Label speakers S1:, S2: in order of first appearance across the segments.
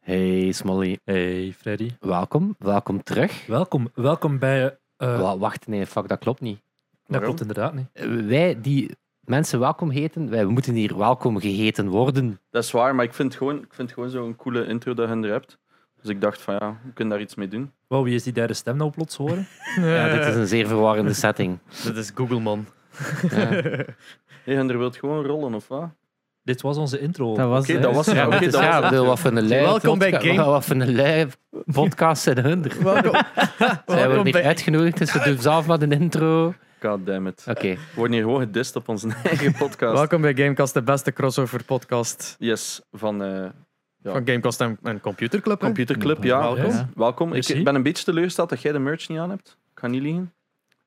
S1: Hey Smolly,
S2: Hey Freddy.
S1: welkom. Welkom terug.
S2: Welkom, welkom bij. eh,
S1: Wa- wacht, nee, fuck, dat klopt niet.
S2: dat klopt inderdaad niet.
S1: Eh, Wij die mensen welkom heten, wij moeten hier welkom geheten worden.
S3: Dat is waar, maar ik vind gewoon, ik vind gewoon zo'n coole intro dat je er hebt. Dus ik dacht van ja, we kunnen daar iets mee doen.
S2: Wow, wie is die derde stem nou plots horen?
S1: Ja, dit is een zeer verwarrende setting.
S4: Dat is Google, man.
S1: Ja.
S3: Hey, en er wilt gewoon rollen, of wat?
S2: Dit was onze intro.
S4: Dat was
S3: Oké, dat was
S1: Ja,
S3: het. Oké,
S1: dit is-
S3: dat
S1: ja,
S3: was het.
S1: wil wat voor een lui
S4: Welkom bij
S1: podca-
S4: Game-
S1: Wat voor een lui podcast zijn hun er.
S4: Welkom,
S1: Zij worden
S4: welkom
S1: niet
S4: bij-
S1: uitgenodigd, dus ze doen zelf maar een intro. Oké.
S3: God damn it. We worden hier gewoon gedist op onze eigen podcast.
S4: welkom bij Gamecast, de beste crossover podcast
S3: Yes, van eh Ja.
S4: van Gamecast en, en Computer Club. hè?
S3: Computer Club. Ja,
S4: Welkom.
S3: welkom. welkom. Ik,
S2: Merci.
S3: ik ben een beetje teleurgesteld dat jij de merch niet aan hebt. Ik ga niet liegen.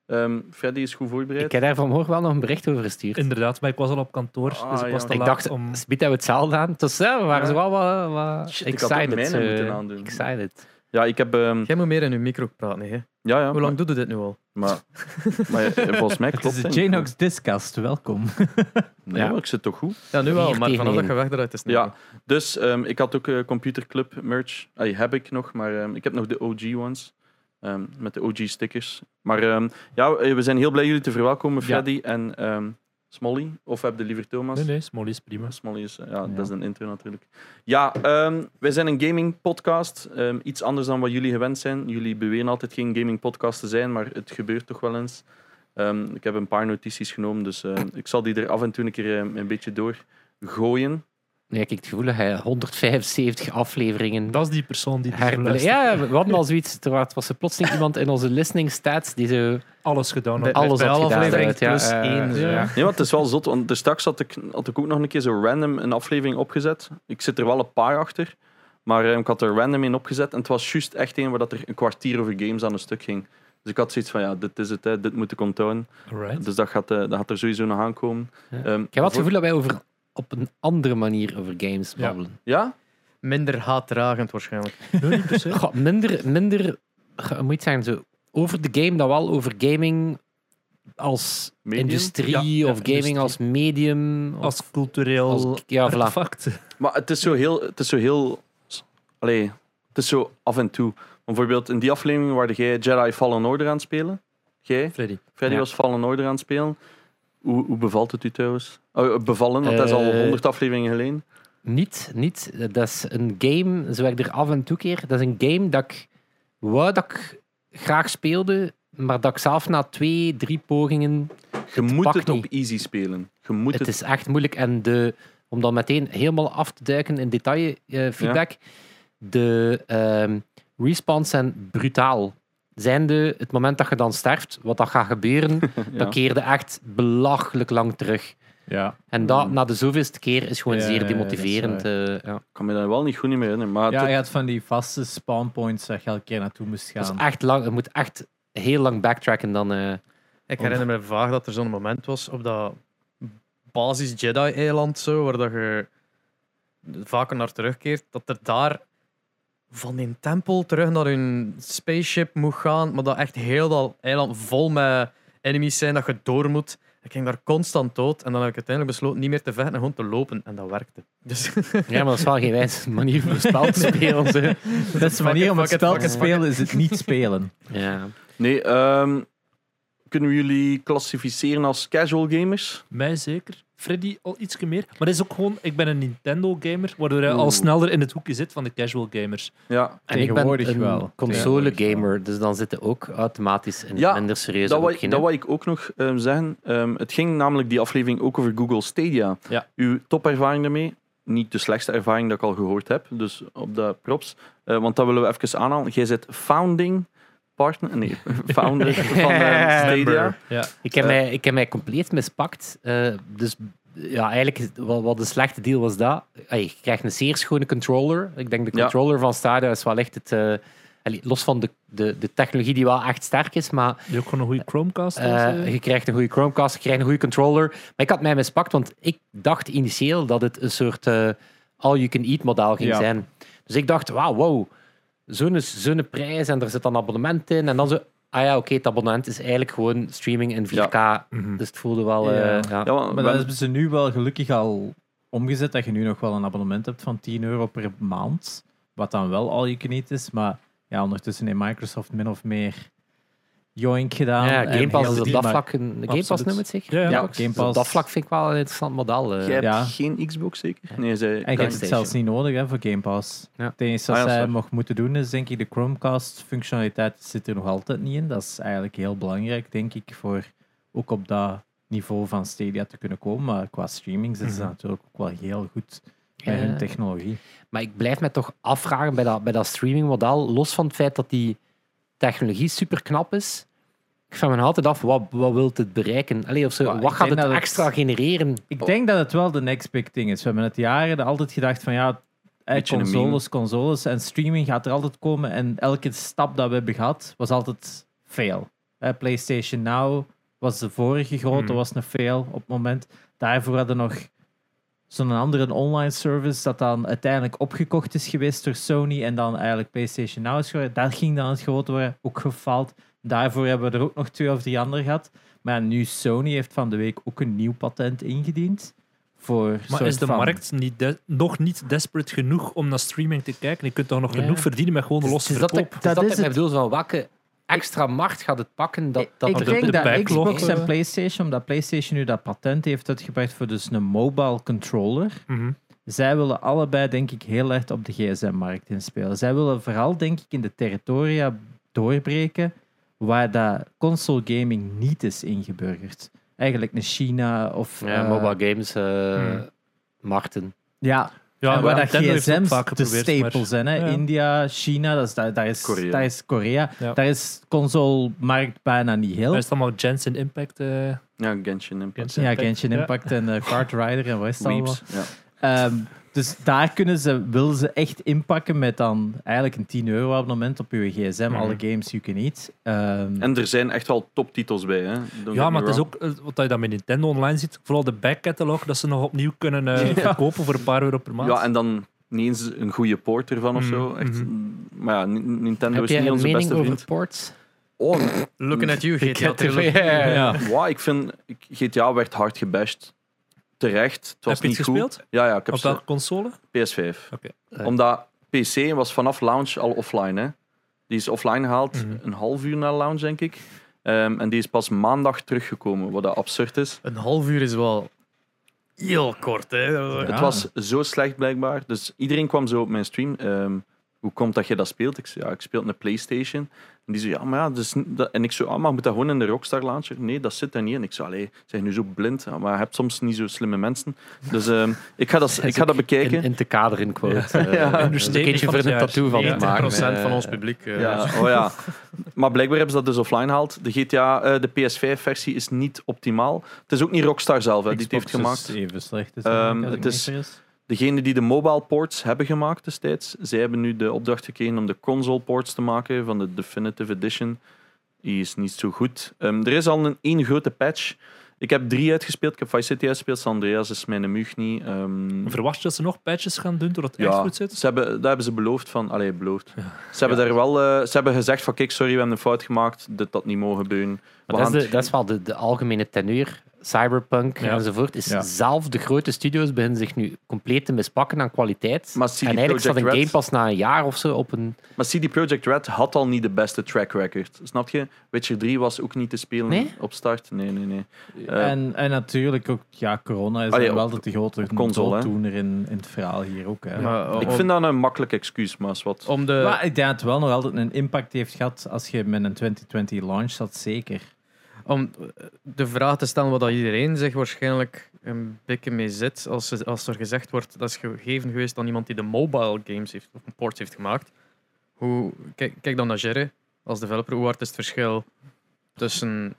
S3: Ehm, Freddy is goed
S1: Ik
S3: voorbereid.
S1: heb daar vanmorgen wel nog een bericht over gestuurd.
S2: Inderdaad, maar ik was al op kantoor, dus
S3: Ah,
S2: ik was
S3: ja.
S2: te
S1: Ik
S2: laat
S1: dacht,
S2: om...
S1: Spiet hebben we hetzelfde aan. Dus ja, we waren
S3: Ja.
S1: zo wel wat, wat
S3: Shit, ik had ook
S1: excited.
S3: mijne
S1: eh,
S3: moeten aandoen.
S1: Excited.
S3: Ja, ik heb... ehm,
S4: Jij moet meer in uw micro praten. Hè.
S3: ja, ja.
S4: Hoe lang doe je dit nu al?
S3: Maar, maar eh, volgens mij klopt
S5: Het is
S3: het
S5: de
S3: niet.
S5: Janox Discast, welkom.
S3: Nee,
S1: Ja.
S3: maar ik zit toch goed?
S4: Ja, nu wel,
S1: Vier
S4: maar
S1: tegen
S4: vanaf dat
S1: één.
S4: je weg eruit is. het niet
S3: Ja,
S4: meer.
S3: dus ehm, ik had ook eh, Computer Club merch. Ay, heb ik nog, maar ehm, ik heb nog de OG ones. Ehm, met de OG stickers. Maar ehm, ja, eh, we zijn heel blij jullie te verwelkomen,
S5: Ja.
S3: Freddy en ehm, Smolly. Of heb je liever Thomas?
S2: Nee, nee, Smolly is prima.
S3: Smolly is, eh, ja, dat is een intro natuurlijk. Ja, ehm, wij zijn een gaming podcast. Ehm, iets anders dan wat jullie gewend zijn. Jullie beweren altijd geen gaming podcast te zijn, maar het gebeurt toch wel eens. Ehm, ik heb een paar notities genomen, dus ehm, ik zal die er af en toe een keer ehm, een beetje door gooien.
S1: Nu heb ik het gevoel dat hij 175 afleveringen
S2: Dat is die persoon die dus
S1: herbele-
S2: luistert.
S1: Ja, we hadden al zoiets. Er wa- was er plotseling iemand in onze listening stats die zo
S2: alles gedaan.
S4: Bij-
S2: had.
S1: alles
S4: bij
S1: had
S4: alle
S1: gedaan.
S4: afleveringen
S1: eruit, ja,
S4: plus
S1: eh,
S4: één, zo,
S1: ja.
S4: ja.
S3: Nee, want het is wel zot, want dus straks had ik, had ik ook nog een keer zo random een aflevering opgezet. Ik zit er wel een paar achter, maar eh, ik had er random in opgezet. En het was juist echt een waar dat er een kwartier over games aan een stuk ging. Dus ik had zoiets van, ja, dit is het, hè, dit moet ik onthouden.
S2: Alright.
S3: Dus dat gaat, eh, dat gaat er sowieso nog aankomen.
S1: Ja. Ik
S3: Ehm,
S1: heb wel het
S3: voor-
S1: gevoel dat wij over, op een andere manier over games
S2: Ja.
S1: babbelen.
S3: Ja?
S4: Minder haatdragend waarschijnlijk.
S2: Nee, niet per se.
S1: Goh, minder, minder goh, moet je het zeggen, zo, over de game dan wel over gaming als
S3: Medium?
S1: industrie
S2: Ja, ja,
S1: of gaming
S2: industrie.
S1: als medium. Of,
S2: Als cultureel
S1: als- ja, voilà.
S2: artefact.
S3: Maar het is zo heel... Het is zo heel... Allee, het is zo af en toe. Bijvoorbeeld in die aflevering waar jij Jedi Fallen Order aan het spelen. Jij?
S2: Freddy.
S3: Freddy
S1: Ja.
S3: was Fallen Order aan het spelen. Hoe, hoe bevalt het u trouwens? Oh, bevallen, want dat is al
S1: Eh,
S3: 100 afleveringen geleden.
S1: Niet, niet. Dat is een game, zo ik er af en toe keer. Dat is een game dat ik wou dat ik graag speelde, maar dat ik zelf na twee, drie pogingen.
S3: Je moet
S1: pakt
S3: het op
S1: niet.
S3: easy spelen. Je moet het,
S1: Het is echt moeilijk. En de, om dan meteen helemaal af te duiken in detail eh, feedback. De ehm respawns zijn brutaal. Zijnde het moment dat je dan sterft, wat dat gaat gebeuren,
S3: ja.
S1: dat keerde echt belachelijk lang terug.
S5: Ja,
S1: En dat
S3: Mm.
S1: na de zoveelste keer is gewoon
S5: Ja, ja,
S1: zeer
S5: ja, dat is
S1: demotiverend. eh, ja.
S3: Ik kan me daar wel niet goed niet meer herinneren. Maar
S5: ja
S3: het-
S5: je had van die vaste spawnpoints waar je elke keer naartoe moest
S1: Dat
S5: gaan.
S1: is echt lang. Het moet echt heel lang backtracken dan. eh,
S4: Ik herinner me vaag dat er zo'n moment was op dat basis Jedi-eiland, zo, waar dat je vaker naar terugkeert, dat er daar van een tempel terug naar hun spaceship moet gaan, maar dat echt heel dat eiland vol met enemies zijn dat je door moet. Ik ging daar constant dood en dan heb ik uiteindelijk besloten niet meer te vechten en gewoon te lopen. En dat werkte. Dus
S1: Ja, maar dat is wel geen wijze manier om een spel te spelen. zo.
S5: Dat is de manier om het
S4: Fuck it,
S5: spel
S4: fuck
S5: te
S4: it, fuck it.
S5: spelen, is het niet spelen.
S1: Ja.
S3: nee, ehm, kunnen we jullie klassificeren als casual gamers?
S2: Mij zeker. Freddy al iets meer. Maar dat is ook gewoon, ik ben een Nintendo-gamer, waardoor hij al
S3: Oeh.
S2: sneller in het hoekje zit van de casual gamers.
S3: Ja.
S1: En ik ben
S5: Tegenwoordig
S1: een
S5: wel. Tegenwoordig
S1: console-gamer, dus dan zitten ook automatisch een
S3: Ja,
S1: minder serieuze
S3: Dat wou,
S1: hoekje,
S3: dat
S1: hè.
S3: wou ik ook nog ehm, zeggen. Ehm, het ging namelijk die aflevering ook over Google Stadia.
S2: Ja.
S3: Uw topervaring daarmee. Niet de slechtste ervaring dat ik al gehoord heb. Dus op de props. Eh, want dat willen we even aanhalen. Jij zit founding partner. Nee, founder van ehm, Stadia.
S2: Ja.
S1: ik, heb
S3: eh.
S1: mij, ik heb mij compleet mispakt. eh, dus ja, eigenlijk, is- wat, wat een slechte deal was dat. Ey, je krijgt een zeer schone controller. Ik denk de
S3: Ja.
S1: controller van Stadia is wel echt het... eh, allee, los van de, de, de technologie die wel echt sterk is, maar
S2: Je hebt ook gewoon een goede Chromecast.
S1: Eh,
S2: thuis, eh.
S1: je krijgt een goede Chromecast, je krijgt een goede controller. Maar ik had mij mispakt, want ik dacht initieel dat het een soort eh, all-you-can-eat model ging
S5: Ja.
S1: zijn. Dus ik dacht, wauw, wow, zo'n zo'n prijs en er zit dan abonnement in. En dan zo, ah ja, oké, het abonnement is eigenlijk gewoon streaming in 4K.
S2: Mhm.
S1: Dus het voelde wel... eh,
S5: Ja.
S1: ja.
S3: Ja, want
S5: Maar
S3: we-
S5: dat hebben ze nu wel gelukkig al omgezet, dat je nu nog wel een abonnement hebt van 10 euro per maand. Wat dan wel al je can eat is, maar ja, ondertussen in Microsoft min of meer joink gedaan.
S1: ja,
S5: en
S1: Game Pass
S5: heel
S1: is op
S5: die
S1: dat
S5: maar-
S1: vlak een Game Pass
S5: Absoluut.
S1: noemt het zeker.
S5: Ja,
S1: Dus
S5: Game
S1: Op
S5: Pass.
S1: dat vlak vind ik wel een interessant model. eh.
S3: Jij hebt
S5: ja.
S3: geen Xbox zeker? Nee, zij.
S5: En je hebt het
S1: PlayStation.
S5: zelfs niet nodig hè, voor Game Pass.
S1: Ja.
S5: Het enige
S3: Ah,
S5: wat
S3: ja,
S5: zij
S3: sorry.
S5: nog moeten doen is, denk ik, de Chromecast-functionaliteit zit er nog altijd niet in. Dat is eigenlijk heel belangrijk, denk ik, voor ook op dat niveau van Stadia te kunnen komen. Maar qua streaming zitten ze
S1: Mhm.
S5: natuurlijk ook wel heel goed bij
S1: Ja.
S5: hun technologie.
S1: Maar ik blijf me toch afvragen bij dat, bij dat streamingmodel, los van het feit dat die technologie super knap is. Ik vraag me nog altijd af, wat, wat wil het bereiken? Allee, of zo,
S5: Maar ik
S1: wat gaat
S5: denk
S1: het
S5: dat het-
S1: extra genereren?
S5: Ik
S3: Oh.
S5: denk dat het wel de next big thing is. We hebben het jaren altijd gedacht van ja, eh,
S3: Beetje een
S5: consoles, consoles en streaming gaat er altijd komen. En elke stap dat we hebben gehad was altijd fail. Eh, PlayStation Now was de vorige grote,
S2: Hmm.
S5: was een fail op het moment. Daarvoor hadden we nog zo'n andere online service dat dan uiteindelijk opgekocht is geweest door Sony en dan eigenlijk PlayStation Now is geworden. Daar ging dan het grote worden, ook gefaald. Daarvoor hebben we er ook nog twee of drie andere gehad. Maar ja, nu Sony heeft van de week ook een nieuw patent ingediend. Voor
S2: Maar
S5: soort
S2: is de
S5: van-
S2: markt niet de- nog niet desperate genoeg om naar streaming te kijken? Je kunt toch nog
S1: Ja.
S2: genoeg verdienen met gewoon
S1: Dus-
S2: los
S1: dus dat,
S2: verkoop?
S1: ik, dus
S5: Dat
S1: dat
S5: is
S1: ik mij
S5: het.
S1: bedoel, van welke extra markt gaat het pakken? Dat, dat
S5: ik
S1: er-
S5: denk
S2: de
S5: dat
S2: backlog,
S5: Xbox
S2: eh,
S5: en PlayStation, omdat PlayStation nu dat patent heeft uitgebracht voor dus een mobile controller,
S2: Mhm.
S5: zij willen allebei denk ik heel erg op de gsm-markt inspelen. Zij willen vooral denk ik in de territoria doorbreken waar dat console gaming niet is ingeburgerd. Eigenlijk naar China of...
S1: Ja,
S5: eh,
S1: mobile games, eh,
S3: hmm.
S1: markten.
S5: Ja,
S2: Ja,
S5: en waar dat
S2: Nintendo heeft het ook
S5: gsm's
S2: vaak
S5: de
S2: geprobeerd, maar-
S5: stapel zijn. Hè?
S2: Ja.
S5: India, China, dat is, daar, daar is,
S3: Korea.
S5: Daar is Korea.
S2: Ja.
S5: Daar is console-markt bijna niet heel.
S2: Daar is het allemaal Jensen Impact. eh,
S3: Ja, Genshin Impact.
S2: Genshin
S5: Ja,
S2: Impact.
S5: Genshin
S2: Ja.
S5: Impact en eh, Kart Rider en wat is dat allemaal?
S3: Weeps. Ja.
S5: Ehm, dus daar kunnen ze, willen ze echt inpakken met dan eigenlijk een 10 euro abonnement op je gsm,
S2: Mhm.
S5: alle games you can eat. Ehm,
S3: En er zijn echt wel toptitels bij. Hè? Don't get
S2: Ja,
S3: me
S2: maar het is
S3: wrong.
S2: ook eh, wat je dan met Nintendo online ziet. Vooral de backcatalog, dat ze nog opnieuw kunnen eh, verkopen voor een paar euro per maand.
S3: Ja, en dan niet eens een goede poort ervan of zo.
S2: Mm,
S3: Echt, Maar ja, Ni- Nintendo
S1: Heb
S3: is
S1: jij
S3: niet
S1: een
S3: onze
S1: mening
S3: beste
S1: over
S3: vriend.
S1: ports?
S3: Oh,
S4: Looking at you, GTA trilogy.
S1: Ja, ja.
S3: wow, ik vind ik- GTA werd hard gebashed. Terecht. Het was
S2: Heb je
S3: niet
S2: het
S3: goed.
S2: gespeeld?
S3: Ja, ja, ik heb
S2: Op
S3: ze-
S2: welke console?
S3: PS5.
S2: Oké.
S1: Eh.
S3: Omdat PC was vanaf launch al offline. Hè. Die is offline gehaald
S2: Mhm.
S3: een half uur na launch, denk ik. Ehm, en die is pas maandag teruggekomen, wat dat absurd is.
S4: Een half uur is wel heel kort, hè? Dat was-
S5: Ja.
S3: Het was zo slecht blijkbaar. Dus iedereen kwam zo op mijn stream. ehm, hoe komt dat je dat speelt? Ik zei, ja, ik speel een PlayStation. En die zei, ja, maar ja, dus dat... En ik zei, ah, maar moet dat gewoon in de Rockstar launcher? Nee, dat zit er niet in. Ik zei, allee, zijn nu zo blind? Ja, maar je hebt soms niet zo slimme mensen. Dus ehm, ik, ga dat, ik ga dat bekijken.
S1: In, in te kaderen, quote. eh,
S3: Ja.
S1: Een beetje voor een tattoo van te
S4: 90%
S1: maken.
S4: van ons
S1: eh.
S4: publiek. eh,
S3: Ja, oh ja. Maar blijkbaar hebben ze dat dus offline gehaald. De, GTA, eh, de PS5-versie is niet optimaal. Het is ook niet Rockstar zelf hè, die het heeft
S5: Xbox
S3: gemaakt.
S5: Is even slecht. Is
S3: Ehm,
S5: eigenlijk, als ik
S3: het
S5: me
S3: is-
S5: niet vergis.
S3: Degene die de mobile ports hebben gemaakt destijds, zij hebben nu de opdracht gekregen om de console ports te maken van de Definitive Edition. Die is niet zo goed. Ehm, er is al een één grote patch. Ik heb drie uitgespeeld. Ik heb Vice City uitgespeeld. San Andreas is mijn mug niet. Ehm,
S2: Verwacht je dat ze nog patches gaan doen doordat het echt
S3: ja,
S2: goed zit?
S3: Ze hebben, daar hebben ze beloofd van. Allee, beloofd. Ze hebben daar wel. eh, ze hebben gezegd van kijk, sorry, we hebben een fout gemaakt. Dit had niet mogen gebeuren.
S1: Maar
S3: We
S1: dat, is
S3: gaan-
S1: de, dat is wel de, de algemene tenuur. Cyberpunk
S2: Ja.
S1: enzovoort. Is
S5: Ja.
S1: Zelf de grote studio's beginnen zich nu compleet te mispakken aan kwaliteit.
S3: Maar CD
S1: en eigenlijk
S3: Projekt
S1: staat een
S3: Red-
S1: game pas na een jaar of zo op een.
S3: Maar CD Projekt Red had al niet de beste track record. Snap je? Witcher 3 was ook niet te spelen
S1: Nee?
S3: op start. Nee, nee, nee. Eh,
S5: en, en natuurlijk ook, ja, corona is
S3: Allee,
S5: dan wel
S3: op-
S5: de grote
S3: console, hè.
S5: doeltoener in, in het verhaal hier ook. Hè.
S4: maar, eh,
S3: ik
S4: om,
S3: vind dat een makkelijk excuus, maar is wat.
S4: om de,
S5: maar ik denk dat het wel nog altijd een impact heeft gehad als je met een 2020 launch zat, zeker.
S4: om eh, de vraag te stellen wat dat iedereen zich waarschijnlijk een beetje mee zit. Als, ze- als er gezegd wordt dat is gegeven geweest aan iemand die de mobile games heeft, of ports heeft gemaakt. Hoe, kijk, kijk dan naar Jerry als developer. Hoe hard is het verschil tussen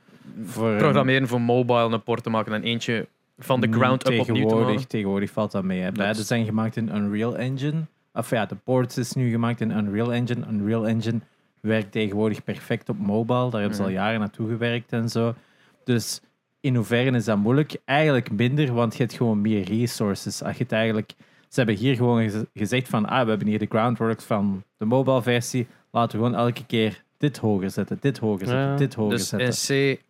S5: Voor een-
S4: programmeren voor mobile een port te maken en eentje van de
S5: Mm,
S4: ground up opnieuw te
S5: tegenwoordig,
S4: maken?
S5: tegenwoordig valt dat mee. Hè. Beide
S4: is-
S5: zijn gemaakt in Unreal Engine. Of ja, de ports is nu gemaakt in Unreal Engine. Unreal Engine werkt tegenwoordig perfect op mobile. Daar hebben ze al
S4: Mhm.
S5: jaren naartoe gewerkt en zo. Dus in hoeverre is dat moeilijk? Eigenlijk minder, want je hebt gewoon meer resources. Als je het eigenlijk... Ze hebben hier gewoon gez- gezegd van, ah, we hebben hier de groundworks van de mobile versie. Laten we gewoon elke keer dit hoger zetten, dit hoger zetten,
S1: Ja.
S5: dit hoger
S4: Dus
S5: zetten.
S4: in C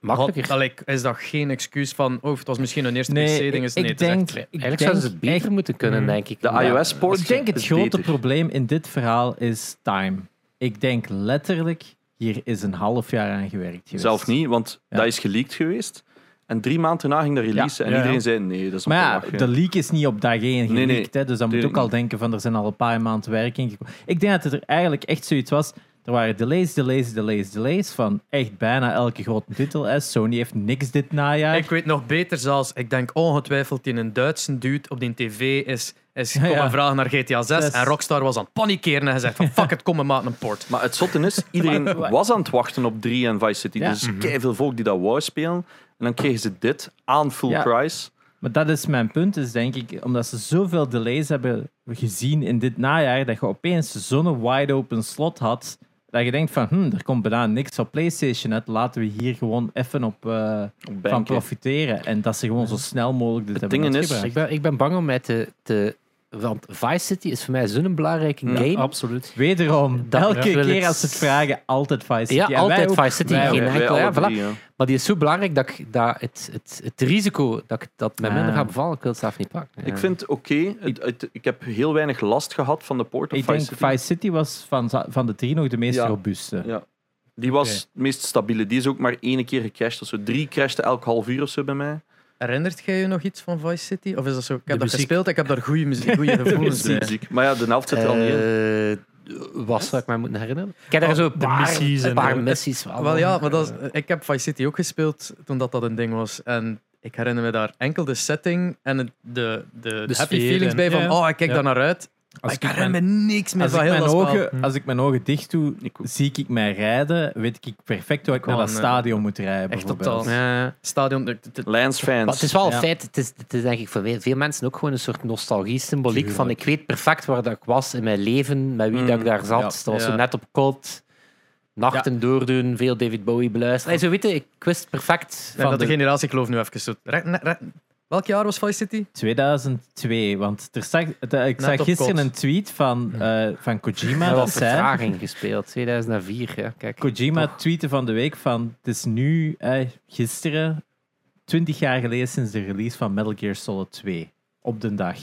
S1: makkelijker.
S4: Had- allee, is dat geen excuus van, oh, het was misschien een eerste
S5: Nee,
S4: PC-ding?
S5: ik, ik denk, ik
S1: Eigenlijk
S5: denk
S1: zouden ze het beter
S5: echt-
S1: moeten kunnen,
S4: Mm.
S1: denk ik.
S3: Mhm. De
S1: Maar-
S3: iOS-port
S5: Ik denk het
S3: is
S5: grote
S3: beter.
S5: probleem in dit verhaal is time. Ik denk letterlijk, hier is een half jaar aan gewerkt geweest.
S3: Zelf niet, want
S5: Ja.
S3: dat is geleakt geweest. En drie maanden na ging dat release en
S2: Ja, ja.
S3: iedereen zei nee, dat is
S5: Maar
S3: nog te
S5: ja,
S3: lachen.
S5: de leak is niet op dag één
S3: Nee,
S5: geleakt,
S3: nee,
S5: hè, dus dan moet je ook
S3: tuurlijk
S5: al denken van er zijn al een paar maanden werk in gekomen. Ik denk dat het er eigenlijk echt zoiets was, er waren delays, delays, delays, delays van echt bijna elke grote titel. Hè. Sony heeft niks dit najaar.
S4: Ik weet nog beter zelfs, ik denk ongetwijfeld die een Duitse dude op die tv is, is
S5: Ja,
S4: komen
S5: ja.
S4: vragen naar GTA 6
S5: Zes.
S4: en Rockstar was aan het panikeren en gezegd van fuck het, kom maar maak een port.
S3: Maar het zotte is, iedereen was aan het wachten op 3 en Vice City.
S5: Ja. Mhm.
S3: Dus veel volk die dat wou spelen. En dan kregen ze dit aan full
S5: Ja.
S3: price.
S5: Maar dat is mijn punt, is denk ik, omdat ze zoveel delays hebben gezien in dit najaar, dat je opeens zo'n wide-open slot had, dat je denkt van, hm, er komt bijna niks op PlayStation uit, laten we hier gewoon even op, eh,
S3: Op
S5: van
S3: banken.
S5: profiteren. En dat ze gewoon zo snel mogelijk dit hebben
S3: ding is-
S5: uitgebracht.
S1: Ik ben, ik ben bang om mij te, te... Want Vice City is voor mij zo'n belangrijke game.
S2: Absoluut.
S5: Wederom,
S1: Dat-
S5: elke
S1: Ja.
S5: keer als ze het vragen, altijd Vice City.
S1: Ja,
S5: En Dus wij
S1: altijd
S5: ook.
S1: Vice City.
S5: Wij ook.
S1: Geen
S3: Wij- wij
S1: enkel, ja,
S3: alle
S1: voilà.
S3: drie, ja.
S1: Maar die is zo belangrijk dat, ik, dat het, het, het risico dat ik dat mij minder
S5: Ah.
S1: gaat bevallen, ik wil het zelf niet pakken.
S3: Ik vind het oké. Het- het- Ik heb heel weinig last gehad van de port of
S5: Ik
S3: Vice
S5: denk
S3: City.
S5: Vice City was van, za- van de drie nog de meest
S3: Ja.
S5: robuuste.
S3: Ja. Die was het meest stabiele. Die is ook maar één keer gecrashed. of zo. Drie crashten elk half uur of zo bij mij.
S4: Herinnert jij je nog iets van Vice City? Of is dat zo? Ik heb
S2: De
S4: dat
S2: muziek.
S4: gespeeld, ik heb daar goede muziek, goede
S3: Dat
S4: gevoelens
S3: is de
S4: bij.
S3: muziek. Maar ja, de helft zit er al niet in.
S1: Eh, was wat ik mij moet herinneren. Ik heb daar
S4: Oh,
S1: zo een
S2: de
S1: paar missies.
S2: missies
S1: Een
S2: en
S1: paar
S2: de-
S1: missies Ah, wel.
S4: Wel ja, maar dat is- ik heb Vice City ook gespeeld toen dat, dat een ding was. En ik herinner me daar enkel de setting en de, de, de, happy
S2: sfeer
S4: feelings
S2: en-
S4: bij van
S2: ja.
S4: oh, ik kijk
S2: Ja.
S4: daar naar uit. Maar
S2: Als
S4: ik
S2: ik
S4: herinner me niks meer
S5: Als ik,
S4: van heel
S5: mijn
S4: dat spel. Hm.
S5: ogen, als ik mijn ogen dicht doe,
S3: Ik ook.
S5: zie ik mij rijden, weet ik perfect hoe ik naar
S4: Gewoon,
S5: dat
S4: eh,
S5: stadion moet rijden.
S4: echt
S5: bijvoorbeeld.
S4: totaal.
S1: Ja.
S4: Stadion, de- de- de-
S3: Lions
S1: Maar het
S3: fans.
S1: is wel een
S5: Ja.
S1: feit, het is, het is denk ik voor veel mensen ook gewoon een soort nostalgie-symboliek van ik weet perfect waar dat ik was in mijn leven, met wie dat ik
S3: Mm,
S1: daar zat.
S5: ja,
S1: dat was
S4: ja.
S1: zo net op cold, nachten doordoen, veel David Bowie beluisteren. Allee, zo weet je, ik wist perfect
S4: van
S1: van
S4: dat de
S1: de-
S4: generatie, ik geloof nu even zo. Re- ne- re- welk jaar was Vice City?
S5: 2002, want er zag, de- ik
S4: Net
S5: zag
S4: op
S5: gisteren
S4: kot.
S5: een tweet van, eh, van Kojima.
S1: met
S5: dat
S1: wat
S5: zei,
S1: vertraging gespeeld. 2004, ja, kijk.
S5: Kojima
S1: Toch.
S5: tweette van de week van het is nu eh, gisteren 20 jaar geleden sinds de release van Metal Gear Solid 2 op de dag.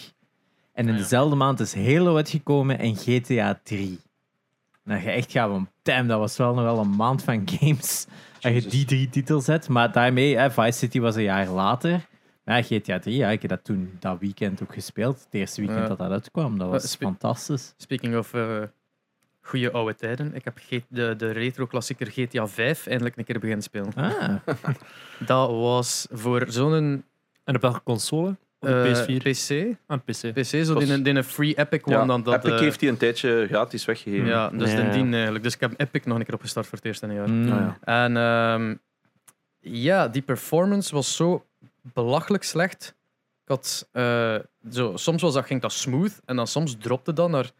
S5: En
S4: Ah,
S5: in dezelfde maand is Halo uitgekomen en GTA 3. En dat Nou, je echt gaat van damn, dat was wel nog wel een maand van games. Dat je die drie titels hebt, maar daarmee, eh, Vice City was een jaar later. Maar ja, GTA 3, ja, ik heb dat toen dat weekend ook gespeeld. Het eerste weekend
S4: Ja. Eh,
S5: dat dat uitkwam, dat was
S4: spe-
S5: fantastisch.
S4: Speaking of eh goede oude tijden, ik heb G- de, de retro-klassieker GTA 5 eindelijk een keer beginnen spelen.
S5: Ah,
S4: Dat was voor zo'n
S2: En op welke console? Op
S4: eh,
S2: Ah, de PS4
S4: PC.
S2: en PC.
S4: PC, zo
S3: was-
S4: die, een- die een free Epic
S3: Ja,
S4: one. Dan dat,
S3: Epic
S4: eh,
S3: heeft die een tijdje gratis weggegeven.
S4: Ja, dus
S1: Ja,
S4: den
S1: ja.
S4: dien eigenlijk. Dus ik heb Epic nog een keer opgestart voor het eerste jaar.
S5: mm.
S3: Ah, ja.
S4: En ehm, ja, die performance was zo belachelijk slecht. Ik had, eh, zo, soms was dat, ging dat smooth en dan soms dropte dat naar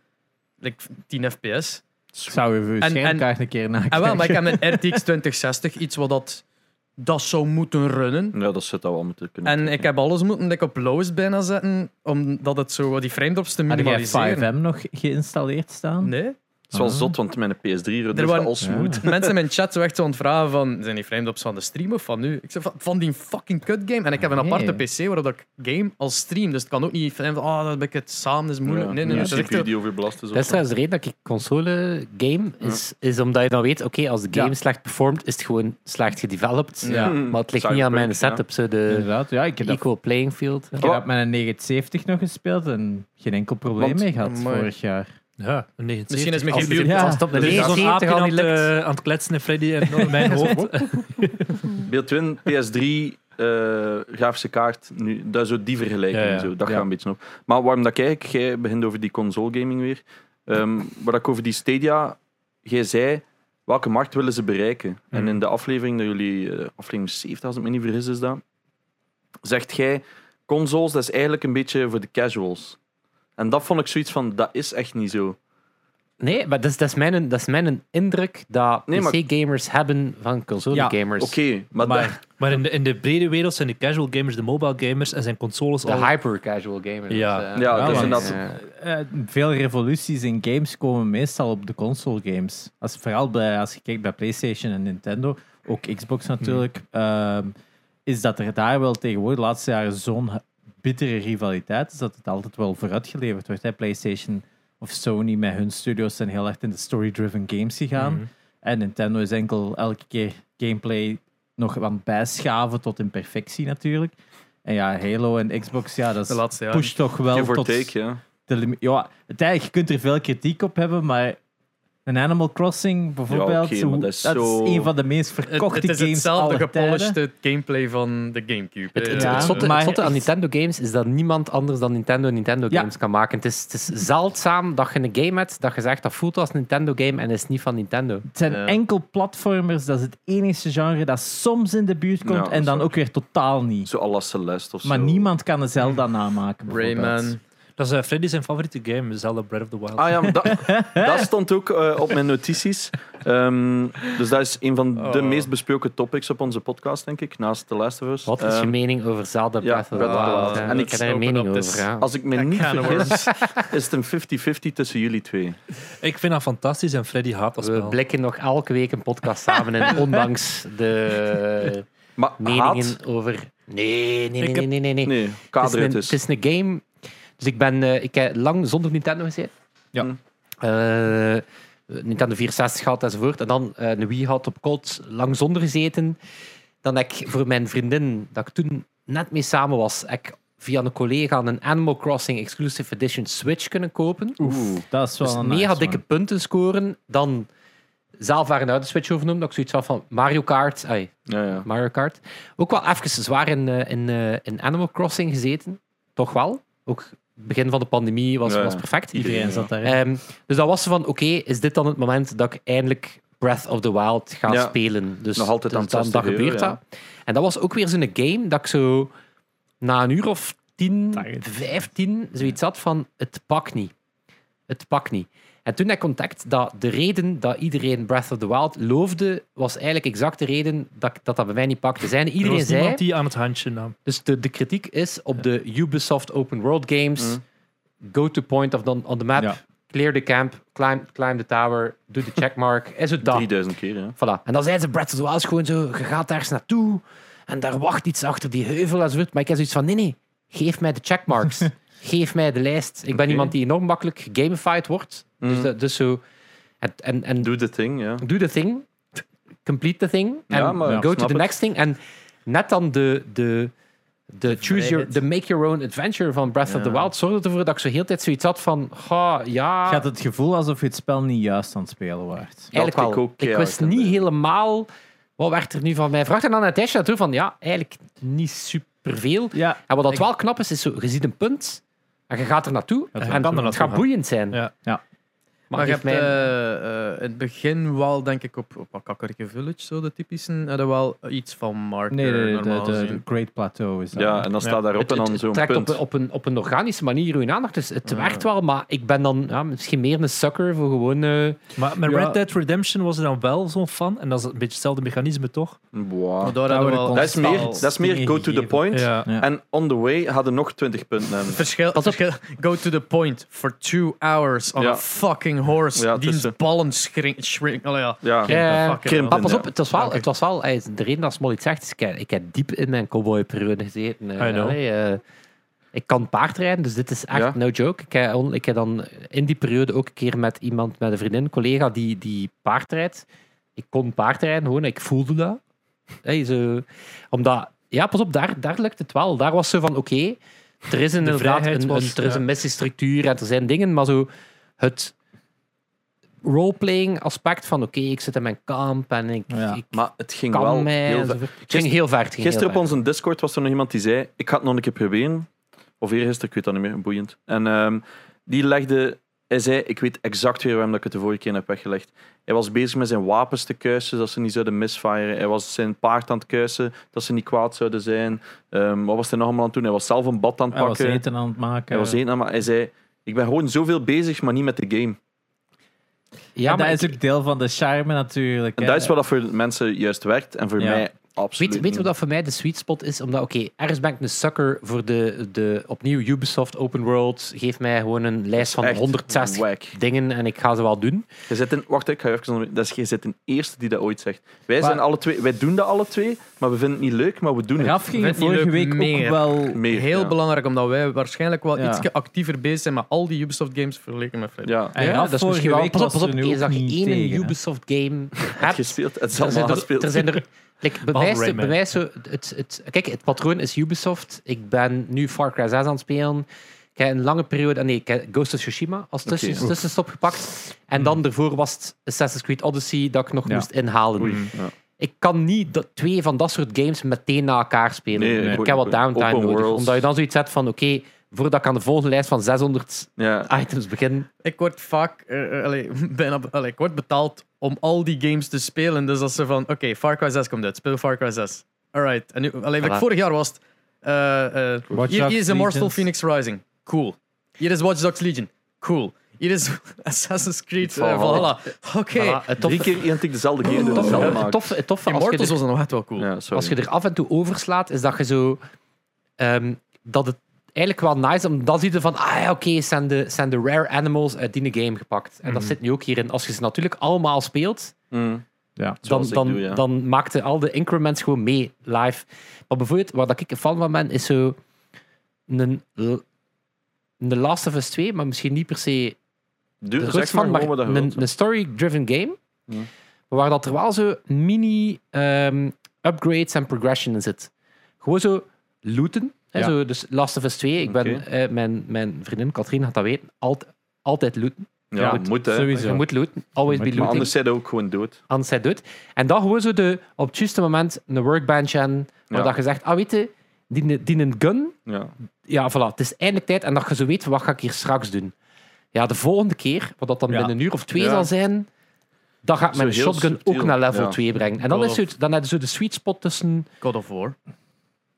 S4: like, 10 fps.
S5: Ik zou even uw
S4: En-
S5: schermkaart een keer nakijken.
S4: En wel, maar ik heb een RTX 2060, iets wat dat, dat zou moeten runnen.
S3: Ja, dat zit dat wel moeten kunnen.
S4: En
S3: doen,
S4: ik
S3: ja.
S4: heb alles moeten like, op lowest bijna zetten, omdat het zo wat die frame drops te
S5: Had jij
S4: minimaliseren.
S5: 5M nog geïnstalleerd staan?
S4: Nee?
S3: Het is wel
S5: Ah.
S3: zot, want mijn PS3
S4: Er
S3: runt
S4: waren-
S3: al smooth.
S5: Ja.
S4: mensen in mijn chat zo echt zo aan het vragen van zijn die frame-ups van de stream of van nu? Ik zeg van, van die fucking cut game. En ik heb een
S5: Nee.
S4: aparte PC waarop ik game als stream. Dus het kan ook niet van oh, dat ben ik het samen, dat is moeilijk.
S3: Ja,
S4: nee, nee,
S3: ja,
S4: nee. dat is echt
S3: CPU
S4: zo-
S3: die overbelast is.
S1: Dat is
S3: of zo.
S1: trouwens de reden dat ik console game is, is omdat je dan weet, oké, als de game
S4: Ja.
S1: slecht performt, is het gewoon slecht gedeveloped.
S4: Ja.
S1: Maar het ligt niet aan mijn
S3: Cyberpunk, ja.
S1: setup, zo de
S5: Inderdaad, ja, ik heb, dat, ik
S1: equal playing field.
S5: heb
S3: Oh.
S5: dat met een 79 nog gespeeld en geen enkel probleem
S3: Want-
S5: mee gehad
S4: Amai.
S5: vorig jaar.
S2: Ja, een 79.
S4: Misschien is mijn
S2: Als
S4: GPU
S2: die-
S5: Ja.
S1: Als het op de
S2: Er is zo'n
S1: 79
S2: aapje
S1: al
S2: aan,
S1: niet
S2: het,
S1: lukt.
S2: eh, aan het kletsen in Freddy en in mijn hoofd.
S3: Beeld 1, PS3, eh, grafische kaart, nu, dat is zo die vergelijking.
S2: Ja, ja.
S3: Zo, dat
S5: Ja.
S3: gaat een beetje op. Maar waarom dat kijk, jij begint over die console gaming weer. Ehm wat ik over die Stadia, jij zei, welke markt willen ze bereiken? En in de aflevering, dat jullie, eh, aflevering 70, als ik me niet vergis, is dat. Zegt jij, consoles, dat is eigenlijk een beetje voor de casuals. En dat vond ik zoiets van, dat is echt niet zo.
S1: Nee, maar dat is, dat is, mijn, dat is mijn indruk dat
S3: Nee, maar-
S1: PC-gamers hebben van console-gamers.
S3: Oké, maar, dat-
S2: Maar, maar in, de, in de brede wereld zijn de casual gamers de mobile gamers en zijn consoles al...
S1: De hyper-casual gamers.
S2: Ja.
S1: eh,
S3: Ja, dus
S2: dat is
S1: want-
S3: inderdaad-
S1: ja.
S5: Eh, veel revoluties in games komen meestal op de console games. Als, vooral bij, als je kijkt bij PlayStation en Nintendo, ook Xbox
S4: Mhm.
S5: natuurlijk, ehm, is dat er daar wel tegenwoordig de laatste jaren zo'n h- bittere rivaliteit is dat het altijd wel vooruitgeleverd wordt. Hè? PlayStation of Sony met hun studios zijn heel erg in de story-driven games gegaan.
S2: Mhm.
S5: En Nintendo is enkel elke keer gameplay nog aan het bijschaven tot in perfectie natuurlijk. En ja, Halo en Xbox, ja, dat
S4: de
S5: is
S4: laatste jaren.
S5: push toch wel
S3: give or
S5: tot
S3: take, ja.
S5: de limi- ja, uiteindelijk, je kunt er veel kritiek op hebben, maar een Animal Crossing bijvoorbeeld,
S3: Ja, oké,
S5: hoe-
S3: maar
S5: dat,
S3: dat
S5: is
S3: is zo-
S5: een van de meest
S4: Het,
S5: verkochte
S4: het is
S5: games
S4: hetzelfde
S5: aller tijden.
S4: gepolished eh, gameplay van de Gamecube. Eh,
S1: Het, het,
S4: Ja.
S1: het zotte, het
S5: maar
S1: zotte aan
S5: echt-
S1: Nintendo games is dat niemand anders dan Nintendo Nintendo
S5: Ja.
S1: games kan maken. Het is, het is zeldzaam dat je een game hebt dat je zegt dat voelt als een Nintendo game en is niet van Nintendo.
S5: Het zijn
S4: Ja.
S5: enkel platformers, dat is het enige genre dat soms in de buurt komt
S3: Ja, dat
S5: en
S3: is
S5: dan
S3: waar.
S5: ook weer totaal niet.
S3: Zo alla Celeste of zo. Hmm.
S5: Maar niemand kan een Zelda namaken. bijvoorbeeld.
S4: Rayman.
S2: Dat is eh, Freddy zijn favoriete game, Zelda Breath of the Wild.
S3: Ah ja, maar dat, dat stond ook eh, op mijn notities. Ehm, dus dat is een van de
S4: Oh.
S3: meest besproken topics op onze podcast, denk ik, naast The Last of Us.
S1: Wat is je
S3: Ehm,
S1: mening over Zelda
S3: ja,
S1: Breath of the
S3: Breath of the
S1: Wild?
S3: Wild.
S1: hè?
S3: En
S1: ik
S4: ik
S1: heb daar een
S4: open
S1: mening
S4: op,
S1: over.
S4: dus-
S1: ja.
S3: Als ik me
S4: Dat
S3: niet
S4: kan, hoor.
S3: vergis, is het een 50-50 tussen jullie twee.
S2: Ik vind dat fantastisch en Freddy haat dat
S1: We
S2: spel.
S1: blikken nog elke week een podcast samen en ondanks de
S3: Maar
S1: meningen
S3: haat?
S1: over... Nee, nee,
S2: Ik
S1: nee,
S2: heb-
S1: nee, nee. nee, nee.
S3: Nee,
S1: Het,
S3: kader
S1: is een,
S3: het
S1: het
S3: is.
S1: is een game... Dus ik, ben, eh, ik heb lang zonder Nintendo gezeten.
S5: Ja.
S3: Mm.
S1: Eh, Nintendo 64 gehad enzovoort. En dan eh een Wii had op Colt lang zonder gezeten. Dan heb ik voor mijn vriendin, dat ik toen net mee samen was, heb ik via een collega een Animal Crossing Exclusive Edition Switch kunnen kopen.
S3: Oeh.
S5: Dat is wel
S1: Dus
S5: een
S1: mega
S5: nice
S1: dikke
S5: one.
S1: punten scoren dan zelf waren uit de Switch overnomen. Dat ik zoiets had van Mario Kart. ai,
S3: Ja, ja.
S1: Mario Kart. Ook wel even zwaar in, eh, in, eh, in Animal Crossing gezeten. Toch wel. Ook begin van de pandemie was,
S3: Ja, ja.
S1: was perfect.
S5: Iedereen zat daarin.
S1: Ehm, dus dan was ze van, oké, is dit dan het moment dat ik eindelijk Breath of the Wild ga
S3: Ja.
S1: spelen? Dus
S3: Nog
S1: dus
S3: altijd aan het
S1: dan, dan
S3: 60 euro,
S1: gebeurt
S3: ja.
S1: dat. En dat was ook weer zo'n game dat ik zo na een uur of tien,
S5: Target.
S1: vijftien, zoiets had van, het pakt niet. Het pakt niet. En toen heb ik contact dat de reden dat iedereen Breath of the Wild loofde, was eigenlijk exact de reden dat ik- dat, dat bij mij niet pakte. Zijn
S2: Er
S1: iedereen
S2: was
S1: zei...
S2: niemand die aan het handje nam.
S1: Dus de, de kritiek is op de Ubisoft Open World Games.
S3: Mhm.
S1: Go to point of the, on the map.
S5: Ja.
S1: Clear the camp. Climb, climb the tower. Doe de checkmark. Is het dat?
S3: 3000 keer, ja.
S1: Voilà. En dan zijn ze Breath of the Wild is gewoon zo. Je gaat ergens naartoe. En daar wacht iets achter die heuvel enzovoort. Maar ik heb zoiets van: nee, nee. Geef mij de checkmarks. geef mij de lijst. Ik ben
S3: Oké.
S1: iemand die enorm makkelijk gamified wordt. Dus,
S3: Mhm.
S1: dat- dus zo. En, en, en
S3: Do the thing, ja.
S1: do the thing, complete the thing, en
S3: Ja, maar
S1: go
S3: snap
S1: to the
S3: het.
S1: next thing. En net dan de, de, de, choose your,
S4: vrijheid.
S1: de make your own adventure van Breath of the
S4: Ja.
S1: Wild zorgde ervoor dat ik zo heel de tijd zoiets had van, ga, ja,
S5: Gaat het gevoel alsof je het spel niet juist aan het spelen waart.
S1: eigenlijk
S3: ik
S1: wel.
S3: ook
S1: Ik,
S3: keihard
S1: wist
S3: in
S1: niet
S3: de-
S1: helemaal wat werd er nu van mij. Vraag en dan het tijdje naartoe van, ja, eigenlijk niet superveel.
S5: Ja,
S1: En wat dat
S5: Ik-
S1: wel knap is, is zo, je ziet een punt en je gaat er naartoe
S2: Ja,
S1: en
S2: je kan er
S1: het
S2: naartoe
S1: gaat
S2: gaan.
S1: boeiend zijn.
S2: Ja.
S5: Ja.
S1: Maar,
S4: Maar je
S1: geef
S4: hebt
S1: mij-
S4: eh, eh, in het begin wel, denk ik, op, op Akakkerke Village, zo de typische, hadden wel iets van Marker
S5: nee, nee, nee, de,
S4: normaal
S5: de- de
S4: gezien.
S5: Great Plateau is dat.
S3: Ja, en dan staat daarop en dan zo'n
S1: trekt op,
S3: punt.
S1: op, een, op een organische manier uw aandacht. Dus het
S4: Ja.
S1: werkt wel, maar ik ben dan ja, misschien meer een sucker voor gewoon. eh,
S2: Maar met
S5: Ja.
S2: Red Dead Redemption was er dan wel zo'n fan. En dat is een beetje hetzelfde mechanisme, toch?
S3: Boah.
S4: Maar daar hadden we
S5: Dat
S4: wel...
S3: Dat is meer, dat is meer
S5: Dingen
S3: go to the
S5: gegeven.
S3: point.
S2: Ja.
S5: Ja.
S3: En on the way hadden nog 20 punten. hebben.
S4: Verschil,
S1: Pas op.
S4: verschil, go to the point for two hours on
S3: Ja.
S4: a fucking horse.
S3: Ja, het is
S4: die
S3: zo.
S4: ballen schrink, shrink, allee, ja.
S3: Ja.
S1: Ja. Eh,
S4: Fucking
S3: krimp.
S1: maar
S4: hell.
S1: pas op,
S3: Ja.
S1: het was wel,
S4: Dank u.
S1: het was wel eh, de reden dat Smol iets zegt. Is ik, heb- ik heb diep in mijn cowboy-periode gezeten. eh,
S2: I know.
S1: allee, eh, ik kan paardrijden, dus dit is echt
S3: Ja.
S1: no joke. Ik heb, on- ik heb dan in die periode ook een keer met iemand, met een vriendin, een collega die, die paardrijdt. Ik kon paardrijden, gewoon, ik voelde dat. Hey, zo, omdat, ja, pas op, daar, daar lukt het wel. Daar was ze van, oké, er is inderdaad
S2: vrijheid
S1: een,
S2: was,
S1: een- er is
S2: ja.
S1: een missiestructuur en er zijn dingen, maar zo het roleplaying aspect van, oké, ik zit in mijn kamp en ik,
S5: Ja.
S1: ik
S3: Maar het ging
S1: kan
S3: wel
S1: mij...
S3: heel ver.
S1: enzovoort. Het ging heel ver. het ging
S3: Gisteren op
S1: heel ver.
S3: onze Discord was er nog iemand die zei: Ik ga het nog een keer proberen. Of eergisteren, ik weet dat niet meer, boeiend. En ehm, die legde, hij zei: Ik weet exact weer waarom dat ik het de vorige keer heb weggelegd. Hij was bezig met zijn wapens te kuisen, dat ze niet zouden misfiren. Hij was zijn paard aan het kuisen, dat ze niet kwaad zouden zijn. Ehm, wat was hij nog allemaal aan het doen? Hij was zelf een bad aan het
S5: Hij was
S3: pakken.
S5: eten aan het maken.
S3: Hij was eten aan- maar hij zei: Ik ben gewoon zoveel bezig, maar niet met de game.
S1: Ja,
S5: en dat
S1: maar
S5: is
S1: ik-
S5: ook deel van de charme natuurlijk.
S3: En
S5: hè.
S3: dat is wat dat voor mensen juist werkt en voor
S5: Ja.
S3: mij absoluut.
S1: Weet, weet je wat dat voor mij de sweet spot is? Omdat, oké, ergens ben ik een sucker voor de, de opnieuw Ubisoft Open World. Geef mij gewoon een lijst van 160
S3: wack.
S1: dingen en ik ga ze wel doen.
S3: Je zit in, wacht, ik ga even onder- dat is, je zit de eerste die dat ooit zegt. Wij,
S1: Maar-
S3: zijn alle twee, wij doen dat alle twee, maar we vinden het niet leuk, maar we doen het.
S5: Raf ging
S4: Vind je
S5: vorige
S4: leuk
S5: week ook
S4: meer?
S5: wel...
S3: Meer,
S4: Heel
S3: ja.
S4: belangrijk, omdat wij waarschijnlijk wel
S5: Ja.
S4: iets actiever bezig zijn met al die Ubisoft-games vergeleken met Freddy.
S3: Ja,
S5: En Raf
S1: Ah dat is
S5: vorige
S1: misschien wel...
S5: week
S1: Pas op,
S5: was
S1: pas op.
S5: er nu ook
S1: Eens dat je
S5: niet
S1: één
S5: tegen, hè.
S1: Ubisoft game
S3: het
S1: hebt,
S3: gespeeld. Het is
S1: Er zijn
S3: allemaal
S1: er,
S3: gespeeld.
S1: er zijn er like, bij
S2: Behalve
S1: mij is de- bij
S2: Rayman.
S1: mij is zo, het, het, kijk, het patroon is Ubisoft. Ik ben nu Far Cry 6 aan het spelen. Ik heb een lange periode, ah nee, ik heb Ghost of Tsushima als tussen,
S3: Oké. Hmm.
S1: tussenstop gepakt. En dan daarvoor was het Assassin's Creed Odyssey dat ik nog
S5: Ja.
S1: moest inhalen.
S3: Oei, Mm, ja.
S1: Ik kan niet dat, twee van dat soort games meteen na elkaar spelen.
S3: Nee, ik
S1: ik
S3: ook
S1: heb wat
S3: niet.
S1: downtime
S3: Open
S1: nodig.
S3: worlds.
S1: Omdat je dan zoiets hebt van, oké, voordat ik aan de volgende lijst van 600
S3: Ja.
S1: items begin,
S4: Ik word vaak eh, eh, allee, bijna, allee, ik word betaald om al die games te spelen. Dus als ze van, oké, Far Cry 6 komt uit, speel Far Cry 6. Alright. En nu, allee, wat ik
S1: Voilà.
S4: vorig jaar was het, eh, eh,
S5: Watch
S4: hier,
S5: Dogs
S4: hier is Immortal
S5: Legions.
S4: Phoenix Rising. Cool. Hier is Watch Dogs Legion. Cool. Hier is Assassin's Creed eh,
S3: Valhalla.
S4: Valhalla. Oké.
S1: voilà, het tof,
S3: Drie keer identiek dezelfde game door
S1: tof,
S3: dezelfde
S1: het
S3: maker.
S1: tof, het tof als je dus- er-
S4: Immortals was dan nog echt wel cool.
S3: Ja, sorry.
S1: als je er af en toe overslaat, is dat je zo. ehm, dat het eigenlijk wel nice om dan zie je van. Ah ja, oké, het zijn, de, het zijn de rare animals uit die game gepakt. En
S3: Mhm.
S1: dat zit nu ook hierin. Als je ze natuurlijk allemaal speelt,
S3: Mm.
S5: Ja.
S1: dan,
S3: Zoals ik
S1: dan,
S3: doe, ja.
S1: dan maakt je al de increments gewoon mee live. Maar bijvoorbeeld, waar dat ik een fan van ben, is zo. Een, l- een Last of Us 2, maar misschien niet per se
S3: Doe,
S1: de
S3: zeg
S1: rust
S3: maar
S1: van,
S3: gewoon
S1: maar
S3: wat dat je
S1: een,
S3: wilt.
S1: een story-driven game,
S3: Ja.
S1: waar dat er wel zo mini ehm, upgrades en progression in zit. Gewoon zo looten. Hè,
S5: Ja.
S1: zo, dus Last of Us 2, ik ben,
S3: Oké.
S1: eh, mijn, mijn vriendin Katrien gaat dat weten, alt, altijd looten.
S3: Ja,
S5: Ja,
S3: het moet hè.
S5: sowieso.
S1: Je moet looten, always
S5: Maar
S1: be looting.
S3: Maar
S1: Anders,
S3: anders zijn ze ook gewoon dood.
S1: zij doet. En dan gewoon zo de, op het juiste moment een workbench aan, waar
S3: Ja.
S1: dat je zegt, ah weet je, die, die een gun,
S3: Ja.
S1: ja, voilà. Het is eindelijk tijd en dat je zo weet, wat ga ik hier straks doen? Ja, de volgende keer, wat dat dan
S5: Ja.
S1: binnen een uur of twee
S3: Ja.
S1: zal zijn, dan gaat
S3: Zo
S1: mijn
S3: heel
S1: shotgun
S3: subtiel,
S1: ook naar level
S3: ja.
S1: 2 brengen. En dan,
S4: God
S1: is het, dan heb je zo de sweet spot tussen...
S4: God of War.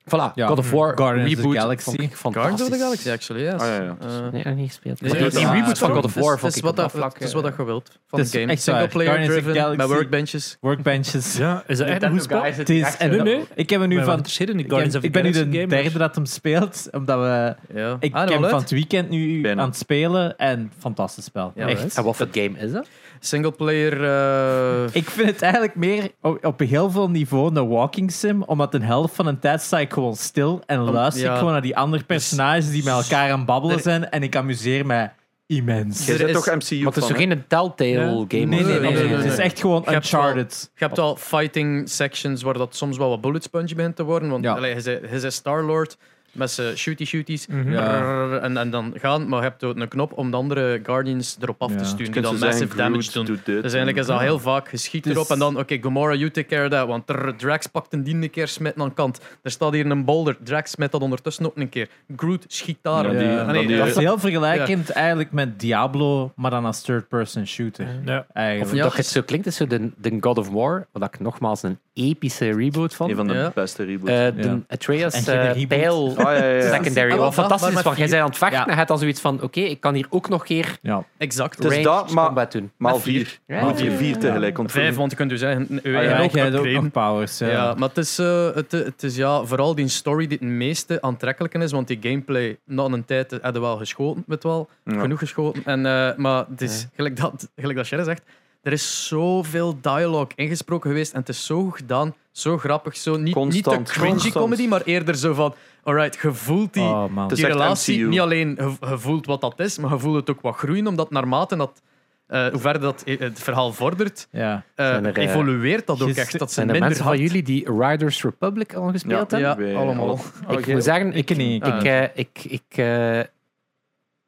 S1: Voilà,
S5: Ja.
S1: God of War,
S5: Guardians of the
S1: Reboot.
S5: Galaxy.
S1: Vond ik
S4: Guardians
S1: fantastisch.
S4: of the Galaxy, actually, yes.
S3: Ah, ja, ja.
S4: Eh,
S1: Nee, nog niet gespeeld.
S4: Nee,
S1: Maar
S4: nee,
S1: die
S4: nee.
S1: reboot van
S4: Ah,
S1: God of War
S4: Het
S1: vond
S4: is
S1: ik
S4: wat
S1: op dat
S4: dat-
S1: vlak...
S4: het is
S1: eh,
S4: wat dat je wilt van
S5: Het is
S4: de game.
S5: echt waar.
S4: Single player
S5: Guardians of the
S4: driven, met
S5: Galaxy.
S4: workbenches.
S5: Workbenches.
S2: Ja, is dat echt een goed spel?
S5: Het is, en nu, nu, ik heb er nu
S2: Maar
S5: van...
S2: het is hidden in
S5: Ik,
S2: Guardians
S5: heb-
S2: of
S5: ik ben nu
S2: the
S5: de
S2: Galaxy gamers.
S5: derde dat hem speelt, omdat we...
S4: Ja.
S5: Ik
S4: Ah,
S5: heb
S4: nou,
S5: hem
S4: leuk.
S5: van het weekend nu
S3: Bijna.
S5: aan het spelen en fantastisch spel.
S1: eh,
S4: Ja,
S5: Echt.
S4: right.
S1: En wat voor game is dat?
S4: Singleplayer. eh, player
S5: Ik vind het eigenlijk meer op, op heel veel niveau een walking sim, omdat een helft van een tijd sta ik gewoon stil en luister ik
S4: ja. Dus-
S5: gewoon naar die andere personages die met elkaar aan het babbelen
S4: Er-
S5: zijn en ik amuseer mij immens.
S3: Jij
S4: Er
S3: bent
S4: is-
S3: toch MCU
S1: Maar het is
S3: fan,
S1: toch
S3: hè?
S1: geen Telltale game?
S5: Nee, nee, nee, nee,
S4: Nee,
S5: Het is
S4: nee.
S5: echt gewoon
S4: Je hebt
S5: Uncharted.
S4: je hebt al fighting sections waar dat soms wel wat bullet sponge begint te worden. Want
S5: Ja.
S4: allee, hij is- hij is Star-Lord met zijn shooty-shooties.
S2: Mhm.
S5: Ja.
S4: En, en dan gaan, maar je hebt ook een knop om de andere Guardians erop af
S5: Ja.
S4: te sturen. Die
S3: Kunt ze
S4: dan
S3: zeggen,
S4: massive
S3: Groot
S4: damage doen.
S3: doet dit.
S4: Dus eigenlijk is dat heel vaak geschiet
S5: Dus-
S4: erop. En dan, oké, Gamora, you take care of that. Want trrr, Drax pakt een diende keer, smijt aan kant. Er staat hier een boulder. Drax smijt dat ondertussen ook een keer. Groot schiet daar.
S3: Ja, die-
S5: Ja.
S3: dan
S4: Ah, nee,
S3: die-
S5: Dat is
S4: eh,
S5: heel vergelijkend eigenlijk met Diablo, maar dan als third-person shooter.
S2: Ja.
S1: Of
S5: Eigenlijk.
S4: Ja.
S1: dat het zo klinkt, is zo de, de God of War, wat ik nogmaals een epische reboot vond.
S3: Een van de
S4: Ja.
S3: beste reboots.
S1: Eh, de
S5: Ja.
S1: Atreus
S5: En geen
S1: eh,
S5: reboot.
S1: pijl
S3: Ah, ja, ja, ja.
S1: secondary.
S4: Ah, wel,
S1: Wat
S4: dat,
S1: fantastisch
S4: maar
S1: is,
S4: met
S1: want jij
S4: vier.
S1: bent aan het vechten
S5: Ja.
S1: en je hebt dan zoiets van, oké, ik kan hier ook nog een keer
S5: Ja.
S4: Exact.
S3: Het is
S1: ranged
S3: dat, maar-
S1: combat doen.
S3: Maal
S4: met
S3: vier.
S1: Ja.
S3: Maal vier, vier tegelijk.
S4: Vijf,
S3: ontvoering.
S4: want je kunt dus zeggen,
S3: Ah,
S4: je
S5: Ja,
S4: eigen
S5: jij hebt ook
S4: upgraden.
S5: nog powers. Ja.
S4: Ja, maar het is, eh, het, het is ja, vooral die story die het meeste aantrekkelijke is, want die gameplay na een tijd eh, hadden we wel geschoten, weet wel.
S3: Ja.
S4: Genoeg geschoten. En, eh, maar het is, gelijk dat, gelijk dat Sherry zegt, er is zoveel dialoog ingesproken geweest en het is zo goed gedaan, zo grappig, zo niet, niet de
S3: Constant,
S4: cringy
S3: constant.
S4: comedy, maar eerder zo van, alright, gevoelt
S1: Ah.
S4: die,
S5: Oh man.
S3: Het is
S4: die
S3: echt
S4: relatie
S3: MCU.
S4: niet alleen ge- je voelt wat dat is, maar je voelt het ook wat groeien, omdat naarmate dat, eh, hoe verder dat eh, het verhaal vordert,
S5: Ja.
S4: eh,
S1: Zijn er, eh,
S4: evolueert dat ook
S5: gisteren-
S4: echt. Dat ze
S1: Zijn er
S4: minder
S1: mensen
S4: hard-
S1: van jullie die Riders Republic al gespeeld
S3: Ja.
S1: hebben?
S4: Ja,
S3: Bij
S4: allemaal.
S3: alle-
S1: Ik moet zeggen, ik,
S5: Ik niet.
S1: ik, eh, ik, ik, eh,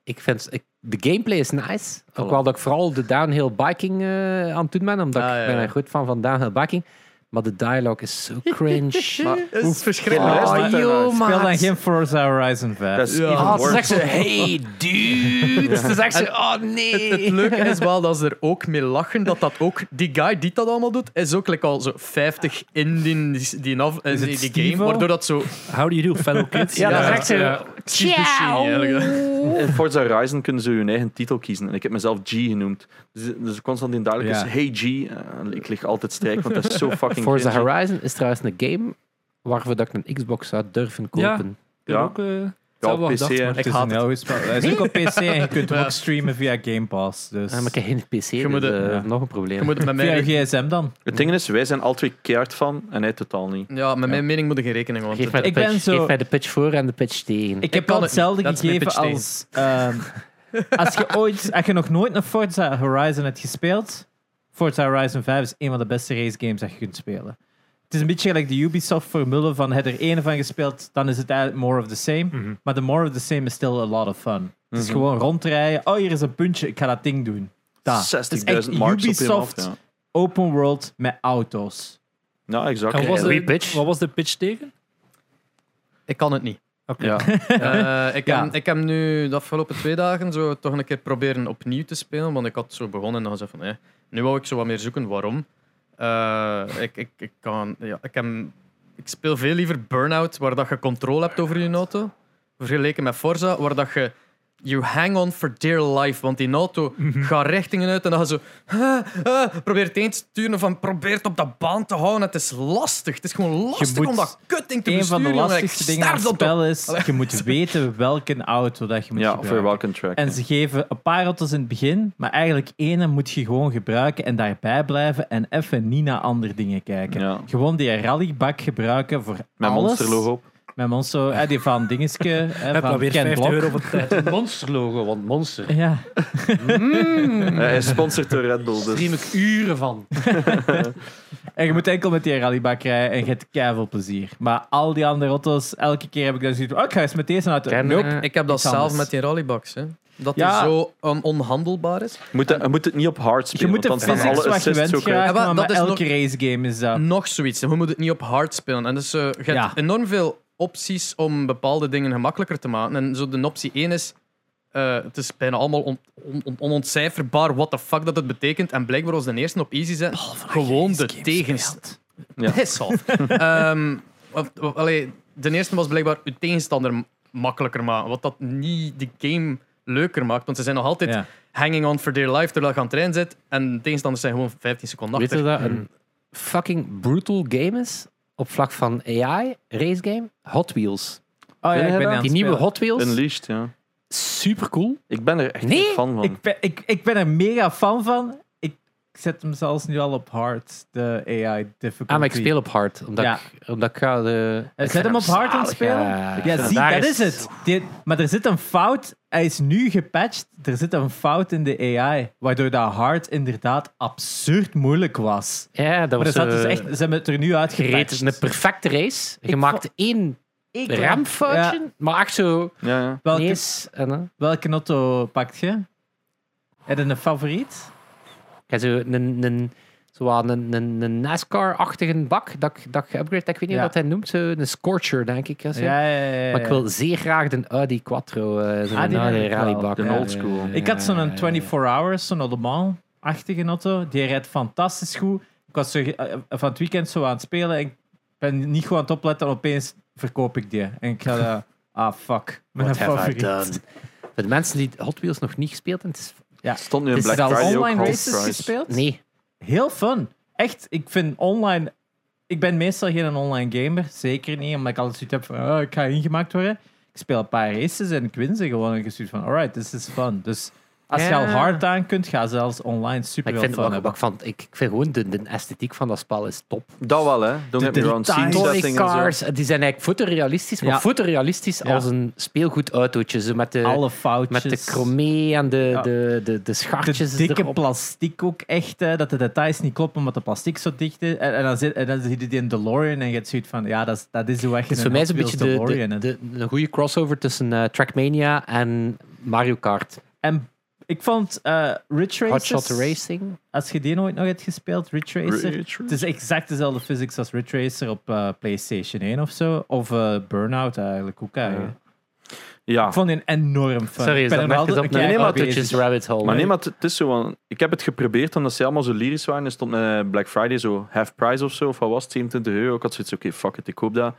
S1: ik vind... ik- de gameplay is nice. Ook
S3: Voilà.
S1: wel dat ik vooral de downhill biking eh, aan het doen ben, omdat
S4: Ah,
S1: ik
S4: ja,
S1: ben
S4: ja.
S1: een goed fan van downhill biking. Maar de dialogue is zo cringe.
S3: Maar-
S4: Het is
S3: Geen
S4: verschrikkelijk.
S3: luister
S4: Ah,
S3: daarnaar.
S4: joh,
S5: Speel dan
S4: maat.
S5: geen Forza Horizon 5.
S3: Dat is
S4: Ja.
S3: even
S4: Ah,
S1: Ah, ze
S3: worse.
S1: zegt ze, hey dude. Ze zegt ze, oh nee.
S4: Het leuke is wel dat ze er ook mee lachen dat dat ook die guy die dat allemaal doet is ook like al zo 50 in die, die, die, af- eh,
S5: Is het
S4: die- die
S5: Stevo?
S4: game waardoor dat zo
S2: How do you do, fellow kids?
S1: Ja, dat
S4: Ja.
S1: is echt zo.
S4: Ja.
S1: Ciao.
S3: In Forza Horizon kunnen ze hun eigen titel kiezen. En ik heb mezelf G genoemd. Dus, dus constant in duidelijk
S5: Ja.
S3: is hey G. Eh, ik lig altijd strijk, want dat is zo fucking
S1: Forza
S3: cringy.
S1: Horizon is trouwens een game waarvoor dat ik een Xbox zou durven
S2: Ja.
S1: kopen.
S2: Ja,
S3: Ja.
S2: ook, eh, het
S3: Ja,
S2: zou wel
S3: PC,
S2: gedacht,
S3: hè.
S2: maar-
S5: Ik haat het. is ook op PC en je kunt hem
S4: Ja.
S5: ook streamen via Game Pass. Dus
S1: Ah, maar ik heb geen PC,
S4: Je moet
S1: dus,
S4: het-
S1: eh,
S5: ja.
S1: nog een
S4: je
S1: probleem.
S4: moet het met
S5: via
S4: mijn,
S5: je gsm dan.
S3: Het ding is, wij zijn al twee keihard van en hij totaal niet.
S4: ja, met mijn mening moet je geen rekening houden.
S1: Geef mij, de
S5: Ik ben
S1: pitch,
S5: zo-
S1: geef mij de pitch voor en de pitch tegen.
S5: Ik heb
S4: Hm. kan
S5: al
S4: het
S5: hetzelfde
S4: niet. Dat is mijn
S5: gegeven
S4: pitch tegen.
S5: als... ehm, als, je ooit, als je nog nooit een Forza Horizon hebt gespeeld... Forza Horizon 5 is een van de beste race games dat je kunt spelen. Het is een beetje gelijk de Ubisoft-formule van... Heb je er één van gespeeld, dan is het eigenlijk more of the same.
S2: Mhm.
S5: Maar de more of the same is still a lot of fun. Het is
S3: Mhm.
S5: gewoon rondrijden. Oh, hier is een puntje. Ik ga dat ding doen. Dat. Het is
S3: 60.000
S5: echt
S3: marks op je af.
S5: Ubisoft
S3: Ja,
S5: open world met auto's.
S3: ja exact.
S2: En wat was,
S1: Goeie
S2: de,
S1: pitch.
S2: wat was de pitch tegen?
S4: Ik kan het niet.
S2: Oké.
S3: Ja.
S4: Eh, ik,
S5: Ja.
S4: heb, ik heb nu de afgelopen twee dagen zo toch een keer proberen opnieuw te spelen, want ik had zo begonnen en dan zei van, eh, nu wou ik zo wat meer zoeken waarom. Eh, ik, ik, ik, kan, ja, ik, heb, ik speel veel liever Burnout, waar dat je controle hebt over je auto, vergeleken met Forza, waar dat je you hang on for dear life, want die auto
S5: Mhm.
S4: gaat richtingen uit en dan ga je zo ah, ah, probeert heen te sturen van probeert op dat baan te houden. Het is lastig. Het is gewoon lastig
S5: moet-
S4: om dat kutding te
S5: Een
S4: besturen.
S5: van de
S4: jongen.
S5: lastigste
S4: ik
S5: dingen aan het
S4: sterf op dat
S5: spel is...
S4: Allee.
S5: Je moet weten welke auto dat je moet
S3: Ja, voor
S5: gebruiken.
S3: welke track.
S5: En ze geven een paar auto's in het begin, maar eigenlijk ene moet je gewoon gebruiken en daarbij blijven en even niet naar andere dingen kijken.
S3: Ja.
S5: Gewoon die rallybak gebruiken voor
S3: Met
S5: alles.
S3: monsterlogo op.
S5: Met monster, eh, die van dingeske, hè,
S2: Heb
S5: van
S2: dan weer
S5: Ken
S2: 50
S5: Blok.
S2: euro voor tijd.
S1: monsterlogo, want monster.
S5: Ja,
S3: Hij is sponsord door Red Bull. Dus.
S1: Stream ik uren van.
S5: en je moet enkel met die rallybak rijden en je hebt keiveel plezier. Maar al die andere auto's, elke keer heb ik dan zoiets van, oh, ik ga eens met deze auto.
S1: Ken-
S5: Nope.
S1: eh,
S4: Ik heb dat
S5: Iets
S4: zelf
S5: anders.
S4: met die rallybox. Hè. Dat
S5: Ja.
S4: die zo um, onhandelbaar is.
S3: Moet hij- hij moet het niet op hard
S5: Je
S3: spelen,
S5: moet de
S3: want dan gaan
S5: physics
S3: alle
S5: wat je
S3: assists
S5: went
S3: ook uit.
S5: geraken,
S4: Ja, maar
S5: maar
S4: dat
S5: met
S4: is
S5: elke racegame is dat.
S4: Nog zoiets. hè. We moeten het niet op hard spelen. En dus eh, je hebt
S5: Ja.
S4: enorm veel opties om bepaalde dingen gemakkelijker te maken. En zo de optie 1 is... eh, het is bijna allemaal on- on- on- onontcijferbaar wat de fuck dat het betekent. En blijkbaar als de eerste op easy zijn, gewoon de tegenstander.
S3: Ja.
S4: Piss off. Ehm, of- of- allee, de eerste was blijkbaar uw tegenstander m- makkelijker maken. Wat dat niet de game leuker maakt. Want ze zijn nog altijd
S5: Ja. Oh
S4: hanging on for dear life terwijl je aan het trein zit. En de tegenstanders zijn gewoon 15 seconden
S1: Weet
S4: achter.
S1: je dat een fucking brutal game is? Op vlak van AI, race game, Hot Wheels.
S5: Oh ja, ik ben niet aan het
S1: Die nieuwe
S5: spelen.
S1: Hot Wheels,
S3: Unleashed, ja.
S1: super cool.
S3: Ik ben er echt
S1: Nee,
S3: een fan van.
S5: Ik ben, ik, ik ben er mega fan van. Ik zet hem zelfs nu al op hard, de AI difficulty.
S1: Ah, maar ik speel op hard, omdat
S5: Ja.
S1: ik, omdat ik ga de...
S5: Eh,
S1: ik
S5: Zet
S1: vind
S5: hem op hard aan het
S1: zalig,
S5: spelen?
S1: ja. Ik
S5: Ja,
S1: vind hem-
S5: zie,
S1: daar
S5: dat is het. Die- maar er zit een fout. Hij is nu gepatcht. Er zit een fout in de AI, waardoor dat hard inderdaad absurd moeilijk was.
S1: Ja, dat
S5: Maar er
S1: was
S5: zat dus
S1: eh,
S5: echt, ze hebben het er nu
S1: gereden.
S5: uitgepatcht.
S1: Een perfecte race. Je maakt één
S5: Ik-
S1: remfoutje,
S5: Ja.
S1: maar echt zo...
S3: Ja, ja.
S5: Welke,
S1: Yes. En, dan-
S5: welke auto pakt je? Heb je een favoriet?
S1: Ik heb zo een, een, zo aan een, een, een NASCAR-achtige bak dat, ik- dat geupgrade. Ik weet niet
S5: Ja.
S1: hoe dat hij noemt. Zo, een Scorcher, denk ik. hè, zo.
S5: Ja, ja, ja, ja.
S1: Maar ik wil zeer graag de Audi Quattro, eh zo'n
S5: Ah, die heb
S1: oude
S5: ik wel.
S1: rallybak.
S5: De
S1: Ja.
S3: old school.
S5: Ik had
S1: Ja, ja,
S5: zo'n
S1: ja.
S5: 24 hours, zo'n Le Mans-achtige auto. Die rijdt fantastisch goed. Ik was zo, eh, van het weekend zo aan het spelen. en Ik ben niet goed aan het opletten. En opeens verkoop ik die. En ik ga eh, ah, fuck. Mijn
S1: What have I
S5: favoriet.
S1: done? Voor de mensen die Hot Wheels nog niet gespeeld hebben, het is...
S3: Stond nu een
S5: Is
S3: Black
S5: dat
S3: Friday ook
S5: online
S3: half
S5: races
S3: price.
S5: gespeeld?
S1: Nee.
S5: Heel fun. Echt, ik vind online... Ik ben meestal geen online gamer. Zeker niet, omdat ik altijd zoiets heb van... Oh, ik ga ingemaakt worden. Ik speel een paar races en ik win ze gewoon. En ik heb zoiets van, alright, this is fun. Dus als je
S1: Ja.
S5: al hard aan kunt, ga zelfs online super
S1: Maar ik
S5: veel
S1: vind,
S5: fun
S1: wat, wat ik
S5: hebben.
S1: van, ik, ik vind gewoon de, de esthetiek van dat spel is top.
S3: Dat wel, hè. Don't get me wrong. Scene
S5: details.
S3: setting
S1: Toy
S3: en zo.
S1: cars, eh, die zijn eigenlijk fotorealistisch, maar
S5: Ja.
S1: fotorealistisch
S5: Ja.
S1: als een speelgoed autootje. Zo met de,
S5: Alle foutjes.
S1: eh, Met de chromé en de,
S5: Ja.
S1: de, de, de
S5: de
S1: schartjes
S5: dikke
S1: erop.
S5: plastiek ook echt, hè, dat de details niet kloppen omdat de plastic zo dicht is. En, en, dan, zit, en dan zie je die in DeLorean en je hebt zoiets van, ja, dat is, dat is hoe echt
S1: Het is voor mij zo'n beetje de, de, de, de goede crossover tussen eh, Trackmania en Mario Kart.
S5: En Ik vond eh Ridge Racer.
S1: Hotshot Racing.
S5: Als je die nooit nog hebt gespeeld, Ridge Racer. Het is exact dezelfde physics als Ridge Racer op eh, PlayStation 1 of zo. Of eh, Burnout eigenlijk ook. eigenlijk.
S3: Ja,
S5: Ik vond die enorm fun.
S1: Sorry,
S5: ik
S1: is dat
S5: nog
S1: merk is dat
S5: altijd een
S1: een
S5: keer
S1: helemaal
S5: mee
S1: touches
S5: bezig.
S1: rabbit hole?
S3: maar nee, maar het- het is zo. want Ik heb het geprobeerd omdat ze allemaal zo lyrisch waren. Er stond met Black Friday zo half price of zo, of wat was het, 27 euro. Ik had zoiets, oké, fuck it, ik koop dat.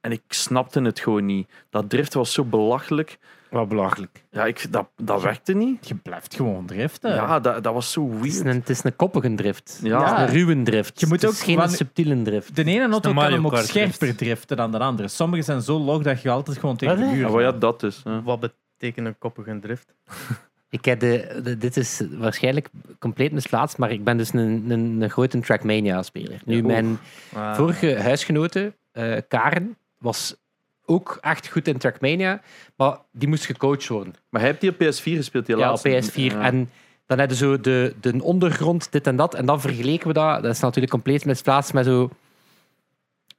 S3: En ik snapte het gewoon niet. Dat drift was zo belachelijk.
S1: Wat belachelijk.
S3: Ja, ik, dat, dat werkte niet.
S5: Je blijft gewoon driften.
S3: Ja, dat, dat was zo
S1: Het is
S3: weird.
S1: een, het is een koppige drift.
S3: Ja.
S1: Het is een ruwe drift.
S5: Je moet
S1: het is
S5: ook
S1: geen
S5: wanneer-
S1: subtiele drift.
S5: De ene auto kan
S2: Mario
S5: hem ook
S2: Kart drift.
S5: scherper driften dan de andere. Sommige zijn zo log dat je altijd gewoon tegen de
S1: Wat, hè?
S5: muur
S3: Ja, maar ja, dat dus. ja.
S4: Wat betekent een koppige drift?
S1: Ik heb de, de- dit is waarschijnlijk compleet misplaatst, maar ik ben dus een, een, een grote Trackmania-speler. Nu,
S3: Oeh.
S1: mijn
S4: Ah.
S1: vorige huisgenote, eh, Karen, was ook echt goed in Trackmania, maar die moest gecoacht worden.
S3: Maar hij hebt die op PS4 gespeeld, die
S1: Ja, op
S3: laatste?
S1: PS4.
S3: Ja.
S1: En dan hadden zo de, de ondergrond, dit en dat. En dan vergeleken we dat. Dat is natuurlijk compleet misplaatst met zo...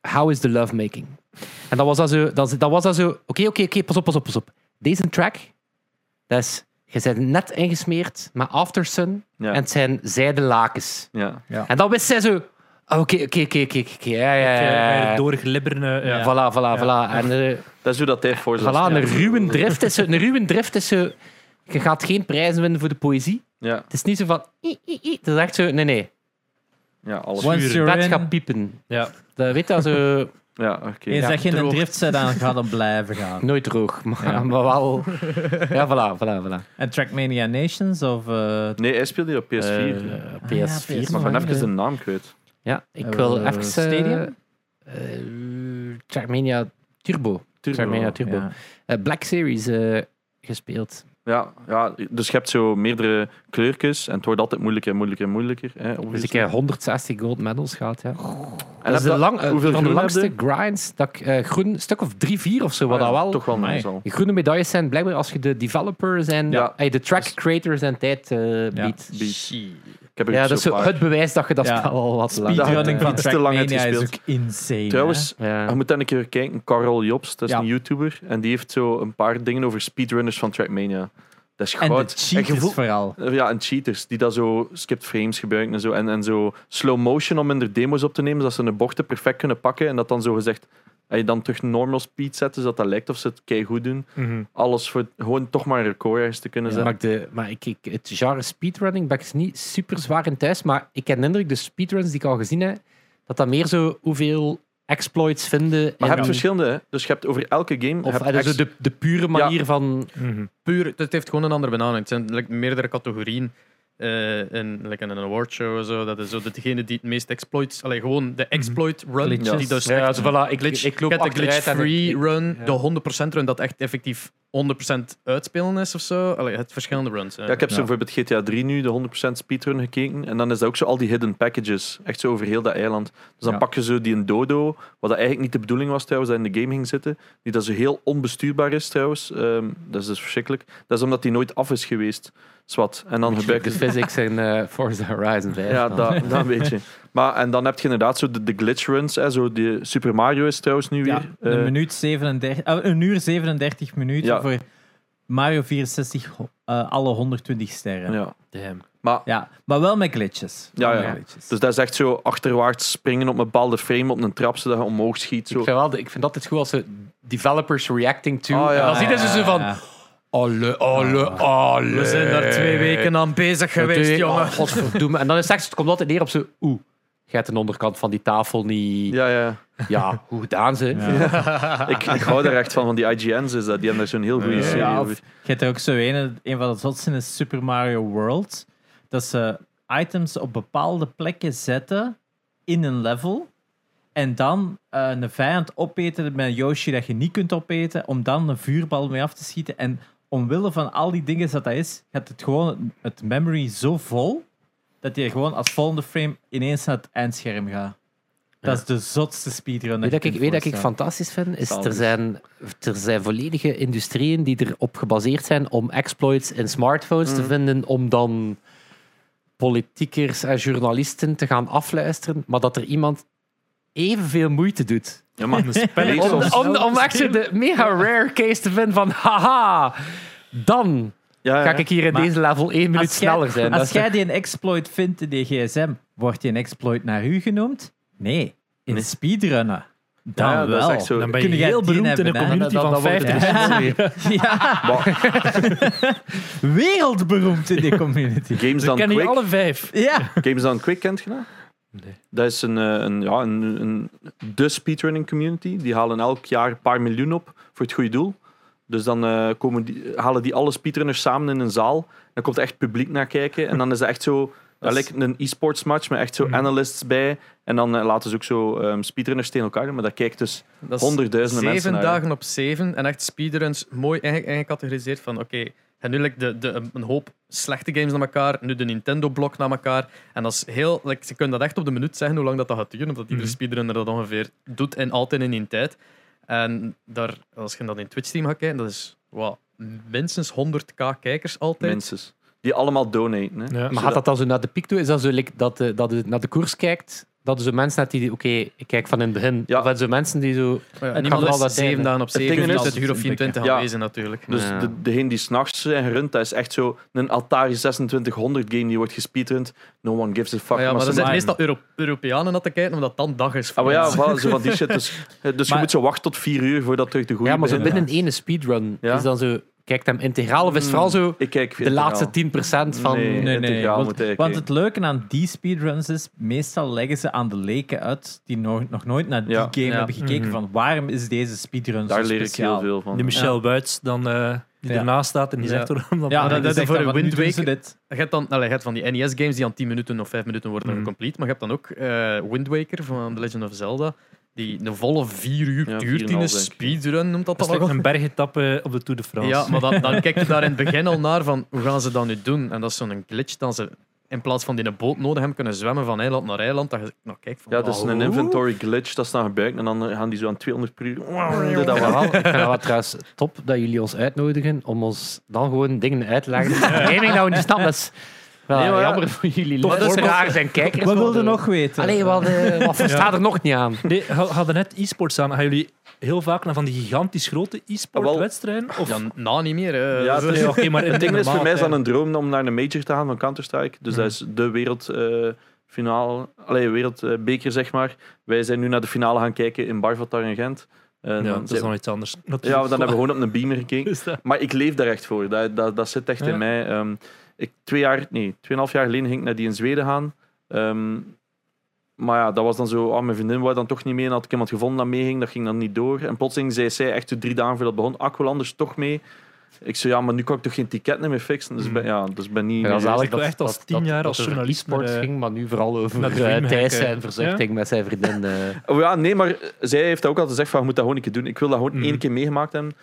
S1: How is the lovemaking? En dan was dat zo... Dan, dan was dat zo... Oké, oké, oké, pas op, pas op, pas op. Deze track, dat is... Je bent net ingesmeerd met Aftersun
S3: Ja.
S1: en het zijn zijden lakens.
S3: Ja.
S1: En dan wist zij zo... ah, Oké, oké, oké, oké, oké, ja, ja, ja, ja, ja.
S2: Doorglibberen. eh, Ja.
S1: Voilà, voilà, voilà. En eh,
S3: Dat is hoe dat hij voor
S1: voilà, een ruwe drift is zo... Een ruwe drift is zo... Je gaat geen prijzen winnen voor de poëzie.
S3: Ja,
S1: Het is niet zo van. "I, i, i." Het is echt zo. Nee, nee.
S3: ja alles.
S5: Once
S2: Zuur.
S5: you're
S1: Dat
S5: in,
S1: gaat piepen.
S2: Ja.
S1: Dat weet dat zo.
S3: Ja, oké.
S5: eens
S1: Ja,
S5: dat je in een
S1: droog.
S5: drift zit, dan gaat het blijven gaan.
S1: Nooit droog, maar,
S5: Ja.
S1: maar wel. Ja, voilà, voilà, voilà.
S5: En Trackmania Nations of... eh,
S3: Nee, hij speelde die op PS4.
S1: Eh, PS4.
S5: Ah, ja,
S3: maar
S5: PS4.
S3: ben
S1: vanaf
S3: even zijn naam kwijt.
S1: Ja, ik
S5: Eh,
S1: wil even.
S5: Stadium?
S1: eh, eh, Trackmania Turbo. Trackmania Turbo.
S5: ja.
S1: Eh, Black Series eh, gespeeld.
S3: Ja, ja, dus je hebt zo meerdere kleurtjes en het wordt altijd moeilijker en moeilijker en moeilijker. Hè,
S1: Dus
S3: obviously.
S1: ik heb 160 gold medals gehad. Ja.
S3: en
S1: dat is
S3: heb
S1: de,
S3: dat-
S1: lang, eh,
S3: hoeveel
S1: van de
S3: groen
S1: langste
S3: heb
S1: grinds. Dat ik eh, groen, een stuk of 3-4 of zo, wat
S3: Ah,
S1: dat
S3: ja,
S1: wel.
S3: Toch wel nice al.
S1: Die groene medailles zijn blijkbaar als je de developer en
S3: Ja. Dus-
S1: eh, de track creator zijn tijd eh, biedt.
S3: Beat. Ik heb er
S1: Ja,
S3: zo
S1: dat is zo
S3: paar.
S1: het bewijs dat je dat
S5: Ja.
S1: spel al wat lang
S3: Speed-
S1: hebt.
S5: Speedrunning
S3: Ja,
S5: van
S3: iets te lang
S5: Trackmania
S3: heeft
S5: is ook
S3: gespeeld.
S5: insane. hè?
S3: Trouwens, je
S1: Ja.
S3: moet dan een keer kijken. Karel Jobs, dat is
S5: Ja.
S3: een YouTuber. En die heeft zo een paar dingen over speedrunners van Trackmania. Dat is
S5: en de
S3: goud.
S5: cheaters
S3: je voelt-
S5: vooral.
S3: Eh, Ja, en cheaters die dat zo skipped frames gebruiken en zo. En, en zo slow motion om in de demo's op te nemen, zodat ze een bochten perfect kunnen pakken. En dat dan zo gezegd, als je dan terug normal speed zet, zodat dat lijkt of ze het kei goed doen.
S2: Mhm.
S3: Alles voor gewoon toch maar een record ergens te kunnen
S1: Ja.
S3: zetten.
S1: Maar, de, maar ik, ik, het genre speedrunning ben ik niet super zwaar in thuis, maar ik heb de indruk, de speedruns die ik al gezien heb, dat dat meer zo hoeveel exploits vinden.
S3: Maar je
S1: en-
S3: hebt verschillende, hè. dus je hebt over elke game.
S1: of
S3: heb
S1: eh, dus
S3: ex-
S1: de, de pure manier van...
S2: Mhm.
S4: puur, het heeft gewoon een andere benaming. Het zijn like, meerdere categorieën. eh in, like, in een awardshow en zo. Dat is zo de- degene die het meest exploits. Allee, gewoon de exploit run.
S5: Glitches.
S4: Die dus
S1: Mhm. Ja,
S4: echt-
S1: zo voilà, ik,
S4: glitch,
S1: ik loop
S4: je hebt de
S1: achteruit en ik-
S4: glitch-free
S1: ik-
S4: run,
S1: ja.
S4: de 100% run dat echt effectief 100% uitspelen is of zo. Allee, het verschillende runs. hè.
S3: ja, ik heb zo
S5: Ja.
S3: bijvoorbeeld GTA 3 nu, de 100% speedrun gekeken. En dan is dat ook zo al die hidden packages. Echt zo over heel dat eiland. Dus dan
S5: Ja.
S3: pak je zo die een dodo, wat dat eigenlijk niet de bedoeling was trouwens, dat in de game ging zitten. Die dat zo heel onbestuurbaar is trouwens. Ehm, dat is dus verschrikkelijk. Dat is omdat die nooit af is geweest. Zwat. En dan gebruik
S1: de
S3: je...
S1: physics in eh, Forza Horizon 5.
S3: Ja,
S1: dan.
S3: dat, dat weet je. Maar, en dan heb je inderdaad zo de, de glitch runs. Hè, zo die Super Mario is trouwens nu
S5: Ja,
S3: weer...
S5: een,
S3: eh,
S5: minuut 37, eh, een uur 37 minuten
S3: Ja.
S5: voor Mario 64 ho- eh, alle 120 sterren. Ja.
S3: ja.
S1: Damn.
S3: Maar
S5: maar wel met glitches.
S3: Ja,
S5: Wel
S3: ja.
S5: met glitches.
S3: Dus dat is echt zo achterwaarts springen op een bepaalde frame op een trap, zodat je omhoog schiet. Zo.
S1: Ik vind, wel, de- ik vind altijd goed als ze developers reacting to...
S3: Oh, ja.
S1: En dan
S3: Ah,
S1: zien ze zo van...
S5: Ja.
S1: Alle, alle, alle.
S4: We zijn daar twee weken aan bezig geweest,
S1: Twee-
S4: jongen.
S1: Oh, godverdomme. En dan is het echt, het komt altijd neer op zo... Oeh, je hebt de onderkant van die tafel niet... Ja,
S3: Ja, ja.
S1: hoe gedaan ze?
S3: Ik, ik hou daar echt van, van die IGN's. Is dat. Die hebben daar zo'n heel goede
S4: Ja,
S3: serie
S5: Ja, of,
S3: over.
S5: je hebt er ook zo een, een van de zotsten is Super Mario World. Dat ze items op bepaalde plekken zetten in een level. En dan eh, een vijand opeten met een Yoshi dat je niet kunt opeten. Om dan een vuurbal mee af te schieten. En omwille van al die dingen dat dat is, gaat het gewoon het memory zo vol. Dat je gewoon als volgende frame ineens naar het eindscherm gaat. Dat is de zotste speedrun.
S1: Weet
S5: je
S1: dat ik,
S5: kunt
S1: weet dat ik
S5: voorstellen.
S1: fantastisch vind, is er
S3: Zalig.
S1: zijn, er zijn volledige industrieën die erop gebaseerd zijn om exploits in smartphones te vinden, om dan politiekers en journalisten te gaan afluisteren, maar dat er iemand evenveel moeite doet.
S3: Ja, maar
S2: spelling
S1: Om,
S2: soms.
S1: om, om echt zo de mega rare case te vinden van haha, dan
S3: Ja,
S1: Ga ik hier in
S5: Maar
S1: deze level één minuut
S5: jij-
S1: sneller zijn? Dat
S5: Als
S1: is
S5: jij die een exploit vindt in die gsm, wordt die een exploit naar u genoemd? Nee, in
S3: Nee.
S5: speedrunnen. Dan
S3: Ja, ja,
S5: wel.
S3: dat is echt zo.
S2: Dan ben je
S5: Kun jij
S2: heel
S5: tien
S2: beroemd in
S5: hebben, hè?
S2: een community
S1: Dan- dan
S2: van
S1: wordt het
S2: 50.
S5: Ja,
S3: Bah,
S5: wereldberoemd in die community.
S3: Games
S2: Ze
S3: dan
S2: kennen je
S3: Quick.
S2: alle vijf.
S5: Ja.
S3: Games Done Quick kent je dat?
S1: Nee.
S3: Dat is een, eh, een, ja, een, een, de speedrunning community. Die halen elk jaar een paar miljoen op voor het goede doel. Dus dan eh, komen die, halen die alle speedrunners samen in een zaal. Dan komt er echt publiek naar kijken. En dan is het echt zo... Dat lijkt een e-sports match met echt zo analysts bij. En dan eh, laten ze ook zo ehm, speedrunners tegen elkaar doen. Maar dat kijkt dus
S4: Dat is
S3: honderdduizenden mensen
S4: Zeven
S3: naar.
S4: dagen op zeven en echt speedruns mooi inge- ingecategoriseerd van oké, en nu like, de, de, een hoop slechte games naar elkaar, nu de Nintendo-blok naar elkaar. En dat is heel, like, ze kunnen dat echt op de minuut zeggen hoe lang dat, dat gaat duren, omdat iedere
S2: Mhm.
S4: speedrunner dat ongeveer doet en altijd in die tijd. En daar, als je dan in Twitch-team gaat kijken, dat is wow, minstens 100k kijkers altijd.
S3: Mensen. Die allemaal donaten. Hè.
S2: Ja.
S1: Maar gaat dat dan zo naar de piek toe? Is dat zo like, dat, eh, dat je naar de koers kijkt? Dat er zo mensen hebt die, oké, ik kijk van in het begin.
S3: Ja.
S1: Of dat zo mensen die zo...
S4: Maar ja,
S1: Het
S4: niemand
S1: kan
S4: is
S1: wel dat zijn,
S4: zeven
S1: hè.
S4: dagen op
S3: ding
S4: zeven,
S3: is-
S4: 20 uur of 24
S3: Ja.
S4: aanwezig natuurlijk.
S3: Dus
S1: Ja.
S3: de, degene die s'nachts zijn gerund, dat is echt zo een Atari 2600 game die wordt gespeedrund. No one gives a fuck.
S4: Maar ja, maar
S3: ze
S4: er zijn
S5: maar-
S4: meestal Euro Europeanen naar te kijken, omdat dan dag is. voor
S3: Ah, maar ja,
S4: ons.
S3: voilà, zo van die shit. Dus, eh, dus
S1: Maar-
S3: je moet zo wachten tot vier uur voordat terug de goede
S1: Ja, maar zo
S3: begint.
S1: binnen één speedrun
S3: Ja.
S1: is dan zo... Kijkt hem integraal of is het vooral zo
S3: Ik kijk
S1: de laatste 10% van...
S3: Nee.
S5: Nee, nee,
S3: Integraal
S5: want,
S3: moet hij
S5: want
S3: kijken.
S5: het leuke aan die speedruns is, meestal leggen ze aan de leken uit die nog, nog nooit naar die
S3: Ja.
S5: game
S4: Ja.
S5: hebben gekeken
S2: Mhm.
S5: van waarom is deze speedrun
S3: Daar
S5: zo
S3: leer ik
S5: speciaal.
S3: heel veel van.
S2: Die Michel Buits dan, eh, die
S5: Ja.
S2: ernaast staat en die
S4: Ja.
S2: zegt waarom dat
S5: Ja,
S4: dat-
S5: dat,
S4: dat-
S5: is
S4: voor
S5: voor
S4: een
S5: Wind
S4: Wind Waker-
S5: dit.
S4: Je hebt dan, allee, je hebt van die NES-games die aan 10 minuten of 5 minuten worden
S2: Mhm.
S4: complete, maar je hebt dan ook eh Wind Waker van The Legend of Zelda, die een volle 4 uur
S3: Ja,
S4: duurt in
S3: 4,5
S4: een
S3: denk ik.
S4: speedrun, noemt dat
S2: Dat
S4: dan
S2: is like
S4: ook.
S2: een bergetappe op de Tour de France.
S4: Ja, maar dan, dan kijk je daar in het begin al naar van hoe gaan ze dat nu doen? En dat is zo'n glitch dat ze in plaats van die een boot nodig hebben kunnen zwemmen van eiland naar eiland, dat je nou, kijk van
S3: Ja, dus- dat is een
S4: wauw.
S3: inventory glitch dat ze dan gebruiken. En dan gaan die zo aan 200 per uur.
S1: Ik
S3: Dat
S1: vind dat
S3: wel.
S1: wel- ik vind dat wel trouwens top dat jullie ons uitnodigen om ons dan gewoon dingen uit te leggen. Eén ding dat we niet snappen, dat is wel
S3: Nee, maar ja.
S1: jammer voor jullie
S5: Toch, dat is
S1: luisteraars en kijkers.
S5: Wat
S1: want,
S5: wilde
S1: eh,
S5: nog weten?
S1: Allee, wat, eh, wat verstaat er nog niet aan?
S2: Nee, ha- hadden net e-sports aan. Gaan jullie heel vaak naar van die gigantisch grote
S3: Ah, wel.
S2: e-sportwedstrijden? Of...
S4: oh, Ja, na niet meer. hè.
S3: Ja,
S4: Dus-
S3: het
S2: Nee, oké, maar in
S3: Het ding is,
S2: normale
S3: voor mij is dat
S2: tijden.
S3: een droom om naar een major te gaan van Counter-Strike. Dus
S2: Mhm.
S3: dat is de wereldfinale, allee, wereldbeker zeg maar. Wij zijn nu naar de finale gaan kijken in Barvatar in Gent. En
S2: Ja,
S3: dan
S2: dat is
S3: zijn-
S2: nog iets anders.
S3: ja, dan hebben we gewoon op een beamer gekeken.
S2: Is dat-
S3: Maar ik leef daar echt voor. Dat, dat, dat zit echt
S2: Ja.
S3: in mij. Ehm, ik, twee jaar, nee, tweeënhalf jaar geleden ging ik naar die in Zweden gaan. Ehm, maar ja, dat was dan zo, ah, mijn vriendin wou dan toch niet mee. En had ik iemand gevonden dat meeging, dat ging dan niet door. En plotseling zei zij echt zo drie dagen voordat het begon, ah, ik wil anders toch mee. Ik zei, ja, maar nu kan ik toch geen ticket meer fixen?
S2: Mm.
S3: Dus ik ben, ja, dus ik ben niet...
S1: Ja, dat is
S3: meer-
S1: eigenlijk
S2: Ik
S1: dat,
S2: wil echt als
S1: dat-
S2: tien
S1: dat-
S2: jaar
S1: dat
S2: als
S1: er
S2: journalist
S1: e-sports
S2: naar de-
S1: ging, maar nu vooral
S2: naar de
S1: over eh
S2: Dreamhack,
S1: Thijs
S2: eh.
S1: en verzuchting met zijn vriendin. eh.
S3: Oh ja, nee, maar zij heeft ook al gezegd van, je moet dat gewoon een keer doen. Ik wil dat gewoon
S2: Mhm.
S3: één keer meegemaakt hebben.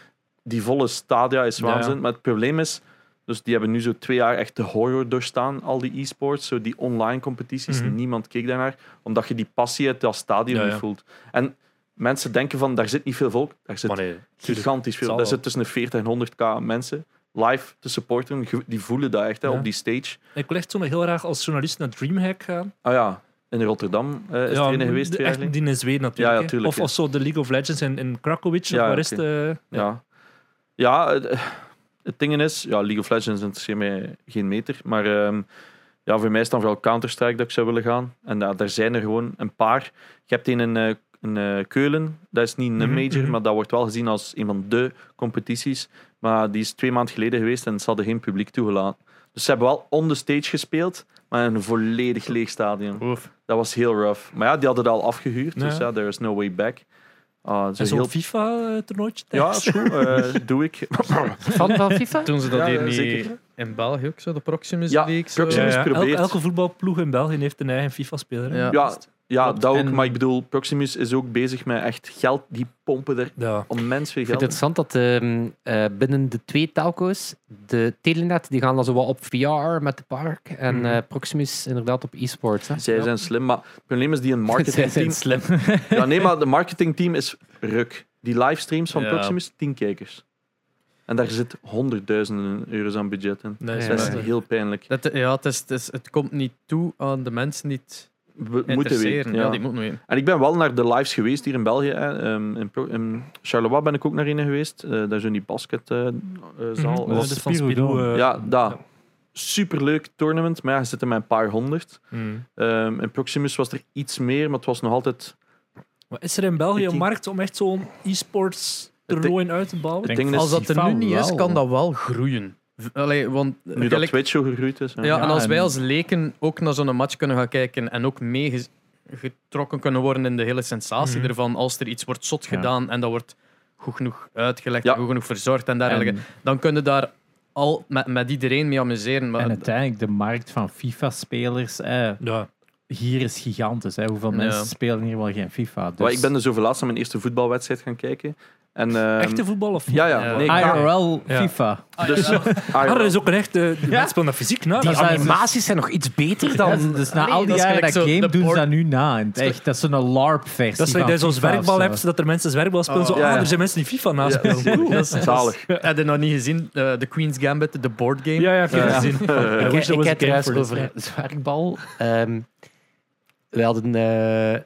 S3: Die volle stadia is
S2: Ja.
S3: waanzin. Maar het probleem is, dus die hebben nu zo twee jaar echt de horror doorstaan, al die e-sports, zo die online competities.
S2: Mhm.
S3: Niemand keek daarnaar, omdat je die passie uit dat stadion
S2: Ja,
S3: niet
S2: ja.
S3: voelt. En mensen denken van, daar zit niet veel volk. Daar zit
S2: Maar nee, tuurlijk.
S3: gigantisch veel.
S2: Zal
S3: Daar
S2: wel.
S3: zit tussen de 40 en 100k mensen live te supporten. Je- Die voelen dat echt hè,
S2: Ja.
S3: op die stage.
S2: Ik wil echt zo nog heel graag als journalist naar Dreamhack gaan.
S3: Ah ja, in Rotterdam eh, is
S2: ja,
S3: er een geweest
S2: de-
S3: twee jaar
S2: echt
S3: geleden.
S2: die in Zweden natuurlijk.
S3: Ja, ja,
S2: hè.
S3: tuurlijk,
S2: of
S3: ja.
S2: als zo de League of Legends in, in Krakowic. of
S3: Ja,
S2: waar is het, eh,
S3: Ja. Ja, het, eh, het ding is, ja, League of Legends interesseert mij geen meter. Maar ehm, ja, voor mij is het dan vooral Counter-Strike dat ik zou willen gaan. En daar- daar zijn er gewoon een paar. Je hebt een in, eh, in eh, Keulen, dat is niet een
S2: Mhm,
S3: major,
S2: mhm.
S3: maar dat wordt wel gezien als een van de competities. Maar die is twee maanden geleden geweest en ze hadden geen publiek toegelaten. Dus ze hebben wel on the stage gespeeld, maar in een volledig leeg stadion.
S4: Oef.
S3: Dat was heel rough. Maar ja, die hadden het al afgehuurd, dus
S2: Ja.
S3: ja, there is no way back. Ah, zo
S2: en zo'n eh,
S3: heel...
S2: FIFA-toernooitje.
S3: Ja, is goed, eh, doe ik.
S1: Fan van FIFA?
S4: Toen ze dat
S3: Ja,
S4: hier
S3: ja,
S4: niet
S3: zeker.
S4: in België ook zo, de
S1: Dus
S4: Proximus
S3: Ja,
S4: League. zo.
S3: Proximus. eens
S2: elke,
S3: probeert.
S2: elke voetbalploeg in België heeft een eigen FIFA-speler. hè.
S4: Ja.
S3: Ja, ja
S4: Klopt.
S3: dat ook.
S4: En-
S3: Maar ik bedoel, Proximus is ook bezig met echt geld. Die pompen er
S2: ja.
S3: immens veel
S1: Ik vind
S3: geld.
S1: het interessant dat ehm, eh, binnen de twee telco's, de Telenet, die gaan dan zo wat op VR met de park en
S2: Mhm.
S1: eh, Proximus inderdaad op e-sports. hè.
S3: in. Zij
S2: Ja.
S3: zijn slim, maar het probleem is die een
S1: Zij zijn
S3: marketingteam.
S1: slim.
S3: Ja, nee, maar de marketingteam is ruk. Die livestreams van
S4: Ja.
S3: Proximus, tien kijkers. En daar zit honderdduizenden euro's aan budget in.
S2: Nee,
S1: Ja,
S2: is
S3: Dat is
S2: waar.
S3: heel pijnlijk.
S4: Dat, ja, het, is, het, is- het komt niet toe aan de mensen die het
S3: we moeten
S4: Interesseren.
S3: weten.
S4: Ja.
S3: Ja.
S4: die moeten weten.
S3: En ik ben wel naar de lives geweest hier in België. Hè. Ehm, in, Pro- in Charleroi ben ik ook naar een geweest. Eh, daar is zo'n die basketzaal.
S2: Mhm.
S5: was
S2: Eh, dus
S5: Spiro Dome.
S2: eh,
S3: ja, daar. Superleuk tournament, maar ja, er zitten maar een paar honderd.
S2: hmm.
S3: Ehm, in Proximus was er iets meer, maar het was nog altijd...
S2: Maar is er in België
S3: Ik
S2: een
S3: denk-
S2: markt om echt zo'n e-sports
S3: denk-
S2: toernooi uit te bouwen?
S3: Ik denk dat
S4: Als dat er nu
S5: Van
S4: niet is,
S5: wel.
S4: kan dat wel groeien. V- Allee, want eh,
S3: nu dat
S4: gelijk-
S3: Twitch zo gegroeid is. hè.
S4: ja, en
S5: Ja,
S4: als wij
S5: en-
S4: als leken ook naar zo'n match kunnen gaan kijken en ook meegetrokken kunnen worden in de hele sensatie
S2: Mhm.
S4: ervan, als er iets wordt zot
S5: Ja.
S4: gedaan en dat wordt goed genoeg uitgelegd,
S3: Ja.
S4: en goed genoeg verzorgd en dergelijke,
S5: En,
S4: dan kun je daar al met, met iedereen mee amuseren. Maar
S5: en uiteindelijk de markt van FIFA-spelers eh,
S2: Ja.
S5: hier is gigantisch. Hè. Hoeveel
S4: Ja.
S5: mensen spelen hier wel geen FIFA? Dus...
S3: Maar ik ben dus over laatst naar mijn eerste voetbalwedstrijd gaan kijken. En, ehm,
S2: Echte voetbal of
S3: Ja, ja.
S4: Ja.
S3: Nee, ik ga-
S5: IRL
S2: Ja.
S5: FIFA.
S3: dus,
S2: Ah,
S3: IRL.
S2: er is ook een echte... De
S5: Ja.
S2: mensen spelen dat fysiek na.
S5: Die
S2: dat is-
S1: Animaties zijn nog iets beter dan...
S5: Dan, dus na
S4: Allee,
S5: al die
S4: dat is
S5: jaren dat
S4: gelijk zo
S5: game
S4: de
S5: doen ze
S4: porn-
S5: dat nu na. in het echt. Dat is zo'n LARP-versie.
S2: dat is dat je zo'n zwerkbal hebt, dat er mensen zwerkbal spelen.
S4: Oh.
S2: zo,
S3: Ja,
S2: ah,
S3: ja.
S2: er zijn mensen die FIFA
S3: Ja.
S2: naspelen.
S4: dat is,
S3: Zalig.
S4: dat is- Heb je nog niet gezien? eh, de Queen's Gambit, de board game.
S2: Ja, ja, ik heb het
S3: Ja.
S2: gezien.
S3: Eh,
S2: I
S1: Ik,
S2: wish
S1: ik,
S2: there was a
S1: heb
S2: game
S1: trouwens
S2: for this.
S1: over zwerkbal. Ehm, we hadden... eh,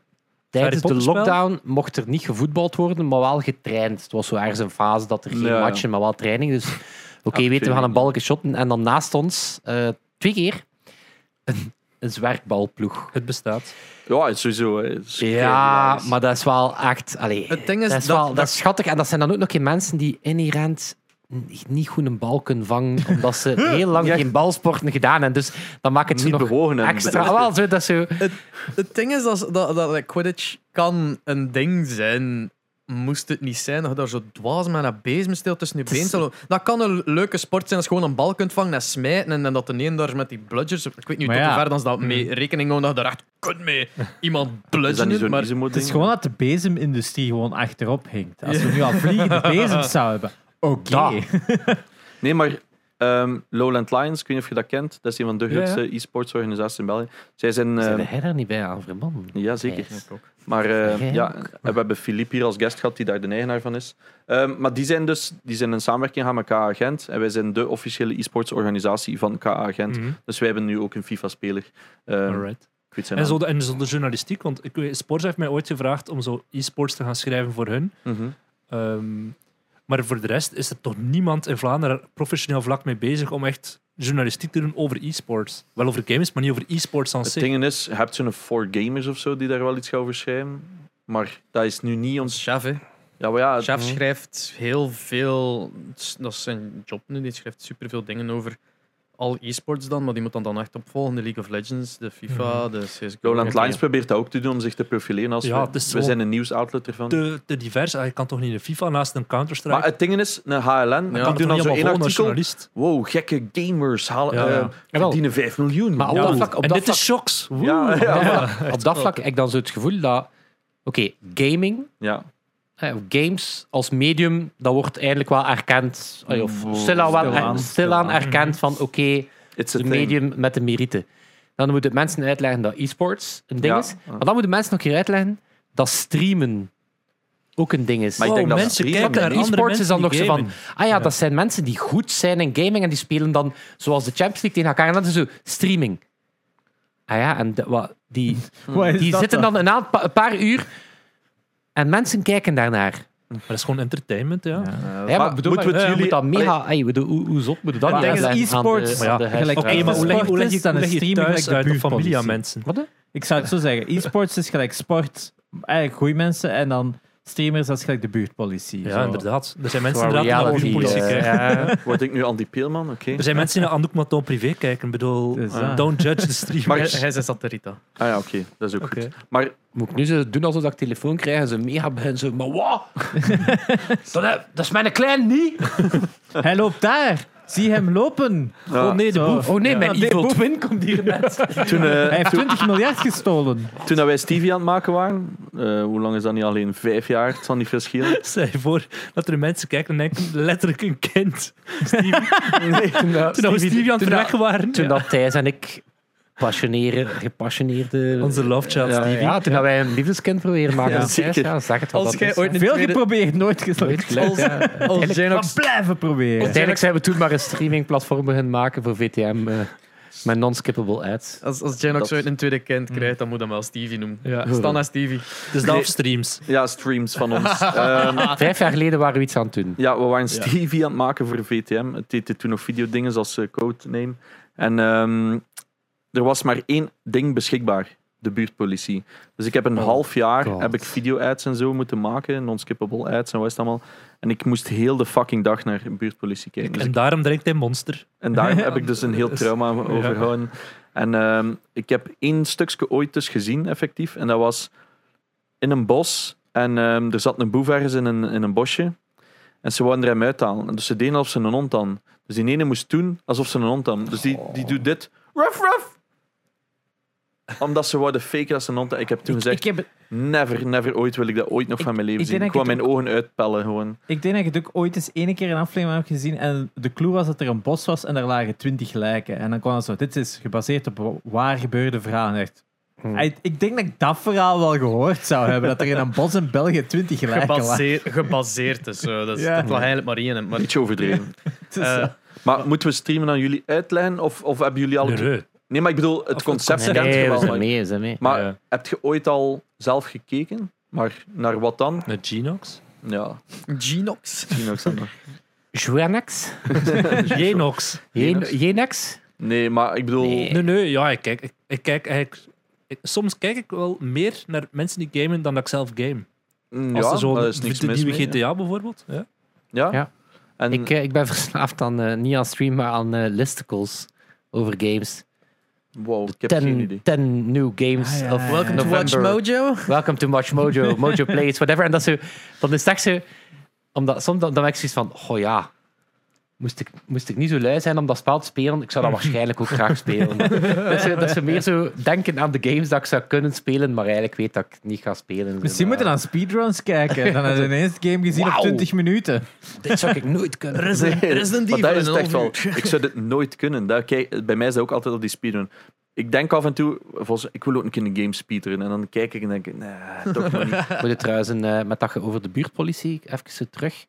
S1: Tijdens de
S2: Potter-spel?
S1: lockdown mocht er niet gevoetbald worden, maar wel getraind. Het was zo ergens een fase dat er geen
S3: Ja.
S1: matchen, maar wel training. Dus oké, weten we gaan een balken shotten. En dan naast ons, eh, twee keer, een, een zwerkbalploeg.
S2: Het bestaat.
S3: Ja, het is sowieso. hè. Het is
S1: Ja,
S3: hilarisch.
S1: maar dat is wel echt... Allee,
S4: Het ding is
S1: dat, is
S4: dat-
S1: wel, dat
S4: dat-
S1: is schattig. En dat zijn dan ook nog geen mensen die inherent n- niet goed een bal kunnen vangen, omdat ze heel lang geen balsporten gedaan hebben. Dus dan maakt het ze
S3: niet
S1: nog
S3: bewogen en
S1: extra... Ah, Wel, zo, dat is zo...
S4: Het ding is dat, dat, dat like, Quidditch kan een ding zijn. Moest het niet zijn dat je daar zo dwaas met een bezemsteel tussen je been zou lopen. Dat kan een leuke sport zijn als je gewoon een bal kunt vangen en smijten. En, en dat de een daar met die bludgers. Ik weet niet
S5: Maar
S4: tot
S5: ja.
S4: hoe ver dan ze dat mee rekening houden dat je daar echt kut mee iemand
S3: Is Mm. dat niet
S4: bludgeren.
S3: zo'n
S4: Maar
S3: Isimo-ding?
S5: Het is gewoon dat de bezemindustrie gewoon achterop hinkt. Als we nu al vliegende bezems zouden hebben. Oké.
S1: Dat.
S3: Nee, maar ehm, Lowland Lions, ik weet niet of je dat kent. Dat is een van de
S2: Ja,
S3: grootste e-sports organisaties in België. Zij zijn.
S1: Zijn
S3: ehm,
S1: jij daar niet bij aan verbonden?
S3: ja, zeker.
S1: Yes.
S3: Maar eh,
S1: Jij
S3: ja, en we hebben Philippe hier als guest gehad, die daar de eigenaar van is. Ehm, maar die zijn dus die zijn in samenwerking gaan met KA Gent. En wij zijn de officiële e-sports organisatie van KA Gent.
S2: Mhm.
S3: Dus wij hebben nu ook een FIFA-speler. Ehm,
S2: Alright.
S3: ik weet zijn
S2: En
S3: naam.
S2: zo, de, en zo de journalistiek, want ik, weet- Sports heeft mij ooit gevraagd om zo e-sports te gaan schrijven voor hun.
S3: Mhm.
S2: Ehm, maar voor de rest is er toch niemand in Vlaanderen professioneel vlak mee bezig om echt journalistiek te doen over e-sports. Wel over games, maar niet over e-sports aan
S3: Het
S2: zich.
S3: ding is, je hebt zo'n four gamers of zo die daar wel iets gaan over schrijven. Maar dat is nu niet ons.
S4: Chef, hè.
S3: Ja, maar ja, het-
S4: Chef schrijft heel veel. Dat is zijn job nu. Die schrijft superveel dingen over al e-sports dan. Maar die moet dan, dan echt opvolgen. De League of Legends, de FIFA,
S3: Mhm.
S4: de CSGO.
S3: Lowland Lions probeert dat ook te doen om zich te profileren. Als
S2: Ja,
S3: we,
S2: het is
S3: we
S2: zo-
S3: zijn een nieuwsoutlet ervan.
S2: Te, te divers. Ah, Je kan toch niet in FIFA naast een Counter-Strike?
S3: Maar het ding is, een HLN,
S2: Je
S3: die
S2: kan
S3: doen
S2: toch
S3: dan
S2: niet
S3: zo
S2: allemaal
S3: één
S2: volgen als
S3: artikel.
S2: journalist?
S3: Wow, gekke gamers halen,
S2: Ja,
S3: eh,
S2: ja.
S1: Jawel.
S3: verdienen 5 miljoen.
S1: Maar op
S3: Ja.
S1: dat vlak... Op
S2: en
S1: dat
S2: dit
S1: vlak,
S2: is shocks. Woe.
S3: ja, ja.
S1: op dat- op dat vlak heb ik dan zo het gevoel dat... Oké, gaming,
S3: Ja.
S1: eh, of games als medium, dat wordt eigenlijk wel erkend. eh, Of
S5: Mm,
S1: stilaan wel
S5: stilaan,
S1: er-
S5: stilaan.
S1: stilaan erkend van oké,
S3: It's a
S1: het
S3: thing.
S1: medium met de merite. Dan moeten mensen uitleggen dat e-sports een ding
S3: Ja.
S1: is. Maar dan moeten mensen nog hier uitleggen dat streamen ook een ding is.
S3: Maar ik denk
S2: Wow,
S3: dat
S2: mensen
S3: streamen-
S2: kijken naar andere
S1: E-sports
S2: mensen
S1: is dan nog
S2: die
S1: zo van,
S2: gamen.
S1: ah ja, dat zijn mensen die goed zijn in gaming en die spelen dan zoals de Champions League tegen elkaar. En dat is zo, streaming. Ah ja, en de- wat, die,
S5: Wat is
S1: die
S5: dat
S1: zitten dan een, aantal- pa- een paar uur en mensen kijken daarnaar.
S2: Maar dat is gewoon entertainment, ja.
S5: Ja.
S3: Eh,
S1: Ja, maar bedoel,
S3: moeten we
S1: maar,
S3: het
S1: eh,
S3: jullie...
S1: moet dat mega... Hey, bedoel, hoe, hoe zot moet je dat
S5: Maar
S1: niet
S5: dat is
S1: uitleggen aan de-
S5: e-sports.
S1: aan de
S5: Ja, gelijk-
S1: huisvrouw?
S2: Oké, maar hoe leg, hoe leg je,
S5: Sport is
S2: hoe leg je
S5: dan een streaming
S2: thuis uit op
S5: like
S2: familie aan
S5: buurtpolitie.
S2: mensen?
S1: Wat?
S5: Ik zou het zo zeggen. E-sports is gelijk sport. Eigenlijk goede mensen. En dan streamers, dat is gelijk de buurtpolitie.
S2: Ja,
S5: Zo.
S2: inderdaad. Er zijn mensen
S1: Qua
S2: inderdaad die naar
S1: reality,
S2: de politie
S1: eh,
S2: kijken.
S3: Word ik nu Andy-Peelman? Oké.
S2: Er zijn mensen die naar Andoek Maton privé kijken. Ik bedoel,
S5: Dus, ja.
S2: don't judge the streamer.
S3: Maar-
S4: Hij, hij zei Saterita.
S3: Ah ja, oké. Dat is ook
S2: Oké.
S3: goed. Maar
S1: Moet ik nu zo doen alsof ik telefoon krijg en ze mega beginnen zo... Maar wat? dat, heb- dat is mijn klein niet.
S5: Hij loopt daar. Zie hem lopen.
S3: Ja.
S5: Oh nee, de boef.
S1: Oh nee,
S5: Ja,
S1: mijn
S5: de
S1: evil
S5: boef.
S1: twin komt hier net.
S3: toen, eh,
S5: Hij heeft 20 miljard gestolen.
S3: toen dat wij Stevie aan het maken waren, eh, hoe lang is dat niet alleen? Vijf jaar, het zal niet veel schelen.
S2: Stel je voor dat er mensen kijken en denken, letterlijk een kind.
S1: Toen, dat-
S2: Toen we Stevie
S1: toen
S2: aan het
S1: dat-
S2: verrekken waren.
S1: Toen
S2: Ja.
S1: dat Thijs en ik passioneren, gepassioneerde...
S2: Onze love child
S1: ja,
S2: Stevie.
S1: ja, toen dat wij een liefdeskind proberen maken.
S4: Ja.
S1: Ja, Thijs, ja, zeg het wel.
S4: Als
S1: dat
S4: jij
S1: is. eh,
S4: ooit een
S5: Veel
S4: tweede-
S5: geprobeerd, nooit
S1: Nooit
S5: geslaagd.
S1: gelukt, ja.
S4: Als
S1: Uiteindelijk-
S4: Janox
S5: Maar blijven proberen.
S1: Uiteindelijk zijn we toen maar een streamingplatform beginnen maken voor VTM. eh. Mijn non-skippable ads.
S4: Als, als Jenox
S3: Dat-
S4: zo een tweede kind krijgt, dan moet hij hem wel Stevie noemen.
S2: Ja.
S4: Stan en Stevie.
S2: Dus dat of streams.
S3: Ja, streams van ons. Ehm,
S1: Vijf jaar geleden waren we iets aan het doen.
S3: ja, we waren Stevie aan het maken voor VTM. Het heette toen nog videodingen zoals eh, codename. En ehm, er was maar één ding beschikbaar. De buurtpolitie. Dus ik heb een
S1: Oh,
S3: half jaar
S1: God.
S3: heb ik video-ads en zo moeten maken. Non-skippable ads en wat is het allemaal. En ik moest heel de fucking dag naar buurtpolitie kijken. Dus
S2: En daarom drinkt hij Monster.
S3: En daar heb ik dus een heel
S2: Dus-
S3: trauma over gehouden. En ehm, ik heb één stukje ooit dus gezien, effectief. En dat was in een bos. En ehm, er zat een boef ergens in een, in een bosje. En ze wouden er hem uithalen. En Dus ze deden alsof ze een hond dan. Dus die ene moest doen alsof ze een hond dan. Dus die, die doet dit. Ruff, ruff! Omdat ze wouden faken dat ze een hond Ik heb toen
S5: Ik,
S3: gezegd,
S5: ik, heb,
S3: never, never ooit wil ik dat ooit nog
S5: Ik-
S3: van mijn leven
S5: ik
S3: zien.
S5: denk
S3: Ik
S5: dat
S3: kwam
S5: ik
S3: mijn ogen uitpellen gewoon.
S5: ik denk dat je het ook ooit eens één keer een aflevering hebt gezien en de clue was dat er een bos was en daar lagen twintig lijken. En dan kwam het zo, dit is gebaseerd op waar gebeurde verhalen. En Echt.
S1: Hmm.
S5: Ik- Ik denk dat ik dat verhaal wel gehoord zou hebben, dat er in een bos in België twintig lijken lagen.
S4: Gebaseer, gebaseerd is. zo. Dat is
S5: Ja.
S4: dat lag eigenlijk maar één. Maar,
S3: Beetje overdreven.
S5: Het is,
S4: eh,
S5: eh,
S3: Maar moeten we streamen aan jullie uitleggen? Of, of hebben jullie al...
S2: Nee, nee.
S3: Nee, maar ik bedoel, het concept
S1: Nee,
S3: kent je
S1: we
S3: wel.
S1: zijn
S3: Maar,
S1: mee, we zijn mee.
S3: maar
S2: Ja.
S3: heb je ooit al zelf gekeken? Maar naar wat dan?
S2: Met Genox.
S3: Ja,
S4: Genox.
S3: misschien ook Sander.
S1: Joannex?
S2: Genox.
S1: Jen- Jenex?
S3: Nee, maar ik bedoel...
S1: Nee.
S2: Nee, nee, ja, ik kijk, ik, ik kijk eigenlijk... ik- soms kijk ik wel meer naar mensen die gamen dan dat ik zelf game.
S3: mm,
S2: Als
S3: ja,
S2: er zo'n
S3: daar is niks
S2: de
S3: mis
S2: nieuwe
S3: mee,
S2: GTA bijvoorbeeld. Ja.
S3: Ja.
S1: Ja.
S3: En
S1: Ik, eh, ik ben verslaafd aan, eh, niet aan stream, maar aan eh, listicles over games.
S3: wow, ik heb geen idee.
S1: Ten, ten new games.
S5: Ah, ja,
S1: of
S5: ja.
S4: Welcome to Watch
S1: November.
S4: Mojo.
S1: Welcome to Watch Mojo, Mojo Plays, whatever. En dat ze, dan is het echt zo, omdat, soms dan, dan heb ik zoiets van, oh ja, moest ik, moest ik niet zo lui zijn om dat spel te spelen, ik zou dat waarschijnlijk ook graag spelen. dat, ze, dat ze meer zo denken aan de games dat ik zou kunnen spelen, maar eigenlijk weet dat ik niet ga spelen. Dus, eh,
S5: Misschien moeten we dan speedruns kijken. Dan hebben we ineens het game gezien op
S1: Wauw.
S5: 20 minuten.
S1: Dit zou ik nooit kunnen.
S3: Nee,
S4: Resident
S3: maar
S4: Evil
S3: dat
S4: in
S3: is
S4: een
S3: het echt wel.
S4: half
S3: Ik zou dit nooit kunnen. Dat, kijk, bij mij is dat ook altijd op die speedrun. Ik denk af en toe, volgens, ik wil ook een keer een game speedrun. En dan kijk ik en denk ik, nee, toch maar niet.
S1: Moet je trouwens een, eh, met dat je over de buurtpolitie even terug.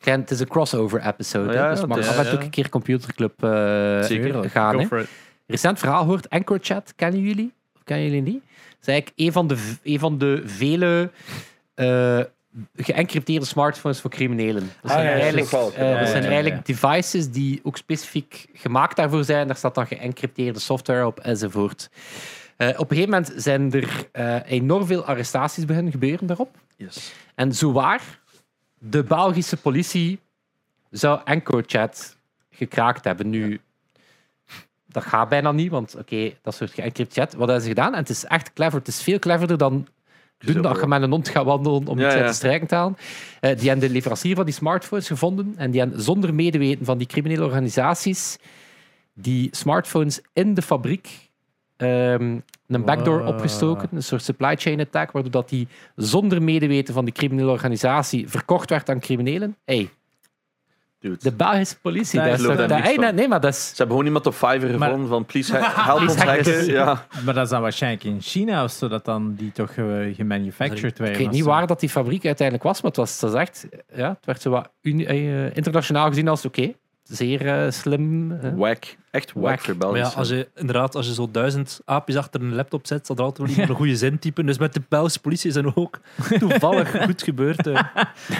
S1: Klein, het is een crossover episode.
S3: Oh ja,
S1: hè, dus
S3: ja,
S1: het mag
S3: het
S4: is-
S1: af en toe
S4: ja.
S1: een keer computerclub eh,
S3: Zeker.
S1: gaan.
S4: Go
S1: Hè.
S4: for it.
S1: Recent verhaal hoort AnchorChat, kennen jullie? Of kennen jullie niet? Dat is eigenlijk een van de, v- een van de vele eh geëncrypteerde smartphones voor criminelen. Dat
S3: Ah,
S1: zijn
S3: ja, ja,
S1: eigenlijk,
S3: zo'n geval.
S1: eh,
S5: Ja,
S1: dat
S5: ja,
S1: zijn
S5: ja,
S1: eigenlijk devices die ook specifiek gemaakt daarvoor zijn. Daar staat dan geëncrypteerde software op enzovoort. Eh, op een gegeven moment zijn er eh, enorm veel arrestaties beginnen gebeuren daarop.
S3: Yes.
S1: En zowaar, de Belgische politie zou EncoChat gekraakt hebben. Nu, dat gaat bijna niet, want oké, dat soort geëncrypt chat. Wat hebben ze gedaan? En het is echt clever. Het is veel cleverder dan doen dat je met een hond gaat wandelen om
S3: Ja,
S1: iets uit
S3: ja.
S1: de strijken te halen. Eh, die hebben de leverancier van die smartphones gevonden en die hebben zonder medeweten van die criminele organisaties die smartphones in de fabriek ehm, een backdoor
S3: Ah.
S5: Wow.
S1: opgestoken, een soort supply chain attack, waardoor dat die zonder medeweten van de criminele organisatie verkocht werd aan criminelen. Hey,
S3: Dude.
S1: de Belgische politie,
S5: Daar
S1: dat is
S3: geloof
S1: toch-
S3: daar
S1: dat-
S3: niks
S1: hey,
S3: van.
S1: nee, maar dat is
S3: Ze hebben gewoon iemand op Fiverr gevonden van, please he- help
S1: Please
S3: ons
S1: hack
S3: hacken.
S1: this.
S3: Ja.
S5: Maar dat is dan waarschijnlijk in China of zo, dat dan die toch eh, gemanufactured werden.
S1: Ik weet niet
S5: of zo.
S1: waar dat die fabriek uiteindelijk was, maar het, was, het, was echt, ja, het werd zo wat uni- eh, internationaal gezien als oké. zeer eh, slim. eh.
S3: Whack. Echt whack
S1: Whack.
S3: voor
S2: Maar
S3: België.
S2: ja, als je, inderdaad, als je zo duizend aapjes achter een laptop zet, zal er altijd wel iemand een goede zin typen. Dus met de Belgische politie is dat ook toevallig goed gebeurd. eh.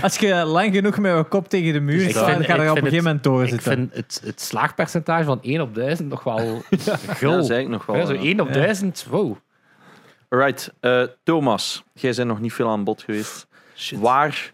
S5: Als je lang genoeg met je kop tegen de muur
S1: ik
S5: staat, dan
S1: vind-
S5: ga
S1: ik
S5: je er op een
S1: vind
S5: gegeven moment
S1: Ik
S5: doorzitten.
S1: vind het, het slaagpercentage van 1 op 1000 nog wel
S3: Ja,
S1: gul.
S3: dat zei ik nog wel.
S1: Ja, zo
S3: ja.
S1: 1 op
S5: Ja.
S1: 1000, wow.
S3: Alright, eh, Thomas, jij bent nog niet veel aan bod geweest.
S2: Shit.
S3: Waar...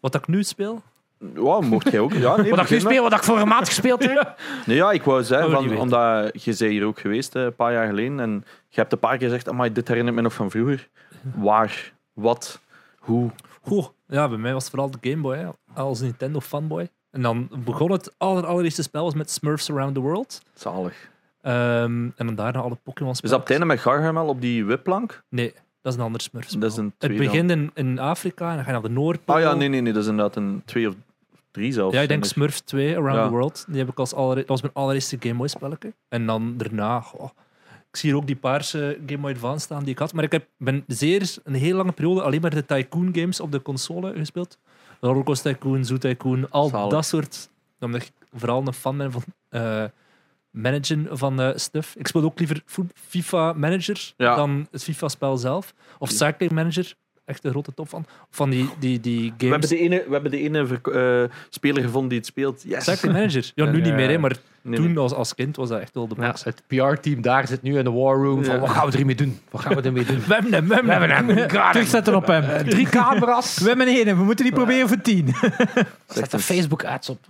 S2: Wat dat ik nu speel?
S3: Wow, mocht jij ook? Ja, nee,
S1: Wat ik nu
S3: begin maar.
S1: speel, wat ik vorige maand gespeeld heb.
S3: Nee, ja, ik wou zeggen,
S2: Oh,
S3: van,
S2: die weet.
S3: omdat je zei hier ook geweest, hè, een paar jaar geleden, en je hebt een paar keer gezegd, amai, dit herinnert me nog van vroeger. Waar, wat, hoe?
S2: Goh, ja, bij mij was het vooral de Game Boy, hè, als Nintendo fanboy. En dan begon het aller, allereerste spel was met Smurfs Around the World.
S3: Zalig.
S2: Ehm, en dan daarna alle Pokémon
S3: Is
S2: spelen.
S3: dat op het einde met Gargamel op die wipplank?
S2: Nee, dat is een ander Smurfs.
S3: Dat is een
S2: Het
S3: twee dan.
S2: begint in, in Afrika en dan ga je naar de Noordpool.
S3: Ah ja, nee, nee, nee, dat is inderdaad een twee of drie zelfs.
S2: Ja, ik denk
S3: En
S2: Smurfs 2, Around
S3: Ja.
S2: the World. Die heb ik als aller, dat was mijn allereerste Game Boy spelletje. En dan daarna, goh, ik zie hier ook die paarse Game Boy Advance staan die ik had. Maar ik heb, ben zeer, een heel lange periode alleen maar de Tycoon games op de console gespeeld. Rollercoaster Tycoon, Zoo Tycoon, al
S3: Zalig.
S2: dat soort. Omdat ik vooral een fan ben van eh, managen van eh, stuff. Ik speel ook liever voet- FIFA Manager
S3: Ja.
S2: dan het FIFA-spel zelf. Of Cycling Manager, echt een grote top van. Van die, die, die
S3: We hebben
S2: games.
S3: de ene, we hebben de ene verko- eh, speler gevonden die het speelt. Yes.
S2: Cycling Manager. Ja, nu
S3: Ja.
S2: niet meer, hè, maar
S3: Nee, nee.
S2: toen als, als kind was dat echt wel de
S1: Ja,
S2: max.
S1: het PR-team daar zit nu in de war room. Van,
S3: Ja.
S1: wat gaan we ermee doen? Wat gaan we ermee doen?
S2: We hebben hem, we hebben hem.
S5: Terugzetten op hem.
S1: Drie camera's.
S5: We hebben één en we moeten die proberen voor tien.
S1: Oh, Zet de Facebook-ads op.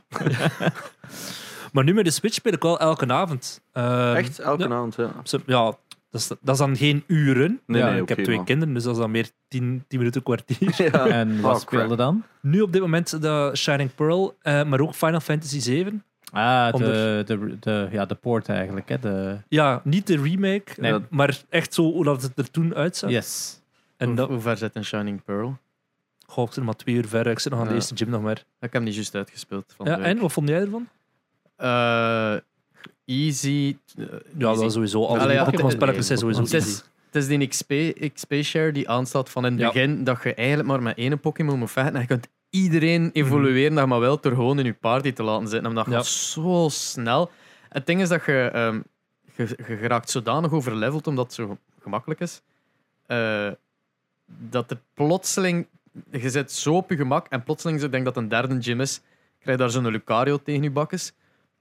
S2: Maar nu met de Switch speel ik wel elke avond. Ehm,
S3: Echt, elke
S2: ja.
S3: avond. Ja.
S2: Zo- Ja, dat is, dat is dan geen uren.
S3: Nee,
S2: ja,
S3: nee,
S2: ik
S3: oké,
S2: heb twee
S3: maar-
S2: kinderen, dus dat is dan meer 10 minuten kwartier.
S3: Ja.
S5: En wat
S3: Oh, crap.
S5: speelde dan?
S2: Nu op dit moment de Shining Pearl, eh, maar ook Final Fantasy 7.
S5: Ah, de,
S2: Onder-
S5: de, de, ja, de poort eigenlijk. Hè. De,
S2: Ja, niet de remake,
S5: Nee.
S2: eh, maar echt zo hoe dat het er toen uitzag.
S5: yes.
S2: En dat,
S4: Hoe ver zit een Shining Pearl?
S2: goh, ik zit nog maar twee uur ver, ik zit nog aan de
S4: Ja.
S2: eerste gym nog maar.
S4: Ik heb hem niet juist uitgespeeld. Van
S2: Ja,
S4: de week.
S2: en wat vond jij ervan?
S4: Eh, easy. eh,
S2: Ja, dat
S4: easy.
S2: is sowieso. Al
S4: Allee,
S2: die
S4: ja,
S2: Pokémon
S4: het-
S2: spelletjes zijn sowieso
S4: Want het is,
S2: easy.
S4: het is die XP, XP-share die aanstaat van in het
S2: Ja.
S4: begin dat je eigenlijk maar met één Pokémon moet vechten. En je kunt iedereen evolueren, dat je maar wel door gewoon in je party te laten zitten. Omdat dat
S2: Mhm. Ja.
S4: gaat zo snel. Het ding is dat je, ehm je, je geraakt zodanig overleveld, omdat het zo gemakkelijk is, eh, dat er plotseling... Je zit zo op je gemak en plotseling, ik denk dat het een derde gym is, krijg je daar zo'n Lucario tegen je bakkes.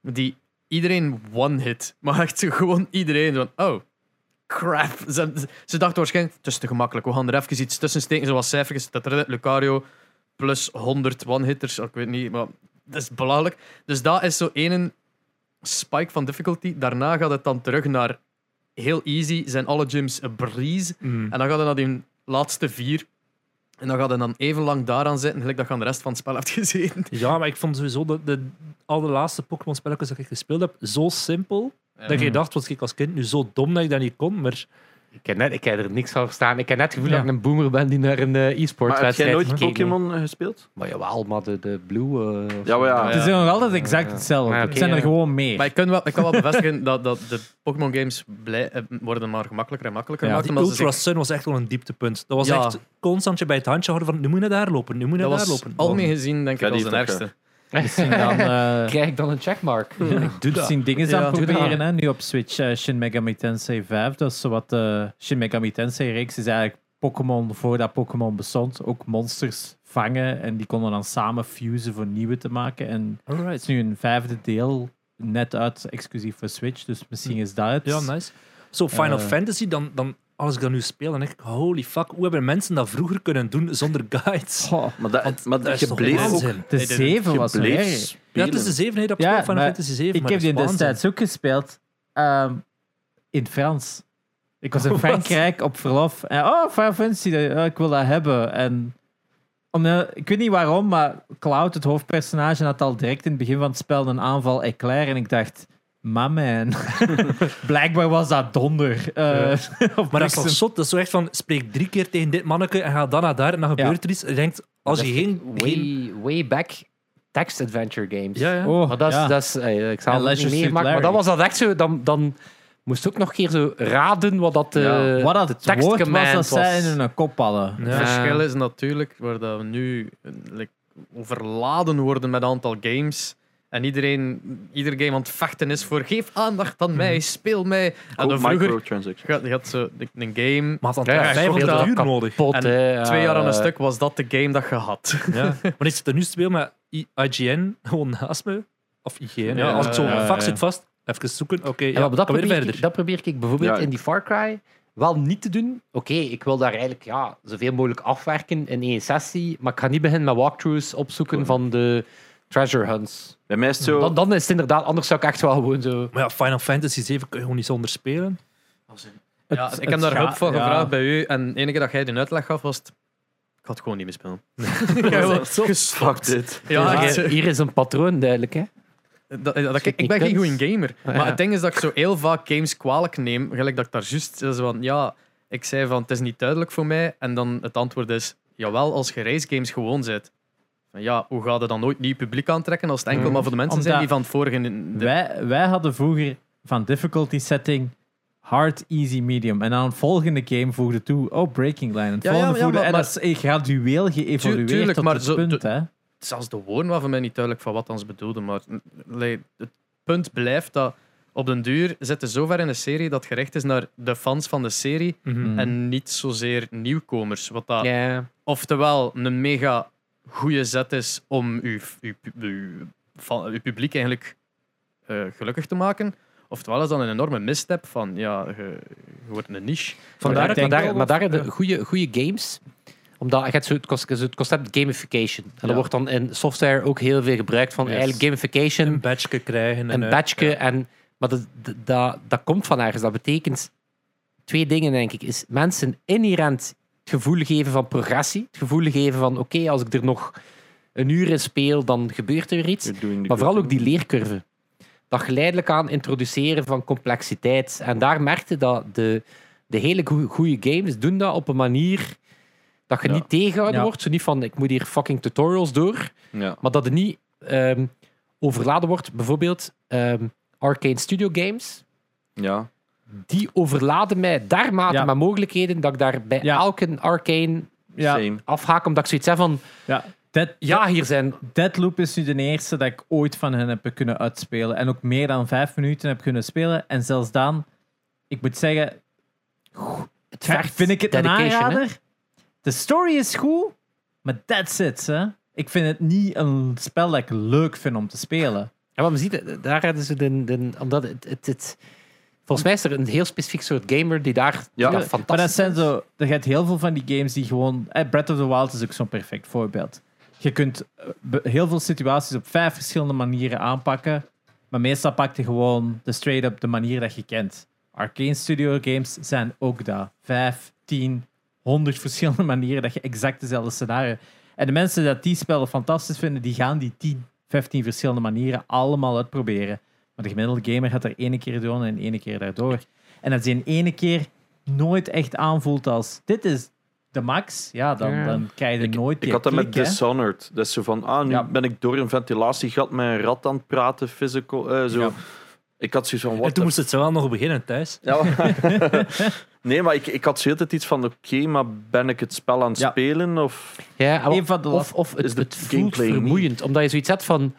S4: Die iedereen one-hit. Maar echt zo gewoon iedereen. Van, oh, crap. Ze, ze dachten waarschijnlijk, het is te gemakkelijk. We gaan er even iets tussen steken, zoals cijfers. Dat er Lucario plus 100 one-hitters. Ik weet niet, maar dat is belachelijk. Dus dat is zo één spike van difficulty. Daarna gaat het dan terug naar heel easy. Zijn alle gyms een breeze.
S2: Mm.
S4: En dan gaat hij naar die laatste vier. En dan gaat hij dan even lang daaraan zitten, gelijk dat je aan de rest van het spel hebt gezeten.
S2: Ja, maar ik vond sowieso de, de allerlaatste Pokémon spelletjes dat ik gespeeld heb zo simpel. Dat
S4: eh,
S2: ik dacht, was ik als kind nu zo dom dat ik dat niet kon, maar
S1: Ik heb, net, ik heb er niks van verstaan. Ik heb net het gevoel dat ik een boomer ben die naar een eh,
S3: Maar heb jij
S1: e-sportwedstrijd
S3: nooit
S1: gekeken heeft.
S3: Pokémon eh, gespeeld?
S1: Maar jawel, maar de, de Blue... eh, of
S3: Ja, maar
S1: zo.
S3: ja.
S5: Het is
S4: Ja.
S5: nog altijd exact
S1: Ja.
S5: hetzelfde.
S1: Ja, oké,
S5: het zijn er
S1: ja.
S5: gewoon meer.
S4: Maar ik kan wel, ik kan wel bevestigen dat, dat de Pokémon games blij, eh, worden maar gemakkelijker en makkelijker
S5: Ja,
S4: gemaakt.
S2: Die
S4: omdat ze zich-
S2: Ultra Sun was dus echt wel een dieptepunt. Dat was
S4: Ja.
S2: echt constant je bij het handje houden van nu moet je naar daar lopen, nu moet je
S4: dat
S2: naar
S4: was
S2: daar lopen.
S4: algemeen gezien denk ik
S3: Ja, die
S4: als de
S3: heeft ook,
S4: ergste.
S5: Misschien dan, eh,
S1: Krijg ik dan een checkmark?
S3: Hm.
S2: Doe dat.
S5: misschien dingen aan
S4: Ja, doe
S5: proberen. Hè. Nu op Switch eh, Shin Megami Tensei 5. Dat is zowat de Shin Megami Tensei reeks. is eigenlijk Pokémon voordat Pokémon bestond. Ook monsters vangen. En die konden dan samen fusen voor nieuwe te maken. En het is
S2: Alright.
S5: nu een vijfde deel. Net uit, exclusief voor Switch. Dus misschien is dat het.
S2: Hm. Ja, nice. Zo Final
S5: Eh.
S2: Fantasy, dan, dan, als ik dat nu speel, dan denk ik, holy fuck, hoe hebben mensen dat vroeger kunnen doen zonder guides?
S5: Goh,
S3: Maar, dat, maar
S2: Dat is
S3: je
S2: toch
S3: bleef ook...
S2: waanzin?
S5: de
S4: Nee, dit-
S5: 7
S3: je
S5: was nog
S3: bleef
S5: erg.
S2: Ja,
S3: spelen.
S2: het is de zevende dat
S5: Ja,
S2: ja, Final
S5: maar
S2: Fantasy 7.
S5: Ik heb die destijds ook gespeeld ehm, in het Frans. Ik was in
S2: Wat?
S5: Frankrijk op verlof. En, oh, Final Fantasy, eh, ik wil dat hebben. En omdat, ik weet niet waarom, maar Cloud, het hoofdpersonage, had al direct in het begin van het spel een aanval eclair. En ik dacht, my man. Blijkbaar was dat donder. Eh, of
S2: Maar dat is toch
S5: bliksem.
S2: zot? Dat is zo echt van, spreek drie keer tegen dit manneke en ga dan naar daar en dan gebeurt er iets. En je denkt, als je
S1: Dat
S2: geen...
S1: vind ik
S2: geen-
S1: Way, way back text adventure games.
S2: Ja, ja.
S5: Oh,
S1: Maar dat is,
S5: ja.
S1: dat is, eh, ik zal
S5: En
S1: het
S5: Leisure
S1: niet meemaken,
S5: Suit
S1: maar
S5: Larry.
S1: dat was dat echt zo. Dan, dan moest je ook nog een keer zo raden wat dat, eh
S3: Ja,
S5: Wat dat
S1: de
S5: het woord was
S1: tekstcommand
S5: dat zij in hun kop hadden.
S4: Het
S2: Ja.
S4: verschil is natuurlijk waar dat we nu eh, like, overladen worden met een aantal games. En iedereen, ieder game aan het vechten is voor geef aandacht aan
S5: Mhm.
S4: mij, speel mij. En dan
S3: Ook
S4: vroeger
S3: microtransactions.
S4: je had zo de- een game,
S2: Maar dan
S1: Ja, ja,
S2: 500
S4: klopt,
S2: uur
S1: ja.
S2: nodig.
S1: Pot,
S4: En
S1: hè,
S4: twee jaar aan
S1: eh,
S4: een stuk, was dat de game dat je had.
S2: Ja. maar ik zit er nu te spelen met I- IGN gewoon naast me. Of IGN. Ja,
S4: Ja,
S2: als ik zo
S5: ja,
S2: vak
S5: ja.
S2: zit vast, even zoeken. Oké,
S1: Ja,
S2: ja,
S1: maar dat,
S2: kom weer
S1: probeer
S2: verder.
S1: ik, dat probeer ik bijvoorbeeld
S3: Ja.
S1: in die Far Cry wel niet te doen. Oké, ik wil daar eigenlijk ja, zoveel mogelijk afwerken in één sessie, maar ik ga niet beginnen met walkthroughs opzoeken van de treasure hunts.
S3: Bij mij is het zo...
S1: Dan, dan is het inderdaad, anders zou ik echt wel gewoon zo...
S2: Maar ja, Final Fantasy 7 kun je gewoon niet zonder spelen.
S5: Het-
S4: Ja, ik
S5: het
S4: heb daar
S5: ga-
S4: hulp voor
S5: ja.
S4: gevraagd bij u. En de enige dat jij de uitleg gaf was... het, Ik had het gewoon niet meer spelen.
S3: Fuck dit.
S4: Ja,
S1: Ja,
S4: echt zo.
S1: hier is een patroon duidelijk, hè.
S4: Eh, Dat, dat- dat-
S1: je
S4: ik
S1: niet
S4: ben geen
S1: kunt.
S4: goede gamer.
S5: Ah,
S4: Maar
S1: ja.
S4: het ding is dat ik zo heel vaak games kwalijk neem. Gelijk dat ik daar juist eh, zo van, ja, ik zei van het is niet duidelijk voor mij. En dan het antwoord is, jawel, als je racegames gewoon bent. Van, ja, hoe gaat het dan ooit nieuw publiek aantrekken als het enkel
S1: Mhm.
S4: maar voor de mensen zijn
S5: Mm. Omdat
S4: die van het vorige... de-
S5: Wij, wij hadden vroeger van difficulty setting hard, easy, medium. En aan een volgende game voegde toe, oh, breaking line. En, het
S4: Ja,
S5: volgende
S4: ja, ja,
S5: voegde,
S4: maar-
S5: en dat is gradueel
S4: Tu-
S5: geëvolueerd
S4: tuurlijk,
S5: tot
S4: maar
S5: het
S4: zo-
S5: punt,
S4: tu-
S5: hè.
S4: zelfs de woorden waren voor mij niet duidelijk van wat dan ze bedoelden. Maar mm, like, het punt blijft dat op den duur zit het zover in de serie dat gericht is naar de fans van de serie
S5: Mhm.
S4: en niet zozeer nieuwkomers. Wat dat
S1: Ja.
S4: oftewel een mega goede zet is om uw, uw, uw, van- uw publiek eigenlijk eh, gelukkig te maken. Oftewel is dat een enorme misstep van ja, eh, je, je wordt een niche.
S1: Vandaar,
S5: Ik denk
S1: maar daar,
S5: wel
S1: maar daar
S5: dat-
S1: hebben goede, goede games. Omdat je hebt zo het, concept, het concept gamification. En dat
S4: Ja.
S1: wordt dan in software ook heel veel gebruikt van
S4: Yes.
S1: eigenlijk gamification.
S2: Een badge krijgen. en,
S1: een
S2: eh,
S1: badge.
S2: ja.
S1: En, maar dat, dat- dat, dat komt van ergens. Dat betekent twee dingen, denk ik. Is mensen inherent het gevoel geven van progressie. Het gevoel geven van, oké, als ik er nog een uur in speel, dan gebeurt er iets.
S3: You're doing the
S1: Maar
S3: good
S1: vooral ook die
S3: thing.
S1: leercurve. Dat geleidelijk aan introduceren van complexiteit. En daar merkte dat de, de hele goede games doen dat op een manier dat je
S3: Ja.
S1: niet tegenhouden
S5: Ja.
S1: wordt. Zo niet van, ik moet hier fucking tutorials door.
S3: Ja.
S1: Maar dat het niet ehm, overladen wordt. Bijvoorbeeld ehm, Arcane Studio Games.
S3: ja.
S1: Die overladen mij daarmate
S5: Ja.
S1: met mogelijkheden dat ik daar bij
S5: Ja.
S1: elke Arcane
S5: Ja,
S3: same.
S1: afhaak. Omdat ik zoiets heb van,
S5: ja. Dead,
S1: ja, hier zijn...
S5: Deadloop is nu de eerste dat ik ooit van hen heb kunnen uitspelen. En ook meer dan vijf minuten heb kunnen spelen. En zelfs dan, ik moet zeggen,
S1: Het
S5: ja,
S1: vergt
S5: vind ik het een
S1: dedication, hè.
S5: aanrader. De story is goed, maar that's it. Hè. Ik vind het niet een spel dat ik leuk vind om te spelen.
S1: Ja, maar we zien, daar hadden ze de, de, omdat het, het, het- Volgens mij is er een heel specifiek soort gamer die daar
S3: Ja.
S1: die daar
S5: Maar dat
S1: fantastisch
S5: zijn zo, er gaat heel veel van die games die gewoon. eh, Breath of the Wild is ook zo'n perfect voorbeeld. Je kunt eh, be- heel veel situaties op vijf verschillende manieren aanpakken. Maar meestal pak je gewoon de straight up de manier dat je kent. Arcane Studio games zijn ook dat. Vijf, tien, honderd verschillende manieren dat je exact dezelfde scenario. En de mensen die dat die spellen fantastisch vinden, die gaan die 10, 15 verschillende manieren allemaal uitproberen. Maar de gemiddelde gamer gaat er ene keer doen en ene keer daardoor. En als die een ene keer nooit echt aanvoelt als dit is de max, ja, dan,
S1: Ja.
S5: dan krijg je nooit die
S3: Ik had dat met
S5: klik, hè.
S3: Dishonored. Dat is zo van, ah, nu
S5: Ja.
S3: ben ik door een ventilatiegat met een rat aan het praten, physical, eh, zo.
S5: Ja.
S3: Ik had zoiets van,
S2: En
S3: wat
S2: toen moest het zo wel nog beginnen thuis.
S3: Ja. nee, maar ik, ik had zo altijd iets van: oké, maar ben ik het spel aan het
S5: Ja.
S3: spelen? Of...
S1: Ja, maar-
S5: Een van de
S1: of, of
S3: is
S1: het,
S3: de
S1: het voelt
S3: gameplay niet.
S1: vermoeiend, omdat je zoiets hebt van...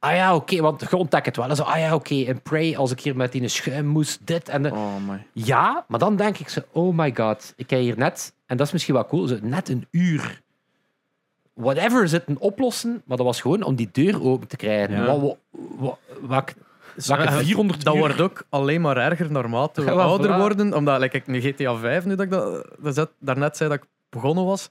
S1: Ah ja, oké, want je ontdekt het wel. En Zo, ah ja, oké, en Prey, als ik hier met die schuim moest, dit en... de-
S3: Oh my.
S1: Ja, maar dan denk ik zo, oh my god, ik heb hier net... En dat is misschien wel cool, zo, net een uur... Whatever zitten oplossen, maar dat was gewoon om die deur open te krijgen.
S3: Ja.
S1: Wat, wat, wat, wat, wat ik
S4: Ja,
S1: 400
S4: Eh, dat
S1: uur-
S4: wordt ook alleen maar erger naarmate we
S1: Ja, voilà.
S4: ouder worden. Omdat, like, ik nu GTA 5, nu dat ik dat, dat zet- daarnet zei dat ik begonnen was,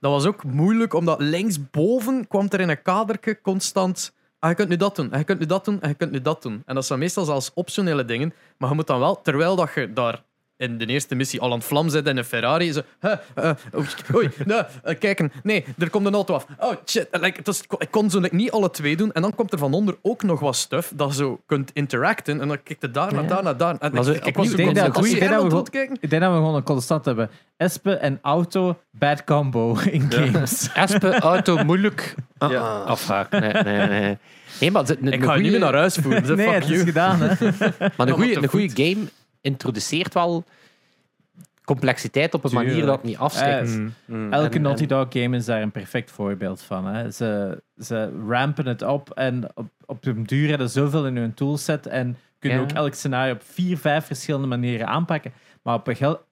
S4: dat was ook moeilijk, omdat linksboven kwam er in een kadertje constant... Ah, je kunt nu dat doen, en je kunt nu dat doen, en je kunt nu dat doen. En dat zijn meestal zelfs optionele dingen, maar je moet dan wel, terwijl dat je daar in de eerste missie al aan het vlam zit in een Ferrari, zo... Huh, eh, oei, oei, nee, eh, kijken, nee, er komt een auto af. Oh, shit. En, Like, het was- ik kon zo like, niet alle twee doen. En dan komt er van onder ook nog wat stuff dat zo kunt interacten. En dan kikte daar naar
S1: Ja.
S4: daar naar daar. En
S1: Maar
S4: ik,
S1: zo
S4: ik
S1: opnieuw,
S4: was
S1: ik
S4: zo
S1: denk dat
S4: constant
S1: het
S4: als
S5: goeie- ik denk dat we
S4: scherm aan het
S5: gewoon-
S4: rondkijken.
S5: Ik denk dat we gewoon een constant hebben. Espen en auto, bad combo in games.
S1: Espen, auto, moeilijk.
S3: Ja.
S1: Afhaak. Nee, nee, nee. Nee, maar het- een- een
S4: Ik ga je niet
S1: goeie-
S4: meer naar huis voeren. zeg,
S5: nee,
S4: fuck
S5: het is
S4: you.
S5: gedaan, hè.
S1: Maar een
S4: Ja,
S1: goede,
S4: wat
S1: een
S4: te
S1: goede game introduceert wel complexiteit op een manier dat het niet afschrikt.
S5: Eh,
S2: Mm.
S3: Mm.
S5: Elke
S1: Mm-hmm. En-
S5: Naughty
S1: en-
S5: Dog game is daar een perfect voorbeeld van. Hè. Ze, ze rampen het op en op, op de duur hebben ze zoveel in hun toolset en kunnen
S1: Ja.
S5: ook elk scenario op vier, vijf verschillende manieren aanpakken. Maar op een gel-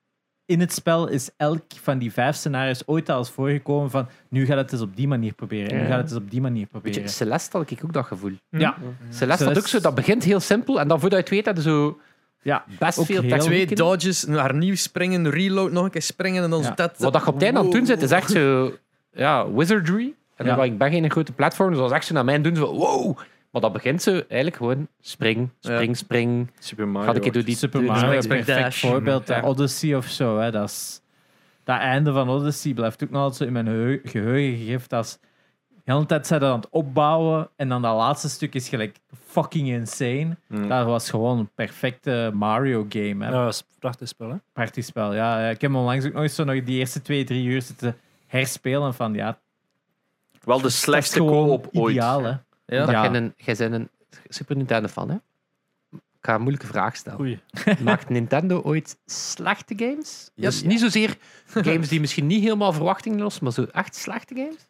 S5: in het spel is elk van die vijf scenario's ooit al eens voorgekomen van nu gaat het eens op die manier proberen,
S1: Ja.
S5: nu gaat het eens op die manier
S1: Beetje,
S5: proberen.
S1: Celeste had ik ook dat gevoel.
S5: Ja,
S1: Celeste had ook
S5: Celeste-
S1: zo, dat begint heel simpel en dan voordat je het weet, hadden zo
S5: ja.
S1: best
S5: Ook
S1: veel
S5: heel-
S1: technieken.
S4: Twee dodges, naar nieuw springen, reload, nog een keer springen en dan
S5: Ja.
S4: zo dat.
S1: Wat dat je op het einde aan het doen zit, is echt zo, ja, wizardry. En dan
S5: Ja.
S1: ben ik ben geen grote platform, dus dat is echt zo naar mijn doen, zo wow. Maar dat begint zo eigenlijk gewoon spring, spring, spring.
S3: Ah, Super Mario.
S1: Gaat ik het door die
S5: Super
S1: door-
S5: Mario is
S4: Spring
S5: perfect
S4: Dash.
S5: voorbeeld. hè.
S1: Ja.
S5: eh, Odyssey of zo. Hè. Dat, is, dat einde van Odyssey blijft ook nog altijd zo in mijn geheu- geheugen gegrift. Dat is de hele tijd zijn dat aan het opbouwen. En dan dat laatste stuk is gelijk fucking insane.
S3: Mm.
S5: Dat was gewoon een perfecte Mario game. Hè.
S2: Ja, dat is een prachtig spel, hè?
S5: Prachtig spel. Ja, ja. ik heb hem onlangs ook nog eens zo nog die eerste twee, drie uur zitten herspelen. Van ja, het
S3: Wel de
S5: is
S3: slechtste
S5: gewoon
S3: co-op ooit.
S5: Ideaal, hè.
S4: Ja.
S1: Dat
S5: Ja.
S1: jij een- jij bent een Super Nintendo fan, hè? Ik ga een moeilijke vraag stellen.
S2: Oei.
S1: Maakt Nintendo ooit slechte games?
S4: Ja.
S1: Dus niet zozeer games die misschien niet helemaal verwachtingen lossen, maar zo echt slechte games?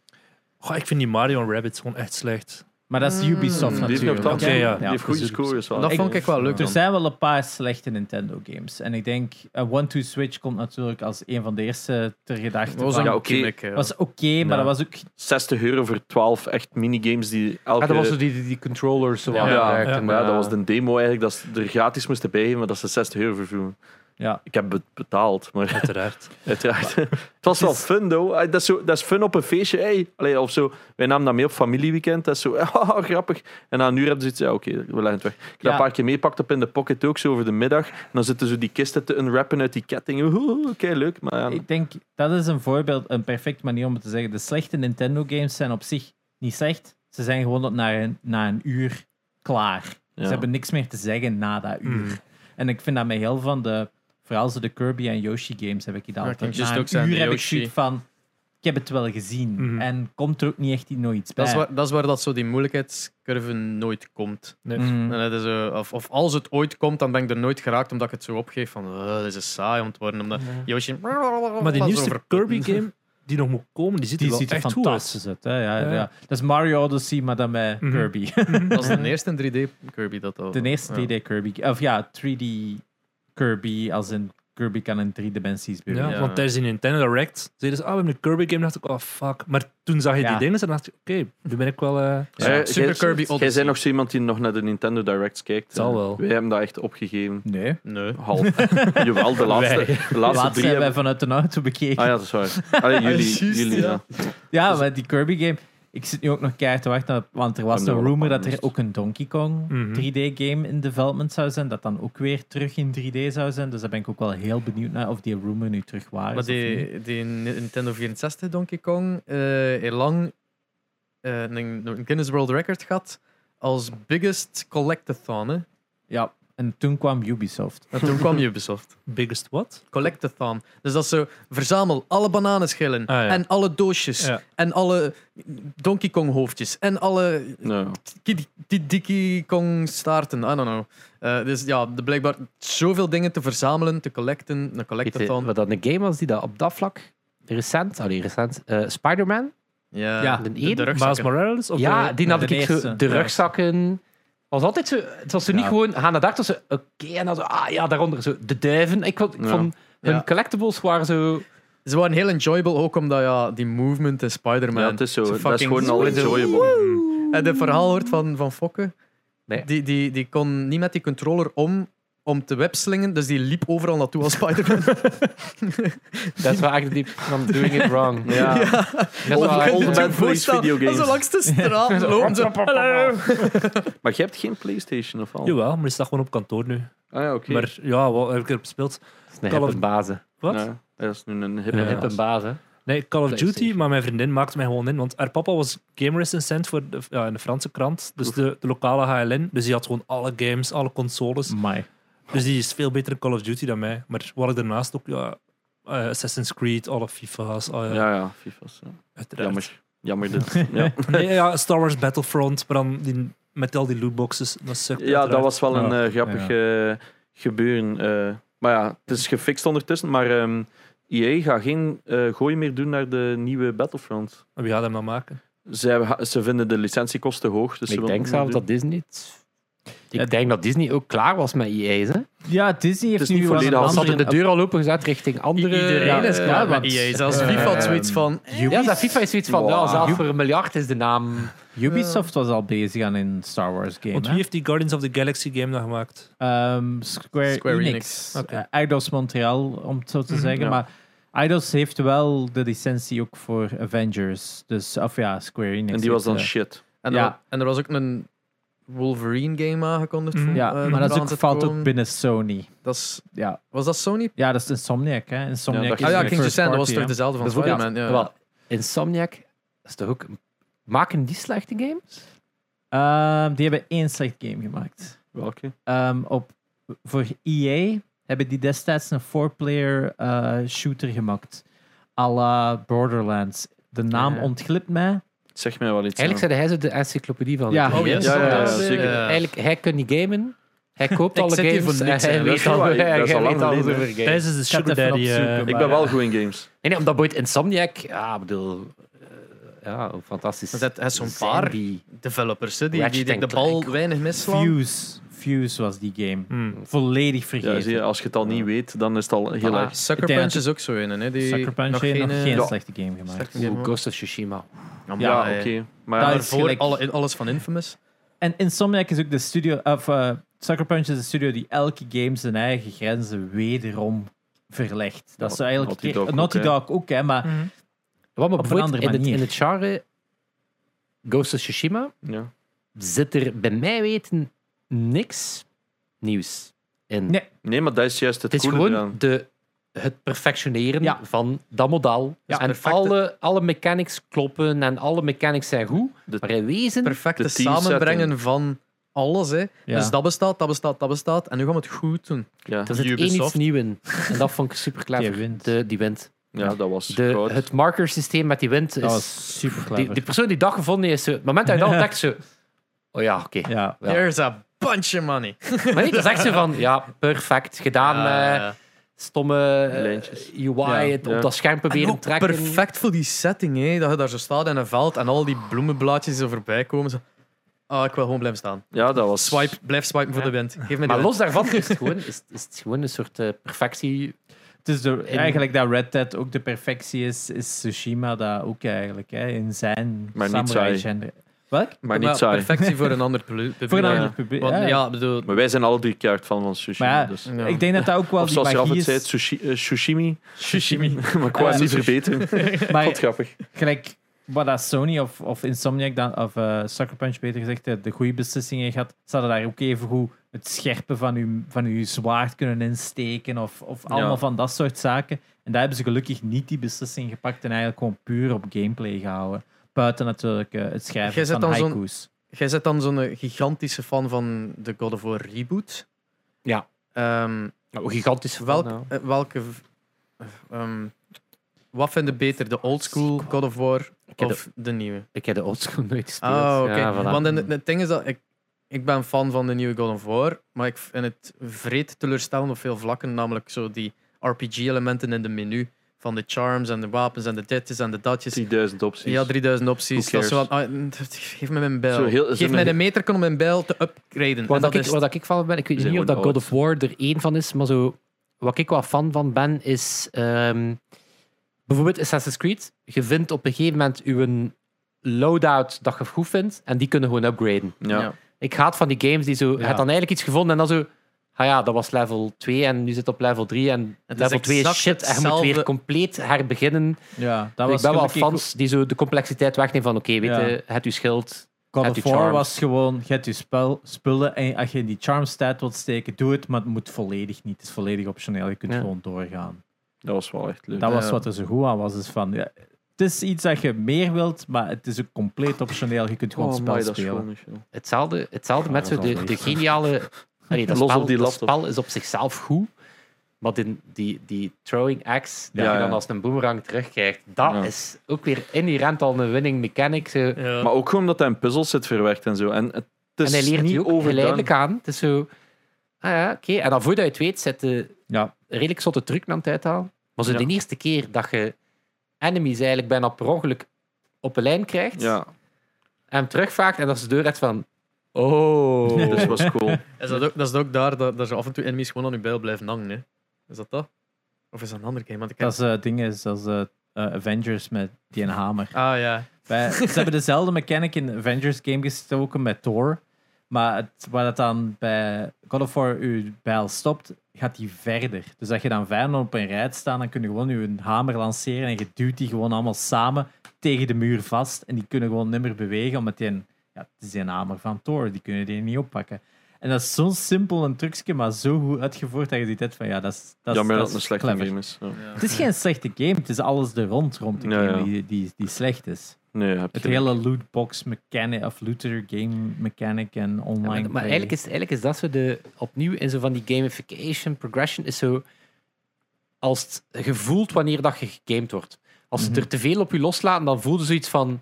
S2: Goh, ik vind die Mario en Rabbids gewoon echt slecht.
S5: Maar dat is Ubisoft
S3: Die heeft Mm. nog
S5: natuurlijk.
S3: kans.
S2: Oké, ja.
S3: Die heeft goede scores. wel.
S4: Dat vond ik wel leuk.
S5: Er
S4: dan.
S5: zijn wel een paar slechte Nintendo games. En ik denk, eh, One Two Switch komt natuurlijk als een van de eerste ter gedachte.
S4: Dat was
S5: van.
S4: een
S3: Ja,
S4: ja,
S3: oké.
S5: was oké, maar
S4: Ja.
S5: dat was ook
S3: 60 euro voor 12 echt minigames die elke...
S1: Ah, dat was zo die, die, die controllers. Zo
S3: ja,
S1: aan
S3: ja,
S1: werkten,
S3: maar ja, dat
S1: eh.
S3: was de demo eigenlijk, dat ze er gratis moesten bijgeven, maar dat ze 60 euro vervoeren.
S5: Ja.
S3: Ik heb het betaald, maar
S2: Uiteraard.
S3: Uiteraard. het was wel fun, though. Ah, Dat is, zo, dat is fun op een feestje. Hey. Allee, of zo. Wij namen dat mee op familieweekend. Dat is zo ah, grappig. En na een uur hebben ze iets. Ja, oké, we leggen het weg. Ik heb dat
S5: Ja.
S3: een paar keer meepakt op in de pocket ook, zo over de middag. En dan zitten zo die kisten te unwrappen uit die ketting. Oké, leuk. Maar ja,
S5: Ik denk, dat is een voorbeeld, een perfect manier om het te zeggen. De slechte Nintendo games zijn op zich niet slecht. Ze zijn gewoon na een, na een uur klaar.
S3: ja.
S5: Ze hebben niks meer te zeggen na dat
S4: Hmm.
S5: uur.
S2: Mm.
S5: En ik vind dat met heel van de, vooral zo de Kirby en Yoshi games heb ik het
S4: ik
S5: altijd.
S4: just
S5: na
S4: ook
S5: een
S4: zeggen,
S5: uur heb ik
S4: Yoshi. Hmm.
S5: zoiets van, ik heb het wel gezien.
S2: Mhm.
S5: En komt er ook niet echt nog iets bij.
S4: Dat is, waar, dat is waar dat zo die moeilijkheidscurve nooit komt.
S5: Mhm.
S4: En dat is, eh, of, of als het ooit komt, dan ben ik er nooit geraakt omdat ik het zo opgeef van eh, dit is saai om te worden. Omdat Yoshi...
S2: Maar die
S4: zo
S2: nieuwste
S4: over-
S2: Kirby-game die nog moet komen, die ziet er
S5: Die
S2: wel
S5: ziet er
S2: echt goed uit.
S5: fantastisch uit. Hè? Ja,
S2: Ja.
S5: ja. Dat is Mario Odyssey, maar dan met
S2: Mhm.
S5: Kirby.
S4: Dat is de eerste 3D Kirby dat al.
S5: De eerste 3D Kirby. Of ja, 3D Kirby, als in Kirby kan in drie dimensies bewegen.
S2: Ja,
S4: Ja.
S2: Want tijdens die Nintendo Direct zeiden ze, ah, we hebben een Kirby-game. dacht ik, oh, fuck. Maar toen zag je
S5: Ja.
S2: die dingen en dacht ik, oké, nu ben ik wel... eh,
S4: Ja, Super Kirby
S3: Jij
S4: Odyssey.
S3: bent nog zo iemand die nog naar de Nintendo Directs kijkt.
S2: Zal wel.
S3: Wij hebben dat echt opgegeven.
S5: Nee.
S4: Nee.
S3: Half. Jawel, de laatste,
S5: Laatst
S3: de laatste drie
S5: hebben wij
S3: hebben...
S5: vanuit de auto bekeken.
S3: Ah ja, dat is waar. Allee, jullie,
S4: Juist,
S3: jullie,
S4: ja.
S3: ja.
S5: ja, maar die Kirby game. Ik zit nu ook nog keihard te wachten, op, want er was
S3: Ik ben
S5: een
S3: er wel
S5: rumor
S3: op
S5: dat er
S3: amused.
S5: ook een Donkey Kong
S2: Mhm.
S5: 3D game in development zou zijn, dat dan ook weer terug in 3D zou zijn. Dus daar ben ik ook wel heel benieuwd naar of die rumor nu terug waar is.
S4: Maar
S5: of niet.
S4: die, die Nintendo 64 Donkey Kong eh heel lang eh, een, een Guinness World Record gehad als biggest collectathon. Hè.
S5: Ja, en toen kwam Ubisoft.
S4: En toen kwam Ubisoft.
S2: Biggest what?
S4: Collectathon. Dus dat is zo, verzamel alle bananenschillen
S2: Ah, ja.
S4: en alle doosjes
S2: Ja.
S4: en alle Donkey Kong hoofdjes en alle
S3: Nou,
S4: Kid- die Dikkie Kong staarten, I don't know. Eh, dus ja, er blijkbaar zoveel dingen te verzamelen, te collecten, een
S1: Weet je
S4: collectathon.
S1: wat dat een game was die dat op dat vlak recent, allee, recent, eh, Spider-Man,
S4: Ja,
S5: Ja,
S1: de
S4: Eh, de,
S1: ene?
S4: de
S2: Miles
S4: rugzakken.
S2: Morales? Of
S1: ja,
S2: de-
S1: die nam
S5: de
S1: ik zo,
S5: eerste.
S1: eh, de
S5: Ja.
S1: rugzakken. Was altijd zo, het was zo niet
S5: Ja.
S1: gewoon aan de dag, het was zo, oké, en dan zo, ah ja, daaronder zo, de duiven. Ik, vond, ik
S3: Ja.
S1: vond, hun
S4: Ja.
S1: collectibles waren zo,
S4: Ze waren heel enjoyable, ook omdat ja, die movement in Spider-Man...
S3: ja, het is zo.
S4: zo
S3: Dat is
S4: fucking-
S3: gewoon al enjoyable.
S4: En het verhaal hoort van, van Fokke.
S1: Nee.
S4: Die, die, die kon niet met die controller om, om te webslingen, dus die liep overal naartoe als Spider-Man.
S1: dat is wel eigenlijk die, van doing it wrong.
S3: Ja.
S1: Dat is
S4: Je
S1: wel
S3: old
S4: kunt je
S1: eigenlijk-
S3: man
S4: toch
S3: police
S4: voorstellen,
S3: videogames.
S4: Als ze langs de straat lopen, zo... Hallo!
S3: Maar je hebt geen PlayStation of al?
S2: Jawel, maar die staat gewoon op kantoor nu.
S3: Ah ja, oké.
S2: Maar ja, wat heb ik erop gespeeld?
S1: dat is een
S2: Call of-
S1: hippe bazen.
S2: Wat?
S3: Ja, dat is nu een hippe
S1: Een
S2: Ja.
S1: hippe bazen.
S2: Nee, Call of Duty,
S1: PlayStation.
S2: maar mijn vriendin maakte mij gewoon in. Want haar papa was gamer recensent voor de, ja, in de Franse krant. Dus de, de lokale HLN. Dus die had gewoon alle games, alle consoles.
S5: Amai.
S2: Dus die is veel beter in Call of Duty dan mij. Maar wat ik daarnaast ook, ja, eh, Assassin's Creed, alle FIFA's, alle-
S3: Ja, ja, FIFA's. Ja.
S2: eh, uiteraard.
S3: Jammer. Jammer dit. Ja.
S2: Nee, ja, Star Wars Battlefront, maar dan die, met al die lootboxes. Dat sukt
S3: ja, dat
S2: uiteraard.
S3: was wel een
S5: Ja.
S3: eh, grappig eh, gebeuren. eh. maar ja, het is gefixt ondertussen. Maar ehm EA gaat geen eh gooi meer doen naar de nieuwe Battlefront.
S2: Maar Wie gaat hem dan maken?
S3: Zij, ha- ze vinden de licentiekosten hoog. Dus ze
S1: ik
S3: willen
S1: denk
S3: het niet
S1: zelfs
S3: doen.
S1: dat Disney het- Ik
S5: Ja.
S1: denk dat Disney ook klaar was met EA's. Hè?
S5: Ja, Disney
S3: is
S5: heeft
S3: niet
S5: nu wel een
S3: volledig als
S1: Ze hadden de
S5: andere...
S1: deur al opengezet richting andere...
S4: Iedereen
S5: Ja,
S4: is
S5: eh,
S4: klaar
S5: want-
S1: E
S4: met EA. Zelfs FIFA
S2: eh,
S4: had zoiets van...
S1: Ja, dat FIFA is zoiets van,
S3: Wow.
S1: ja, zelf voor een miljard is de naam.
S5: Ubisoft was al bezig aan een Star Wars game.
S2: Want
S5: hè?
S2: wie heeft die Guardians of the Galaxy game nog gemaakt?
S5: Ehm, Square,
S4: Square
S5: Enix.
S2: Enix. Oké.
S5: Eh, Eidos Montreal, om het zo
S4: Mhm,
S5: te zeggen.
S3: ja.
S5: Maar Eidos heeft wel de licentie ook voor Avengers. Dus, of ja, Square Enix.
S3: En die was dan
S5: heeft, eh,
S3: shit.
S4: En,
S5: Ja.
S4: er, wa- en er was ook een Wolverine game aangekondigd.
S2: Mhm.
S4: voor,
S5: eh,
S4: eh,
S5: Ja, maar dat is
S4: eraan
S5: ook,
S4: te
S5: valt ook
S4: komen.
S5: binnen Sony.
S4: Dat is,
S5: Ja.
S4: was dat Sony?
S5: ja, dat is Insomniac. Hè. Insomniac
S3: Ja, dat-
S5: is
S4: Ah ja,
S5: weer
S4: Kings of
S5: first
S4: Sand, dat
S5: party,
S4: was toch
S5: hè.
S4: dezelfde van
S1: Dat is ook
S4: Spider-Man? Ja.
S1: Wel, Insomniac is toch ook... Maken die slechte games?
S5: Ehm, die hebben één slecht game gemaakt.
S3: Welke?
S5: Ehm, op, voor EA hebben die destijds een four-player eh, shooter gemaakt. à la Borderlands. De naam
S1: Ja.
S5: ontglipt mij.
S3: Zeg mij wel iets.
S1: Eigenlijk zei hij zo de encyclopedie van.
S5: Ja.
S1: de
S5: Oh,
S1: games.
S3: ja, ja, ja,
S4: dat is, eh,
S3: zeker.
S4: ja.
S1: Eigenlijk, hij kan niet gamen. Hij koopt
S4: Ik
S1: alle
S4: zit hier
S1: games
S4: voor
S1: en
S4: niks, hè.
S1: hij
S3: Dat is
S1: weet al
S3: waar,
S1: hij
S3: dat is al
S1: weet
S3: lang
S1: alles
S3: geleden,
S1: over
S3: hè.
S1: games.
S2: Tijdens is de
S5: ga het
S2: Sugar
S5: even
S2: Daddy. eh,
S5: opzoeken,
S3: Ik
S5: maar-
S3: ben wel goed in games.
S1: Nee, nee, omdat boeit Insomniac... Ja, ik bedoel... eh, ja, hoe fantastisch.
S4: Er zijn- er zijn zo'n
S1: zijn
S4: paar.
S1: die?
S4: Developers, hè, die, die, die de
S1: Ratchet
S4: bal
S1: Clank.
S4: weinig misslaan.
S5: Fuse. Fuse was die game.
S2: Hmm.
S5: Volledig
S3: Ja, zie
S5: vergeten.
S3: je, als je het al niet weet, dan is het al heel
S1: Voilà.
S3: erg.
S4: Sucker Punch
S5: Uiteindelijk-
S4: is ook zo in, hè? Die
S5: Sucker Punch
S4: nog
S5: heeft nog
S4: eh,
S5: geen
S4: ja,
S5: slechte game gemaakt.
S4: slechte game,
S1: Oeh,
S4: hoor.
S1: Ghost of Tsushima.
S4: Ja,
S3: Ja,
S4: maar, eh,
S3: oké.
S4: Maar
S5: Dat
S3: Maar
S5: is
S4: voor
S5: gelijk-
S4: alle, alles van Infamous.
S5: En Insomniac is ook de studio... Of, eh, Sucker Punch is een studio die elke game zijn eigen grenzen wederom verlegt. Dat is zo eigenlijk...
S3: Naughty Dog ook,
S5: Naughty
S3: hè.
S5: Dog ook, hè. Maar
S1: Wat me
S5: Op een
S1: boeit
S5: andere
S1: in het,
S5: manier.
S1: in het genre Ghost of Tsushima
S3: ja.
S1: zit er bij mij weten niks nieuws in.
S5: Nee.
S3: Nee, maar dat is juist het,
S1: Het is
S3: coole
S1: gewoon
S3: eraan.
S1: de, het perfectioneren
S5: Ja.
S1: van dat model. Dus
S4: Ja,
S1: en
S4: perfecte-
S1: alle, alle mechanics kloppen en alle mechanics zijn goed.
S3: De-
S1: maar in wezen,
S4: Perfecte
S3: de teamsetting.
S4: samenbrengen van alles, hè?
S5: Ja.
S4: Dus dat bestaat, dat bestaat, dat bestaat. En nu gaan we het goed doen.
S3: Ja.
S1: er zit één iets
S4: Ubisoft.
S1: nieuw in. En dat vond ik super clever.
S5: Die wint.
S1: De, die wint.
S3: ja, dat was
S1: De,
S3: goud.
S1: het markersysteem met die wind is...
S5: dat
S3: dus
S5: was super
S1: die,
S5: clever.
S1: die persoon die dat gevonden heeft, zo- het moment dat je dat
S5: Ja.
S1: ontdekt, zo... Oh ja, oké.
S5: ja.
S1: Ja.
S4: There's a bunch of money. Ah,
S1: Maar niet, dat is echt zo van... Ja, perfect. Gedaan. eh,
S4: Ja.
S1: stomme eh,
S3: Lijntjes.
S1: UI.
S5: Ja.
S1: het
S3: Ja.
S1: Op dat scherm
S4: En
S1: proberen
S4: ook
S1: trekken.
S4: perfect voor die setting, hè? Dat je daar zo staat in een veld en al die bloemenblaadjes die zo voorbij komen. Zo. Ah, ik wil gewoon blijven staan.
S3: Ja, dat was...
S4: Swipe, blijf swipen voor
S1: Ja.
S4: de wind. Geef me die
S1: Maar
S4: wind.
S1: los daarvan is het gewoon, is, is het gewoon een soort eh, perfectie.
S5: Het is de, eigenlijk dat Red Dead ook de perfectie is, is Tsushima dat ook eigenlijk, hè, in zijn
S3: Maar niet saai.
S5: samurai-genre. Welk?
S3: Maar niet
S4: Ja,
S3: saai.
S4: Perfectie voor een ander plu- publiek.
S5: Voor een
S3: Ja.
S5: ander publiek.
S4: Want,
S5: ja.
S4: ja, bedoel,
S3: Maar wij zijn alle drie keihard fan van sushi.
S5: Maar ja,
S3: dus.
S4: ja.
S5: Ik denk dat dat ook wel
S3: Of
S5: die
S3: zoals je
S5: magie
S3: altijd
S5: is.
S3: zei, sushi, eh, sushimi.
S4: Shishimi.
S3: maar ik wou het
S5: Eh,
S3: niet verbeteren. Wat
S5: maar
S3: grappig.
S5: gelijk wat dat Sony of, of Insomniac dan, of eh, Sucker Punch beter gezegd eh, de goede beslissingen gehad, ze hadden daar ook even goed het scherpen van uw, van uw zwaard kunnen insteken of, of allemaal van dat soort zaken. En daar hebben ze gelukkig niet die beslissing gepakt en eigenlijk gewoon puur op gameplay gehouden. Buiten natuurlijk eh, het
S4: Jij
S5: schrijven
S4: zet
S5: van
S4: dan zo'n-
S5: haiku's.
S4: Jij bent dan zo'n gigantische fan van de God of War reboot.
S1: Ja.
S4: Ehm,
S1: Oh, gigantisch
S4: welk, eh, welke... v- ehm, wat vinden beter, de old school God of War
S1: heb de-
S4: of de nieuwe?
S1: Ik heb de oldschool nooit gespeeld.
S4: Ah, oké.
S1: Ja, voilà.
S4: Want in het, het ding is dat ik, ik ben fan van de nieuwe God of War, maar ik vind het vreed teleurstellend op veel vlakken, namelijk zo die RPG-elementen in de menu van de charms en de wapens en de ditjes en de datjes.
S3: 3000 opties.
S4: Ja, 3000 opties.
S3: Who
S4: Dat is zo
S3: cares?
S4: van, ah, mm, geef me mijn
S3: Zo
S4: bijl.
S3: heel-
S4: geef
S3: zo'n-
S4: me een meter om mijn bijl te upgraden.
S1: Waar
S4: En
S1: dat
S4: dat
S1: ik,
S4: is
S1: waar dat ik van ben, ik weet
S3: zijn
S1: niet of dat
S3: gewoon
S1: God of War er één van is, maar zo, wat ik wel fan van ben, is ehm, bijvoorbeeld Assassin's Creed. Je vindt op een gegeven moment je loadout dat je goed vindt, en die kunnen gewoon upgraden.
S3: Ja.
S4: Ja.
S1: Ik haat van die games die zo, je
S5: Ja.
S1: hebt dan eigenlijk iets gevonden en dan zo, ah ja, dat was level 2 en nu zit het op level 3 en
S4: is
S1: level 2 is
S4: exact
S1: shit en je moet weer
S4: hetzelfde.
S1: compleet herbeginnen.
S5: Ja, dat
S1: ik
S5: was
S1: ben wel
S5: gelukkig
S1: fans die zo de complexiteit wegnemen van oké, weet
S5: Ja.
S1: je, het je schild.
S5: God
S1: Had
S5: of
S1: die
S5: War
S1: charms.
S5: was gewoon, je hebt je spel, spullen en als je in die charm stat wilt steken, doe het, maar het moet volledig niet. Het is volledig optioneel, je kunt
S1: Ja.
S5: gewoon doorgaan.
S3: Dat was wel echt leuk.
S5: Dat was
S4: Ja.
S5: wat er zo goed aan was. Is van, ja, het is iets dat je meer wilt, maar het is ook compleet optioneel. Je kunt gewoon
S3: oh,
S5: het spel
S3: amai, dat is
S5: spelen.
S3: gewoon niet veel.
S1: Hetzelfde, hetzelfde met
S5: dat
S1: zo
S5: is
S1: de,
S5: wel
S1: de
S5: iets.
S1: geniale. Allee, dat,
S3: Los op
S1: spel,
S3: die
S1: dat
S3: laptop.
S1: spel is op zichzelf goed, maar die, die, die throwing axe, die
S3: Ja,
S1: je
S3: ja.
S1: dan als een boomerang terugkrijgt, dat
S3: Ja.
S1: is ook weer inherent al een winning mechanic. zo.
S4: Ja.
S3: Maar ook gewoon omdat hij in puzzels zit verwerkt en zo. En het is
S1: en hij leert
S3: niet
S1: die ook
S3: overdone.
S1: geleidelijk aan. Het is zo, ah ja, oké. En dan voordat je het weet, zit de
S5: Ja.
S1: redelijk zotte truc aan het uithalen. Maar zo
S4: Ja.
S1: de eerste keer dat je enemies eigenlijk bijna per ongeluk op een lijn krijgt,
S3: Ja,
S1: en hem terugvaakt, en dat ze de deur uit van... Oh.
S3: dus was cool.
S4: Is dat, ook, dat is ook daar dat, dat ze af en toe enemies gewoon aan je bijl blijven hangen. Hè? Is dat dat? Of is dat een andere game? Want ik
S5: Dat is eh, ding is, dat is eh, eh, Avengers met die een hamer.
S4: Ah ja.
S5: Wij- ze hebben dezelfde mechanic in de Avengers game gestoken met Thor. Maar het, waar dat dan bij God of War uw bijl stopt, gaat die verder. Dus dat je dan vijanden op een rij staan, dan kun je gewoon je hamer lanceren en je duwt die gewoon allemaal samen tegen de muur vast. En die kunnen gewoon nimmer bewegen, omdat die een, ja, het is die een hamer van Thor, die kunnen die niet oppakken. En dat is zo'n simpel een trucje, maar zo goed uitgevoerd dat je ziet van ja, dat is, dat is,
S3: Jammer dat
S5: dat
S3: het
S5: is
S3: een slechte
S5: clever.
S3: game is. Ja.
S5: Het is geen slechte game, het is alles er rond rond de
S3: Ja,
S5: game
S3: ja.
S5: Die, die, die slecht is.
S3: Nee, heb
S5: Het
S3: je
S5: hele lootbox mechanic of looter game mechanic en online.
S1: Ja, maar, maar
S5: play.
S1: eigenlijk, is, eigenlijk is dat zo de, opnieuw in zo van die gamification progression is zo als het gevoeld wanneer dat je gegamed wordt. Als ze
S5: Mhm.
S1: er te veel op je loslaten, dan voel je zoiets van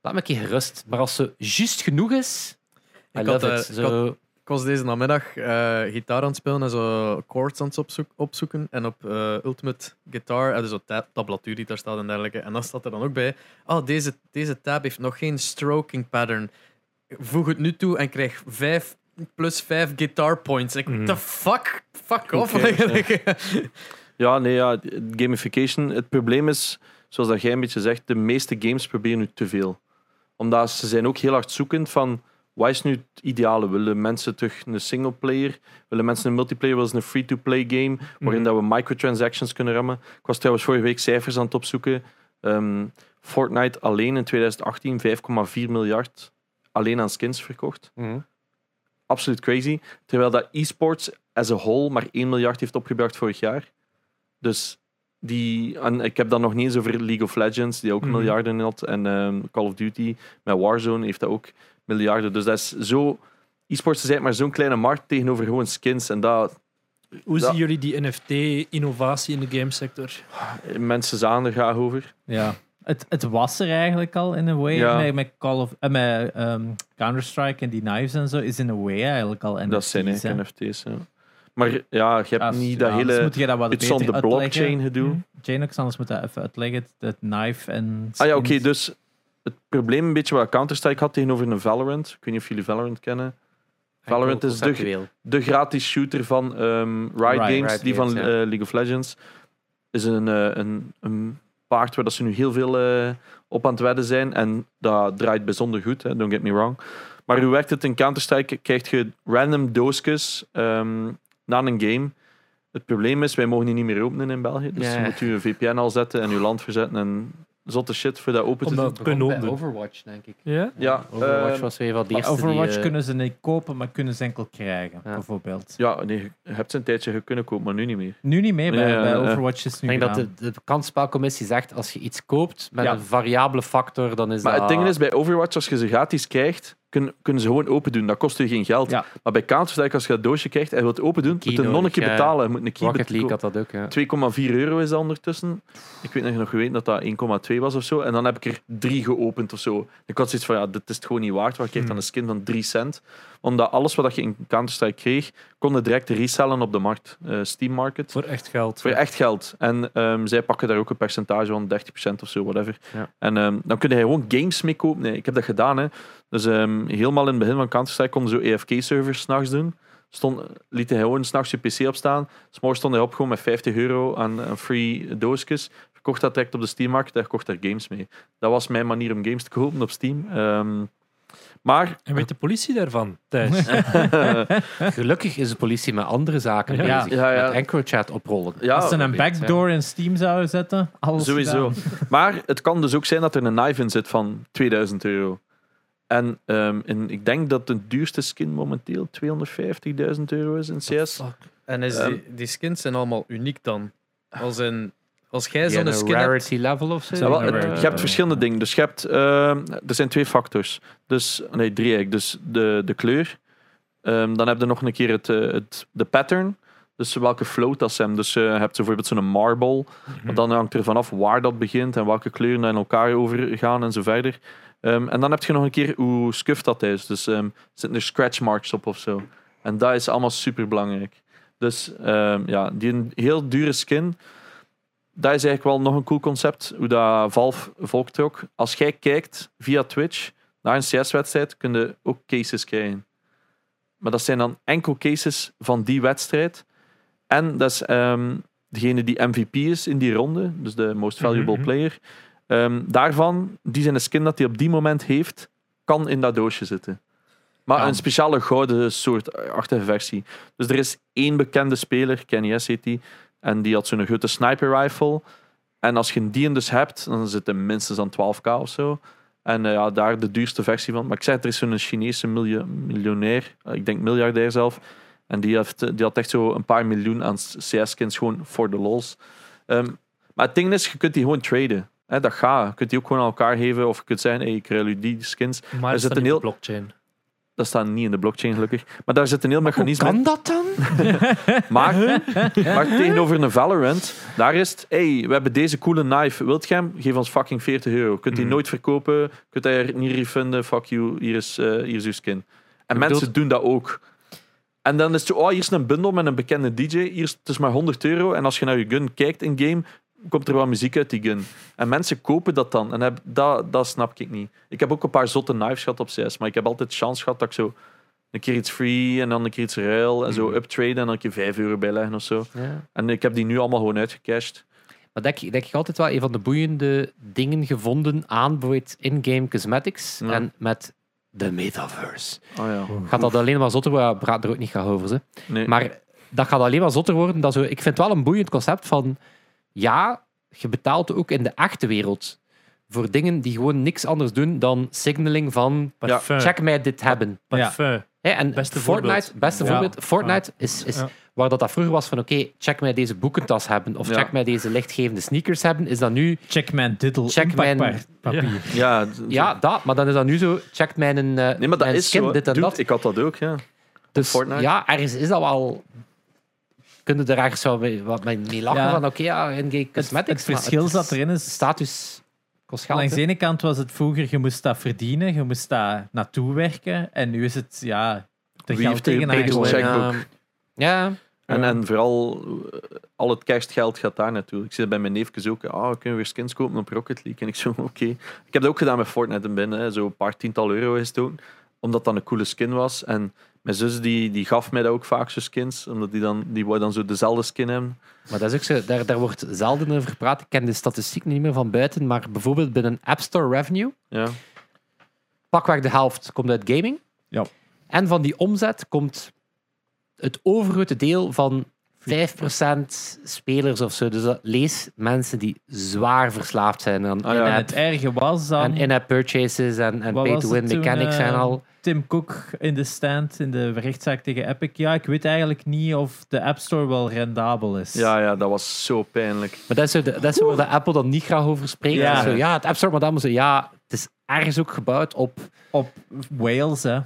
S1: laat me een keer gerust. Maar als ze juist genoeg is, I
S4: Ik
S1: love
S4: had,
S1: it.
S4: eh,
S1: Zo,
S4: Ik was deze namiddag eh, gitaar aan het spelen en zo chords aan het opzoek- opzoeken. En op eh, Ultimate Guitar eh, hadden zo tab tablatuur die daar staat en dergelijke. En dan staat er dan ook bij, ah, deze, deze tab heeft nog geen stroking pattern. Voeg het nu toe en krijg 5 plus 5 guitar points. Ik,
S2: Mhm.
S4: the fuck? Fuck
S3: Who
S4: off.
S3: cares,
S4: eigenlijk.
S3: Ja, nee, ja, gamification. Het probleem is, zoals dat jij een beetje zegt, de meeste games proberen nu te veel. Omdat ze zijn ook heel hard zoekend van, wat is nu het ideale? Willen mensen terug een singleplayer? Willen mensen een multiplayer? Willen ze een free-to-play game? Waarin dat
S2: Mhm.
S3: we microtransactions kunnen rammen? Ik was trouwens vorige week cijfers aan het opzoeken. Ehm, Fortnite alleen in 2018 5,4 miljard alleen aan skins verkocht. Absoluut crazy. Terwijl dat e-sports as a whole maar 1 miljard heeft opgebracht vorig jaar. Dus die, en ik heb dan nog niet eens over League of Legends, die ook
S2: Mhm.
S3: miljarden had. En ehm, Call of Duty met Warzone heeft dat ook miljarden. Dus dat is zo. E-sports is eigenlijk maar zo'n kleine markt tegenover gewoon skins. En dat
S2: Hoe
S3: Ja.
S2: zien jullie die NFT-innovatie in de gamesector?
S3: eh, mensen zagen er graag over.
S5: Ja. Het, het was er eigenlijk al in een way.
S3: Ja.
S5: Met, met, Call of, eh, met ehm, Counter-Strike en die knives en zo is in een way eigenlijk al.
S3: En dat zijn
S5: NFT's, hè.
S3: eigenlijk NFT's. Ja. Maar ja, je hebt
S5: Als-
S3: niet dat
S5: ja, anders
S3: hele
S5: moet je dat wat
S3: iets
S5: beter
S3: van de
S5: uitleggen.
S3: blockchain gedoe.
S5: Janox, anders moet dat even uitleggen. Dat knife en.
S3: Ah ja, oké,
S5: skins.
S3: dus het probleem een beetje wat Counter-Strike had tegenover een Valorant. Ik weet niet of jullie Valorant kennen. Valorant is de, de gratis shooter van ehm, Riot Games,
S4: Riot
S3: die
S4: Games,
S3: van eh,
S4: ja.
S3: League of Legends. Is een, eh, een, een paard waar dat ze nu heel veel eh, op aan het wedden zijn. En dat draait bijzonder goed, hè, don't get me wrong. Maar hoe werkt het in Counter-Strike? Krijg je random doosjes ehm, na een game. Het probleem is, wij mogen die niet meer openen in België. Dus
S4: Ja.
S3: je moet je een VPN al zetten en je land verzetten. En zotte shit voor dat open te
S2: Omdat-
S3: doen.
S2: Dat kunnen we ook doen.
S1: Overwatch, denk ik.
S2: Ja?
S3: Ja,
S1: Overwatch
S3: eh,
S1: was weer van de
S5: Maar
S1: eerste
S5: Overwatch
S1: die, eh,
S5: kunnen ze niet kopen, maar kunnen ze enkel krijgen,
S1: Ja.
S5: bijvoorbeeld.
S3: Ja, nee, je hebt ze een tijdje kunnen kopen, maar nu niet meer.
S5: Nu niet mee, bij,
S3: Ja, ja,
S5: bij
S3: ja.
S5: Overwatch is nu
S1: Ik denk dat
S5: gedaan.
S1: de, de kansspelcommissie zegt, als je iets koopt met
S5: Ja.
S1: een variabele factor, dan is
S3: Maar
S1: dat...
S3: het ding is, bij Overwatch, als je ze gratis krijgt, kun- kunnen ze gewoon open doen. Dat kost je geen geld.
S5: Ja.
S3: Maar bij Counter-Strike, als je dat doosje krijgt en je wilt open doen,
S1: Key
S3: moet je nog een
S1: nodig,
S3: keer
S1: ja.
S3: betalen. Je moet een key
S1: Rocket League
S3: betalen.
S1: had dat ook, ja.
S3: 2,4 euro is dat ondertussen. Ik weet nog- nog geweten dat dat 1,2 was of zo. En dan heb ik er drie geopend of zo. Ik had zoiets van, ja, dit is het gewoon niet waard. Want je
S1: Hmm.
S3: krijgt dan een skin van 3 cent. Omdat alles wat je in Counter-Strike kreeg, kon je direct resellen op de markt. eh, Steam Market.
S2: Voor echt geld.
S3: Voor echt geld. En ehm, zij pakken daar ook een percentage van 30% of zo, whatever.
S1: Ja.
S3: En ehm, dan kun je gewoon games mee kopen. Nee, ik heb dat gedaan. Hè. Dus ehm, helemaal in het begin van Counter-Strike konden zo EFK-servers s'nachts doen. Stond, liet hij gewoon s'nachts je PC opstaan. S'morgens stond hij op gewoon met 50 euro aan, aan free doosjes. Verkocht dat direct op de Steam Market en kocht daar games mee. Dat was mijn manier om games te kopen op Steam. Ehm, maar
S2: En weet de politie daarvan, Thijs?
S1: Gelukkig is de politie met andere zaken
S2: Ja.
S1: bezig.
S3: Ja, ja.
S1: Met EncroChat oprollen.
S3: ja,
S5: Als ze
S1: weet
S5: een
S1: ik,
S5: backdoor in Steam zouden zetten, alles
S3: Ah, Sowieso.
S5: gedaan.
S3: Maar het kan dus ook zijn dat er een knife in zit van 2000 euro. En, ehm, en ik denk dat de duurste skin momenteel 250.000 euro is in CS.
S2: Fuck.
S4: En is
S3: Ehm.
S4: die, die skins zijn allemaal uniek dan. Als, in, als jij
S1: Die
S4: zo'n
S1: een
S4: skin hebt...
S1: rarity level of zo.
S3: Ja, wel, het-
S1: Een
S3: je
S1: rarity
S3: hebt
S1: level.
S3: verschillende dingen. Dus je hebt, ehm, er zijn twee factors. Dus, nee, drie eigenlijk. Dus de, de kleur. Ehm, dan heb je nog een keer het, eh, het, de pattern. Dus welke float dat zijn. Dus eh, je hebt zo bijvoorbeeld zo'n marble.
S2: Mhm.
S3: Want dan hangt er vanaf waar dat begint en welke kleuren daar in elkaar overgaan en zo verder. Ehm, en dan heb je nog een keer hoe scuff dat is. Dus ehm zitten er scratch marks op of zo. En dat is allemaal super belangrijk. Dus ehm, ja, die een heel dure skin. Dat is eigenlijk wel nog een cool concept, hoe dat Valve volk trok. Als jij kijkt via Twitch naar een CS-wedstrijd, kun je ook cases krijgen. Maar dat zijn dan enkel cases van die wedstrijd. En dat is ehm, degene die MVP is in die ronde, dus de most valuable
S2: Mhm, mhm.
S3: player. ehm, daarvan, die zijn de skin dat hij op die moment heeft, kan in dat doosje zitten. Maar
S1: Kan.
S3: een speciale gouden soort achtige versie. Dus er is één bekende speler, Kenny S heet die, en die had zo'n grote sniper rifle. En als je die dus hebt, dan zit hij minstens aan 12k of zo. En eh, ja, daar de duurste versie van. Maar ik zeg, er is zo'n Chinese miljo- miljonair, eh, ik denk miljardair zelf. En die, heeft, eh, die had echt zo een paar miljoen aan CS-skins gewoon voor de lols. Ehm, maar het ding is, je kunt die gewoon traden. Hè, dat gaat. Je kunt die ook gewoon aan elkaar geven. Of je kunt zeggen, hey, ik ruil u die skins.
S2: Maar
S3: Er
S2: is
S3: zit een
S2: dat niet
S3: heel-
S2: op blockchain?
S3: Dat staat niet in de blockchain, gelukkig. Maar daar zit een heel mechanisme in.
S1: Kan dat dan?
S3: Maar, maar tegenover een Valorant, daar is het, hey, we hebben deze coole knife, wilt jij hem? Geef ons fucking 40 euro. Kunt die
S2: Mhm.
S3: nooit verkopen, kunt hij er niet refunden, fuck you, hier is, eh, hier is uw skin. En
S1: bedoelt-
S3: mensen doen dat ook. En dan is het zo, oh, hier is een bundel met een bekende DJ. Hier is, het is maar 100 euro. En als je naar je gun kijkt in game, komt er wel muziek uit die gun. En mensen kopen dat dan. En heb, dat, dat snap ik niet. Ik heb ook een paar zotte knives gehad op CS. Maar ik heb altijd chance gehad dat ik zo een keer iets free en dan een keer iets ruil. En zo uptraden en dan een keer 5 euro bijleggen of zo.
S1: Ja.
S3: En ik heb die nu allemaal gewoon uitgecashed.
S1: Maar dat heb ik- dat heb ik altijd wel een van de boeiende dingen gevonden aan bijvoorbeeld in-game cosmetics
S3: Ja.
S1: en met de metaverse.
S3: Oh ja.
S1: Gaat dat alleen maar zotter worden? Ja, Praat er ook niet graag over. Ze.
S3: Nee.
S1: Maar dat gaat alleen maar zotter worden. Dat zo, ik vind het wel een boeiend concept van... Ja, je betaalt ook in de echte wereld voor dingen die gewoon niks anders doen dan signaling van...
S2: Parfum.
S1: Check mij dit hebben.
S2: Parfum. Mhm.
S1: Hè, en
S2: Beste
S1: Fortnite,
S2: voorbeeld.
S1: beste
S2: Ja.
S1: voorbeeld. Fortnite is, is
S2: Ja.
S1: waar dat, dat vroeger was van... Oké, check mij deze boekentas hebben. Of
S3: Ja.
S1: check mij deze lichtgevende sneakers hebben. Is dat nu...
S5: Check mijn diddle.
S1: Check mijn-
S5: papier.
S3: Ja,
S1: Ja, dat. Maar dan is dat nu zo... Check mijn, eh
S3: Nee, maar dat
S1: mijn
S3: is
S1: skin,
S3: zo.
S1: dit en
S3: Dude,
S1: dat.
S3: Ik had dat ook, ja.
S1: Dus
S3: Fortnite.
S1: ja, ergens is dat wel... Kunnen er ergens wel mee- wat mee mee lachen
S5: Ja.
S1: van... Oké, ja, in-game
S5: Het,
S1: cosmetics.
S5: het
S1: maar
S5: verschil
S1: het
S5: zat erin is...
S1: status kost geld.
S5: Langs
S1: hè.
S5: de ene kant was het vroeger, je moest dat verdienen, je moest daar naartoe werken. En nu is het, ja, er
S3: Wie
S5: geld
S3: heeft er een
S5: tegenaan
S3: biggest
S5: gegooid.
S3: check?
S1: Ja.
S3: checkbook.
S1: Ja,
S3: En, en vooral eh, al het kerstgeld gaat daar naartoe. Ik zit bij mijn neefjes ook. Ah, we kunnen weer skins kopen op Rocket League. En ik zo, oké. Ik heb dat ook gedaan met Fortnite en binnen. hè. Zo een paar tiental euro is het ook. Omdat dat een coole skin was. En mijn zus die, die gaf mij dat ook vaak, zo skins. Omdat die dan, die wou dan zo dezelfde skin hebben.
S1: Maar dat is ook zo, daar, daar wordt zelden over gepraat. Ik ken de statistiek niet meer van buiten, maar bijvoorbeeld binnen App Store Revenue,
S3: Ja.
S1: pakweg de helft komt uit gaming.
S5: Ja.
S1: En van die omzet komt het overgrote deel van 5% spelers of zo. Dus dat lees mensen die zwaar verslaafd zijn aan
S3: Ah, ja.
S5: En
S1: in-app
S5: het erge was dan...
S1: en in-app purchases en, en
S5: Wat was
S1: pay-to-win
S5: het toen,
S1: mechanics en
S5: eh,
S1: al.
S5: Tim Cook in de stand in de rechtszaak tegen Epic. Ja, ik weet eigenlijk niet of de App Store wel rendabel is.
S3: Ja, ja, dat was zo pijnlijk.
S1: Maar dat is, zo de, dat is zo waar de Apple dan niet graag over spreekt.
S5: Ja.
S1: Ja, zo, ja het App Store, maar dan moet zo, ja, het is ergens ook gebouwd op...
S5: Op Wales, hè.
S1: Ja,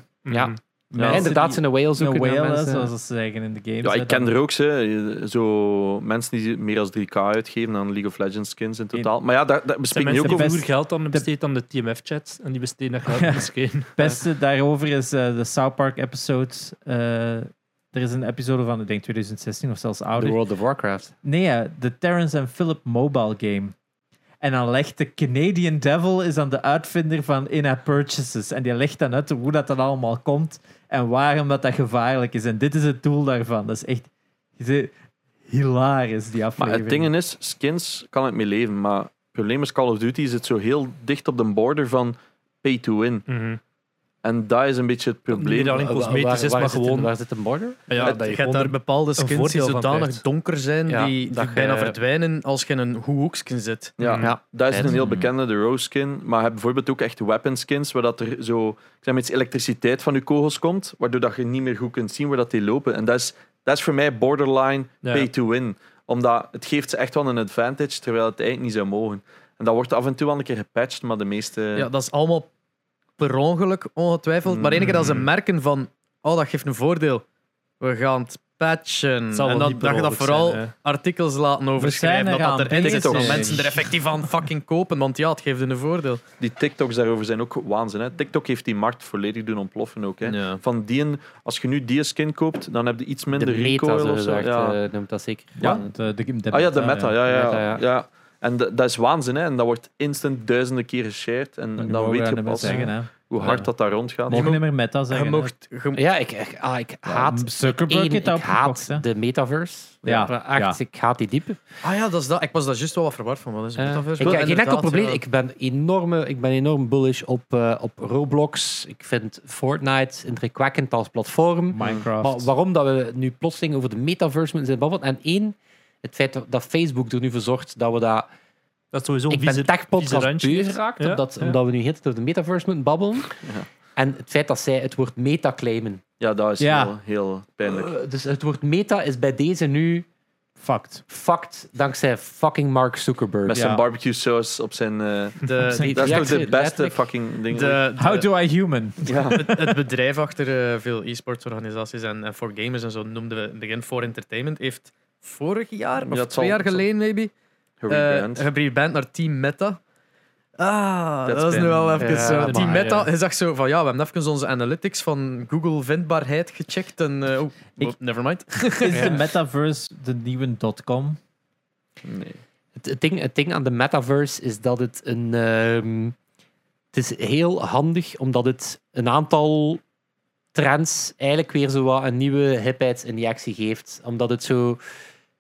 S5: Mensen
S1: inderdaad,
S5: die-
S1: in Wales ook.
S5: Een
S1: kunnen
S5: whale, hè,
S1: mensen-
S5: zoals ze zeggen in de games.
S3: Ja,
S5: hè,
S3: ik ken
S5: dan-
S3: er ook ze, zo mensen die meer dan 3k uitgeven aan League of Legends skins in totaal. Maar ja, daar, daar
S2: Zijn
S3: bespreek je
S2: mensen
S3: ook
S2: die
S3: over.
S5: best-
S2: vroeger geld aan besteed aan de Mhm. TMF-chat en die besteden dat geld
S5: Ja.
S2: misschien.
S5: Het beste daarover is eh, de South Park episode. eh, er is een episode van, ik denk 2016 of zelfs
S1: The
S5: ouder.
S1: World of Warcraft.
S5: Nee, hè, de Terrence en Philip mobile game. En dan legt de Canadian Devil is dan de uitvinder van in-app purchases. En die legt dan uit hoe dat dan allemaal komt en waarom dat, dat gevaarlijk is. En dit is het doel daarvan. Dat is echt je ziet- hilarisch, die
S3: Maar
S5: aflevering.
S3: het ding is, skins kan ik mee leven. Maar het probleem is, Call of Duty zit zo heel dicht op de border van pay to win. En dat is een beetje het probleem.
S2: Niet alleen
S1: Waar-
S2: cosmetisch is,
S1: waar
S2: maar
S1: het-
S2: gewoon...
S1: waar zit een border?
S2: Ja, dat
S4: je hebt
S2: je
S4: daar
S2: gewoon
S4: bepaalde skins die
S2: voordeel van
S4: zodanig
S2: krijgt.
S4: donker zijn,
S1: Ja,
S4: die,
S1: dat
S4: die
S1: je-
S4: bijna verdwijnen als je in een hoekje zit.
S3: Ja,
S2: Mhm.
S1: Ja.
S3: dat is een
S1: Mm.
S3: heel bekende, de Rose skin. Maar je hebt bijvoorbeeld ook echt weapon skins, waar dat er zo, ik zeg maar iets, elektriciteit van je kogels komt, waardoor dat je niet meer goed kunt zien waar dat die lopen. En dat is, dat is voor mij borderline
S2: Ja.
S3: pay to win. Omdat het geeft ze echt wel een advantage, terwijl het eigenlijk niet zou mogen. En dat wordt af en toe wel een keer gepatcht, maar de meeste...
S4: Ja, dat is allemaal per ongeluk, ongetwijfeld. Maar de enige dat ze
S2: Mm.
S4: merken van, oh, dat geeft een voordeel. We gaan het patchen.
S2: Het zal
S4: en
S2: wel
S4: dan
S2: niet
S4: dat je dat
S2: per ongeluk
S4: vooral
S2: zijn, hè.
S4: artikels laten overschrijven.
S5: zijn
S4: Dat dat
S5: eraan
S4: erin
S5: bezig,
S4: zit, dat
S3: zeg.
S4: mensen er effectief aan fucking kopen. Want ja, het geeft hun een voordeel.
S3: Die TikToks daarover zijn ook waanzin. Hè? TikTok heeft die markt volledig doen ontploffen ook. Hè?
S4: Ja.
S3: Van die, als je nu die skin koopt, dan heb je iets
S1: De
S3: minder
S1: meta,
S3: recoil
S1: zo
S3: of zo.
S1: gezegd,
S3: Ja.
S1: eh, noemt dat zeker.
S3: Ja.
S5: Want, eh, de, de
S3: ah ja, de meta, ja, ja, ja.
S1: Meta, ja.
S3: En d- dat is waanzin, hè? En dat wordt instant duizenden keer geshared. En
S5: Dan,
S3: dan weet je
S5: niet meer
S3: pas
S5: zeggen, hè.
S3: hoe hard dat daar rondgaat.
S5: Mogen niet meer meta
S4: Je
S5: zeggen. hè.
S4: mocht... je-
S1: Ja, ik, ik, ah, ik haat,
S5: Zuckerberg
S1: één,
S5: heeft
S1: ik
S5: dat opgekocht, hè.
S1: haat de metaverse.
S5: Ja,
S1: echt, ik haat die diepe.
S4: Ah ja, dat is dat. Ik was daar juist wel wat verward van. Wat is
S1: Eh,
S4: metaverse?
S1: ik
S4: Wel,
S1: heb geen enkel
S4: inderdaad,
S1: probleem.
S4: ja.
S1: Ik, ben enorme, ik ben enorm bullish op, eh, op Roblox. Ik vind Fortnite indrukwekkend als platform.
S5: Minecraft.
S1: Maar waarom dat we nu plotseling over de metaverse moeten zijn babbelen? En één, het feit dat- dat Facebook er nu voor zorgt dat we dat...
S2: Dat is sowieso een
S1: Ik ben
S2: vieze, vieze
S1: techpodcast
S2: randje.
S1: beu geraakt,
S2: Ja,
S1: omdat,
S2: ja.
S1: omdat we nu heel de tijd over de metaverse moeten babbelen. En het feit dat zij het woord meta claimen.
S3: Ja, dat is
S5: Ja.
S3: heel, heel pijnlijk.
S1: Uh, dus het woord meta is bij deze nu
S5: Fucked.
S1: fucked dankzij fucking Mark Zuckerberg.
S3: Met
S5: Ja.
S3: zijn barbecue saus op zijn... eh,
S4: De,
S5: zijn-
S3: dat is toch de
S1: Letterlijk-
S3: beste
S1: letterlijk.
S3: fucking ding.
S4: de, de-
S5: How do I human?
S3: ja.
S4: het, het bedrijf achter eh, veel e-sportsorganisaties en, en voor gamers en zo noemden we in het begin For Entertainment, heeft vorig jaar of
S3: Ja, het
S4: twee
S3: zal-
S4: jaar geleden, maybe,
S3: Rebrand.
S4: eh, gerebrand naar Team Meta. Ah, dat,
S3: That's
S4: is nu
S3: been-
S4: wel even
S1: Ja,
S4: zo. Die
S1: maar,
S4: meta,
S1: ja.
S4: hij zag zo van ja, we hebben even onze analytics van Google vindbaarheid gecheckt en eh, oh,
S5: Ik-
S4: nevermind.
S5: Is de metaverse de nieuwe dotcom?
S3: Nee.
S1: Het, het ding, het ding aan de metaverse is dat het een. ehm, het is heel handig omdat het een aantal trends eigenlijk weer zo wat een nieuwe hipheidsinjectie geeft. Omdat het zo.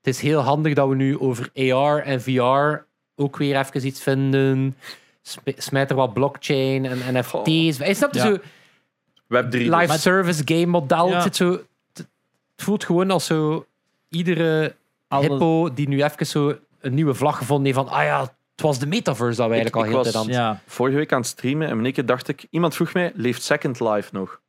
S1: Het is heel handig dat we nu over AR en VR ook weer even iets vinden. Sm- Smijt er wat blockchain en NFT's. Hij snapt
S5: Ja.
S1: zo.
S3: Web 3.
S1: Live
S5: Maar-
S1: service game model.
S5: Ja.
S1: Het, zit zo, het, het voelt gewoon als zo iedere
S5: Alle-
S1: hippo die nu even zo een nieuwe vlag gevonden heeft van ah ja, het was de metaverse dat we
S3: Ik-
S1: eigenlijk al
S3: ik
S1: heel de
S3: was-
S1: tijd aan het-
S5: Ja.
S3: Vorige week aan het streamen en in één keer dacht ik, iemand vroeg mij, leeft Second Life nog?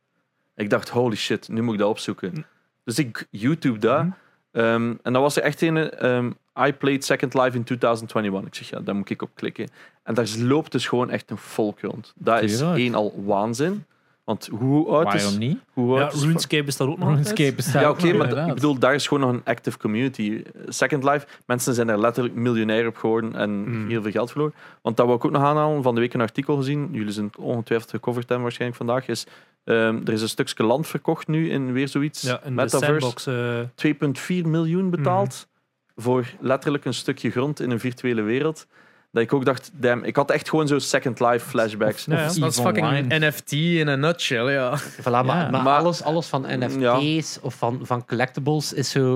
S3: Ik dacht, holy shit, nu moet ik dat
S5: Hm.
S3: opzoeken. Dus ik YouTube dat. Ehm, en dan was er echt een, ehm, I played Second Life in 2021. Ik zeg, ja, daar moet ik op klikken. En daar loopt dus gewoon echt een volk rond. Dat is
S5: Tuurlijk.
S3: één al waanzin. Want hoe oud Oh, is...
S5: Waarom niet?
S3: Hoe
S2: Ja,
S3: oud is
S2: RuneScape is daar ook nog
S5: RuneScape
S2: altijd.
S5: bestaat
S3: Ja,
S5: ook
S3: oké,
S5: nog,
S3: maar d-
S5: inderdaad.
S3: ik bedoel, daar is gewoon nog een active community. Second Life, mensen zijn er letterlijk miljonair op geworden en
S2: Mm.
S3: heel veel geld verloren. Want dat wil ik ook nog aanhalen, van de week een artikel gezien, jullie zijn het ongetwijfeld gecoverd hebben waarschijnlijk vandaag, is ehm, er is een stukje land verkocht nu in weer zoiets,
S2: Ja, in de
S3: Metaverse,
S2: sandbox. Hmm. eh,
S3: 2,4 miljoen betaald voor letterlijk een stukje grond in een virtuele wereld. Dat ik ook dacht, damn, ik had echt gewoon zo Second Life flashbacks.
S2: Ja, ja.
S5: Of
S4: Dat is
S5: Eve
S4: fucking
S5: Online.
S4: NFT in een nutshell, ja.
S1: Voilà, maar,
S5: Ja.
S1: maar
S3: Maar-
S1: alles, alles van NFT's of van, van collectibles is zo.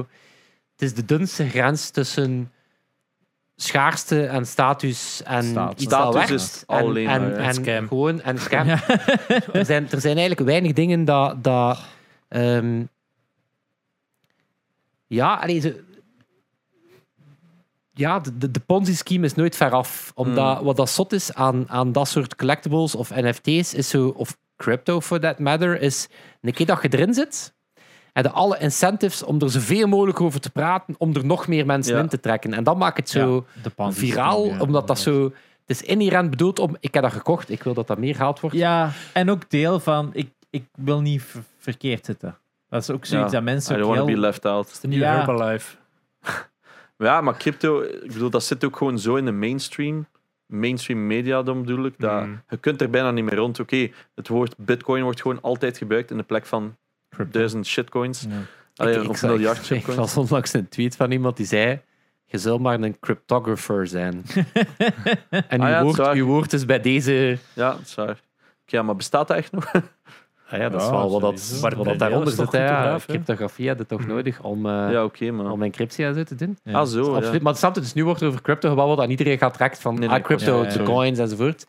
S1: Het is de dunste grens tussen schaarste en status en
S5: Status.
S1: iets dat
S3: Status
S1: werkt
S3: is
S1: en,
S3: alleen
S1: en,
S3: maar, ja.
S1: en,
S2: En scam.
S1: gewoon en scam.
S5: Ja.
S1: er, zijn, er zijn eigenlijk weinig dingen dat. dat ehm, ja, allee, ze- ja, de, de, de Ponzi-scheme is nooit veraf. Omdat wat dat zot is aan, aan dat soort collectibles of NFT's, is zo, of crypto for that matter, is een keer dat je erin zit, en de alle incentives om er zoveel mogelijk over te praten, om er nog meer mensen
S3: Ja.
S1: in te trekken. En dat maakt het zo
S5: Ja, de Ponzi
S1: viraal,
S5: scheme, ja,
S1: omdat dat zo... Het is inherent bedoeld om... Ik heb dat gekocht, ik wil dat dat meer gehaald wordt.
S5: Ja, en ook deel van ik, ik wil niet ver- verkeerd zitten. Dat is ook zoiets
S3: Ja,
S5: dat
S3: I
S5: mensen
S3: don't
S5: ook
S3: want to be
S5: heel...
S3: left out.
S2: de nieuwe
S5: Ja.
S2: Herbalife.
S3: Ja, maar crypto, ik bedoel, dat zit ook gewoon zo in de mainstream. Mainstream media, dan bedoel ik. Dat,
S2: Mm.
S3: Je kunt er bijna niet meer rond. Oké, het woord bitcoin wordt gewoon altijd gebruikt in de plek van duizend shitcoins.
S5: Ja.
S3: Allee,
S1: ik,
S3: of
S1: zag-
S3: miljard
S1: ik
S3: shitcoins.
S1: las onlangs een tweet van iemand die zei... Je zult maar een cryptographer zijn. en uw,
S3: Ah ja, het is
S1: woord,
S3: waar.
S1: uw woord is bij deze...
S3: Ja, dat is waar. Oké, ja, maar bestaat dat echt nog?
S1: Ah ja, dat is
S2: Ja,
S1: wel wat
S2: sowieso.
S1: dat,
S2: Maar
S1: wat
S2: bij
S1: dat daaronder
S2: Nederland
S1: zit.
S2: is toch
S1: hè. Ja,
S2: cryptograaf, hè?
S1: cryptografie had het toch nodig om, eh,
S3: ja, oké, maar.
S1: om encryptie en zo te doen?
S5: Ja.
S3: Ah, zo. Ja.
S1: Absoluut. Maar het snap het, dus nu wordt er over crypto gebabbeld en iedereen gaat direct van
S3: Nee, nee,
S1: ah, crypto,
S5: ja, ja,
S1: de
S5: ja.
S1: coins enzovoort.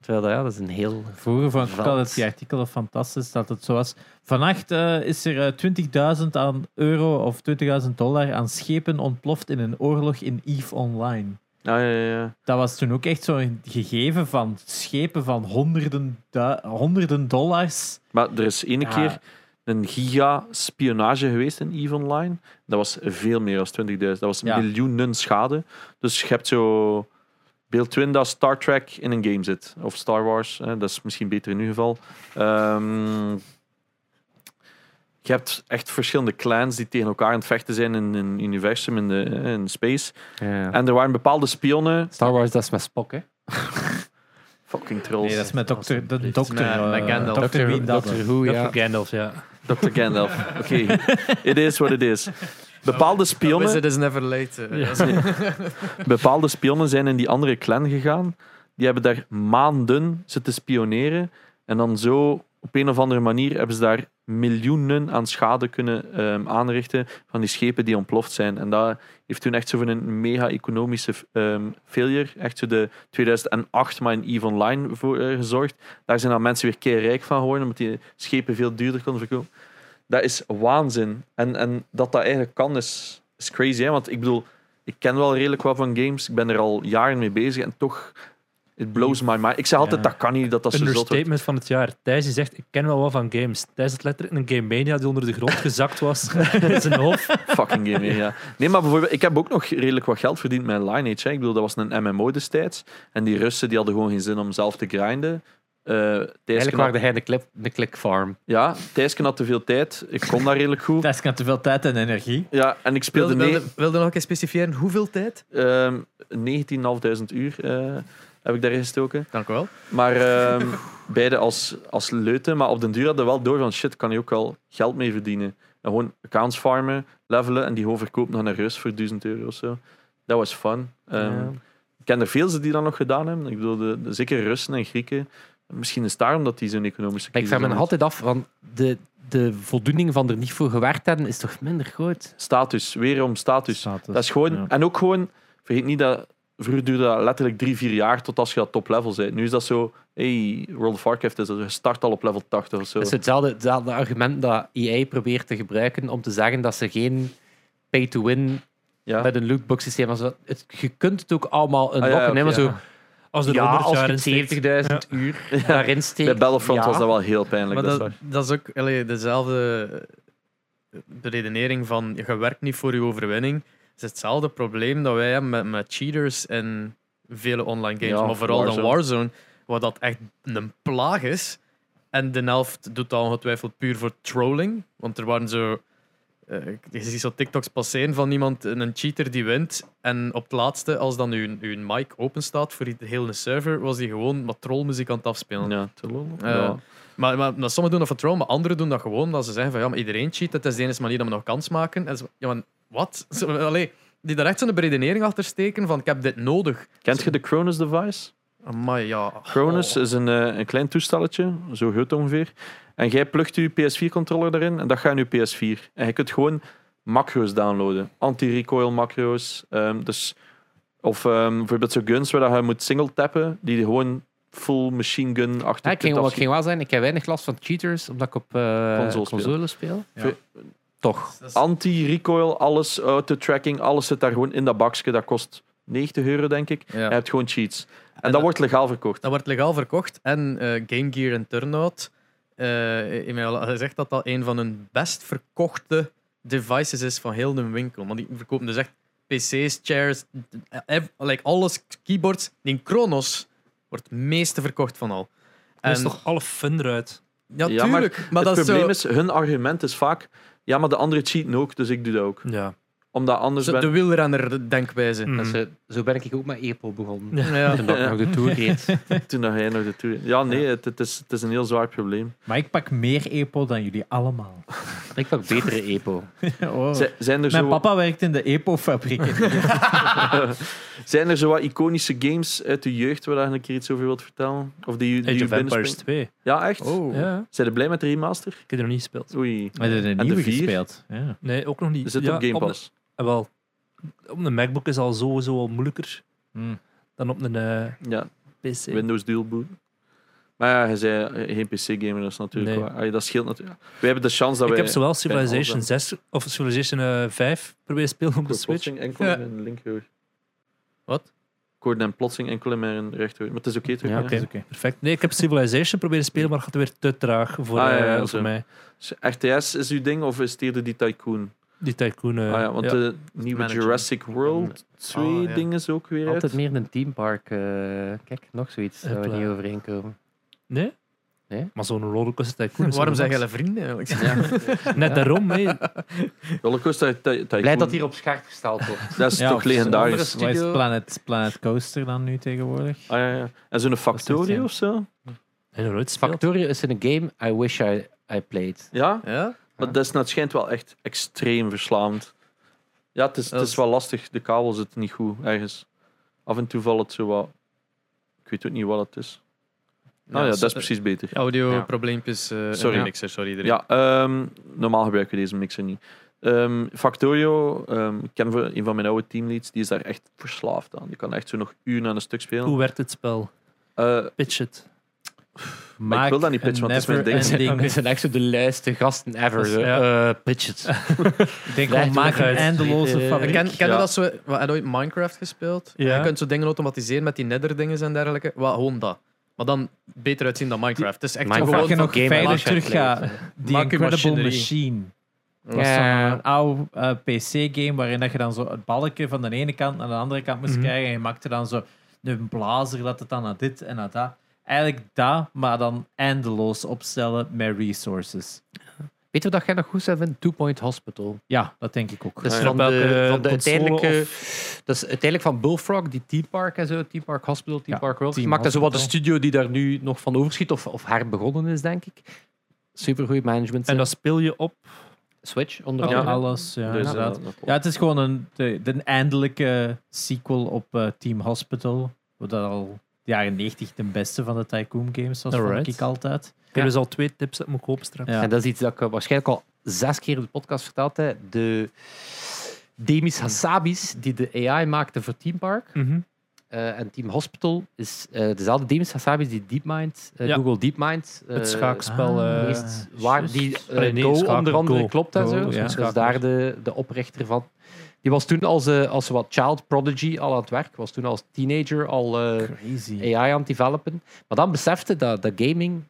S1: Terwijl dat, ja, dat is een heel...
S5: Vroeger vond ik
S1: Veld.
S5: altijd die artikelen fantastisch dat het zo was. Vannacht eh, is er eh, 20.000 aan euro of 20.000 dollar aan schepen ontploft in een oorlog in EVE Online.
S3: Ah, ja, ja, ja.
S5: Dat was toen ook echt zo'n gegeven van schepen van honderden, du- honderden dollars.
S3: Maar er is ene
S5: Ja.
S3: keer een giga-spionage geweest in EVE Online. Dat was veel meer dan 20.000. Dat was
S5: Ja.
S3: miljoenen schade. Dus je hebt zo... Beeld 20 dat Star Trek in een game zit. Of Star Wars. Hè. Dat is misschien beter in uw geval. Ehm, je hebt echt verschillende clans die tegen elkaar aan het vechten zijn in een universum, in, de, in space.
S1: Ja.
S3: En er waren bepaalde spionnen...
S1: Star Wars, dat is met Spock, hè?
S3: Fucking trolls.
S5: Nee, dat is met dokter, de
S2: Met-
S5: dokter,
S4: met
S5: eh,
S4: Gandalf.
S5: dokter Wie dat
S1: Doctor Who,
S2: Ja.
S1: ja.
S2: Gandalf, ja.
S3: Dr. Gandalf. Oké, it is what it is. Bepaalde spionnen...
S4: It is never late. eh.
S3: bepaalde spionnen zijn in die andere clan gegaan. Die hebben daar maanden zitten spioneren. En dan zo, op een of andere manier, hebben ze daar miljoenen aan schade kunnen ehm, aanrichten van die schepen die ontploft zijn. En dat heeft toen echt zo van een mega-economische ehm, failure, echt zo de 2008 maar in EVE Online voor eh, gezorgd. Daar zijn dan mensen weer keer rijk van geworden, omdat die schepen veel duurder konden verkopen. Dat is waanzin. En, en dat dat eigenlijk kan, is, is crazy. Hè? Want ik bedoel, ik ken wel redelijk wat van games. Ik ben er al jaren mee bezig en toch. It blows my mind. Ik zeg altijd,
S5: Ja.
S3: dat kan niet, dat dat zo zot wordt.
S2: Understatement van het jaar. Thijs die zegt, ik ken wel wat van games. Thijs had letterlijk een Game Mania die onder de grond gezakt was. in zijn hoofd.
S3: Fucking game, ja. Nee, maar bijvoorbeeld, ik heb ook nog redelijk wat geld verdiend met Lineage. Hè. Ik bedoel, dat was een MMO destijds. En die Russen die hadden gewoon geen zin om zelf te grinden. Eh, Thijsken
S1: Eigenlijk
S3: had-
S1: waren hij de, clip, de click farm.
S3: Ja, Thijsken had te veel tijd. Ik kon daar redelijk goed.
S5: Thijs kan te veel tijd en energie.
S3: Ja, en ik speelde
S4: Wilde,
S3: nee,
S4: wilde, wilde nog eens specifiëren hoeveel tijd?
S3: ehm, 19.500 uur. eh. heb ik daar gestoken.
S4: Dank u wel.
S3: Maar ehm, beide als, als leuten. Maar op den duur hadden we wel door van shit, kan je ook wel geld mee verdienen. En gewoon accounts farmen, levelen en die gewoon verkopen naar een rust voor 1000 euro of zo. Dat was fun. Ehm,
S5: Ja.
S3: Ik ken er veel die dat nog gedaan hebben. Ik bedoel, de, de- zeker Russen en Grieken. Misschien is het daarom dat die zo'n economische
S1: Maar ik
S3: crisis
S1: vraag me nog
S3: hebben.
S1: altijd af, want de, de voldoening van er niet voor gewerkt hebben is toch minder groot?
S3: Status, weer om status. Dat is gewoon,
S5: Ja.
S3: En ook gewoon, vergeet niet dat vroeger duurde dat letterlijk drie, vier jaar tot als je dat top-level bent. Nu is dat zo, hey, World of Warcraft is dat, je start al op level 80 of zo.
S1: Dat is hetzelfde, hetzelfde argument dat EA probeert te gebruiken om te zeggen dat ze geen pay-to-win
S3: ja. Ah,
S1: met een lootbox systeem hebben. Zo, het- Je kunt het ook allemaal
S3: ja,
S1: unlocken, hè, maar
S3: oké,
S1: zo,
S3: ja.
S2: Als er
S1: ja,
S2: 100
S1: als
S2: jaar
S1: je
S2: in steekt.
S1: 70.000 uur
S3: Ja.
S1: daarin steekt...
S3: Bij Battlefront
S1: ja.
S3: was dat wel heel pijnlijk.
S4: Maar
S3: dat is
S4: dat,
S3: waar.
S4: dat is ook allee, dezelfde eh, redenering van je werkt niet voor je overwinning. Het is hetzelfde probleem dat wij hebben met, met cheaters en vele online games,
S3: Ja,
S4: maar vooral dan
S3: Warzone.
S4: Warzone, waar dat echt een plaag is. En de helft doet dat ongetwijfeld puur voor trolling, want er waren zo. eh, je ziet zo TikToks passeren van iemand, een cheater die wint. En op het laatste, als dan uw, uw mic open staat voor de hele server, was die gewoon wat trollmuziek aan het afspelen.
S3: Ja, te lol.
S4: Eh,
S3: Ja.
S4: Maar, maar, maar sommigen doen dat voor troll, maar anderen doen dat gewoon omdat ze zeggen van ja, maar iedereen cheat, het is de enige manier dat we nog kans maken. En ze- ja, maar wat? Zo, Allee, die daar echt zo'n beredenering achter steken van ik heb dit nodig.
S3: Kent je de Cronus device?
S4: Maar ja.
S3: Cronus
S4: oh.
S3: is een, eh, een klein toestelletje, zo groot ongeveer. En jij plugt je PS4-controller erin en dat gaat in je PS4. En je kunt gewoon macro's downloaden. Anti-recoil macro's. ehm, dus, of ehm, bijvoorbeeld zo'n guns waar dat je moet single tappen, die gewoon full machine gun achter
S1: Ja, Ah, ik, ging wel, ik ging wel zijn, ik heb weinig last van cheaters, omdat ik op eh
S3: Console
S1: console,
S3: speel.
S1: speel.
S3: Ja.
S1: Toch.
S3: Anti-recoil, alles, auto-tracking, alles zit daar gewoon in dat bakje. Dat kost 90 euro, denk ik.
S4: Ja.
S3: En je hebt gewoon cheats. En, dat,
S4: dat-
S3: wordt legaal verkocht.
S4: Dat wordt legaal verkocht en eh, Game Gear en Turnout. eh in mij al gezegd dat dat een van hun best verkochte devices is van heel de winkel. Want die verkopen dus echt PC's, chairs, eh, ev- like alles, keyboards. Die Kronos wordt het meeste verkocht van al.
S2: Dat is toch alle fun eruit.
S4: Ja,
S3: Ja, maar
S4: tuurlijk. maar
S3: het
S4: dat is
S3: probleem
S4: zo,
S3: is, hun argument is vaak... Ja, maar de anderen cheaten ook, dus ik doe dat ook.
S2: Ja.
S3: Omdat anders
S4: zo
S3: ben-
S4: de wielrenner-denkwijze.
S2: Mm.
S1: Dus, eh, zo ben ik ook met Epo begonnen.
S4: Ja.
S1: Toen dat ik nog de Tour reed.
S3: toen dat jij naar de tour... Ja, nee, Het, het is, het is een heel zwaar probleem.
S5: Maar ik pak meer EPO dan jullie allemaal.
S1: Ik pak betere Epo.
S5: Oh.
S3: Z- zijn, er
S5: Mijn
S3: zo,
S5: papa werkt in de EPO-fabriek.
S3: zijn er zo wat iconische games uit de jeugd waar je een keer iets over wilt vertellen? Of die, die
S2: Age
S3: je
S2: of Empires
S3: binnenspringt?
S2: 2.
S3: Ja, echt?
S4: Oh.
S2: Ja, ik
S3: Zijn je blij met de remaster?
S2: heb er nog niet gespeeld.
S3: Oei.
S5: We hebben er
S3: de
S5: een nieuwe
S3: vier?
S5: gespeeld. Ja.
S2: Nee, ook nog niet.
S3: Is het
S2: Ja,
S3: op Game
S2: de-
S3: Pass?
S2: eh, wel, op een MacBook is al sowieso al moeilijker
S5: Mm.
S2: dan op een eh,
S3: Ja,
S2: PC.
S3: Windows Dual Boot. Maar ja, je zei eh, geen PC-gamer, dat is natuurlijk
S2: Nee.
S3: waar. Allee, dat scheelt natuurlijk. We hebben de chance dat
S2: ik
S3: wij...
S2: heb zowel Civilization
S3: alles
S2: 6 of Civilization eh, 5 proberen te spelen op de
S3: Koorden
S2: Switch.
S3: plotseling enkel
S4: Ja.
S3: in mijn linkerhoor.
S4: Wat?
S3: Koorden en plotsing enkel in mijn rechterhoor. Maar het is oké terug.
S2: Ja,
S3: hè?
S2: oké. Perfect. Nee, ik heb Civilization proberen te spelen, maar het gaat weer te traag voor,
S3: Ah, ja,
S2: eh,
S3: ja,
S2: voor
S3: zo.
S2: mij.
S3: Dus RTS is uw ding of is het eerder die Tycoon?
S2: Die tycoon. eh,
S3: ah ja, want
S2: ja.
S3: de nieuwe
S4: manager.
S3: Jurassic World 2
S4: ja.
S3: ding is ook weer uit.
S1: Altijd meer een teampark. eh kijk, nog zoiets waar we
S2: Hupla.
S1: niet overheen komen.
S2: Nee?
S1: Nee?
S2: Maar zo'n rollercoaster tycoon. is
S4: Waarom
S2: wel
S4: zijn
S2: max.
S4: jullie vrienden eigenlijk?
S2: Net daarom, hè.
S3: Rollercoaster Ty- Tycoon.
S1: Blij dat hier op scherp gesteld wordt.
S3: Dat is
S5: Ja,
S3: toch
S5: of zo'n
S3: legendarisch.
S1: andere
S5: Wat is
S1: Studio.
S5: Planet, Planet Coaster dan nu tegenwoordig?
S3: Ah, ja, ja. En zo'n
S5: echt,
S3: Factorio
S5: ja.
S3: of zo?
S2: En nog nooit gespeeld.
S1: Factorio is in een game I wish I, I played.
S3: Ja?
S4: Ja?
S3: Maar dat is, nou, het schijnt wel echt extreem verslaand. Ja, het is, het
S4: Dat
S3: is
S4: is-
S3: wel lastig. De kabel zit niet goed ergens. Af en toe valt het zo wat... Ik weet ook niet wat het is. Nou ja, dat is precies beter.
S4: Audio-probleempjes. eh,
S3: Sorry.
S4: en mixer, sorry iedereen.
S3: Ja, ehm, normaal gebruiken we deze mixer niet. Ehm, Factorio, ehm, ik ken van- een van mijn oude teamleads, die is daar echt verslaafd aan. Die kan echt zo nog uren aan een stuk spelen.
S2: Hoe werkt het spel?
S3: Eh,
S2: Pitch it.
S3: Maar ik wil dat niet pitchen, want het is mijn ding.
S5: never-ending-
S1: Dat zijn echt zo de luiste gasten ever.
S2: Dat is-
S1: zo.
S2: ja.
S1: Eh, pitch it.
S5: Ik denk
S1: Leg
S5: gewoon,
S1: het
S5: maak een
S1: uit.
S5: eindeloze
S1: Eh,
S5: fabriek.
S4: Ken, ken je
S3: Ja.
S4: dat zo? Wat, heb je ooit Minecraft gespeeld?
S2: Ja.
S4: Je kunt zo dingen automatiseren met die nether-dingen en dergelijke. Wat, gewoon dat. Maar dan beter uitzien dan Minecraft. Het is echt
S1: Minecraft
S5: Of
S4: gewoon
S5: je
S4: van...
S5: nog
S1: game
S5: verder
S1: maak je
S5: terug gaat.
S1: leuk,
S5: Die
S4: Maak je
S5: Incredible
S4: machinerie.
S5: Machine. Dat was
S1: Ja.
S5: zo'n eh, oude PC-game waarin dat je dan zo het balkje van de ene kant naar de andere kant moest
S2: Mhm.
S5: krijgen. En je maakte dan zo een blazer dat het dan naar dit en naar dat. Eigenlijk dat, maar dan eindeloos opstellen met resources.
S1: Weet je wat jij nog goed zou vinden? Two Point Hospital.
S5: Ja, dat denk ik ook.
S1: Dat is
S3: Ja, ja.
S1: van
S2: Op welke
S1: de, van de
S2: console
S1: uiteindelijke... Dat is uiteindelijk van Bullfrog, die Theme Park en zo, Theme Park Hospital, Theme
S5: Ja,
S1: Park World.
S5: Theme
S1: gemaakt. Dat is wat de
S5: Hospital.
S1: studio die daar nu nog van overschiet of, of herbegonnen is, denk ik. Supergoed management.
S2: En dat speel je op.
S1: Switch, onder
S5: Op
S1: andere.
S5: alles, ja,
S3: Dus, eh,
S5: inderdaad.
S3: dat-
S5: Ja, het is gewoon een, de, de eindelijke sequel op eh, Team Hospital. Wat dat al de jaren 90 de beste van de Tycoon games was, vond
S2: Alright.
S5: ik altijd.
S2: Ik heb dus al twee tips dat moet kopen straks.
S5: Ja.
S1: En dat is iets dat ik eh, waarschijnlijk al zes keer in de podcast verteld heb. De Demis Hassabis, die de AI maakte voor Team Park
S2: Mhm.
S1: eh, en Team Hospital, is eh, dezelfde Demis Hassabis die DeepMind, eh,
S2: Ja.
S1: Google DeepMind... eh,
S2: Het schaakspel.
S5: ah,
S2: eh,
S1: meest waar, die eh,
S2: Allee, nee,
S1: Go
S2: schakel,
S1: onder andere
S2: Go.
S1: klopt en
S2: Go,
S1: zo.
S2: ja.
S1: Dus dat is
S2: Schakelaar.
S1: daar de, de oprichter van. Die was toen als, eh, als wat child prodigy al aan het werk. Was toen als teenager al eh,
S5: Crazy.
S1: AI aan het developen. Maar dan besefte dat, dat gaming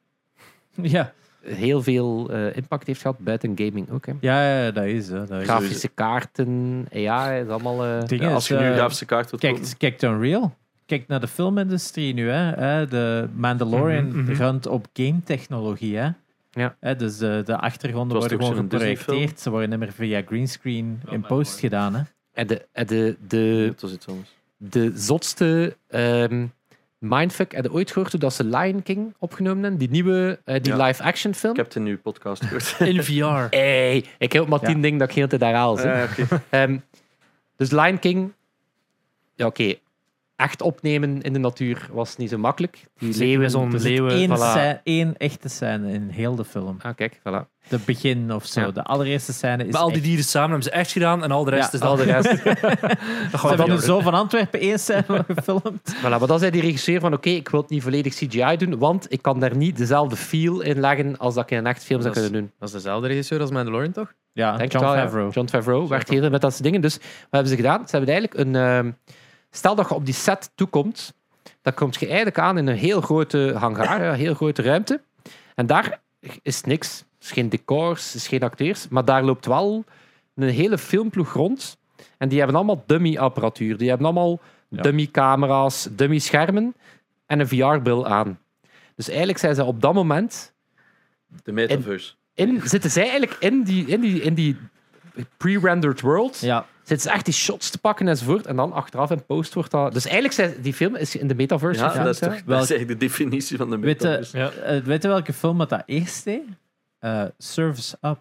S5: Ja,
S1: heel veel eh, impact heeft gehad buiten gaming ook. Hè.
S5: ja, ja, dat is hè, dat is.
S3: Gaaf.
S1: Grafische kaarten, AI, is allemaal... eh,
S5: Het ding
S3: Ja,
S5: is,
S3: als je nu
S5: eh,
S3: grafische kaart wilt kopen.
S5: Kijk, kijk Unreal. Kijk naar de filmindustrie nu. Hè. Hè, De Mandalorian
S2: Mhm, mhm.
S5: runt op game-technologie. Hè.
S1: Ja.
S5: Hè, dus de, de achtergronden
S3: Het was
S5: worden
S3: toch
S5: gewoon
S3: zo'n Disney-film?
S5: geprojecteerd. Ze worden niet meer via greenscreen in post gedaan. Hè.
S1: en de, en de,
S5: eh,
S1: de,
S3: Dat was iets anders.
S1: de zotste ehm, mindfuck. Heb je ooit gehoord hoe dat ze Lion King opgenomen hebben? Die nieuwe, eh, die
S3: Ja.
S1: live-action film?
S3: Ik heb het in uw podcast gehoord.
S2: In VR.
S1: Hey, ik heb maar
S5: Ja.
S1: tien dingen dat ik heel de tijd herhaal. zeg.
S3: Eh, oké.
S1: Ehm, dus Lion King, ja oké, echt opnemen in de natuur was niet zo makkelijk. Die leeuwen,
S2: zo'n
S1: er zit
S2: leeuwen,
S1: één
S5: Eén,
S1: scène-
S5: scè- één echte scène in heel de film.
S1: Ah kijk, voilà.
S5: De begin of zo.
S1: Ja.
S5: De allereerste scène is.
S2: Maar al die
S5: echt-
S2: dieren samen hebben ze echt gedaan en al de rest
S5: Ja,
S2: is
S1: Al
S2: dan.
S1: de rest.
S5: Ze
S2: Dat gaat
S5: hebben
S2: wel
S5: er zo van Antwerpen één scène gefilmd.
S1: voilà, maar dan zei die regisseur van oké, ik wil het niet volledig CGI doen, want ik kan daar niet dezelfde feel in leggen als dat ik in een echt film zou
S4: Dat is-
S1: kunnen doen.
S4: Dat is dezelfde regisseur als Mandalorian, toch?
S5: Ja,
S1: Denk
S5: John
S1: het wel, ja.
S5: Favreau.
S1: John Favreau werkt heel veel met dat soort dingen. Dus wat hebben ze gedaan? Ze hebben eigenlijk een... ehm, stel dat je op die set toekomt, dan kom je eigenlijk aan in een heel grote hangar, een heel grote ruimte. En daar is niks. is geen decors, is geen acteurs. Maar daar loopt wel een hele filmploeg rond. En die hebben allemaal dummy-apparatuur. Die hebben allemaal
S5: Ja.
S1: dummy-camera's, dummy-schermen en een VR-bril aan. Dus eigenlijk zijn ze op dat moment
S3: De metaverse.
S1: in, zitten zij eigenlijk in die, in die, in die pre-rendered world.
S5: Ja,
S1: Zitten ze echt die shots te pakken enzovoort. En dan achteraf in post wordt dat. Dus eigenlijk zijn die film is in de metaverse.
S3: Ja,
S1: gefilmd,
S3: dat is
S1: hè?
S3: toch dat
S5: Welk-
S3: is eigenlijk de definitie van de
S5: Weet, eh,
S3: metaverse.
S2: dus- Ja.
S5: Eh, weet je welke film dat, dat eerst deed? Eh, Surf's Up.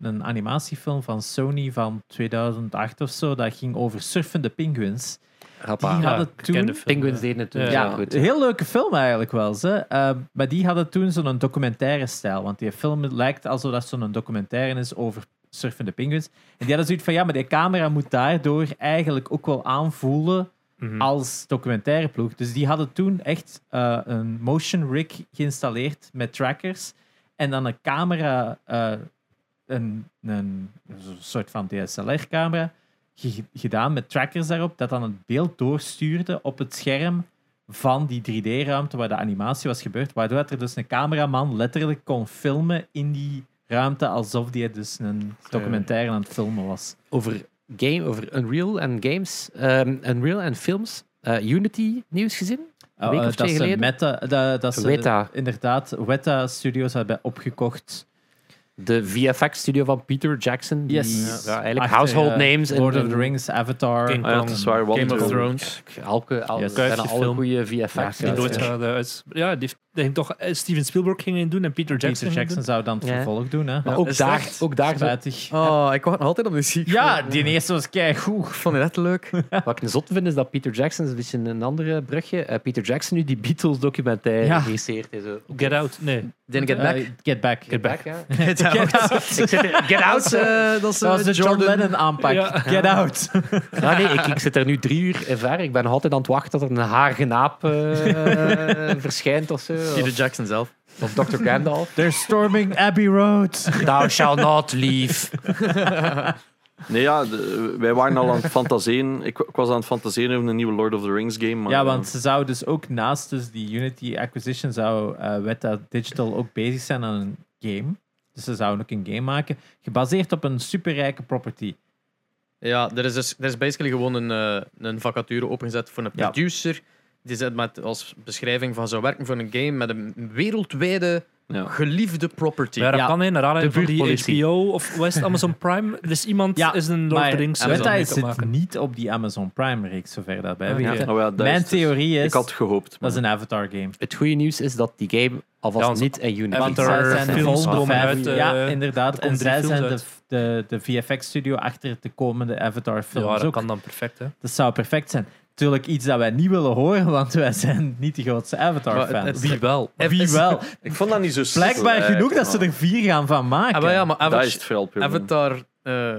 S5: Een animatiefilm van Sony van 2008 of zo. Dat ging over surfende penguins. Die
S1: Hoppa.
S5: hadden
S2: ik ken de
S5: toen-
S2: film,
S1: Penguins
S2: ja.
S1: deden het toen.
S2: Ja.
S1: Ja,
S5: Ja,
S1: goed.
S5: een heel leuke film eigenlijk wel. Ze. Eh, maar die hadden toen zo'n documentaire stijl. Want die film lijkt alsof dat zo'n documentaire is over surfende penguins. En die hadden zoiets van, ja, maar die camera moet daardoor eigenlijk ook wel aanvoelen
S2: Mhm.
S5: als documentaire ploeg. Dus die hadden toen echt eh, een motion rig geïnstalleerd met trackers. En dan een camera, eh, een, een soort van DSLR-camera, ge- gedaan met trackers daarop, dat dan het beeld doorstuurde op het scherm van die 3D-ruimte waar de animatie was gebeurd. Waardoor dat er dus een cameraman letterlijk kon filmen in die ruimte alsof die dus een documentaire aan het filmen was.
S1: Over, game, over Unreal en games. ehm, Unreal en films. Eh, Unity nieuws gezien? Een week
S5: Eh,
S1: of
S5: dat
S1: twee
S5: ze
S1: geleden?
S5: Meta, dat, dat ze
S1: Weta.
S5: inderdaad Weta Studios hebben opgekocht.
S1: De VFX-studio van Peter Jackson. die-
S5: Yes.
S1: ja, eigenlijk
S5: Achter,
S1: household
S5: eh,
S1: names. in-
S5: Lord of
S1: in-
S5: the Rings, Avatar.
S2: King
S3: Ah ja, het is waar. Wat
S4: Game of
S3: een-
S4: Thrones.
S1: Elke, al,
S5: Yes.
S1: bijna
S2: Kuifje
S1: alle
S2: film.
S1: goede
S5: Ja,
S1: VFX.
S5: die
S2: Die
S5: Ja,
S2: nooit
S5: ja.
S2: gaat, eh, uit- Ja, die heeft- denk ik toch eh, Steven Spielberg ging in doen en Peter
S5: Peter
S2: Jackson.
S5: Jackson,
S2: ging
S5: zou dan het
S1: Ja.
S5: vervolg doen, hè?
S1: Maar ook
S4: Is
S1: daar,
S4: echt
S1: ook daar zo-
S5: Spijtig.
S4: Oh, ik wacht nog altijd op de sequel.
S5: Ja, die eerste was keigoed.
S4: Ik vond het echt leuk.
S1: Wat ik een zot vind is dat Peter Jackson, dat is een beetje een andere brugje, eh, Peter Jackson nu die Beatles documentaire
S5: Ja.
S1: regisseert. Is, ook.
S2: Get Out. Nee.
S4: Didn't
S5: Eh, get back.
S1: Get back, ja.
S4: Get out.
S1: Ik zit er, get
S4: Dat
S1: out!
S4: is,
S1: eh.
S4: eh, dat is,
S5: Dat was
S4: eh,
S5: de John
S4: Jordan.
S5: Lennon aanpak.
S2: Ja.
S5: Get out.
S1: Ah, nee, ik, ik zit er nu drie uur in ver. Ik ben nog altijd aan het wachten dat er een haargenaap eh, verschijnt of zo.
S4: Peter
S1: Of,
S4: Jackson zelf.
S1: of Dr. Gandalf.
S5: They're storming Abbey Road.
S1: Thou shall not leave.
S3: eh, Nee, ja, de- wij waren al aan het fantaseren. Ik, ik was aan het fantaseren over een nieuwe Lord of the Rings game. Maar, eh,
S5: Ja, want ze zou dus ook naast dus die Unity acquisition zou eh Weta Digital ook bezig zijn aan een game. Dus ze zouden ook een game maken, gebaseerd op een superrijke property.
S4: Ja, er is, dus, er is basically gewoon een, eh, een vacature opengezet voor een
S5: Ja.
S4: producer. Die zet met als beschrijving van zou werken voor een game met een wereldwijde
S3: Ja.
S4: geliefde property.
S2: Maar dat
S5: Ja.
S2: kan in, naar aanleiding
S1: De
S2: van die
S1: buurtpolitie.
S2: HBO of West Amazon Prime. Er is iemand,
S5: Ja,
S2: is een Lord of
S5: Maar
S2: the Rings eh,
S5: Meta
S2: mee
S5: is
S2: te
S5: het
S2: maken.
S5: niet op die Amazon Prime-reeks, zover dat wij
S2: Ah,
S5: weten.
S2: oké.
S3: Oh ja, dat
S5: Mijn
S3: is dus-
S5: theorie is,
S3: Ik had gehoopt.
S5: dat is
S3: maar-
S5: een Avatar-game.
S1: Het goede nieuws is dat die game
S2: Ja,
S1: alvast
S2: onze
S1: niet in Unity
S5: Want
S2: Avatar
S5: zij
S1: is.
S5: zijn de
S2: films
S5: volgende
S2: komen
S5: vijf-
S2: uit, eh,
S5: ja, inderdaad.
S2: er komen
S5: En
S2: drie
S5: zij
S2: films
S5: zijn de,
S2: uit.
S5: de, de VFX-studio achter de komende Avatar-films
S2: Ja, dat
S5: ook.
S2: kan dan perfect, hè.
S5: Dat zou perfect zijn. Natuurlijk iets dat wij niet willen horen, want wij zijn niet de grootste
S4: Maar het-
S5: Avatar-fans.
S4: Wie
S2: wel?
S5: Wie
S4: is- dus
S5: wel?
S3: Ik vond dat niet zo slecht.
S5: Blijkbaar genoeg dat ze er vier gaan van maken.
S4: Ah, maar ja, maar
S3: Dat
S4: Avatar,
S3: is het vooral puur.
S4: Avatar eh,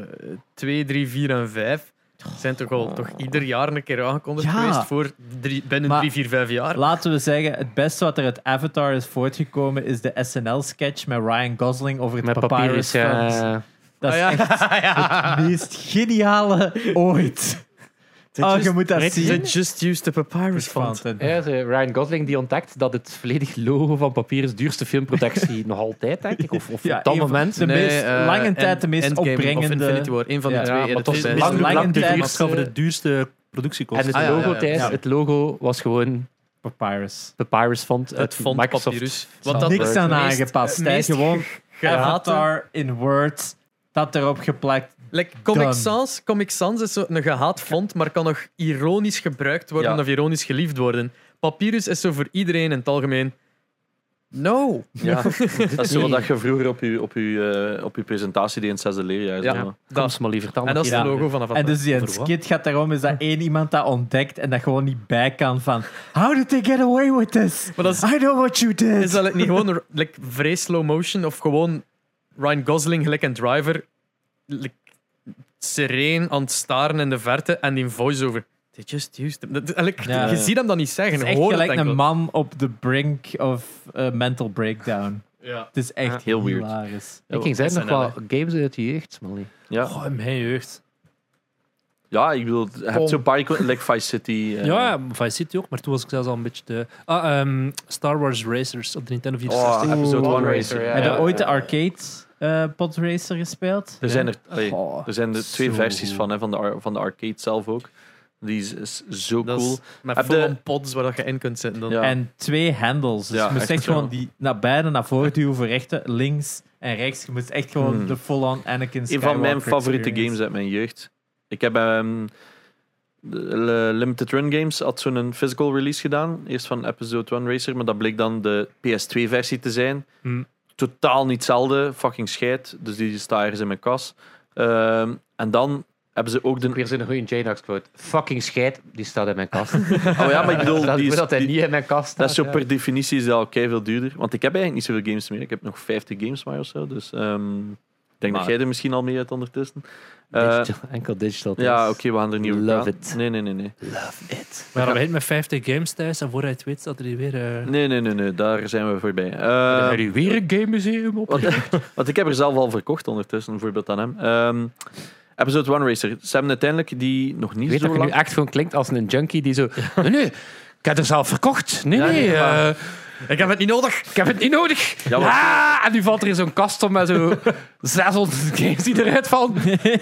S4: 2, 3, 4 en 5 zijn toch al toch ieder jaar een keer aangekondigd
S5: Ja.
S4: geweest voor drie, binnen
S5: Maar-
S4: 3, 4, 5 jaar.
S5: Laten we zeggen, het beste wat er uit Avatar is voortgekomen is de SNL-sketch met Ryan Gosling over het
S1: Met papier is eh,
S5: papyrus Fund.
S1: ja.
S5: Dat is
S4: Ah, ja.
S5: echt het meest geniale ooit. Oh, je moet dat
S1: Weet je,
S5: zien.
S4: They just used the papyrus font.
S5: Fund.
S1: Ja, ze- Ryan Gosling die ontdekt dat het volledig logo van papier is duurste filmproductie nog altijd, denk ik. Of, of
S5: Ja,
S1: op dat
S5: een van-
S1: moment.
S5: de meest- lange tijd de meest
S4: eh, Of
S5: opbrengende-
S4: Infinity War, een van de
S5: Ja,
S4: twee.
S1: maar
S4: dat
S1: toch
S4: is
S1: de
S4: best-
S1: lang-
S5: lange
S1: lang de
S5: tijd-
S2: Het
S1: duurste-
S2: was voor de duurste productiekosten.
S1: En het
S4: Ah, ja,
S1: logo,
S4: ja, ja.
S1: Thijs,
S5: Ja.
S1: het logo was gewoon
S5: Papyrus.
S1: Papyrus font uit
S4: het font
S1: Microsoft.
S4: papyrus. Wat dat
S5: Niks aan
S4: meest-
S5: aangepast. hè.
S4: meest
S5: Gewoon
S4: gehate-
S5: Avatar in Word, dat erop geplakt.
S4: Like, Comic
S5: Done.
S4: Sans, Comic Sans is zo een gehaat font, maar kan nog ironisch gebruikt worden
S3: Ja.
S4: of ironisch geliefd worden. Papyrus is zo voor iedereen in het algemeen. No.
S3: Ja. dat is zo wat dat je vroeger op je, op je, eh, op je presentatie deed in het zesde leerjaar.
S4: Ja.
S3: Zo.
S1: Kom
S4: Dat.
S1: eens maar liever dan.
S4: En dat is
S5: Ja.
S4: het logo van Avatar.
S5: En dus die
S2: voor wat?
S5: skit gaat daarom is dat één iemand dat ontdekt en dat gewoon niet bij kan van How did they get away with this?
S4: Maar dat is-
S5: I know what you did.
S4: Is dat like, niet gewoon r- like, vrij slow motion of gewoon Ryan Gosling gelijk een driver like, sereen aan het staren in de verte en die voice-over. They just used him. Dat- dat- like,
S5: Ja.
S4: Je ziet hem dat niet zeggen.
S5: Het is echt
S4: hoor het
S5: gelijk
S4: enkel.
S5: een man op de brink of eh, mental breakdown.
S4: Ja.
S5: Het is echt
S3: Ja, heel weird.
S5: hilarisch.
S1: Ik ging zeggen, nog
S4: SNL,
S1: wel games uit je jeugd, Smally.
S3: Ja.
S2: Oh, in mijn jeugd.
S3: ja, ik bedoel, je hebt zo'n paar iconen, like Vice City. eh.
S2: Ja, Vice City ook, maar toen was ik zelfs al een beetje te... Ah, ehm, Star Wars Racers op de Nintendo
S3: Oh,
S2: 64.
S3: episode
S1: Oeh.
S3: 1 Racer.
S1: Ja,
S5: Heb je
S1: ja,
S5: ooit de arcade eh podracer gespeeld?
S3: Er zijn er twee.
S2: Oh,
S5: Goh.
S3: Er zijn er twee
S5: Zo
S3: versies
S5: goed.
S3: van, hè, van, de, ar- van de arcade zelf ook. Die is, is zo
S4: Dat
S3: cool.
S4: is met
S3: Heb de-
S4: full-on pods waar dat je in kunt zitten. Dan.
S3: Ja.
S5: En twee handles. Dus
S3: Ja,
S5: je moest
S3: echt
S5: echt,
S3: zo.
S5: gewoon die naar beide naar voren duwen voor rechter, links en rechts. Je moest echt gewoon
S3: Hmm.
S5: de full-on Anakin
S3: Een
S5: Skywalker
S3: van mijn favoriete
S5: experience.
S3: games uit mijn jeugd. Ik heb ehm, de Le- Limited Run Games had zo'n physical release gedaan. Eerst van Episode 1 Racer, maar dat bleek dan de PS2-versie te zijn.
S2: Hmm.
S3: Totaal niet hetzelfde, fucking scheid. Dus die staat ergens in mijn kas. Ehm, en dan hebben ze ook de.
S1: Weer zo'n goede J-Nox quote. Fucking scheid, die staat in mijn kast.
S3: Oh ja, maar ik bedoel,
S1: dat,
S3: die,
S1: ik
S3: is-
S1: weet dat hij
S3: die-
S1: niet in mijn kast staat.
S3: dat is zo
S1: ja.
S3: per definitie is dat al veel duurder. Want ik heb eigenlijk niet zoveel games meer. Ik heb nog 50 games maar of zo. Dus ehm, ik denk dat
S1: Maar-
S3: jij er misschien al mee uit ondertussen. Eh,
S1: Digital, enkel digital.
S3: ja,
S1: dus.
S3: oké, we gaan er niet over
S1: Love
S3: praten.
S1: it.
S3: Nee, nee, nee, nee.
S2: Maar dat begint met 50 games thuis en vooruit weet dat er hier weer... eh,
S3: Nee, nee, nee, nee, daar zijn we voorbij. Eh,
S1: Hebben jullie weer een game museum op?
S3: want, want ik heb er zelf al verkocht ondertussen, bijvoorbeeld aan hem. Ehm, episode 1 Racer. Ze hebben uiteindelijk die nog
S1: Ik
S3: niet
S1: weet
S3: zo
S1: dat je nu
S3: lang...
S1: echt gewoon klinkt als een junkie die zo... Nee, nee, ik heb het zelf verkocht. Nee,
S3: Ja,
S1: nee,
S3: nee, maar-
S1: eh,
S4: Ah. Ik heb het niet nodig.
S1: ik heb het niet nodig.
S3: Ja, maar-
S1: ah, en nu valt er in zo'n kast om met zo 600 games die eruit vallen.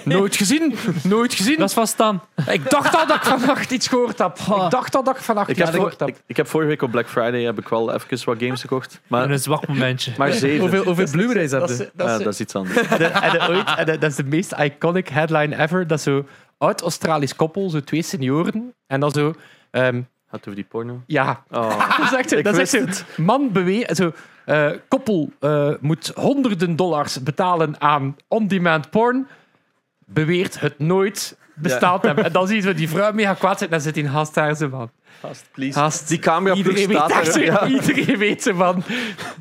S1: Nooit gezien, nooit gezien.
S2: Dat is van Stan.
S1: Ik dacht al dat ik vannacht iets gehoord heb.
S5: Oh.
S1: Ik dacht al dat ik vannacht
S3: Ik
S1: iets
S3: heb, voor-
S1: gehoord heb.
S3: ik, ik heb vorige week op Black Friday heb ik wel even wat games gekocht.
S2: In
S3: Maar,
S2: een zwak momentje.
S3: maar zeven.
S4: Hoeveel, hoeveel Blu-rays heb je?
S3: Ah, dat is iets anders.
S1: De- en de ooit- en de- dat is de meest iconic headline ever. Dat is zo oud-Australisch koppel, zo twee senioren. En dan zo... ehm,
S3: Gaat over die porno.
S1: ja,
S3: Oh.
S1: dat is echt zo.
S3: Ik
S1: Dat is echt
S3: wist
S1: zo. Man beweert... Zo, eh, koppel eh, moet honderden dollars betalen aan on-demand porn. Beweert het nooit bestaat hem. En dan zie je zo die vrouw mega kwaad zit en dan zit die gast daar zo van...
S3: Gast, please.
S1: Gast,
S3: Die camera
S1: Iedereen weet,
S3: staat
S1: daar
S3: er.
S1: zo-
S3: Ja.
S1: iedereen weet ze van.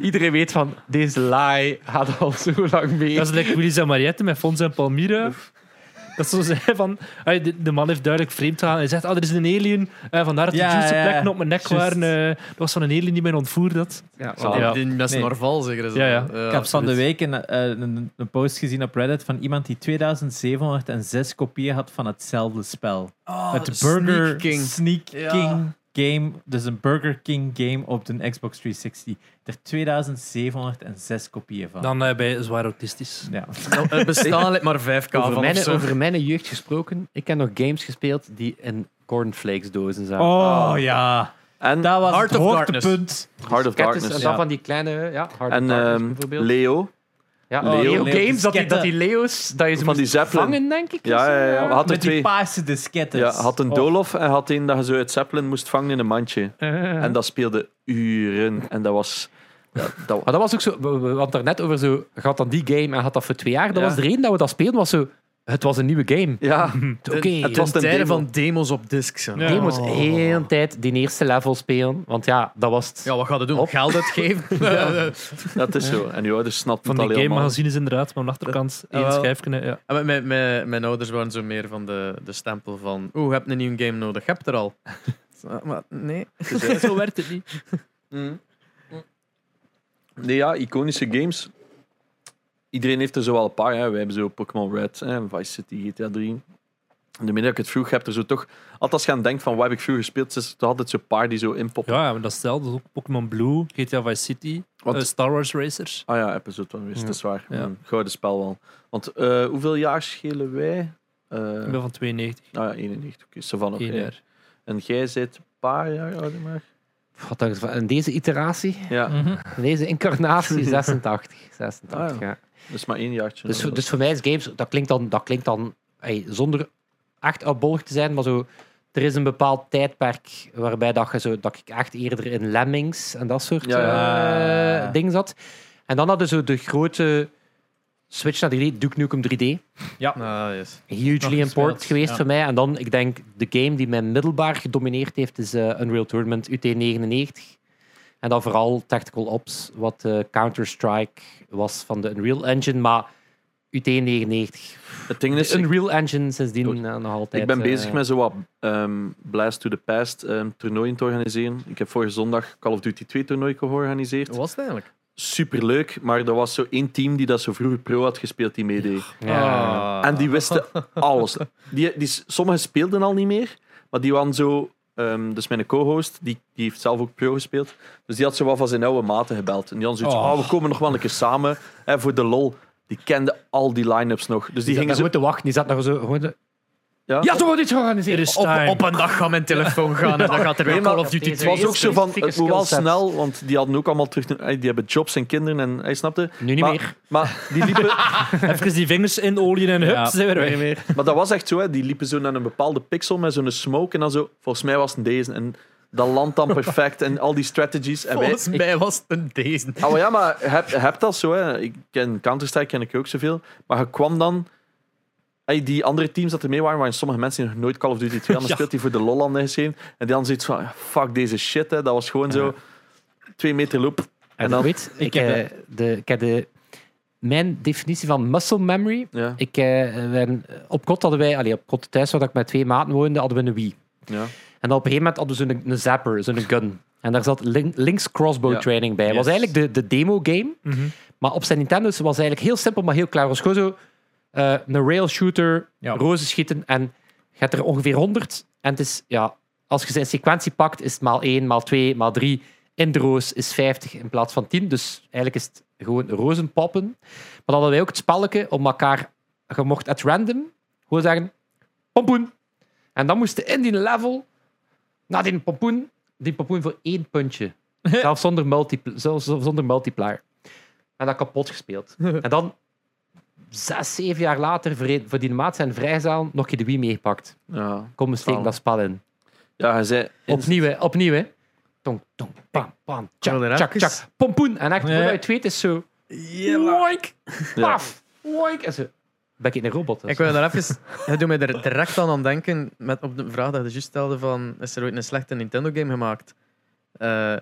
S1: Iedereen weet van. Deze lie gaat al zo lang mee.
S2: Dat is like Willy's en Mariette met Fons en Palmyra. Dat ze zo zeggen van... ah, De, de man heeft duidelijk vreemd gegaan. Hij zegt, ah, er is een alien. Eh, vandaar dat de
S5: Ja,
S2: juiste
S5: ja, ja.
S2: plekken op mijn nek
S5: Juist.
S2: waren. eh, dat was van een alien die mij ontvoerd had.
S1: Ja,
S3: Zal-
S2: Ja.
S4: Die met zijn
S5: Nee.
S4: Norval zeker.
S2: Ja, ja.
S5: Ik had van de week een, eh, een, een post gezien op Reddit van iemand die 2706 kopieën had van hetzelfde spel.
S1: Oh,
S5: het Burger
S4: Sneak King.
S5: Sneak
S4: Ja.
S5: King game, dus een Burger King game op de Xbox 360. Er 2706 kopieën van.
S2: Dan eh, ben je zwaar autistisch.
S5: Ja.
S4: Nou, er bestaan like, maar 5k
S1: over,
S4: van. of
S1: mijn,
S4: zo.
S1: over mijn jeugd gesproken. Ik heb nog games gespeeld die in cornflakes dozen zaten.
S5: Oh ja.
S3: En
S5: Dat was
S4: Heart
S5: het
S4: of
S5: hoogtepunt.
S4: Darkness.
S3: Hard of
S1: Cactus en
S3: Darkness.
S1: dan
S5: Ja.
S1: van die kleine, ja, Hard
S3: En
S1: of Darkness
S3: ehm,
S1: bijvoorbeeld.
S3: Leo.
S1: ja,
S3: Leo.
S1: Leo
S5: Leo
S1: Games, dat die, dat die Leo's, dat je ze
S3: Van die
S1: moest
S3: Zeppelin.
S1: vangen, denk ik.
S3: Ja,
S1: of zo,
S3: ja, ja. Had er
S5: Met die
S3: twee.
S5: paarse diskettes.
S3: Ja, had een
S5: Oh.
S3: doolhof en had één dat je zo uit Zeppelin moest vangen in een mandje. En dat speelde uren. En dat was... Ja, dat,
S1: Maar dat was ook zo, we- we hadden het net over zo, gaat dan die game en gaat dat voor twee jaar? Dat
S3: Ja.
S1: was de reden dat we dat speelden, was zo, het was een nieuwe game.
S3: ja.
S1: Oké,
S3: het was
S4: Ten
S3: een
S4: tijde
S3: demo.
S4: van demos op discs. hè.
S2: Ja.
S1: je moest heel de tijd die eerste level spelen, want ja, dat was het.
S4: Ja, wat gaat het doen?
S1: Hop.
S4: Geld uitgeven?
S3: Dat is zo. En je ouders snapt
S2: Van
S3: het al
S2: die
S3: helemaal.
S2: game-magazines inderdaad, maar aan de achterkant
S4: Ah,
S2: één
S4: wel.
S2: schijfje. Ja.
S4: En met- met- met- mijn ouders waren zo meer van de, de stempel van oeh, je hebt een nieuwe game nodig, je hebt er al. Zo, Maar nee.
S2: Zo werkt het niet.
S3: Mm. Nee, ja, iconische games. Iedereen heeft er zo wel een paar. Hè. Wij hebben zo Pokémon Red, hè, Vice City, GTA 3. En de middag dat ik het vroeg, heb er zo toch... Altijd als je aan denkt van wat heb ik vroeger gespeeld, is er altijd zo'n paar die zo inpoppen.
S2: Ja, maar dat is hetzelfde. ook Pokémon Blue, GTA Vice City,
S3: Want-
S2: eh, Star Wars Racers.
S3: Ah ja, episode 1 is, dat is waar.
S2: Ja.
S3: Een gouden spel wel. Want eh, hoeveel jaar schelen wij? Eh,
S2: Ik ben van 92,
S3: ah ja, 91. Oké, zo van op.
S2: één
S3: ja.
S2: jaar.
S3: En jij zit een paar jaar ouder maar.
S1: Wat dacht je van- in deze iteratie,
S3: Ja,
S5: Mhm.
S1: in deze incarnatie, 86. 86
S3: Ah,
S1: ja.
S3: dat is maar één jaartje.
S1: Dus, dus voor mij is games, dat klinkt dan, dat klinkt dan ey, zonder echt uitbollig te zijn, maar zo, er is een bepaald tijdperk waarbij dat, je zo, dat ik echt eerder in Lemmings en dat soort
S3: Ja,
S5: ja.
S1: eh, dingen zat. En dan hadden ze de grote switch naar 3D, Duke Nukem 3D.
S4: Ah, yes.
S5: Nog
S1: Hugely important
S5: gespeeld,
S1: geweest
S5: ja.
S1: voor mij. En dan, ik denk, de game die mij middelbaar gedomineerd heeft, is eh, Unreal Tournament UT99. En dan vooral Tactical Ops, wat eh, Counter-Strike was van de Unreal Engine, maar UT99
S3: het ding is,
S1: een Unreal Engine sindsdien
S3: Goed.
S1: eh, nog altijd.
S3: Ik ben
S1: eh,
S3: bezig met zo wat ehm, Blast to the Past ehm, toernooien te organiseren. Ik heb vorige zondag Call of Duty 2 toernooi georganiseerd.
S1: Oh.
S4: Hoe was het eigenlijk?
S3: Superleuk, maar er was zo één team die dat zo vroeger pro had gespeeld die meedeed.
S1: Ja.
S4: Ah.
S3: En die wisten alles. Die, die, sommigen speelden al niet meer, maar die waren zo... ehm, dus mijn co-host, die, die heeft zelf ook pro gespeeld. Dus die had zo wat van zijn oude maten gebeld. En die had zoiets van,
S2: Oh.
S3: "Ah, we komen nog wel een keer samen hè, voor de lol. Die kende al die line-ups nog. Dus die
S1: Die
S3: gingen
S1: ging zo
S3: zo...
S1: te wachten. Die zat nog zo. Gewoon de...
S3: Ja.
S1: Ja, toch wordt iets georganiseerd.
S2: Er is
S4: op,
S2: time.
S4: op een dag gaat mijn telefoon gaan en dan gaat er weer
S3: maar-
S4: Call of Duty
S1: Deze
S4: 2.
S3: Het was ook zo van,
S1: specifieke
S3: het moet wel
S1: skillset.
S3: snel, want die hadden ook allemaal terug... eh, Die hebben jobs en kinderen en hij snapte.
S1: Nu niet
S3: maar,
S1: meer.
S3: Maar die liepen...
S2: Even die vingers in olie en hup,
S4: Ja.
S2: zijn we er weg.
S3: maar dat was echt zo, hè. Die liepen zo naar een bepaalde pixel met zo'n smoke en dan zo... Volgens mij was het deze en dat landt dan perfect en al die strategies. En wij...
S4: Volgens mij was het een deze.
S3: Ah, maar ja, maar heb, heb dat zo, hè. Ik ken Counter-Strike, ken ik ook zoveel. Maar je kwam dan... Hey, die andere teams dat er mee waren, waren sommige mensen die nog nooit Call of Duty 2 hadden
S2: Ja.
S3: gespeeld, die voor de lol hadden geschreven. En die hadden zoiets van, "Ah, fuck deze shit, hè. Dat was gewoon zo... Twee meter loop.
S1: En dan
S3: En dan-
S1: weet ik,
S5: heb
S1: eh, de, ik heb de, mijn definitie van muscle memory.
S3: Ja,
S1: Ik, eh, mijn- op kot hadden wij, allee, op kot thuis waar ik met twee maten woonde, hadden we een Wii.
S3: ja.
S1: En dan op een gegeven moment hadden we zo'n een zapper, zo'n gun. En daar zat lin- links crossbow
S3: Ja.
S1: training bij. was
S2: Yes.
S1: eigenlijk de, de demo game. Maar op zijn Nintendo's was eigenlijk heel simpel, maar heel klaar. Het was gewoon zo eh, een rail shooter,
S5: Ja.
S1: rozen schieten. En je hebt er ongeveer 100. En het is, ja, als je ze in sequentie pakt, is het maal 1, maal 2, maal 3. In de roos is 50 in plaats van 10. Dus eigenlijk is het gewoon rozen poppen. Maar dan hadden wij ook het spelletje om elkaar... Je mocht at random gewoon zeggen... Pompoen. En dan moest je in die level naar die pompoen... Die pompoen voor één puntje. Zelfs zonder, multipl zelfs zonder multiplier. En dat kapot gespeeld. en dan, zes, zeven jaar later, voor, een- voor die maat zijn vrijzaal, nog een keer de Wii meegepakt.
S3: ja.
S1: Kom, we steken dat spel in.
S3: Ja, hij zei...
S1: Opnieuw, hè, opnieuw, hè. Tong, tong, pam, pam,
S4: Ik wil
S1: tjak,
S4: er
S1: tjak,
S4: even-
S1: tjak, pompoen. En echt,
S5: Ja.
S1: voordat je het weet, is zo... Woink, paf, woink. En zo, ben ik een robot? dus.
S4: Ik wil daar even... Het doet mij er direct aan aan denken met op de vraag dat je juist stelde van is er ooit een slechte Nintendo-game gemaakt? Eh,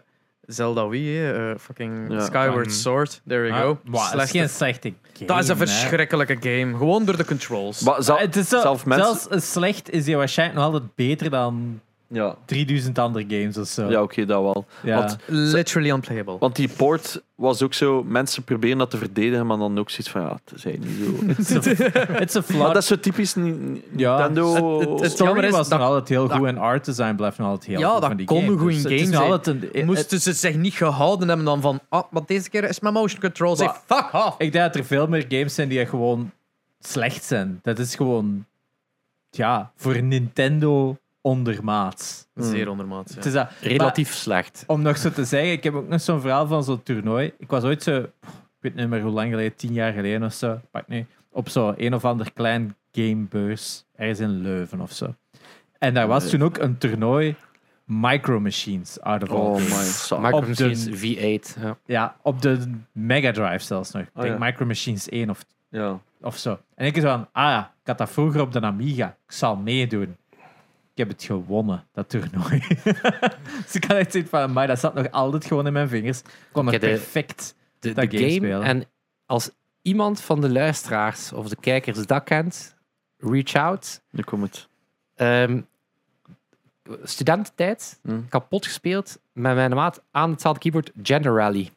S4: Zelda Wii, hè, eh, fucking
S3: Ja.
S4: Skyward
S2: Mm.
S4: Sword, there you
S5: Ah,
S4: go.
S5: wow, dat is
S4: Slechte-
S5: geen slechte game.
S4: dat is een
S5: hè.
S4: verschrikkelijke game. Gewoon door de controls.
S3: Maar zal-
S5: Ah, het is zo-
S3: zelf mensen...
S5: Zelfs een slecht is die waarschijnlijk nog altijd beter dan
S3: Ja,
S5: 3000 andere games of zo.
S3: ja oké, dat wel.
S5: Ja.
S3: Want,
S4: Literally unplayable.
S3: want die port was ook zo... Mensen proberen dat te verdedigen, maar dan ook zoiets van... Ja, het is eigenlijk niet zo...
S5: It's a
S3: maar
S5: flawed.
S3: dat is zo typisch Ni-
S5: Ja.
S3: Nintendo...
S4: Het- het- het-
S5: Story
S4: jammer is
S5: was
S4: dat-
S5: nog altijd heel
S4: dat-
S5: goed en art design blijft nog altijd heel
S4: Ja,
S5: goed
S4: dat
S5: van die
S4: kon
S5: game.
S4: een goede
S5: Dus het is
S4: game
S5: nog
S4: zijn.
S5: altijd een-
S4: Moesten ze zich niet gehouden hebben dan van ah, maar deze keer is mijn motion controls. Hey,
S5: Wa-
S4: fuck off.
S5: Ik denk dat er veel meer games zijn die echt gewoon slecht zijn. Dat is gewoon, ja, voor Nintendo ondermaats.
S4: Zeer ondermaats.
S5: Hmm. Het
S4: ja.
S5: is dat,
S1: Relatief slecht.
S5: om nog zo te zeggen, ik heb ook nog zo'n verhaal van zo'n toernooi. Ik was ooit zo, ik weet niet meer hoe lang geleden, tien jaar geleden of zo, pak nu, op zo'n een of ander klein gamebeurs ergens in Leuven of zo. En daar was toen ook een toernooi Micro Machines out of all
S3: Oh
S5: things.
S3: my god.
S1: Micro
S5: Op de-
S1: Machines V8. Ja.
S5: Ja, op de Mega Drive zelfs nog. Ik
S3: Oh,
S5: denk
S3: ja.
S5: Micro Machines 1 of
S3: Ja.
S5: of zo. En ik was van, ah ja, ik had dat vroeger op de Amiga. Ik zal meedoen. Ik heb het gewonnen, dat toernooi. dus ik had echt zoiets van, maar dat zat nog altijd gewoon in mijn vingers. Ik kon nog
S1: Ik heb de-
S5: perfect.
S1: De,
S5: Dat
S1: de
S5: game
S1: game.
S5: spelen.
S1: En als iemand van de luisteraars of de kijkers dat kent, reach out.
S3: Nu komt het.
S1: Ehm, studententijd,
S3: Hmm.
S1: kapot gespeeld met mijn maat aan hetzelfde keyboard, Gender Rally.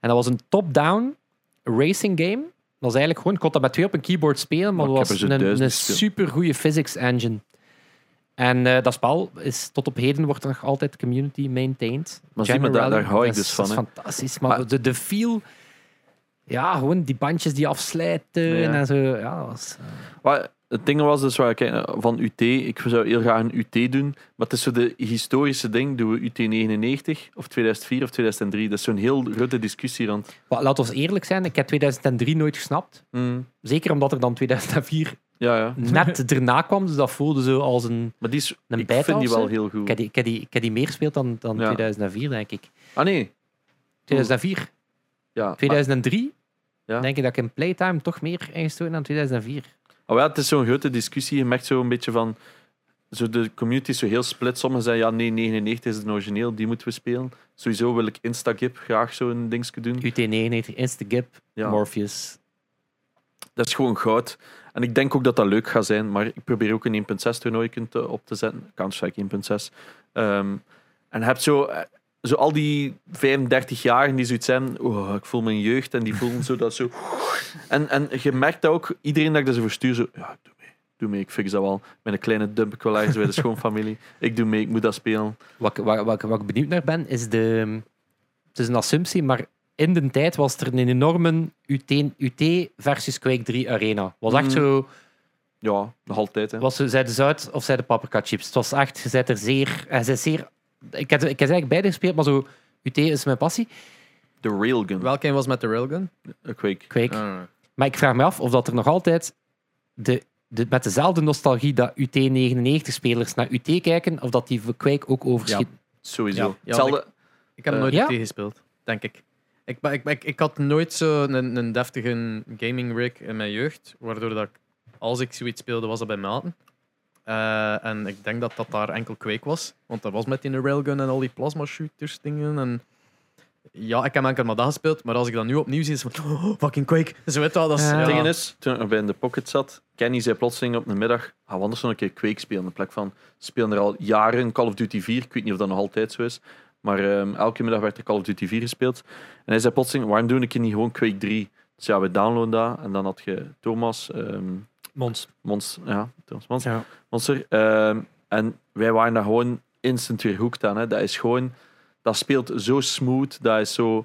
S1: En dat was een top-down racing game. Dat was eigenlijk gewoon, ik kon dat met twee op een keyboard spelen, maar dat
S3: Maar ik heb
S1: was
S3: er zo
S1: een,
S3: duizend
S1: een
S3: gespeeld.
S1: supergoeie physics engine. En eh, dat spel is tot op heden wordt er nog altijd community maintained.
S3: Maar zie
S1: Gender
S3: maar, daar-
S1: Rally,
S3: daar hou ik
S1: dat is-
S3: dus van,
S1: Dat is fantastisch, maar,
S3: Maar-
S1: de, de feel... Ja, gewoon die bandjes die afslijten
S3: Ja.
S1: en zo. Ja, dat was...
S3: Maar het ding was dus waar ik eh, van UT, ik zou heel graag een UT doen, maar het is zo de historische ding, doen we UT 99 of 2004 of 2003? Dat is zo'n heel rutte discussierand.
S1: Maar laat ons eerlijk zijn, ik heb 2003 nooit gesnapt. Zeker omdat er dan 2004
S3: hmm, Ja, ja.
S1: net erna kwam. Dus dat voelde zo als een...
S3: Maar die is,
S1: Een
S3: ik vind die
S1: bijtaalse?
S3: wel heel goed.
S1: Ik heb die, ik heb die, ik heb die meer gespeeld dan, dan
S3: Ja.
S1: 2004, denk ik.
S3: Ah nee.
S1: 2004.
S3: Ja.
S1: 2003
S3: Ja.
S1: denk ik dat ik in Playtime toch meer ingestoten dan 2004.
S3: Maar, oh ja, het is zo'n grote discussie. Je merkt zo een beetje van. Zo de community is zo heel split. Sommigen zeggen ja, nee, 99 is het origineel, die moeten we spelen. Sowieso wil ik Instagip graag zo'n dingetje doen.
S1: UT99, Instagip,
S3: Ja.
S1: Morpheus.
S3: Dat is gewoon goud. En ik denk ook dat dat leuk gaat zijn, maar ik probeer ook een 1.6 toernooi te- eh, op te zetten. Counter-Strike 1.6. Ehm, en heb zo, eh, zo al die 35 jaren die zoiets zijn. Oh, ik voel mijn jeugd en die voelen zo dat zo. En, en je merkt dat ook, iedereen dat ik dat ze verstuur, zo. Ja, ik doe mee. Doe mee, ik fix dat wel. Met een kleine dump, ik wil ergens bij de schoonfamilie. Ik doe mee, ik moet dat spelen.
S1: Wat, ik- wat, wat, ik- wat ik benieuwd naar ben, is de... Het is een assumptie, maar in de tijd was er een enorme UT, UT versus Quake 3 arena. Was echt
S3: Mm.
S1: zo...
S3: Ja, nog altijd. Hè.
S1: Was, zij de zout of zij de paprika chips? Het was echt, je bent er zeer... Hij zei zeer ik, heb, ik heb eigenlijk beide gespeeld, maar zo... UT is mijn passie.
S3: De railgun. Wel.
S4: Welke een was met de railgun?
S3: Quake.
S1: Kweek.
S4: Ah.
S1: Maar ik vraag me af of dat er nog altijd... De, de, met dezelfde nostalgie dat UT99-spelers naar UT kijken, of dat die voor Quake ook overschieten.
S3: Sowieso.
S4: Ja,
S3: Hetzelfde.
S4: Ik heb
S3: Eh,
S4: nooit
S1: ja?
S4: tegen gespeeld, denk ik. Ik, ba- ik, ik, ik had nooit zo'n een, een deftige gaming rig in mijn jeugd, waardoor dat ik, als ik zoiets speelde, was dat bij maten. Eh, en ik denk dat dat daar enkel kweek was, want dat was met die railgun en al die plasma shooters dingen. En ja, ik heb enkel maar dat gespeeld, maar als ik dat nu opnieuw zie, is het van oh, fucking kweek. Zo weet dat, dat is,
S1: Ja.
S4: ja.
S3: Het ding is, toen ik nog bij in de pocket zat, Kenny zei plotseling op een middag, gaan we anders nog een keer Quake spelen. In plek van, we spelen er al jaren Call of Duty 4. Ik weet niet of dat nog altijd zo is. Maar ehm, elke middag werd er Call of Duty 4 gespeeld. En hij zei plotseling, waarom doe ik hier niet gewoon Quake 3? Dus ja, we downloaden dat. En dan had je Thomas, ehm,
S2: Mons.
S3: Mons, ja, Thomas Mons,
S1: Ja.
S3: Monster. Ehm, en wij waren daar gewoon instant weer hooked aan. Hè. Dat is gewoon, dat speelt zo smooth, dat is zo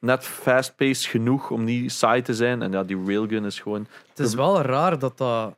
S3: net fast-paced genoeg om niet saai te zijn. En ja, die railgun is gewoon...
S4: Het is wel raar dat dat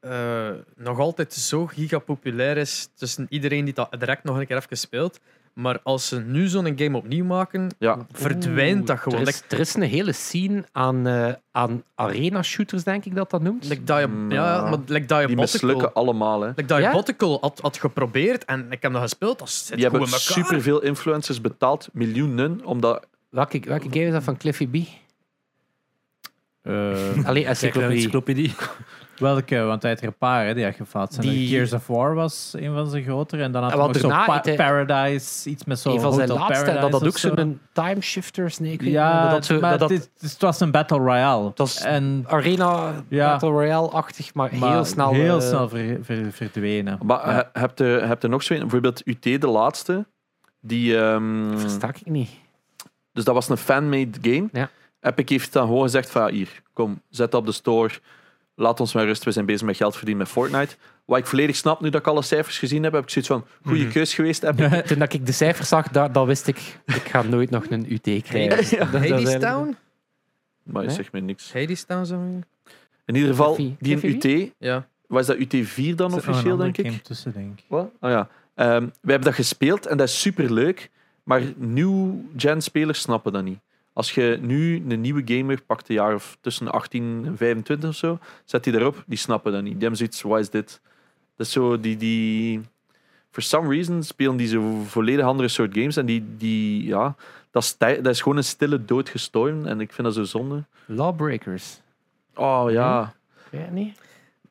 S4: eh, nog altijd zo gigapopulair is tussen iedereen die dat direct nog een keer even speelt. Maar als ze nu zo'n game opnieuw maken,
S3: Ja,
S4: verdwijnt dat gewoon.
S1: Er is, er is een hele scene aan, eh, aan arena-shooters, denk ik dat dat noemt.
S4: Like, like dat je, ja,
S3: Ja.
S4: maar like dat je
S3: Mm. die
S4: Botical,
S3: mislukken allemaal. Hè.
S4: like dat je
S1: Ja?
S4: Botical had, had geprobeerd en ik heb dat gespeeld, dat zit
S3: Die
S4: goed in
S3: hebben
S4: elkaar.
S3: superveel influencers betaald, miljoenen, omdat...
S1: Welke, welke game is dat van Cliffy B? Allee,
S2: Kijk, eh, een
S1: encyclopedie.
S2: encyclopedie.
S5: eh, Welke? Want hij had er een paar hè, die had gefaald zijn.
S1: Die-
S5: Gears of War was een van zijn grotere. En dan had
S1: En
S5: hij nog
S1: wat
S5: zo'n
S1: daarna
S5: pa-
S1: had hij-
S5: Paradise, iets met zo'n
S1: een van zijn
S5: Hotel
S1: laatste, dat
S5: Paradise
S1: dat ook
S5: of zo.
S1: zo'n time shifters. Nee, ik weet niet,
S5: Ja,
S1: dat dat zo,
S5: maar
S1: dat, dat
S5: het, is- het was een Battle Royale.
S1: Dat is-
S5: en
S1: Arena
S5: Ja.
S1: Battle Royale-achtig, maar,
S5: maar
S1: heel snel.
S5: heel
S1: eh,
S5: snel ver- ver- verdwenen.
S3: Maar
S5: Ja.
S3: he- heb, je, heb je nog zo een? Bijvoorbeeld UT, de laatste. Die, ehm,
S1: Verstak ik niet.
S3: dus dat was een fan-made game.
S1: Ja.
S3: Epic heeft dan gewoon gezegd van, hier, kom, zet dat op de store. Laat ons maar rust, we zijn bezig met geld verdienen met Fortnite. Wat ik volledig snap, nu dat ik alle cijfers gezien heb, heb ik zoiets van, goede keus geweest, Epic.
S1: Toen dat ik de cijfers zag, dat, dat wist ik. Ik ga nooit nog een UT krijgen. Dat- dat is
S4: Hades
S1: eigenlijk-
S4: Town?
S3: Maar
S1: Nee?
S3: zeg me niks.
S4: Hades Town, zo.
S3: In ieder geval,
S1: Cliffy.
S3: die
S1: Cliffy
S3: UT,
S4: Ja.
S3: Wat is dat, UT4 dan officieel, denk ik?
S5: tussen, denk ik.
S3: Wat? Oh ja. Ehm, we hebben dat gespeeld en dat is super leuk. Maar nieuw-gen spelers snappen dat niet. Als je nu een nieuwe gamer pakt, een jaar of tussen 18 en 25 of zo, zet die erop, die snappen dat niet. Die hebben zoiets, wat is dit? Dat is zo, die, die... For some reason spelen die zo volledig andere soort games en die, die ja... Dat is, tij- dat is gewoon een stille dood gestorven en ik vind dat zo zonde.
S1: Lawbreakers.
S3: Oh
S1: Mhm.
S3: ja.
S1: Weet je niet?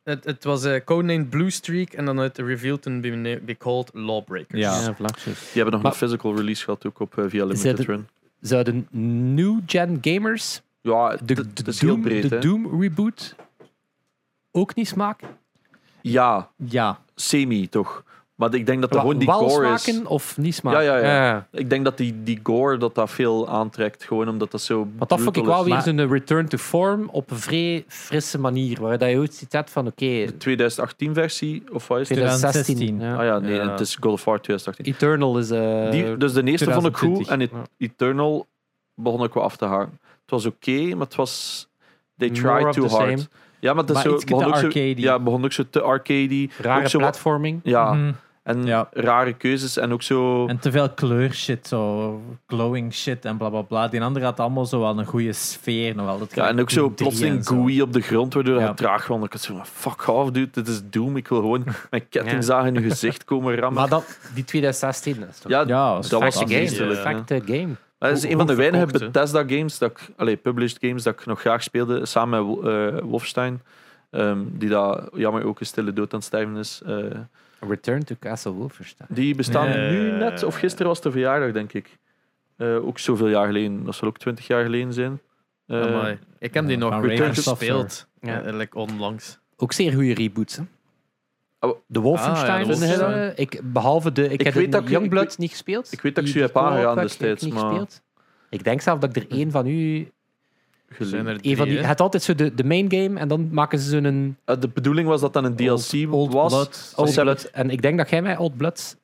S4: Het, het was eh codename Blue Streak en dan uit de reveal toen be, be called Lawbreakers.
S2: Ja.
S1: vlakjes.
S3: Die hebben nog
S1: Maar-
S3: een physical release gehad ook op eh, via Limited
S1: het-
S3: Run.
S1: Zouden new gen gamers
S3: Ja,
S1: de,
S3: het-
S1: de
S3: het is
S1: Doom,
S3: heel breed.
S1: de
S3: hè.
S1: Doom reboot ook niet smaken?
S3: Ja,
S5: Ja.
S3: semi toch. Maar ik denk dat er
S1: Wa-
S3: gewoon die
S1: wel
S3: gore is.
S1: smaken of niet smaken?
S3: Ja, ja, ja. Ik denk dat die, die gore dat dat veel aantrekt. Gewoon omdat dat zo.
S1: Want dat vond ik
S3: brutal
S1: wel
S3: is.
S1: weer zo'n return to form op een vrij frisse manier. Waar dat je ooit ziet hebt van oké,
S3: De 2018 versie of wat is het?
S1: 2016.
S5: 2016,
S1: ja.
S3: Ah ja, nee,
S4: Ja.
S3: het is God of War 2018.
S1: Eternal is... eh
S3: Die, dus de eerste vond ik goed
S1: 2020.
S3: en et- Eternal begon ik wel af te haken. Het was oké, maar het was. They
S1: More
S3: tried
S1: of
S3: too
S1: the
S3: hard.
S1: same.
S3: Ja, maar het is
S5: Maar
S3: zo.
S5: ietske te
S3: ook zo,
S5: arcadey.
S3: ja, begon ook zo te arcadey.
S1: rare
S3: ook zo wat-
S1: platforming.
S3: Ja,
S5: Mhm.
S3: en
S5: Ja.
S3: rare keuzes en ook zo.
S5: En te veel kleurshit, zo glowing shit en bla bla bla. Die andere had allemaal zo wel een goede sfeer. Nog wel. Dat
S3: Ja, en ook zo
S5: Doom 3 en
S3: plotseling
S5: zo.
S3: gooey op de grond, waardoor
S5: Ja.
S3: hij traag wandelt. Ik had zo van, fuck off, dude, dit is Doom. Ik wil gewoon mijn kettingzaag in uw gezicht komen rammen.
S1: Maar dat, die 2016, dat is toch
S3: ja,
S5: Ja,
S3: dat was
S1: een
S3: een
S1: game.
S4: fantastisch,
S1: Een
S4: ja.
S1: perfecte game.
S3: Dat is
S4: Hoe-
S3: een van de
S4: hoe
S3: weinige
S4: verkocht,
S3: Bethesda-games, dat ik- allee, published games, dat ik nog graag speelde, samen met eh, Wolfenstein. ehm, die daar jammer ook een stille dood aan het sterven is. Eh,
S1: Return to Castle Wolfenstein.
S3: die bestaan
S4: Nee.
S3: nu net, of gisteren was de verjaardag, denk ik. Eh, ook zoveel jaar geleden. Dat zal ook twintig jaar geleden zijn. Eh,
S4: Amai. Ik heb die
S5: Ja,
S4: nog
S5: van
S4: return
S5: Raven
S4: gespeeld.
S1: Ja.
S4: Ja. like onlangs.
S1: Ook zeer goede reboots. Hè?
S3: Oh,
S1: de Wolfenstein.
S4: ah, ja, de
S1: vind je dat?
S4: Wolfenstein.
S1: ik, behalve de. Ik,
S3: Ik
S1: heb
S3: weet
S1: de
S3: dat ik-
S1: Youngblood
S3: ik-
S1: niet gespeeld.
S3: ik weet dat ik
S1: Die-
S3: ze
S1: die
S3: heb aangeraden
S1: co-op heb ik
S3: destijds,
S1: niet
S3: maar-
S1: gespeeld. Ik denk zelf dat ik er één van u.
S3: geleden.
S4: Zijn er
S1: Een
S4: drie,
S1: van die,
S4: hè?
S1: het had altijd zo de, de main game en dan maken ze zo'n
S3: Eh, de bedoeling was dat dat een DLC
S5: Old
S3: was.
S5: Blood.
S3: Old
S1: Old
S3: Blood.
S1: Blood. En ik denk dat jij mij Old Blood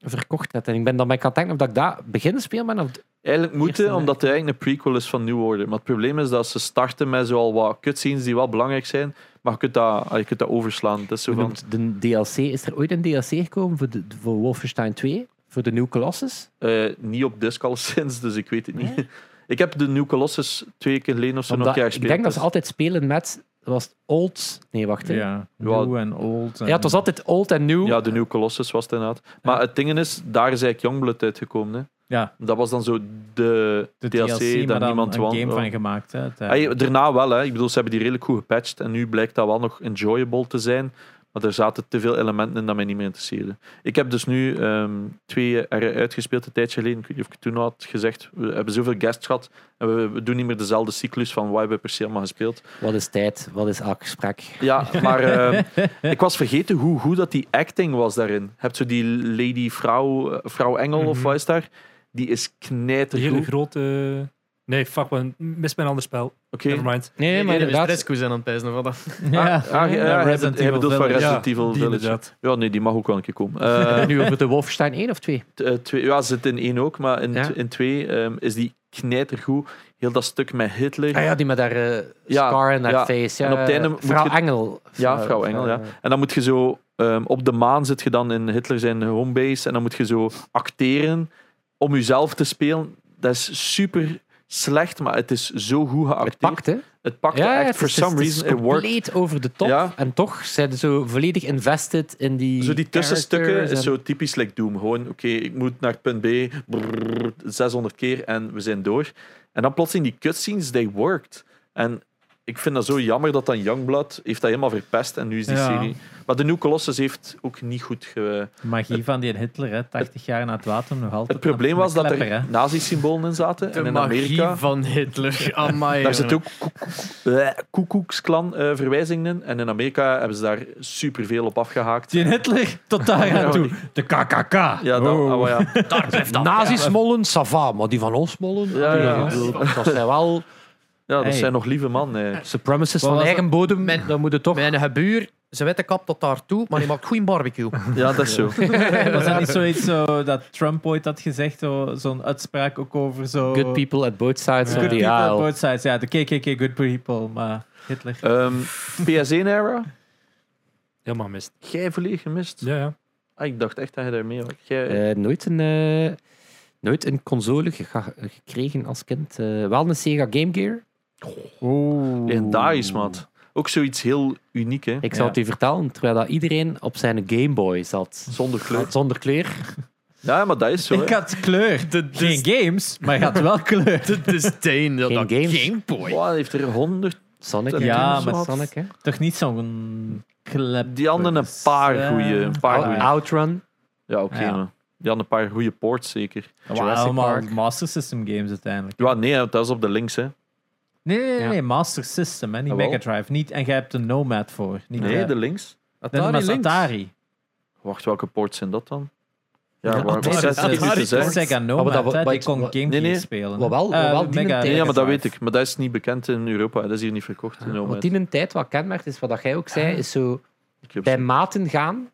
S1: verkocht hebt. En ik ben dan bij aan het denken of dat ik daar beginnen speel ben. Of,
S3: Eigenlijk moeten,
S1: Eerste,
S3: omdat het eigenlijk een prequel is van New Order. Maar het probleem is dat ze starten met zoal wat cutscenes die wel belangrijk zijn, maar je kunt dat, je kunt dat overslaan. Dat is zo
S1: hoe
S3: van,
S1: noemt de DLC? Is er ooit een DLC gekomen voor, de, voor Wolfenstein 2? Voor de New Colossus?
S3: eh, niet op disc alleszins, dus ik weet het niet. Ik heb de New Colossus twee keer geleden of zo nog
S1: Omdat-
S3: een keer
S1: ik
S3: gespeeld.
S1: denk dat ze
S3: dus-
S1: altijd spelen met. Was het old? Nee, wacht. hè.
S5: Ja,
S3: Ja.
S5: new en old. En
S1: Ja, het was altijd old en new.
S3: Ja, de New Colossus was het inderdaad. Maar het ding is, daar is eigenlijk Youngblood uitgekomen. Hè.
S5: Ja,
S3: Dat was dan zo de,
S5: de DLC,
S3: DLC,
S5: maar
S3: dat
S5: dan
S3: niemand
S5: een
S3: wou.
S5: game
S3: wou. Ah,
S5: van gemaakt. Hè, eh, uiteindelijk.
S3: Hey, daarna wel, hè. Ik bedoel, ze hebben die redelijk goed gepatcht. En nu blijkt dat wel nog enjoyable te zijn. Maar er zaten te veel elementen in dat mij niet meer interesseerden. Ik heb dus nu ehm, twee er uitgespeeld een tijdje geleden. Ik weet niet of ik het toen had gezegd. We hebben zoveel guests gehad. En we, we doen niet meer dezelfde cyclus van waar we per se allemaal gespeeld.
S1: Wat is tijd? Wat is elk gesprek?
S3: Ja, maar ehm, ik was vergeten hoe goed dat die acting was daarin. Je hebt zo die lady vrouw, eh, vrouw Engel of wat is daar? Die is
S2: De hele
S3: knijtergoed.
S2: grote... Nee, fuck man, mis mijn ander spel.
S3: Oké.
S2: Nevermind.
S1: Nee,
S4: maar
S1: maar inderdaad.
S4: Rescue zijn aan het pijzen. Of wat?
S5: ja,
S3: Ah, ah, ja, hij
S5: Resident
S3: bedoelt- hij
S5: Evil
S3: bedoelt van
S5: Village.
S3: Resident
S2: Ja,
S3: Evil
S2: die
S3: Village.
S2: inderdaad.
S3: Ja, nee, die mag ook wel een keer komen. Eh,
S1: Nu over de Wolfenstein 1 of 2?
S3: t- eh, twee, ja, ze zit in één ook, maar in,
S1: Ja.
S3: tw- in twee ehm, is die knijtergoed. Heel dat stuk met Hitler.
S1: Ah ja, die met haar eh,
S3: Ja,
S1: scar en haar
S3: ja.
S1: face. Ja.
S3: En op het einde moet
S1: vrouw
S3: je-
S1: Engel.
S3: Ja, vrouw Engel, ja. En dan moet je zo... ehm, op de maan zit je dan in Hitler zijn homebase en dan moet je zo acteren om jezelf te spelen. Dat is super slecht, maar het is zo goed
S1: Het
S3: geacteerd.
S1: pakt, hè?
S3: Het pakte echt.
S1: het
S3: for
S1: is-
S3: some
S1: het is
S3: reason, it worked.
S1: compleet over de top.
S3: Ja.
S1: En toch zijn ze zo volledig invested in die.
S3: Zo die tussenstukken
S1: characters
S3: is
S1: en-
S3: zo typisch like Doom. Gewoon, oké, ik moet naar punt B, brrr, 600 keer en we zijn door. En dan plotseling die cutscenes, they worked. En ik vind dat zo jammer dat dan Youngblood heeft dat helemaal verpest en nu is die
S5: Ja.
S3: serie... Maar de New Colossus heeft ook niet goed... Ge...
S5: magie van die Hitler, hè, 80 jaar na het water nog altijd.
S3: Het probleem
S5: een-
S3: was
S5: een
S3: dat
S5: klepper,
S3: er
S5: hè.
S3: nazi-symbolen in zaten.
S4: De
S3: en in
S4: magie
S3: Amerika...
S4: van Hitler. Amai,
S3: Daar zit
S4: jongen.
S3: ook koekoeksklan eh verwijzingen in. En in Amerika hebben ze daar superveel op afgehaakt.
S5: Die Hitler, tot daar
S3: Ja,
S5: aan toe. De KKK.
S3: Ja, dat,
S5: Oh.
S3: oh ja.
S1: Nazi-smollen, sava, maar die van ons mollen.
S3: Ja, ja.
S1: ik bedoel, Dat zijn wel
S3: ja, dat
S5: Hey.
S3: zijn nog lieve man. eh.
S1: supremacists
S4: Wat
S1: van
S4: was
S1: eigen bodem.
S4: Mijn-
S1: Dan moet het toch.
S4: Mijn buur, ze witte kap tot daartoe, maar die maakt goeie barbecue.
S3: Ja, dat is zo.
S5: Was dat niet zoiets zo, dat Trump ooit had gezegd? zo- Zo'n uitspraak ook over zo...
S1: Good people at both sides of
S5: Good
S1: the
S5: people at
S1: aisle.
S5: both sides. Ja, de KKK, good people, maar Hitler.
S3: Ehm, PS1 era?
S2: Helemaal mist.
S3: Jij volledig gemist.
S2: Ja, ja.
S3: Ah, ik dacht echt dat je daarmee was. Jij...
S1: Eh, nooit, een, eh, nooit een console gega- gekregen als kind. Eh, wel een Sega Game Gear.
S5: Oeh.
S3: Legendarisch, maat. Ook zoiets heel uniek, hè?
S1: Ik zal
S5: Ja.
S1: het u vertellen, terwijl dat iedereen op zijn Game Boy zat.
S3: Zonder kleur.
S1: Zonder kleur.
S3: Ja, maar dat is zo.
S5: Ik
S3: hè. dus-
S5: had kleur. Geen games, maar je had wel kleur.
S4: De disdain. dat-
S1: Geen
S4: dat
S1: games.
S4: Game Boy.
S3: Wow, hij heeft er honderd.
S1: Sonic.
S3: Ja,
S1: hè.
S5: maar-
S1: Sonic. Hè.
S5: Toch niet zo'n klep.
S3: Die hadden een paar goede. Een paar
S1: Out-
S5: Ah,
S3: goeie.
S5: ja.
S1: Outrun.
S3: Ja, oké.
S5: Ja.
S3: maar Die hadden een paar goede ports, zeker.
S5: Wow,
S1: Jurassic
S5: allemaal
S1: Park.
S5: Master System games uiteindelijk.
S3: Ja, nee, dat is op de links, hè?
S5: Nee, nee, nee,
S1: Ja.
S5: nee, Master System, hè, niet
S3: Jawel.
S5: Mega Drive. Niet, en jij hebt de Nomad voor. Niet
S3: Nee,
S5: de,
S3: de links.
S5: Nee, maar
S4: links.
S5: Atari.
S3: Wacht, welke ports zijn dat dan? Ja,
S1: Ja,
S3: waar
S1: Atari-
S3: was dat?
S5: Atari-
S3: Ik moet het zeggen.
S5: Sega
S1: Ah, Maar
S5: Nomad,
S1: dat-
S5: hè,
S1: wat-
S5: die kon
S1: wat-
S5: Game
S3: nee,
S5: Gear
S3: nee.
S5: spelen.
S1: Wat wel- wat
S5: Eh,
S1: wel die
S5: Mega
S1: een
S3: Nee,
S1: tijd-
S3: ja, maar dat
S5: Drive.
S3: weet ik. Maar dat is niet bekend in Europa. Dat is hier niet verkocht. in Europa.
S1: Wat die een tijd wat kenmerkt is, wat dat jij ook zei, is zo
S3: Ik heb
S1: bij
S3: ze-
S1: maten gaan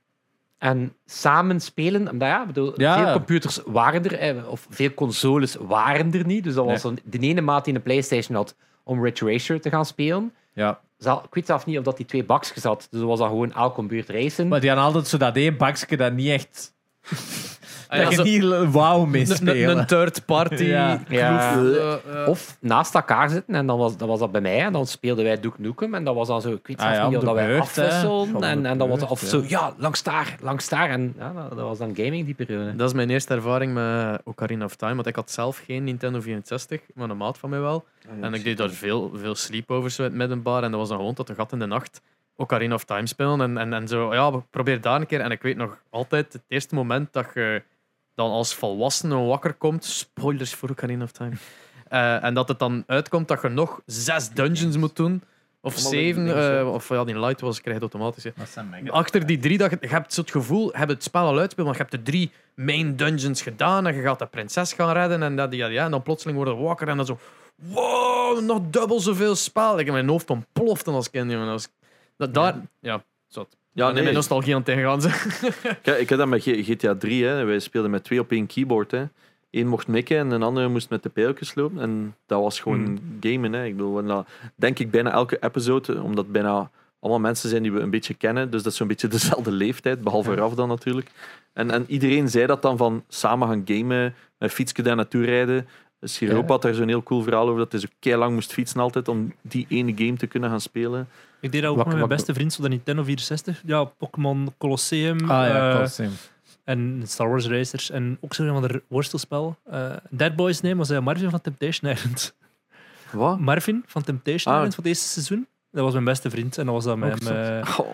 S1: en samen spelen. Omdat ja, ik bedoel,
S5: Ja.
S1: veel computers waren er, eh, of veel consoles waren er niet. Dus dat was dan de ene maat die een PlayStation had om Ridge Racer te gaan spelen.
S5: Ja.
S1: Zal- Ik weet zelf niet of dat die twee baks zat. Dus dat was dan gewoon elk om buurt racen.
S5: Maar die hadden altijd zo dat één bakje dat niet echt...
S4: Ah, ja,
S5: dat je
S4: zo-
S5: niet l- wauw mee
S4: N- n- Een
S5: spelen.
S4: third party.
S5: Ja.
S4: kloof,
S1: Ja.
S4: eh, eh.
S1: Of naast elkaar zitten, en dan was, dan was dat bij mij, en dan speelden wij Duke Nukem, en dat was dan zo, ik weet
S5: Ah
S1: zelf
S5: ja,
S1: niet
S5: om
S1: of
S5: de
S1: dat wij
S5: beurt, hè. Om
S1: afwisselden,
S5: de
S1: en, en dat was,
S5: beurt,
S1: of
S5: ja.
S1: zo, ja, langs daar, langs daar, en ja, dat, dat was dan gaming die periode.
S4: Dat is mijn eerste ervaring met Ocarina of Time. Want ik had zelf geen Nintendo 64, maar een maat van mij wel.
S3: Ah,
S4: en ik deed daar veel, veel sleepovers met met een bar. En dat was dan gewoon tot de gat in de nacht Ocarina of Time spelen. En, en, en zo, ja, we- probeer daar een keer. En ik weet nog altijd het eerste moment dat je dan als volwassene wakker komt. Spoilers voor Ocarina of Time. Eh, en dat het dan uitkomt dat je nog zes dungeons moet doen. Of
S3: Allemaal
S4: zeven.
S3: dingen,
S4: eh,
S3: ja.
S4: of ja, die light was, krijg je het automatisch. hè.
S5: Dat zijn Mega
S4: Achter die drie, dat je, je hebt zo het gevoel, je hebt het spel al uitgespeeld, maar je hebt de drie main dungeons gedaan en je gaat de prinses gaan redden en dat, ja, ja, en dan plotseling worden we wakker en dan zo, wow, nog dubbel zoveel spel. Ik heb mijn hoofd ontplofte als kind, jongen. Als, dat, daar, ja, zat.
S3: Ja, nee.
S4: Mijn nostalgie aan het tegengaan. zijn.
S3: Kijk, ik had dat met G- GTA 3. Hè. Wij speelden met twee op één keyboard. Hè. Eén mocht mikken en een andere moest met de pijltjes lopen. En dat was gewoon
S4: Hmm.
S3: gamen. Hè. Ik bedoel, we hadden dat, denk ik bijna elke episode, omdat bijna allemaal mensen zijn die we een beetje kennen. Dus dat is zo'n beetje dezelfde leeftijd, behalve Raf dan natuurlijk. En, en iedereen zei dat dan van samen gaan gamen, met fietsje daar naartoe rijden. Siroop had daar zo'n heel cool verhaal over dat hij zo lang moest fietsen altijd om die ene game te kunnen gaan spelen.
S2: Ik deed dat ook
S1: Wat-
S2: met mijn
S1: wat-
S2: beste vriend, zo de Nintendo 64. Ja, Pokémon Colosseum.
S5: Ah ja,
S2: eh,
S5: Colosseum.
S2: en Star Wars Racers. En ook zo'n ander worstelspel. Eh, Dead Boys Name was eh, Marvin van Temptation Island.
S3: Wat?
S2: Marvin van Temptation
S3: Ah.
S2: Island van het eerste seizoen. Dat was mijn beste vriend. En dat was dan
S5: Ook
S2: met
S5: zot.
S2: hem, eh,
S3: Oh.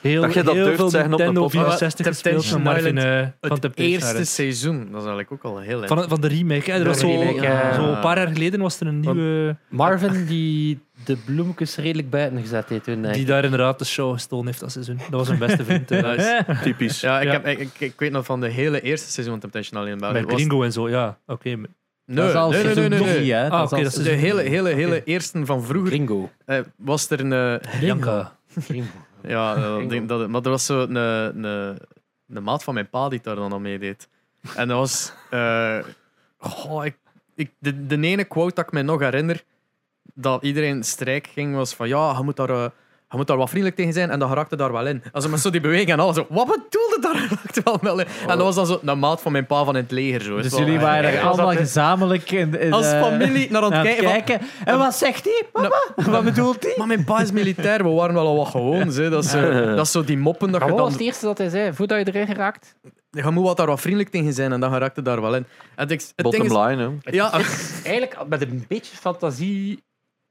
S2: heel,
S3: Dat je dat
S2: heel
S3: durft
S2: veel
S3: zeggen op de
S2: Nintendo
S3: podcast.
S2: 64 gespeeld.
S4: Temptation
S2: van Marvin eh, van
S4: Het
S2: Temptation
S4: eerste
S2: Island.
S4: seizoen, dat is eigenlijk ook al heel erg.
S2: Van, van de remake. Hè. Er
S1: De
S2: was zo, eh,
S1: remake, ja.
S2: zo een paar jaar geleden was er een
S1: Van-
S2: nieuwe...
S1: Marvin, die de bloemetjes redelijk buiten gezet heeft eh, toen, denk
S2: Die
S1: ik.
S2: daar inderdaad de show gestolen heeft dat seizoen. Dat was mijn beste vriend. eh.
S3: Typisch.
S4: Ja, ik,
S2: Ja.
S4: Heb, ik, ik, ik weet nog van de hele eerste seizoen van Temptation Island
S3: Ah,
S4: België.
S2: Met
S4: was-
S2: Gringo en zo, ja. Oké.
S4: Nee,
S5: dat is al
S4: nee, nee, nee,
S5: seizoen
S4: nee, nee.
S5: drie, hè.
S2: Ah,
S5: Dat is
S2: oké,
S5: al
S2: dat is-
S4: De hele, hele, hele eerste van vroeger
S1: Gringo.
S4: eh, was er een... eh,
S2: Janka.
S1: Gringo.
S4: Ja, dat-
S1: Engel.
S4: denk dat, maar er was zo een, een, een maat van mijn pa die daar dan aan meedeed. En dat was. eh, goh, ik, ik, de, de ene quote dat ik me nog herinner dat iedereen strijk ging was van ja, je moet daar. eh, je moet daar wat vriendelijk tegen zijn en dan raakte daar wel in. Als ze met zo die beweging en alles, zo, wat bedoelde daar raakte wel wel in. En dat was dan zo een maat van mijn pa van in het leger. Zo,
S5: Dus
S4: Zo,
S5: jullie
S4: eh,
S5: waren
S1: ja, was
S5: er
S1: dat
S5: allemaal
S1: de-
S5: gezamenlijk in, in,
S4: als
S5: eh,
S4: familie naar aan het
S5: aan het
S4: kijken. van,
S5: kijken. En wat zegt hij? Papa, wat bedoelt hij?
S4: maar mijn pa is militair, we waren wel al wat gewoon. Hè. Dat, is, eh, dat is zo die moppen dat
S5: Ah,
S1: Maar
S4: je
S1: wat was
S4: dan
S1: het eerste dat hij zei? Voordat je erin geraakt?
S4: je moet wat daar wat vriendelijk tegen zijn en dan raakt het daar wel in. Het, ik- het ding is,
S3: Bottom line, hè.
S4: ja,
S1: Eigenlijk, met een beetje fantasie,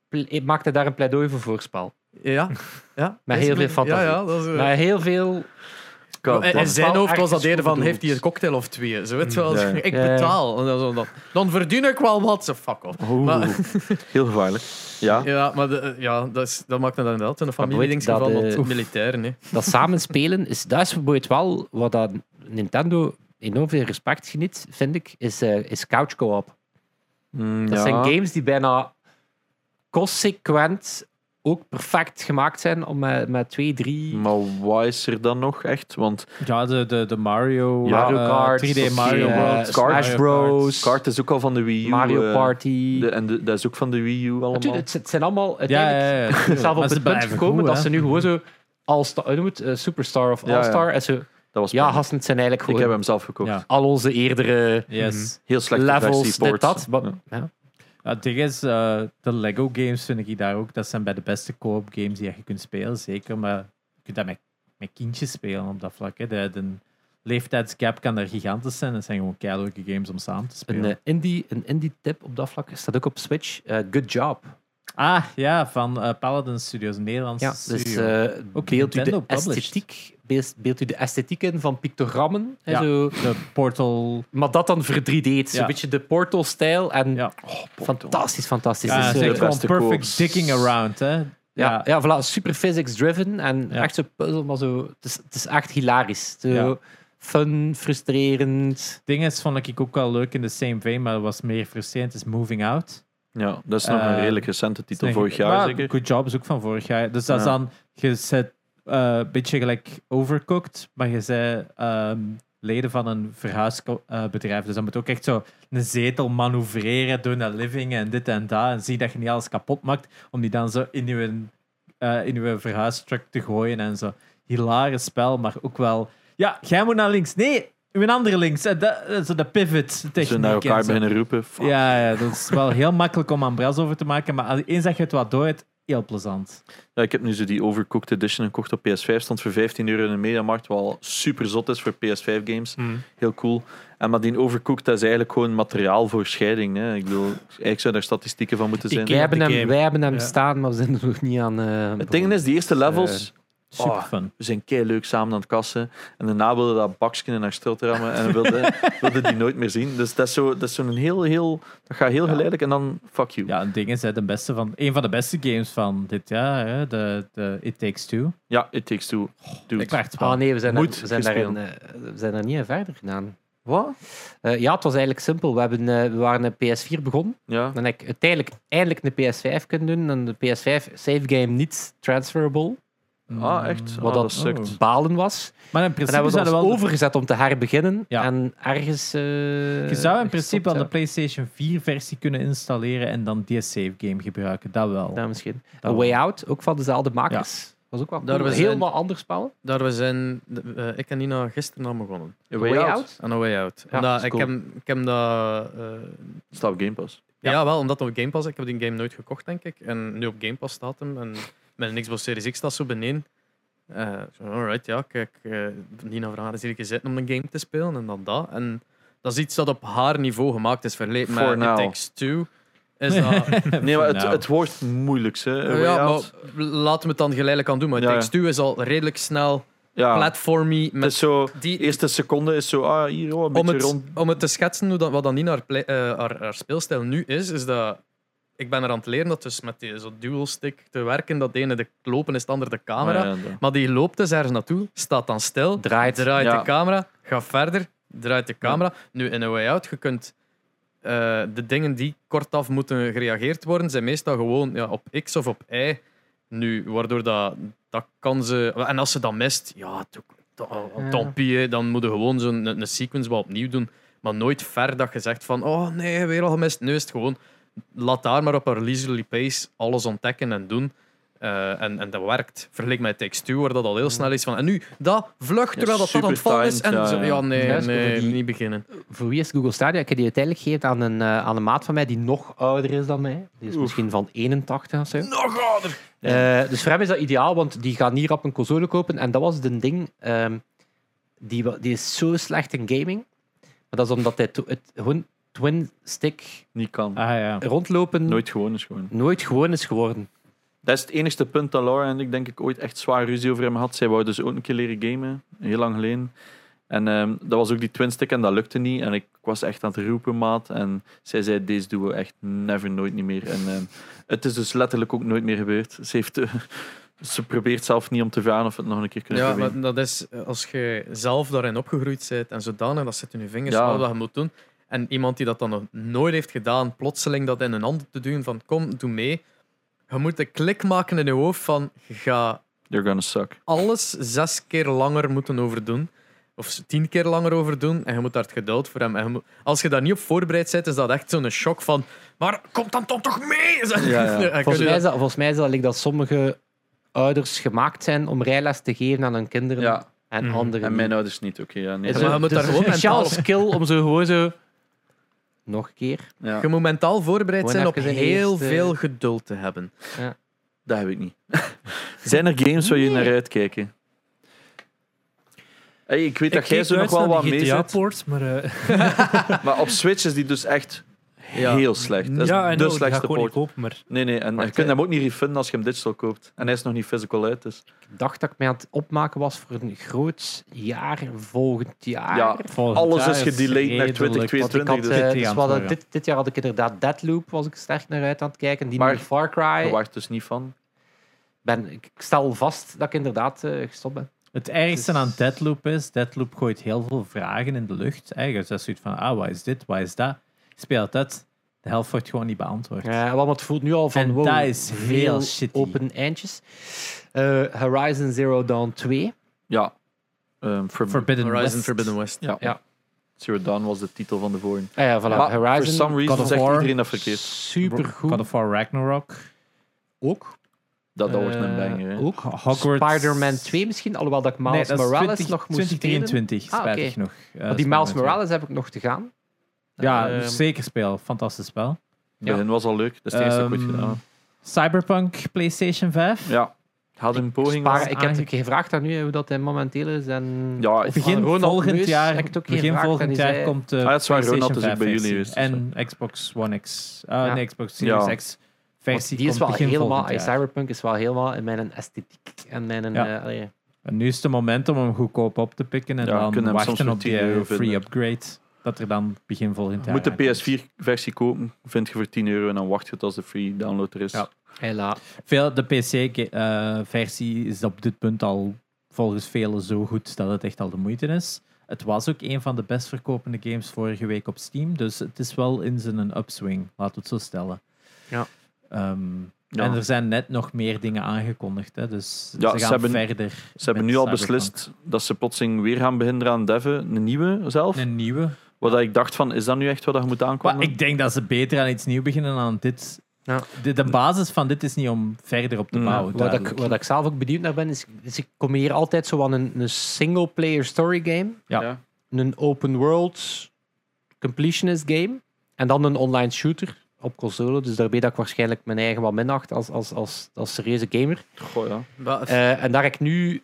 S1: ple- maakte daar een pleidooi voor voorspel.
S4: ja, ja.
S1: Met heel veel fantasie.
S4: Ja, ja, dat is, eh,
S1: Maar heel veel...
S4: en- en
S1: dat is
S4: zijn
S1: wel
S4: hoofd was
S1: ergens
S4: dat eerder van,
S1: goed
S4: heeft hij een
S1: bedoeld.
S4: cocktail of twee? Zo, weet je wel,
S3: Ja.
S4: ik
S1: Ja, ja.
S4: betaal. En dan, zo, dan, dan verdien ik wel wat, ze fuck off.
S3: Oeh,
S4: Maar-
S3: heel gevaarlijk. Ja.
S4: Ja, maar de, eh, ja, dat, is, dat maakt het inderdaad een familiedingsgeval
S1: dat, eh,
S4: met
S1: oef.
S4: militairen. hè.
S1: Dat samen spelen, is, dat is bijvoorbeeld wel wat dat Nintendo enorm veel respect geniet, vind ik, is, eh, is couch co-op.
S3: Mm,
S1: Dat
S3: ja.
S1: zijn games die bijna consequent ook perfect gemaakt zijn om met, met twee, drie...
S3: Maar wat is er dan nog echt? Want
S5: Ja, de, de, de Mario,
S3: Ja,
S5: eh,
S1: Mario Kart,
S5: 3D Mario
S1: eh,
S5: World,
S3: Kart,
S1: Smash
S5: Mario
S1: Bros,
S3: Kart is ook al van de Wii U.
S1: Mario
S3: eh,
S1: Party.
S3: de- en de- dat is ook van de Wii U allemaal.
S1: Natuurlijk, het, het zijn allemaal
S5: Ja,
S1: uiteindelijk
S5: ja, ja.
S1: zelf op
S5: Maar ze
S1: het punt
S5: blijven
S1: gekomen
S5: goed,
S1: dat
S5: hè.
S1: ze nu gewoon zo All-Star, hoe noem je het? Eh, Superstar of
S3: Ja, ja.
S1: All-Star. En zo,
S3: Dat
S1: ja,
S3: was spannend.
S1: gasten, het zijn eigenlijk
S3: Ik
S1: gewoon
S3: heb hem zelf gekocht.
S5: Ja.
S1: al onze eerdere Mhm.
S5: Yes.
S3: Heel slecht
S1: levels,
S3: versie,
S1: dit,
S3: ports.
S1: dat. Maar,
S3: Ja.
S1: ja.
S5: Ja, het ding is, eh, de Lego games vind ik daar ook. Dat zijn bij de beste co-op games die je kunt spelen, zeker. Maar je kunt dat met, met kindjes spelen op dat vlak. Hè. De, de leeftijdsgap kan daar gigantisch zijn. Dat zijn gewoon keileuke games om samen te
S1: Een,
S5: spelen.
S1: eh, indie, een indie tip op dat vlak staat ook op Switch. Eh, good Job.
S5: Ah, ja, van eh, Paladin Studios, een Nederlandse
S1: Ja,
S5: studio.
S1: dus eh
S5: Ook
S1: beeld, u de
S5: Nintendo published.
S1: esthetiek, beeld, beeld u de esthetiek in van pictogrammen. en
S5: Ja.
S1: Zo.
S5: de Portal...
S1: Maar dat dan ver 3 d
S5: Ja.
S1: Een beetje de Portal-stijl. En oh,
S5: Ja. Oh,
S1: fantastisch, fantastisch.
S5: Ja,
S1: Dus,
S5: het
S1: eh,
S5: is
S3: de
S5: echt gewoon
S3: beste
S5: perfect
S3: co-ops.
S5: dicking around, hè. Ja,
S1: Ja, ja. voilà, super physics-driven en
S5: Ja.
S1: echt zo puzzel, maar zo, het, is, het is echt hilarisch. Zo,
S5: Ja.
S1: Fun, frustrerend.
S5: ding is, vond ik ook wel leuk in de same vein, maar het was meer frustrerend, is Moving Out.
S3: Ja, dat is nog
S5: Eh,
S3: een redelijk recente titel,
S5: Nee,
S3: vorig
S5: maar
S3: jaar zeker.
S5: Good Job is ook van vorig jaar. Dus dat is
S3: Ja.
S5: dan, je zet eh, een beetje gelijk overcooked, maar je bent ehm, leden van een verhuisbedrijf. dus dan moet je ook echt zo een zetel manoeuvreren door naar living en dit en dat. En zie dat je niet alles kapot maakt, om die dan zo in je, eh, in je verhuistruck te gooien en zo. Hilarisch spel, maar ook wel... Ja, jij moet naar links. Nee, een andere links. En dat, eh, zo de pivot techniek.
S3: Ze naar
S5: en
S3: elkaar
S5: zo.
S3: beginnen roepen. Fuck.
S5: Ja, ja, dat is wel heel makkelijk om aan bras over te maken, maar als- eens dat je het wat door hebt, heel plezant.
S3: Ja, ik heb nu zo die Overcooked Edition gekocht op PS5. Stond voor 15 euro in de mediamarkt. Wat al super zot is voor PS5 games. Heel cool. En maar die Overcooked, dat is eigenlijk gewoon materiaal voor scheiding. Hè. Ik bedoel, eigenlijk zou daar statistieken van moeten zijn.
S1: Wij hebben,
S2: die
S1: hem,
S2: game.
S1: wij hebben hem
S2: Ja.
S1: staan, maar we zijn er nog niet aan. eh,
S3: Het ding is, die eerste levels,
S5: eh, Super
S3: Oh.
S5: fun.
S3: we zijn kei leuk samen aan het kassen. En daarna wilde dat bakje in haar stilte rammen. En we wilden wilden die nooit meer zien. Dus dat is zo'n zo een heel, heel... Dat gaat heel geleidelijk en dan fuck you. Ja,
S5: Ja, een ding is hè, de beste van, een van de beste games van dit jaar, hè, de, de It Takes Two.
S3: it takes two. Dude.
S5: Ik wacht wel.
S1: Ah nee, we zijn, daar-
S3: Moet
S1: we zijn,
S3: gespeeld.
S1: daarin, eh, we zijn daar niet in verder gedaan.
S3: Wat?
S1: Eh, ja, het was eigenlijk simpel. We, hebben, eh, we waren een PS4 begonnen.
S3: Ja.
S1: Dan heb ik uiteindelijk eindelijk een PS5 kunnen doen. En de PS5 save game niet transferable.
S5: Mm.
S3: Ah, echt?
S1: Wat
S3: Ah,
S1: dat-
S3: dat sukt.
S1: Balen was.
S5: Maar in
S1: En
S5: principe
S1: hebben we
S5: zouden
S1: ons
S5: we wel de-
S1: overgezet om te herbeginnen.
S5: Ja.
S1: En ergens. eh,
S5: je zou in
S1: ergens
S5: principe
S1: stopt,
S5: wel
S1: ja.
S5: de PlayStation 4 versie kunnen installeren en dan die save game gebruiken, dat wel.
S1: Ja, misschien.
S5: Dat
S1: A Way Out, ook van dezelfde makers. Was ook wel
S4: Daar
S1: cool.
S4: was
S1: helemaal ander spel.
S4: Daar we zijn, eh, ik en Nina gisteren aan begonnen.
S1: A
S3: Way Out.
S4: Aan A Way Out.
S1: Ja,
S4: Omdat
S1: is
S4: ik,
S1: cool.
S4: heb, ik heb dat... eh,
S3: Staat op Game Pass.
S1: Ja.
S4: ja. wel, omdat het op Game Pass is. Ik heb die game nooit gekocht, denk ik. En nu op Game Pass staat hem. En met een Xbox Series X staat zo beneden. Eh, zo, alright, ja, kijk. eh, Nina vraagt is hier gezeten om een game te spelen en dan dat. En dat is iets dat op haar niveau gemaakt is. Vergeleken met
S3: For
S4: It
S3: now.
S4: Takes Two is dat...
S3: Nee, maar het,
S5: Nou.
S3: het wordt moeilijks. Hè. A Way
S4: ja, maar
S3: Out.
S4: laten we het dan geleidelijk aan doen. Maar It
S3: Ja, ja.
S4: Takes Two is al redelijk snel
S3: Ja.
S4: platformy
S3: Het
S4: met
S3: is zo,
S4: die
S3: de eerste seconde is zo, ah, hier, oh, een
S4: om
S3: beetje
S4: het,
S3: rond.
S4: om het te schetsen hoe dat, wat dan niet haar, play- eh, haar, haar speelstijl nu is, is dat ik ben er aan het leren dat dus met die zo dual stick te werken, dat de ene de lopen is, de andere de camera.
S3: Ah, ja, dat-
S4: Maar die loopt dus ergens naartoe, staat dan stil,
S1: Draait.
S3: Ja.
S4: de camera, gaat verder, draait de camera. Nu in een way out, je kunt eh, de dingen die kortaf moeten gereageerd worden, zijn meestal gewoon ja, op X of op Y. Nu, waardoor dat, dat kan ze. En als ze dat mist, ja, to- to-
S1: Ja.
S4: tant pis, hè. dan moet je gewoon zo'n een, een sequence wel opnieuw doen. Maar nooit ver dat je zegt van, oh nee, weer al gemist. Nu is het gewoon, laat daar maar op een leisurely pace alles ontdekken en doen. Eh, en, en dat werkt. Vergeleken met Takes 2, waar dat al heel snel is van, en nu, dat vlucht, terwijl dat, dat aan het vallen is. En
S3: supertimed,
S4: zo,
S3: ja,
S4: ja,
S3: ja.
S4: nee,
S1: Juist,
S4: nee,
S1: over die-
S4: niet beginnen.
S1: Voor wie is Google Stadia? Ik heb die uiteindelijk gegeven aan een, eh, aan een maat van mij die nog ouder is dan mij. Die is
S3: Oef.
S1: misschien van 81 of zo.
S3: Nog ouder!
S1: Eh, dus voor hem is dat ideaal, want die gaan hier op een console kopen. En dat was een ding, ehm, die, wa- die is zo slecht in gaming. Maar dat is omdat hij to- het gewoon twin stick
S3: Niet kan.
S5: Ah ja.
S1: rondlopen nooit,
S3: Nooit gewoon is gewoon.
S1: gewoon is geworden.
S3: Dat is het enigste punt dat Laura en ik denk ik ooit echt zwaar ruzie over hem had. Zij wou dus ook een keer leren gamen, heel lang geleden. En ehm, dat was ook die twinstick en dat lukte niet. En ik was echt aan het roepen, maat. En zij zei, deze doen we echt never, nooit niet meer. En ehm, het is dus letterlijk ook nooit meer gebeurd. Ze, heeft, eh, ze probeert zelf niet om te vragen of we het nog een keer kunnen
S4: Ja,
S3: proberen.
S4: maar dat is eh, als je zelf daarin opgegroeid bent en zodanig, dat zit in je vingers,
S3: Ja.
S4: al wat je moet doen. En iemand die dat dan nog nooit heeft gedaan, plotseling dat in een ander te doen van kom, doe mee. Je moet een klik maken in je hoofd van ga
S3: You're gonna suck.
S4: alles zes keer langer moeten overdoen. Of tien keer langer overdoen. En je moet daar het geduld voor hebben. En je moet- als je daar niet op voorbereid bent, is dat echt zo'n shock van... Maar kom dan toch toch mee!
S3: ja.
S4: En kun je
S1: Volgens mij,
S4: dat-
S1: is dat, volgens mij is dat, like dat sommige ouders gemaakt zijn om rijles te geven aan hun kinderen
S3: Ja,
S1: en
S2: Mhm.
S1: anderen.
S3: en mijn ouders niet. Oké, ja, nee.
S1: Is
S4: Ja,
S1: een-
S4: maar je moet
S1: dus
S4: daar gewoon
S1: een speciale
S4: mentaal-
S1: skill om zo gewoon zo... Nog een keer.
S3: Ja,
S4: Je moet mentaal voorbereid
S1: Gewoon
S4: zijn op
S1: even de
S4: heel
S1: eerste-
S4: veel geduld te hebben.
S3: dat heb ik niet. Zijn er games waar jullie naar uitkijken? Hey, ik weet dat jij zo nog wel wat mee zit,
S2: GTA-poort, maar... eh,
S3: maar op Switch is die dus echt
S4: Ja.
S3: heel slecht. Dat is
S2: ja, en
S3: de
S2: no, die ga ik
S3: slechtste
S2: gewoon niet
S3: poort.
S2: kopen, maar...
S3: Nee, nee, en je kunt hem ook niet refunden als je hem digital koopt. En hij is nog niet physical uit, dus...
S1: Ik dacht dat ik mij aan het opmaken was voor een groot jaar volgend jaar.
S3: Ja,
S5: Volgend
S3: Alles
S5: jaar
S3: is gedelayed naar
S5: redelijk, want ik
S3: 2022,
S5: had,
S3: dus-
S5: eh,
S1: Eh,
S5: dit
S1: dus
S5: jaar
S1: we hadden-
S5: voor, ja.
S1: dit, dit jaar had ik inderdaad Deadloop, was ik sterk naar uit aan het kijken. Die
S3: Maar-
S1: nieuwe Far Cry.
S3: Daar wacht dus niet van.
S1: ben, ik ik stel vast dat ik inderdaad eh, gestopt ben.
S5: Het ergste
S1: Dus-
S5: aan Deadloop is, Deadloop gooit heel veel vragen in de lucht. Eigenlijk dat is zoiets van, ah, wat is dit, wat is dat? Je speelt dat, de helft wordt gewoon niet beantwoord.
S1: Ja, Eh, want het voelt nu al van
S5: En
S1: wow,
S5: dat is
S1: veel
S5: heel shitty.
S1: open eindjes. Eh, Horizon Zero Dawn 2.
S3: Ja. Ehm Forbidden,
S5: Forbidden
S4: Horizon
S5: West.
S4: Forbidden West.
S3: Ja.
S1: Ja.
S3: Zero Dawn was de titel van de vorige.
S1: Ah ja, voilà.
S3: Maar
S1: Horizon,
S3: for some reason
S1: God of
S3: zegt
S1: War,
S3: iedereen dat verkeerd.
S1: Supergoed.
S5: God of War Ragnarok.
S1: ook.
S3: Dat, dat wordt een
S1: Eh,
S3: banger, hè.
S1: Ook.
S5: Hogwarts.
S1: Spider-man 2 misschien, alhoewel dat ik
S5: Nee,
S1: Miles
S5: dat is
S1: Morales
S5: 20
S1: nog moest spelen.
S5: 2023,
S1: Ah, oké.
S5: spijtig nog. Eh,
S1: Want die Miles
S5: Spider-Man
S1: Morales heb ik nog te gaan.
S5: twee. Ja, dus
S4: Ehm,
S5: zeker speel. Fantastisch spel.
S3: Het begin was al leuk. Dat is het eerste dat ik
S5: Ehm,
S3: goed gedaan.
S5: Cyberpunk, PlayStation 5.
S3: Ja. Ik had een poging.
S1: Spaar-
S5: was
S1: ik heb het
S5: aange-
S1: gevraagd aan u hoe dat hij momenteel is. En
S3: Ja, ik-
S1: aan
S5: Begin
S1: Ah, Ronald
S5: volgend
S1: Meus
S5: jaar,
S1: heb ik het ook
S5: begin
S1: gevraagd en
S5: volgend
S1: die
S5: jaar
S1: zei-
S5: komt de
S3: Ah, dat is waar,
S5: PlayStation
S3: Ronald is
S5: 5
S3: ook bij jullie,
S5: versie.
S3: dus dat is
S5: En Xbox One X. ah,
S1: Ja.
S5: Nee, Xbox Series
S3: Ja.
S1: Want
S5: X versie
S1: die is
S5: komt
S1: wel
S5: begin
S1: helemaal,
S5: volgend jaar.
S1: Cyberpunk is wel helemaal in mijn esthetiek en mijn.
S5: Ja.
S1: eh, allee.
S5: En nu is het moment om hem goedkoop op te pikken en
S3: Ja, kunnen
S5: dan
S3: hem soms
S5: wachten
S3: voor
S5: op
S3: 10
S5: die eh,
S3: euro
S5: free
S3: vinden.
S5: upgrade. Dat er dan begin volgend jaar
S3: moet de
S5: aankomt.
S3: PS4-versie kopen. Vind je voor 10 euro en dan wacht je tot als de free download er is.
S5: Ja.
S1: Hela.
S5: Veel, de PC-versie eh, is op dit punt al volgens velen zo goed dat het echt al de moeite is. Het was ook een van de best verkopende games vorige week op Steam, dus het is wel in zijn upswing, laten we het zo stellen.
S1: Ja.
S5: Ehm,
S3: Ja.
S5: En er zijn net nog meer dingen aangekondigd, hè, dus
S3: Ja,
S5: ze
S3: ze
S5: gaan
S3: hebben-
S5: verder.
S3: Ze hebben
S5: met
S3: nu al
S5: Cyberpunk.
S3: beslist dat ze plotseling weer gaan beginnen aan deven. Een nieuwe zelf.
S5: Een nieuwe.
S3: Wat ik dacht van, is dat nu echt wat je moet
S5: Maar
S3: aankondigen?
S5: ik denk dat ze beter aan iets nieuws beginnen dan dit.
S1: Ja.
S5: De, de basis van dit is niet om verder op te
S3: Ja,
S5: bouwen.
S1: Wat ik,
S5: duidelijk.
S1: wat ik zelf ook benieuwd naar ben, is, is ik kom hier altijd zo aan een, een single-player story game,
S5: Ja.
S3: Ja.
S1: een open world completionist game en dan een online shooter op console. Dus daarbij dat ik waarschijnlijk mijn eigen wat minacht als, als, als, als serieuze gamer.
S3: Goh, ja.
S1: Eh, en daar heb ik nu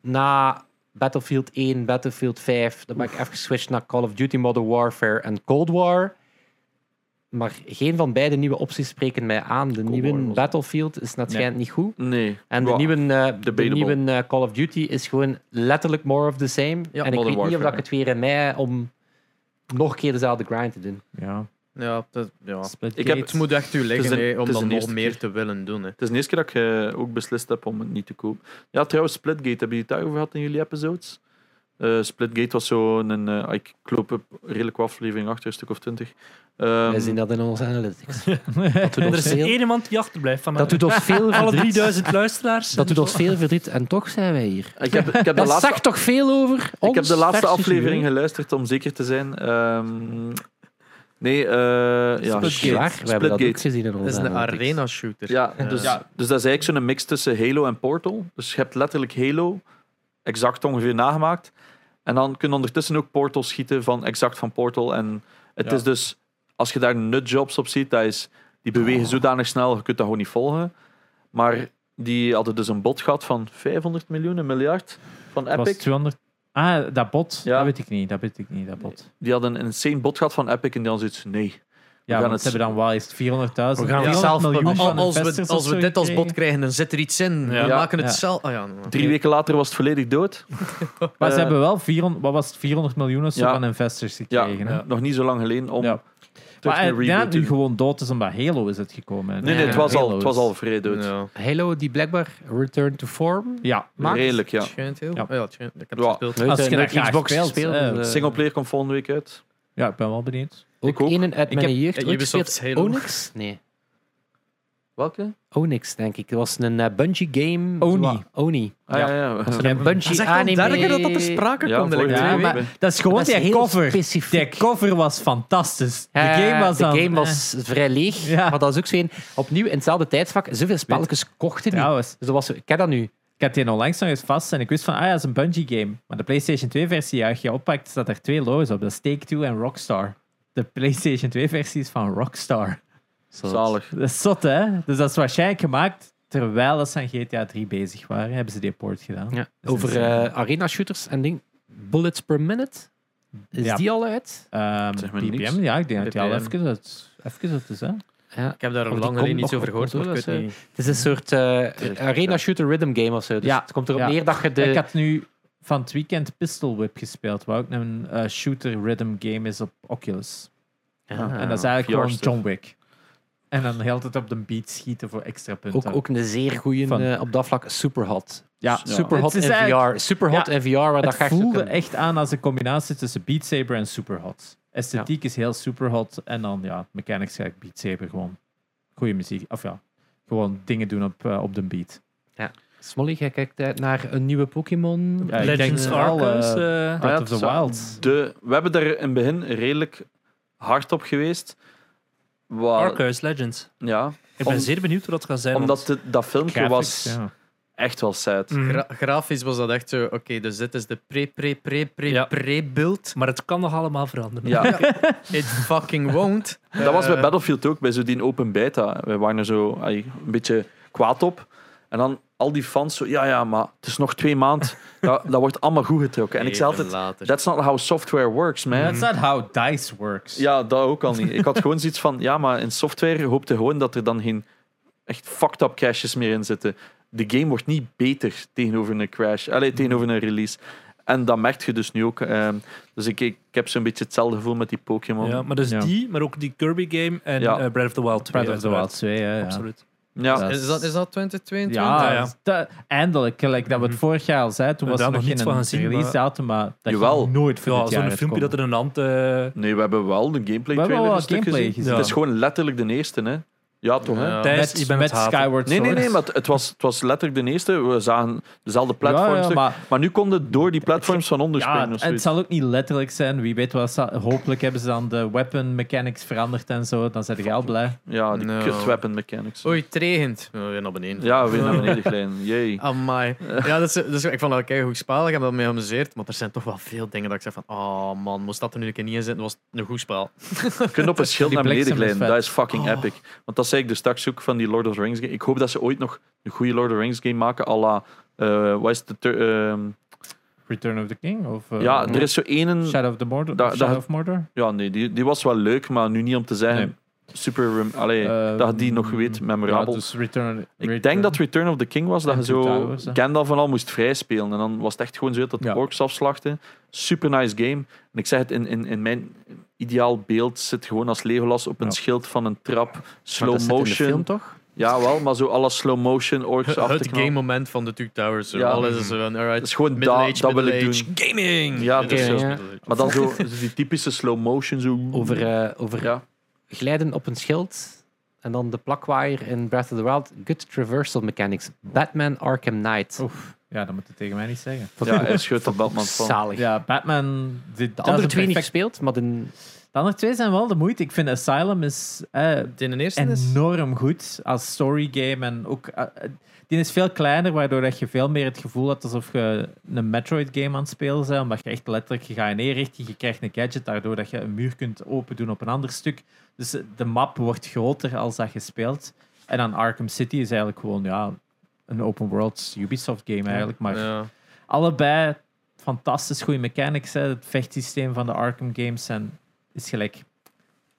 S1: na Battlefield 1, Battlefield 5, dan ben ik even geswitcht naar Call of Duty Modern Warfare en Cold War. Maar geen van beide nieuwe opties spreken mij aan. De
S3: War was
S1: nieuwe
S3: het.
S1: Battlefield is net
S5: Nee.
S1: schijnt niet goed.
S3: Nee.
S1: En de
S3: Wa-
S1: nieuwe, eh, de
S3: Debatable.
S1: nieuwe eh, Call of Duty is gewoon letterlijk more of the same. en ik weet
S3: Modern
S1: niet of
S3: Warfare,
S1: dat ik het weer in mei heb om nog een keer dezelfde grind te doen.
S5: ja.
S4: Ja, dat, ja.
S5: Splitgate.
S3: Ik heb-
S4: Het moet echt u
S3: Het is
S4: liggen
S3: een-
S4: hè,
S3: het
S4: om
S3: is
S4: dan
S3: een
S4: nog
S3: eerste
S4: meer
S3: keer.
S4: te willen doen. Hè.
S3: Het is de eerste keer dat ik eh, ook beslist heb om het niet te kopen. Ja, trouwens, Splitgate, hebben jullie het daarover gehad in jullie episodes? Eh, Splitgate was zo'n... een, eh, ik loop op redelijk wat aflevering achter, een stuk of twintig. Ehm,
S1: Wij zien dat in onze analytics. dat doet
S2: Er
S1: ons
S2: is
S1: veel,
S2: één iemand die achterblijft van
S1: dat doet ons veel
S2: alle
S1: verdriet.
S2: 3000 luisteraars.
S1: Dat doet ons veel verdriet en toch zijn wij hier.
S3: Ik heb, ik heb de
S1: Dat
S3: laatste,
S1: zegt toch veel over
S3: ik heb
S1: ons
S3: de laatste
S1: versus
S3: aflevering
S1: jullie.
S3: geluisterd, om zeker te zijn. Ehm, nee, eh ja,
S1: Dat is
S4: Splitgate.
S1: waar, we hebben dat ook
S3: Splitgate.
S1: gezien in onze
S4: Het is een
S1: analytics.
S4: arena shooter.
S3: Ja,
S4: Eh,
S3: dus, dus dat is eigenlijk zo'n mix tussen Halo en Portal. Dus je hebt letterlijk Halo exact ongeveer nagemaakt. En dan kun je ondertussen ook Portal schieten van exact van Portal. En het
S5: Ja.
S3: is dus, als je daar nutjobs op ziet, dat is, die bewegen
S5: Oh.
S3: zodanig snel, je kunt dat gewoon niet volgen. Maar die hadden dus een bod gehad van 500 miljoen, een miljard van
S5: Het was
S3: Epic.
S5: 200... Ah, dat bot?
S3: Ja.
S5: Dat weet ik niet, dat weet ik niet, dat bot.
S3: Die hadden een insane bod gehad van Epic en die hadden zoiets, nee.
S5: Ja,
S3: gaan
S5: want
S3: het-
S5: ze hebben dan wel eens 400.000.
S1: We gaan het zelf
S5: miljoen
S1: publishen.
S5: van
S4: Als we,
S5: investors
S4: als
S5: of
S4: we
S5: zo
S4: dit als bot
S5: gekregen.
S4: krijgen, dan zit er iets in.
S2: Ja.
S4: We maken het
S5: Ja.
S4: zelf. Ah, ja, maar-
S3: Drie
S5: Oké.
S3: weken later was het volledig dood.
S5: Maar ze
S3: Eh,
S5: hebben wel 400, wat was het, 400 miljoen of zo
S3: Ja.
S5: van investors
S3: ja, eh,
S5: gekregen. hè?
S3: nog niet zo lang geleden om
S5: Ja.
S3: terug
S5: Maar eh,
S3: een
S5: ik denk dat
S3: reboot
S5: het
S3: te
S5: nu
S3: doen.
S5: gewoon dood is omdat Halo is uitgekomen.
S3: Nee, nee, het was al,
S5: Halo
S3: het was
S5: is-
S3: al vrij dood.
S4: Ja.
S1: Halo, die blijkbaar Return to Form
S5: Ja.
S1: maakt.
S3: Redelijk, ja.
S4: Het schijnt heel.
S5: Ja.
S4: Ja, het schijnt- ik heb
S3: Ja.
S4: het gespeeld.
S1: Als
S5: Als
S1: je
S5: je
S1: naar
S5: dat graag
S1: Xbox
S5: speelt,
S1: speelt.
S5: eh,
S1: eh,
S3: Singleplayer komt volgende week uit.
S5: Ja, ik ben wel benieuwd.
S1: ook,
S3: Ik ook.
S1: een uit
S4: Ik
S1: mijn
S4: heb-
S1: jeugd.
S4: eh,
S1: ooit
S4: Ubisoft
S1: gespeeld.
S4: Halo.
S1: Onyx? Nee.
S3: Welke?
S1: Onyx, denk ik. Dat was een eh, Bungie game.
S5: Oni.
S1: Zo- Oni.
S3: Ah, ja, ja.
S1: Dat
S5: Hm.
S1: was een
S4: Het is
S1: Bungie
S4: echt al
S1: anime.
S4: derde dat dat ter sprake
S3: Ja,
S4: komt.
S3: vorige
S4: like,
S5: ja,
S3: twee
S5: maar-
S3: weken.
S5: Dat is gewoon
S1: Dat is
S5: die
S1: heel
S5: cover.
S1: specifiek.
S5: Die cover was fantastisch. De
S1: Eh,
S5: game was
S1: de
S5: dan,
S1: game
S5: eh,
S1: was vrij leeg.
S5: Ja.
S1: Maar dat is ook zo een... Opnieuw, in hetzelfde tijdsvak, zoveel spelletjes kochten niet.
S5: Trouwens,
S1: Dus dat was zo... Ik ken dat nu.
S5: ik had die onlangs nog eens vast en ik wist van, ah ja, dat is een Bungie game. Maar de PlayStation 2 versie, als je oppakt, staat er twee logo's op. Dat is Take-Two en Rockstar. De PlayStation 2 versie is van Rockstar.
S3: Zalig.
S5: Dat is zot, hè? Dus dat is waarschijnlijk gemaakt terwijl dat ze aan GTA 3 bezig waren. Hebben ze die port gedaan.
S1: Ja.
S5: is
S1: Over
S5: insane.
S1: eh, arena shooters en ding. Bullets per minute. Is
S5: Ja.
S1: die al uit?
S5: Ehm,
S3: Zeg maar
S5: BPM,
S3: niks.
S5: ja, ik denk dat die al
S4: BPM.
S5: even uit, even uit is, hè?
S1: Ja.
S4: Ik heb daar
S1: Of die
S4: lang
S1: komt
S4: geleden niets
S1: nog
S4: over
S1: op
S4: gehoord, maar ik
S1: consoles,
S4: weet
S1: eh.
S4: niet.
S1: Het is een soort eh, arena shooter rhythm game of zo. Dus
S5: Ja.
S1: het komt erop
S5: Ja.
S1: neer dat je de...
S5: Ik had nu van het weekend Pistol Whip gespeeld, wat ook een eh, shooter rhythm game is op Oculus.
S1: Ah.
S5: en dat is eigenlijk
S3: VR
S5: gewoon
S3: stuff.
S5: John Wick. En dan heel het op de beat schieten voor extra punten.
S1: Ook, ook een zeer goede
S5: Van-
S1: eh, op dat vlak superhot.
S5: ja,
S1: Superhot
S5: Het is
S1: in
S5: eigenlijk-
S1: VR. Superhot
S5: ja,
S1: in VR waar dat
S5: Het
S1: je echt zo
S5: voelde
S1: kan-
S5: echt aan als een combinatie tussen Beat Saber en Superhot. Esthetiek is heel Superhot en dan ja, mechanics eigenlijk Beat Saber gewoon. Goeie muziek, of ja, gewoon dingen doen op, eh, op de beat.
S1: Smolly, jij kijkt uit naar een nieuwe Pokémon.
S5: Ja, ik denk
S2: Legends
S5: vooral, eh,
S2: Arceus.
S1: Ah,
S2: eh,
S5: Breath
S3: ja,
S5: of the
S3: het zou-
S5: Wild.
S3: De, we hebben er in het begin redelijk hard op geweest. Wat-
S2: Arceus Legends.
S3: ja,
S2: Ik ben
S3: Om-
S2: zeer benieuwd hoe dat gaat zijn.
S3: omdat
S2: want-
S3: de- dat filmpje
S5: Graphics,
S3: was
S5: ja. Mm.
S3: echt wel sad.
S2: Mhm.
S4: Gra- grafisch was dat echt zo. Oké, dus dit is de
S2: Ja.
S4: pre-pre-pre-pre-pre-build.
S2: Maar het kan nog allemaal veranderen.
S3: Ja,
S4: It fucking won't.
S3: Dat was bij
S4: Eh,
S3: Battlefield ook, bij zo die open beta. We waren er zo ai, een beetje kwaad op. En dan al die fans zo, ja, ja, maar het is nog twee maanden. Dat, dat wordt allemaal goed getrokken. En ik zei
S4: even
S3: altijd,
S4: later.
S3: that's not how software works, man.
S5: That's not how dice works.
S3: Ja, dat ook al niet. Ik had gewoon zoiets van, ja, maar in software hoopte gewoon dat er dan geen echt fucked up crashes meer in zitten. De game wordt niet beter tegenover een crash, allee, tegenover een release. En dat merk je dus nu ook. ehm. dus ik, ik heb zo'n beetje hetzelfde gevoel met die Pokémon.
S2: Ja,
S3: Ja,
S2: maar dus
S5: Ja.
S2: die, maar ook die Kirby game en
S3: Ja.
S2: eh, Breath of the Wild 2.
S5: Breath of the
S2: uiteraard.
S5: Wild 2, hè, ja.
S2: Absoluut.
S5: Ja.
S4: Is dat, is dat 2022?
S5: Ja,
S2: ja.
S5: da- eindelijk. Gelijk dat we het
S2: Mhm.
S5: vorig jaar al zeiden, toen
S2: We
S5: was er
S2: hebben
S5: nog
S2: daar
S5: geen
S2: nog niets van gezien,
S5: release datum, maar dat
S3: Jawel.
S5: ging nooit voor
S2: Ja,
S5: dit jaar
S2: zo'n filmpje dat
S5: uitkomen.
S2: er een hand... eh,
S3: Nee, we hebben wel een gameplay
S5: We hebben
S3: trailer
S5: wel
S3: een stuk
S5: gameplay
S3: gezien.
S5: gezien.
S3: Het is gewoon letterlijk de eerste, hè? Ja, toch? Hè?
S4: Ja.
S2: Thijs,
S5: met,
S2: je bent
S5: met
S2: het haten.
S5: Skyward
S3: Nee, nee,
S5: Sword.
S3: nee, maar het- het was, het was letterlijk de eerste. We zagen dezelfde
S5: Ja,
S3: platforms.
S5: ja,
S3: terug. maar,
S5: maar
S3: nu konden we door die platforms van onder
S5: ja,
S3: springen
S5: het,
S3: of
S5: het
S3: zoiets.
S5: zal ook niet letterlijk zijn. Wie weet wat. ze- Hopelijk hebben ze dan de weapon mechanics veranderd en zo. Dan zijn ik al blij.
S3: Ja, die
S4: No.
S3: kut weapon mechanics.
S4: Oei, tregend. We weer naar beneden.
S3: Ja, weer naar beneden glijden. Jee.
S4: Amai. Ja, dat is, dat is- ik vond dat een goed spel. Ik heb dat mee geamuseerd. Maar er zijn toch wel veel dingen dat ik zeg van... Oh man, moest dat er nu een keer niet in zitten? was het een goed spel.
S3: Je kunt op een schild
S5: Die
S3: naar beneden
S5: bliksem is
S3: glijden.
S5: vet.
S3: Dat is fucking
S4: Oh.
S3: epic. Want dat zei ik er straks ook van die Lord of the Rings game. Ik hoop dat ze ooit nog een goede Lord of the Rings game maken. à la... eh, wat is de... ter- ehm,
S5: Return of the King? Of, eh,
S3: ja, er is zo één...
S5: Shadow of the Mordor?
S3: Da-
S5: Shadow
S3: da-
S5: of Mordor?
S3: Ja, nee, die, die was wel leuk, maar nu niet om te zeggen...
S5: Nee.
S3: Super... rem- Allee,
S5: Eh,
S3: dat je die nog weet,
S5: ja,
S3: memorabel.
S5: dus Return,
S3: Ik denk
S1: eh,
S3: dat Return of the King was dat
S5: En
S3: je
S5: Two
S3: zo
S5: Towers, hè.
S3: Gandalf en al moest vrijspelen. En dan was het echt gewoon zo dat de
S5: Ja.
S3: orks afslachten. Super nice game. En ik zeg het, in, in, in mijn ideaal beeld zit gewoon als Legolas op een
S5: Ja.
S3: schild van een trap.
S1: Maar dat
S3: Slow
S1: zit in de film,
S3: motion.
S1: toch?
S3: Ja, wel, maar zo alles slow motion orks af te
S4: Het
S3: knallen.
S4: game moment van de Two Towers. zo.
S3: Ja.
S4: Alles is zo van... Alright,
S3: Dat is gewoon
S4: middle
S3: da-
S4: age,
S3: dat wil ik
S4: middle age. Gaming!
S3: Ja,
S4: dat is
S1: gaming,
S4: zo.
S1: ja.
S3: Maar dan zo, zo die typische slow motion. Zo.
S1: Over, eh, over
S3: Ja.
S1: glijden op een schild en dan de plakwaaier in Breath of the Wild. Good traversal mechanics. Batman Arkham Knight.
S5: Oef, ja, dat moet je tegen mij niet zeggen.
S3: Ja, hij schudt de Batman van.
S1: Zalig.
S5: Ja, Batman... De,
S1: De andere twee niet gespeeld, maar de,
S5: De andere twee zijn wel de moeite. Ik vind Asylum is eh,
S4: De eerste is...
S5: enorm goed als story game. En ook, eh, eh, die is veel kleiner, waardoor dat je veel meer het gevoel hebt alsof je een Metroid game aan het spelen bent. Omdat je echt letterlijk, je gaat in één richting, je krijgt een gadget, daardoor dat je een muur kunt open doen op een ander stuk. Dus eh, de map wordt groter als dat je speelt. En dan Arkham City is eigenlijk gewoon ja, een open world Ubisoft game eigenlijk. Maar
S4: Ja.
S5: allebei fantastisch goede mechanics. Hè. Het vechtsysteem van de Arkham games zijn, is gelijk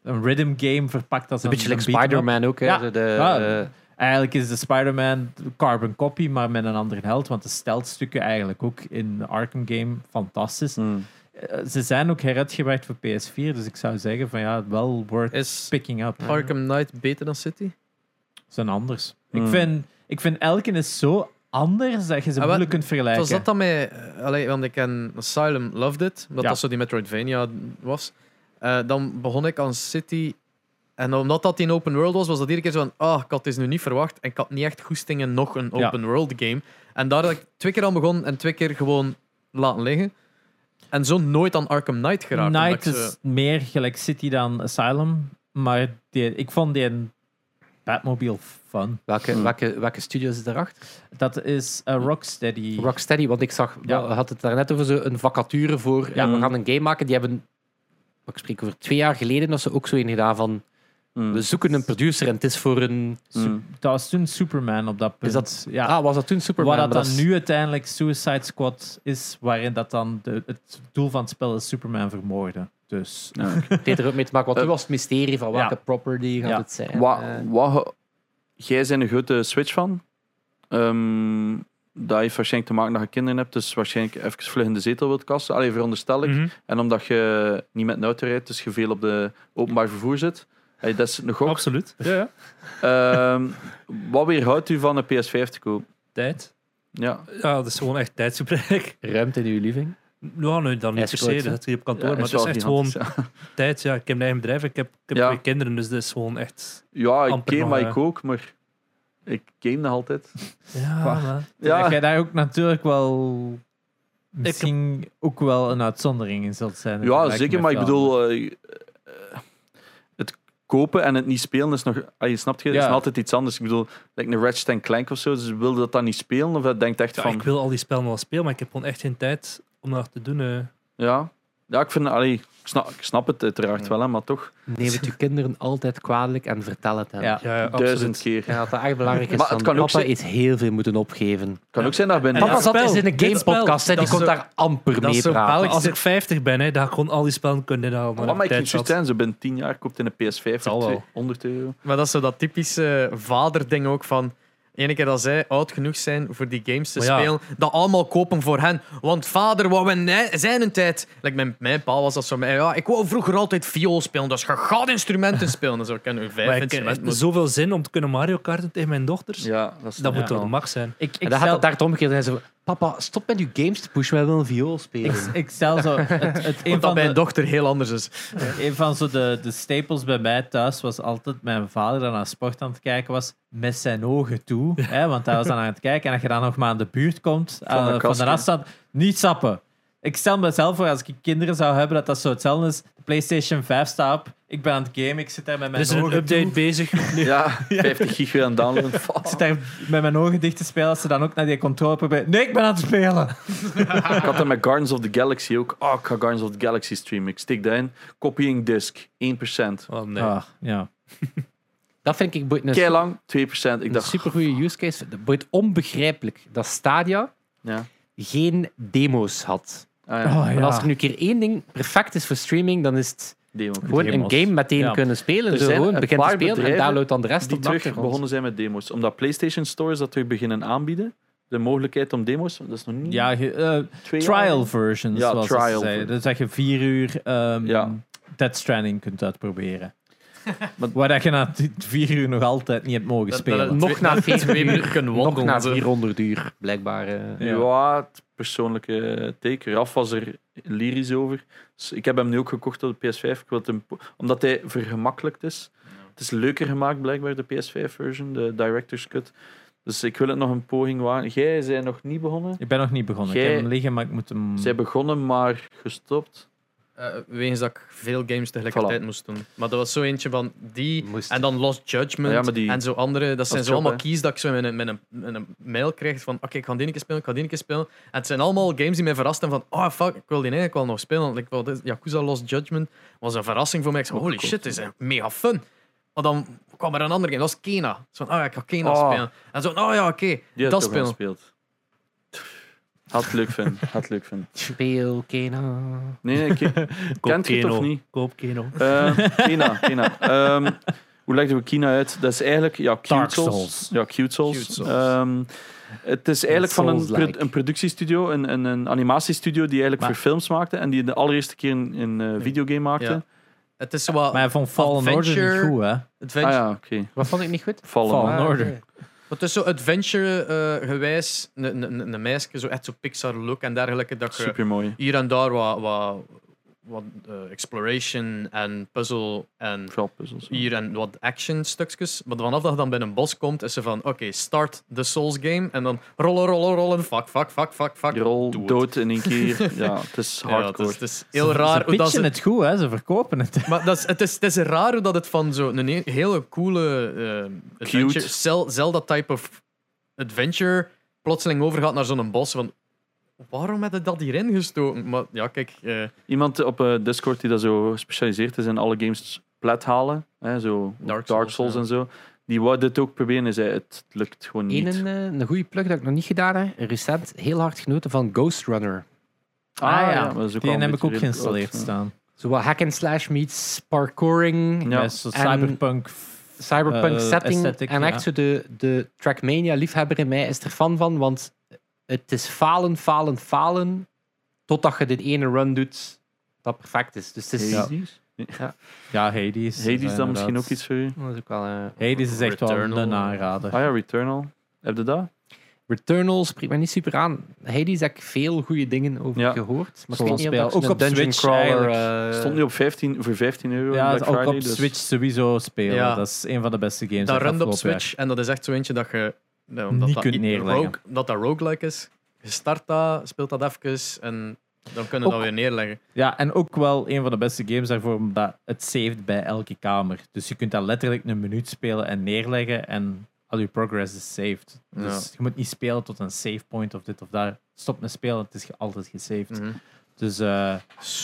S5: een rhythm game verpakt als
S1: een beetje like
S5: beat-em-up.
S1: Spider-Man ook. hè.
S5: Ja.
S1: Zo De,
S5: Ja.
S1: eh,
S5: Eigenlijk is de Spider-Man carbon copy, maar met een andere held. Want de steltstukken eigenlijk ook in de Arkham game fantastisch.
S3: Hmm.
S5: Eh, Ze zijn ook heruitgebracht voor PS4, dus ik zou zeggen van ja, wel worth
S4: Is
S5: picking up.
S4: Arkham Knight beter dan City?
S5: Zijn anders.
S3: Hmm.
S5: Ik, vind, ik vind elke is zo anders dat je ze
S4: Ah, wel,
S5: moeilijk kunt vergelijken.
S4: Was dat dan met... eh, allee, want ik ken Asylum Loved It, omdat
S5: Ja.
S4: dat zo die Metroidvania was. Eh, dan begon ik aan City En omdat dat in open world was, was dat iedere keer zo van, ah, ik had dit nu niet verwacht en ik had niet echt goesting in nog een
S5: Ja.
S4: open world game. En daar had ik twee keer aan begonnen en twee keer gewoon laten liggen. En zo nooit aan Arkham Knight geraakt. omdat
S5: Night
S4: ik ze-
S5: is meer gelijk City dan Asylum. Maar die, ik vond die Batmobile fun.
S1: Welke,
S3: Hm.
S1: welke, welke studio is erachter?
S5: Dat is eh, Rocksteady.
S1: Rocksteady, want ik zag,
S5: Ja.
S1: we hadden het daarnet over zo een vacature voor. Ja.
S5: Ja.
S1: we gaan een game maken. Die hebben, ik spreek over twee jaar geleden, dat ze ook zo in gedaan van.
S3: Mm.
S1: We zoeken een producer en het is voor een.
S5: Su-
S3: Mm.
S5: Dat was toen Superman op dat punt.
S1: dat-
S5: ja.
S1: Ah, was dat toen Superman?
S5: Wat dat
S1: Maar
S5: dan
S1: is-
S5: nu uiteindelijk Suicide Squad is, waarin dat dan de, het doel van het spel is Superman vermoorden. Dus
S3: Ja.
S1: Het heeft er ook mee te maken. Want
S3: Eh,
S1: toen was het mysterie van welke
S5: ja.
S1: property gaat
S5: Ja.
S1: het zijn.
S3: Wa-
S1: Eh,
S3: wa- ge- jij bent een grote Switch van. Ehm, dat heeft waarschijnlijk te maken dat je kinderen hebt, dus waarschijnlijk even vlug in de zetel wilt kasten. Allee, veronderstel ik.
S2: Mhm.
S3: En omdat je niet met een auto rijdt, dus je veel op de openbaar vervoer zit. Hey, dat is een gok.
S2: Absoluut. Ja, ja.
S3: Ehm, wat weerhoudt u van een PS5 te kopen?
S2: Tijd.
S3: Ja. eh,
S2: Ja, dat is gewoon echt tijdsgebrek.
S1: Ruimte in uw living.
S2: Nou, nee,
S1: Hij
S2: dan niet per
S1: is
S2: se.
S1: groot,
S2: Dat
S1: hè?
S2: zit hier op kantoor.
S3: Ja,
S2: maar
S3: is
S2: het is
S3: wel
S2: echt gewoon
S3: gigantisch, ja.
S2: tijd. Ja, ik heb een eigen bedrijf. Ik heb, ik heb
S3: Ja.
S2: twee kinderen, dus dat is gewoon echt...
S3: Ja, ik
S2: Amper
S3: game, maar
S2: nog, eh,
S3: ik ook, maar ik game nog altijd.
S2: Ja,
S5: Wauw.
S2: maar-
S5: dat
S3: Ja,
S5: jij daar ook natuurlijk wel misschien ook wel een uitzondering in zult zijn. in
S3: ja
S5: vergelijking
S3: zeker,
S5: met
S3: maar ik
S5: jou.
S3: bedoel, eh, eh, het kopen en het niet spelen is nog. Ah, je snapt je, dat is
S5: Ja.
S3: nog altijd iets anders. Ik bedoel, like een Ratchet en Clank of zo, dus wilde dat dan niet spelen of dat denkt echt
S2: Ja,
S3: van.
S2: ik wil al die spellen wel spelen, maar ik heb gewoon echt geen tijd om dat te doen. eh.
S3: Ja. ja, ik vind, allee, ik, snap, ik snap het uiteraard wel, hè, maar toch
S1: Neem het je kinderen altijd kwalijk en vertel het hen.
S5: Ja.
S2: Ja, ja,
S3: duizend
S2: absoluut.
S3: keer.
S1: Ik denk dat dat echt belangrijk is.
S3: Maar het
S1: van,
S3: kan ook
S1: papa
S3: zijn-
S1: heeft heel veel moeten opgeven.
S3: kan ook zijn dat ik ben.
S2: Ja.
S1: Papa zat
S2: Spel.
S1: eens in een
S2: Dit
S1: gamepodcast, hè,
S4: spel.
S1: die
S4: Dat
S1: kon
S4: is zo-
S1: daar amper
S4: dat is
S1: mee
S4: zo
S1: praten.
S4: Belgisch.
S2: Als ik 50 ben, hè, dan gewoon al die spellen kunnen halen.
S3: Oh, Maar, maar ik ging zoiets zijn, zo binnen 10 jaar koopt in een PS5
S4: Zal
S3: voor
S4: wel.
S3: twee- 100 euro.
S4: Maar dat is zo dat typische vaderding ook van. de ene keer dat zij oud genoeg zijn voor die games te
S2: Maar ja.
S4: spelen, dat allemaal kopen voor hen. Want vader wou in ni- zijn een tijd. Like mijn, mijn pa was dat zo. Mij, ja, ik wou vroeger altijd viool spelen, dus je gaat instrumenten spelen. Dus ik ken nu vijf
S2: Maar ik heb
S4: instrumenten.
S2: echt zoveel zin om te kunnen Mario karten tegen mijn dochters.
S3: Ja, dat is
S2: Dat
S3: ja.
S2: moet wel de max zijn.
S5: Ik,
S1: En
S5: ik,
S1: dan gaat
S5: stel,
S1: het daar het omgekeerd zijn. Zo, papa, stop met uw games te pushen, wij willen viool spelen.
S5: ik, ik stel zo. Het, het een
S4: Want dat
S5: van
S4: mijn
S5: de,
S4: dochter heel anders is.
S5: een van zo de, de staples bij mij thuis was altijd mijn vader dan naar sport aan het kijken was met zijn ogen toe. Hè, want hij was dan aan het kijken. En als je dan nog maar aan de buurt komt, eh, van,
S3: de kast,
S5: de
S3: hè.
S5: afstand, niet sappen. Ik stel mezelf voor, als ik kinderen zou hebben, dat dat zo hetzelfde is. De PlayStation 5 staat op, ik ben aan het gamen, ik zit daar met
S2: Er
S5: mijn
S2: is een
S5: ogen toe.
S2: update bezig. Nu.
S3: Ja, 50 gig weer aan downloaden. Fuck.
S5: Ik zit daar met mijn ogen dicht te spelen als ze dan ook naar die controle proberen. Nee, ik ben aan het spelen.
S3: Ik had dat met Guardians of the Galaxy ook. Oh, ik ga Guardians of the Galaxy streamen. Ik stik daarin. Copying disk, 1%.
S2: Oh, nee.
S5: Ah, ja.
S1: Dat vind ik boeit een,
S3: Kei lang, 2%. Ik
S1: een
S3: dacht,
S1: supergoeie use case. Dat boeit onbegrijpelijk dat Stadia
S3: ja.
S1: geen demo's had.
S3: Ah, ja.
S5: Oh,
S1: Maar als er nu een keer één ding perfect is voor streaming, dan is het
S3: Demo.
S1: gewoon
S5: Demos.
S1: een game meteen
S5: Ja.
S1: kunnen spelen.
S3: Er
S1: Zo
S3: zijn
S1: gewoon
S3: Dus een
S1: begint te
S3: paar
S1: spelen en
S3: bedrijven
S1: download dan de rest
S3: Die
S1: op de
S3: terug
S1: achtergrond.
S3: begonnen zijn met demo's. Omdat PlayStation Stores dat terug beginnen aanbieden. De mogelijkheid om demo's. Dat is nog niet
S5: Ja, ge- eh,
S3: twee jaar.
S5: trial versions,
S3: Ja,
S5: zoals
S3: trial
S5: ze zeiden.
S3: version.
S5: Dus dat je vier uur ehm
S3: Ja.
S5: Dead Stranding kunt uitproberen.
S3: Maar-
S5: Waar dat je na die vier uur nog altijd niet hebt mogen
S4: Dat-
S5: spelen.
S4: dat-
S1: Nog na
S4: Twee
S1: 40 uur,
S4: minuten kunnen
S1: nog
S4: wandelen.
S1: na
S4: zo.
S1: 400 uur, blijkbaar. eh.
S5: Ja.
S3: Ja, het persoonlijke teken. Raf was er lyrisch over. Dus ik heb hem nu ook gekocht op de PS5. Ik wil het hem po- omdat hij vergemakkelijkt is. Het is leuker gemaakt, blijkbaar, de PS5-version, de Director's Cut. Dus ik wil het nog een poging wagen. Jij zijn nog niet begonnen.
S5: Ik ben nog niet begonnen. Ik
S3: Jij-
S5: heb hem liggen, maar ik moet hem...
S3: Zij begonnen, maar gestopt.
S4: Eh, wegens dat ik veel games tegelijkertijd
S3: Voilà.
S4: moest doen. Maar dat was zo eentje van die
S1: Moest.
S4: en dan Lost Judgment
S3: Ja, maar die-
S4: en zo andere. Dat zijn
S3: is
S4: zo
S3: job,
S4: allemaal
S3: hè.
S4: keys dat ik zo met een, met een, met een mail krijg van oké, ik ga die een keer spelen, ik ga die een keer spelen. En het zijn allemaal games die mij verrasten van oh fuck, ik wil die eigenlijk wel nog spelen. Want Ik wil dit, Yakuza Lost Judgment was een verrassing voor mij. Ik zei holy shit, dit is echt mega fun. Maar dan kwam er een andere game, dat was Kena. Zo van, oh ja, ik ga Kena
S3: Oh.
S4: spelen. En zo, oh ja, oké,
S3: Die had
S4: dat
S3: toch wel
S4: spelen.
S3: gespeeld. Had het leuk vinden. Had het leuk vinden.
S1: Speel Kena.
S3: Nee, nee, ik-
S2: Koop
S3: Kent je het
S2: Keno.
S3: of niet?
S2: Koop Keno.
S3: Eh, Kina, Kina. Ehm, hoe leggen we Kina uit? Dat is eigenlijk ja, Cute
S5: Dark
S3: Souls.
S5: Souls.
S3: Ja, Cute Souls.
S4: Cute Souls.
S3: Ehm, het is eigenlijk van een,
S1: Souls-like.
S3: produ- een productiestudio, een, een, een animatiestudio die eigenlijk
S5: Maar-
S3: voor films maakte en die de allereerste keer een, een eh, videogame maakte.
S4: Ja. Het is zo wat
S5: Maar hij vond Fallen Order niet
S4: Adventure-
S5: goed, hè?
S4: adventure-
S3: Ah ja, oké.
S1: Wat vond ik niet goed? eh,
S3: Vallen.
S5: Fallen
S3: Ah,
S5: Order.
S4: Maar het is zo eh, adventure-gewijs, een meisje, zo echt zo Pixar-look en dergelijke, dat je
S3: Supermooi.
S4: hier en daar wat, wat, wat eh, exploration en puzzle en
S3: Vooral puzzels.
S4: hier en wat action stukjes. Maar vanaf dat je dan bij een bos komt, is ze van oké, start de Souls game en dan rollen, rollen, rollen, fuck, fuck, fuck, fuck, fuck.
S3: Die rol
S4: doe het.
S3: dood in één keer. Ja, het is
S4: Ja, het,
S3: hardcore.
S4: is, het is heel
S5: Ze-
S4: raar
S5: Ze
S4: hoe dat
S5: pitchen
S4: ze...
S5: het goed, hè? ze verkopen het.
S4: Maar dat is, het, is, het is raar hoe dat het van zo'n he- hele coole eh adventure, Zel- Zelda-type of adventure, plotseling overgaat naar zo'n bos van... Waarom heb je dat hierin gestoken? Maar ja, kijk... eh,
S3: Iemand op eh, Discord die dat zo gespecialiseerd is in alle games plat halen, hè, zo
S4: Dark
S3: Dark Souls,
S4: Souls, ja.
S3: en zo, die wou dit ook proberen en zei het lukt gewoon niet.
S1: Eén een, eh, een goede plug dat ik nog niet gedaan heb. Recent heel hard genoten van Ghost Runner.
S5: Ah, ja.
S3: maar dat is ook
S5: Die
S3: al een
S5: heb ik
S3: beetje
S5: ook geïnstalleerd
S3: redelijk
S5: staan.
S1: Zo wat hack and slash meets parkouring,
S3: Ja.
S5: Ja, zo'n
S1: En-
S5: cyberpunk.
S1: cyberpunk
S5: Eh,
S1: setting.
S5: aesthetic,
S1: en
S5: ja.
S1: echt zo de, de Trackmania-liefhebber in mij is er fan van, want het is falen, falen, falen, totdat je dit ene run doet dat perfect is. Dus het is...
S3: Ja.
S5: Ja, Hades.
S3: Hades is dan
S5: inderdaad.
S3: misschien ook iets voor u.
S1: Dat is ook wel... eh,
S5: Hades is echt wel
S4: Returnal.
S5: een aanrader.
S3: Ah ja, Returnal. Heb je dat?
S1: Returnal spreekt me niet super aan. Hades heb ik veel goede dingen over
S3: Ja.
S1: gehoord. Maar ik
S5: Zo'n
S1: weet niet of
S5: spel.
S1: dat zo'n
S5: Ook op
S1: dungeon
S5: Switch
S1: crawler...
S5: eigenlijk.
S1: eh,
S3: Stond nu op 15, voor 15 euro
S5: Ja,
S3: Black
S5: ook
S3: Friday,
S5: op
S3: dus-
S5: Switch sowieso spelen.
S4: Ja.
S5: Dat is een van de beste games.
S4: dat
S5: uit
S4: runt op
S5: afgelopen jaar.
S4: Switch en dat is echt zo eentje dat je nou, omdat
S5: Niet
S4: dat
S5: kunt
S4: i-
S5: neerleggen.
S4: rogue- dat dat roguelike is. Je start dat, speelt dat even en dan kunnen we dat
S5: Ook-
S4: weer neerleggen.
S5: Ja, en ook wel een van de beste games daarvoor, omdat het saved bij elke kamer. Dus je kunt dat letterlijk een minuut spelen en neerleggen en al je progress is saved. Dus je moet niet spelen tot een save point of dit of daar. Stop met spelen, het is ge- altijd gesaved.
S4: Mhm.
S5: Dus eh,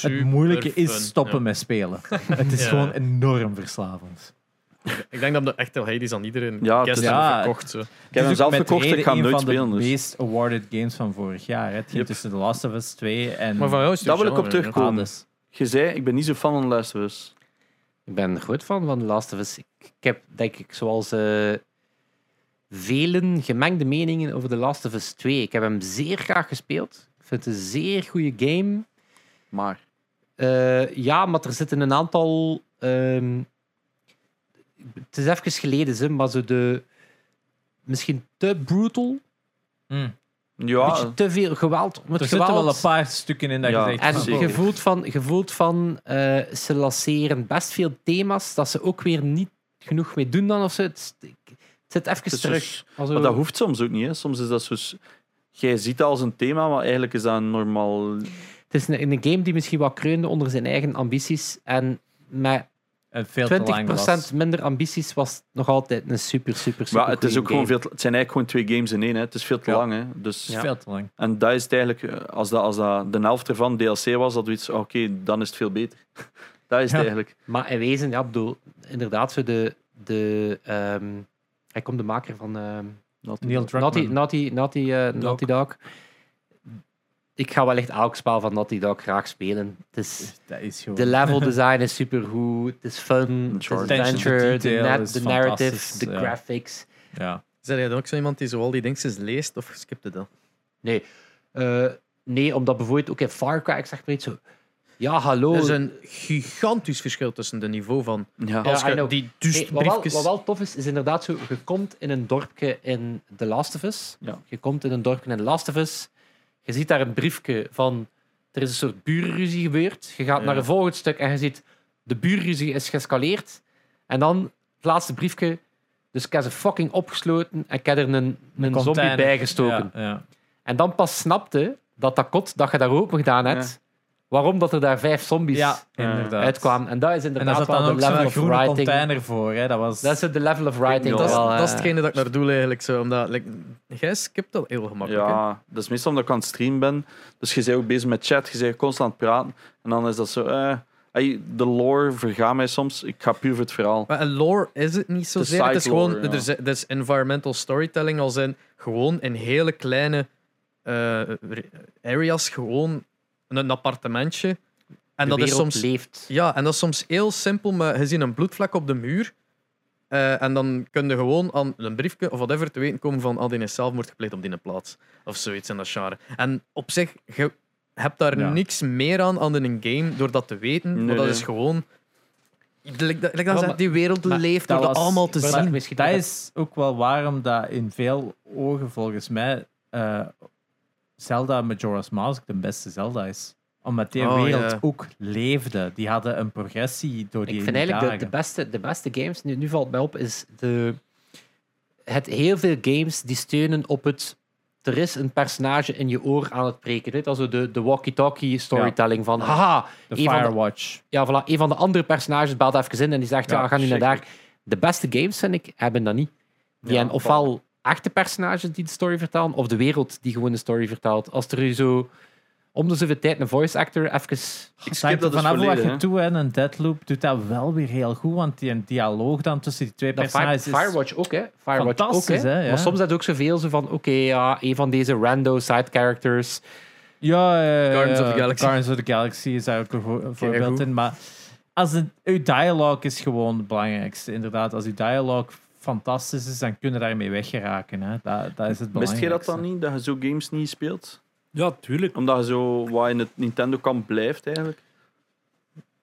S5: het moeilijke is stoppen met spelen. het is
S4: Ja.
S5: gewoon enorm verslavend.
S4: met. Ik denk dat de echte Hades aan iedereen
S3: Ja, het
S4: ja,
S3: is-
S5: Ja.
S4: verkocht. Zo.
S3: Ik
S5: Dus
S3: heb hem zelf gekocht, ik ga hem nooit
S5: een
S3: spelen.
S5: van de
S3: Dus.
S5: meest awarded games van vorig jaar. hè. Het ging
S3: Yep.
S5: tussen The Last of Us 2 en
S4: Maar van jou is het
S3: Daar wil
S4: een
S3: ik op
S4: genre,
S3: terug-
S4: hè.
S3: komen.
S5: Hades.
S3: Je zei, ik ben niet zo fan van Last of Us.
S1: Ik ben er goed van, van The Last of Us. Ik, ik heb, denk ik, zoals eh, velen gemengde meningen over The Last of Us 2. Ik heb hem zeer graag gespeeld. Ik vind het een zeer goede game.
S3: Maar
S1: Eh, ja, maar er zitten een aantal... ehm, het is even geleden, hè, maar zo de... Misschien te brutal.
S5: Hmm.
S1: Een
S3: ja,
S1: beetje te veel geweld om het
S5: Er zitten
S1: geweld.
S5: wel een paar stukken in dat
S3: Ja,
S5: je "Oh, zegt...
S1: En
S5: van,
S3: Zeker.
S1: je voelt van, je voelt van eh, ze lanceren best veel thema's dat ze ook weer niet genoeg mee doen dan of zo. Het, is- het zit even
S3: is
S1: terug.
S3: dus-
S1: Also,
S3: maar dat hoeft soms ook niet. Hè. Soms is dat zo... s- Jij ziet dat als een thema, maar eigenlijk is dat een normaal...
S1: Het is een, een game die misschien wat kreunde onder zijn eigen ambities. En met
S5: eh, veel te lang was.
S1: 20% minder ambities was het nog altijd een super, super, super
S3: Maar het, is
S1: goeie
S3: ook gewoon
S1: game.
S3: veel te- het zijn eigenlijk gewoon twee games in één. Hè. Het is veel te
S1: Ja.
S3: lang. Hè. Dus,
S5: Het is veel te lang.
S3: En dat is het eigenlijk... eh, Als, dat, als dat de helft ervan DLC was, dat we iets... ah, Oké, dan is het veel beter. dat is het
S5: Ja.
S3: eigenlijk.
S1: Maar in wezen, ja, ik bedoel, inderdaad, zo de... de ehm, hij komt de maker van... ehm,
S3: Dat-
S5: Neil
S1: Naughty,
S5: Druckmann.
S1: Naughty, Naughty, eh, Naughty Dog. Ik ga wellicht elk spel van Naughty Dog graag spelen. Het is,
S5: Dat is gewoon...
S1: de level design is supergoed. Het is fun. Het is
S3: Attention
S5: to
S1: adventure. De,
S5: detail
S1: net-
S5: is
S1: de narrative.
S5: fantastisch,
S1: De
S5: ja.
S1: graphics.
S5: ja.
S4: Zijn jij dan ook zo iemand die zo al die dingetjes leest of skipte dat?
S1: Eh, nee, omdat bijvoorbeeld ook in Far Cry, ik zeg maar iets zo. Ja, hallo.
S4: Er is een gigantisch verschil tussen de niveau van
S3: Ja.
S1: Ja.
S4: als
S1: I
S4: je
S1: know.
S4: die
S1: Nee, wat, wel,
S4: dustbriefjes...
S1: wat wel tof is, is inderdaad zo. Je komt in een dorpje in The Last of Us.
S3: Ja.
S1: Je komt in een dorpje in The Last of Us. Je ziet daar een briefje van. Er is een soort burenruzie gebeurd. Je gaat
S4: Ja.
S1: naar een volgend stuk en je ziet. De burenruzie is geëscaleerd. En dan het laatste briefje. Dus ik heb ze fucking opgesloten en ik heb er een, een zombie
S5: Container.
S1: bijgestoken.
S5: Ja, ja.
S1: En dan pas snapte dat dat kot dat je daar open gedaan hebt, waarom dat er daar vijf zombies
S5: Ja, inderdaad.
S1: uitkwamen. En dat is
S5: En daar
S1: inderdaad
S5: zat
S1: wel
S5: dan
S1: de
S5: ook zo'n
S1: level of
S5: groene
S1: writing.
S5: container voor. Hè. Dat was...
S1: Dat is het, de level of writing.
S3: Ja.
S4: Dat, is,
S1: wel,
S4: dat is
S1: eh.
S4: hetgene dat ik naar doel eigenlijk. Zo, omdat, like, jij skipt dat heel gemakkelijk. hè?
S3: Ja, dat is meestal omdat ik aan het streamen ben. Dus je bent ook bezig met chat, je bent constant aan het praten. En dan is dat zo... eh, ey, de lore vergaat mij soms. Ik ga puur voor het verhaal.
S4: Maar een lore is het niet zozeer.
S3: side
S4: Het is gewoon
S3: lore, ja.
S4: er is, er is environmental storytelling als in gewoon in hele kleine eh, re- areas gewoon een, een appartementje. En
S1: de
S4: dat is
S1: wereld
S4: soms
S1: leeft.
S4: ja, en dat is soms heel simpel, maar je ziet een bloedvlek op de muur. eh, en dan kun je gewoon aan een briefje of whatever te weten komen van ah, die is zelfmoord gepleegd op die plaats. Of zoiets in dat genre. En op zich, je hebt daar
S5: Ja.
S4: niks meer aan dan in een game door dat te weten.
S3: Nee,
S4: maar dat
S3: nee.
S4: is gewoon... Like dat- like dat
S1: Ja,
S4: zegt,
S1: maar-
S4: die wereld
S1: maar
S4: leeft
S5: dat
S4: door dat
S5: was-
S4: allemaal te
S1: maar
S4: zien.
S1: dat- misschien
S5: dat
S1: nog-
S5: is ook wel waarom dat in veel ogen volgens mij eh, Zelda Majora's Mask de beste Zelda is. Omdat die
S4: Oh,
S5: wereld
S4: ja.
S5: ook leefde. Die hadden een progressie door die
S1: Ik vind eigenlijk de, de,
S5: dagen.
S1: beste, de beste games, nu, nu valt mij op, is de, het heel veel games die steunen op het. Er is een personage in je oor aan het preken. Dit also de, de walkie-talkie storytelling van haha,
S5: De
S1: een van de-
S5: Firewatch.
S1: ja, voilà, een van de andere personages belt even in en die zegt ja,
S4: Ja,
S1: ga nu naar daar. De beste games, vind ik, hebben dat niet. Die
S3: Ja,
S1: hebben ofwel echte personages die de story vertellen, of de wereld die gewoon de story vertelt. Als er zo om de zoveel tijd een voice actor even
S3: Ik
S5: Hangt
S3: skip
S5: er
S3: dat dus
S5: vanaf wat
S3: volledig.
S5: je
S3: hè.
S5: toe en een deadloop doet dat wel weer heel goed, want die dialoog dan tussen die twee
S1: Dat Fire,
S5: personages is
S1: Firewatch ook, hè? Firewatch ook, hè?
S5: fantastisch, hè, ja.
S1: Maar soms had je ook zoveel zo van: oké, ja, een van deze rando side characters.
S5: Ja,
S4: Guardians of the Galaxy.
S5: Guardians of the Galaxy is eigenlijk een voor- een voorbeeld
S4: goed.
S5: in. Maar als het, uw dialoog is gewoon het belangrijkste. Inderdaad, als uw dialoog fantastisch is, dan kun je daarmee weggeraken. Hè. Dat, dat is het belangrijkste.
S3: Mist je dat dan niet, dat je zo games niet speelt?
S2: Ja, tuurlijk.
S3: Omdat je zo wat in het Nintendo-kamp blijft, eigenlijk.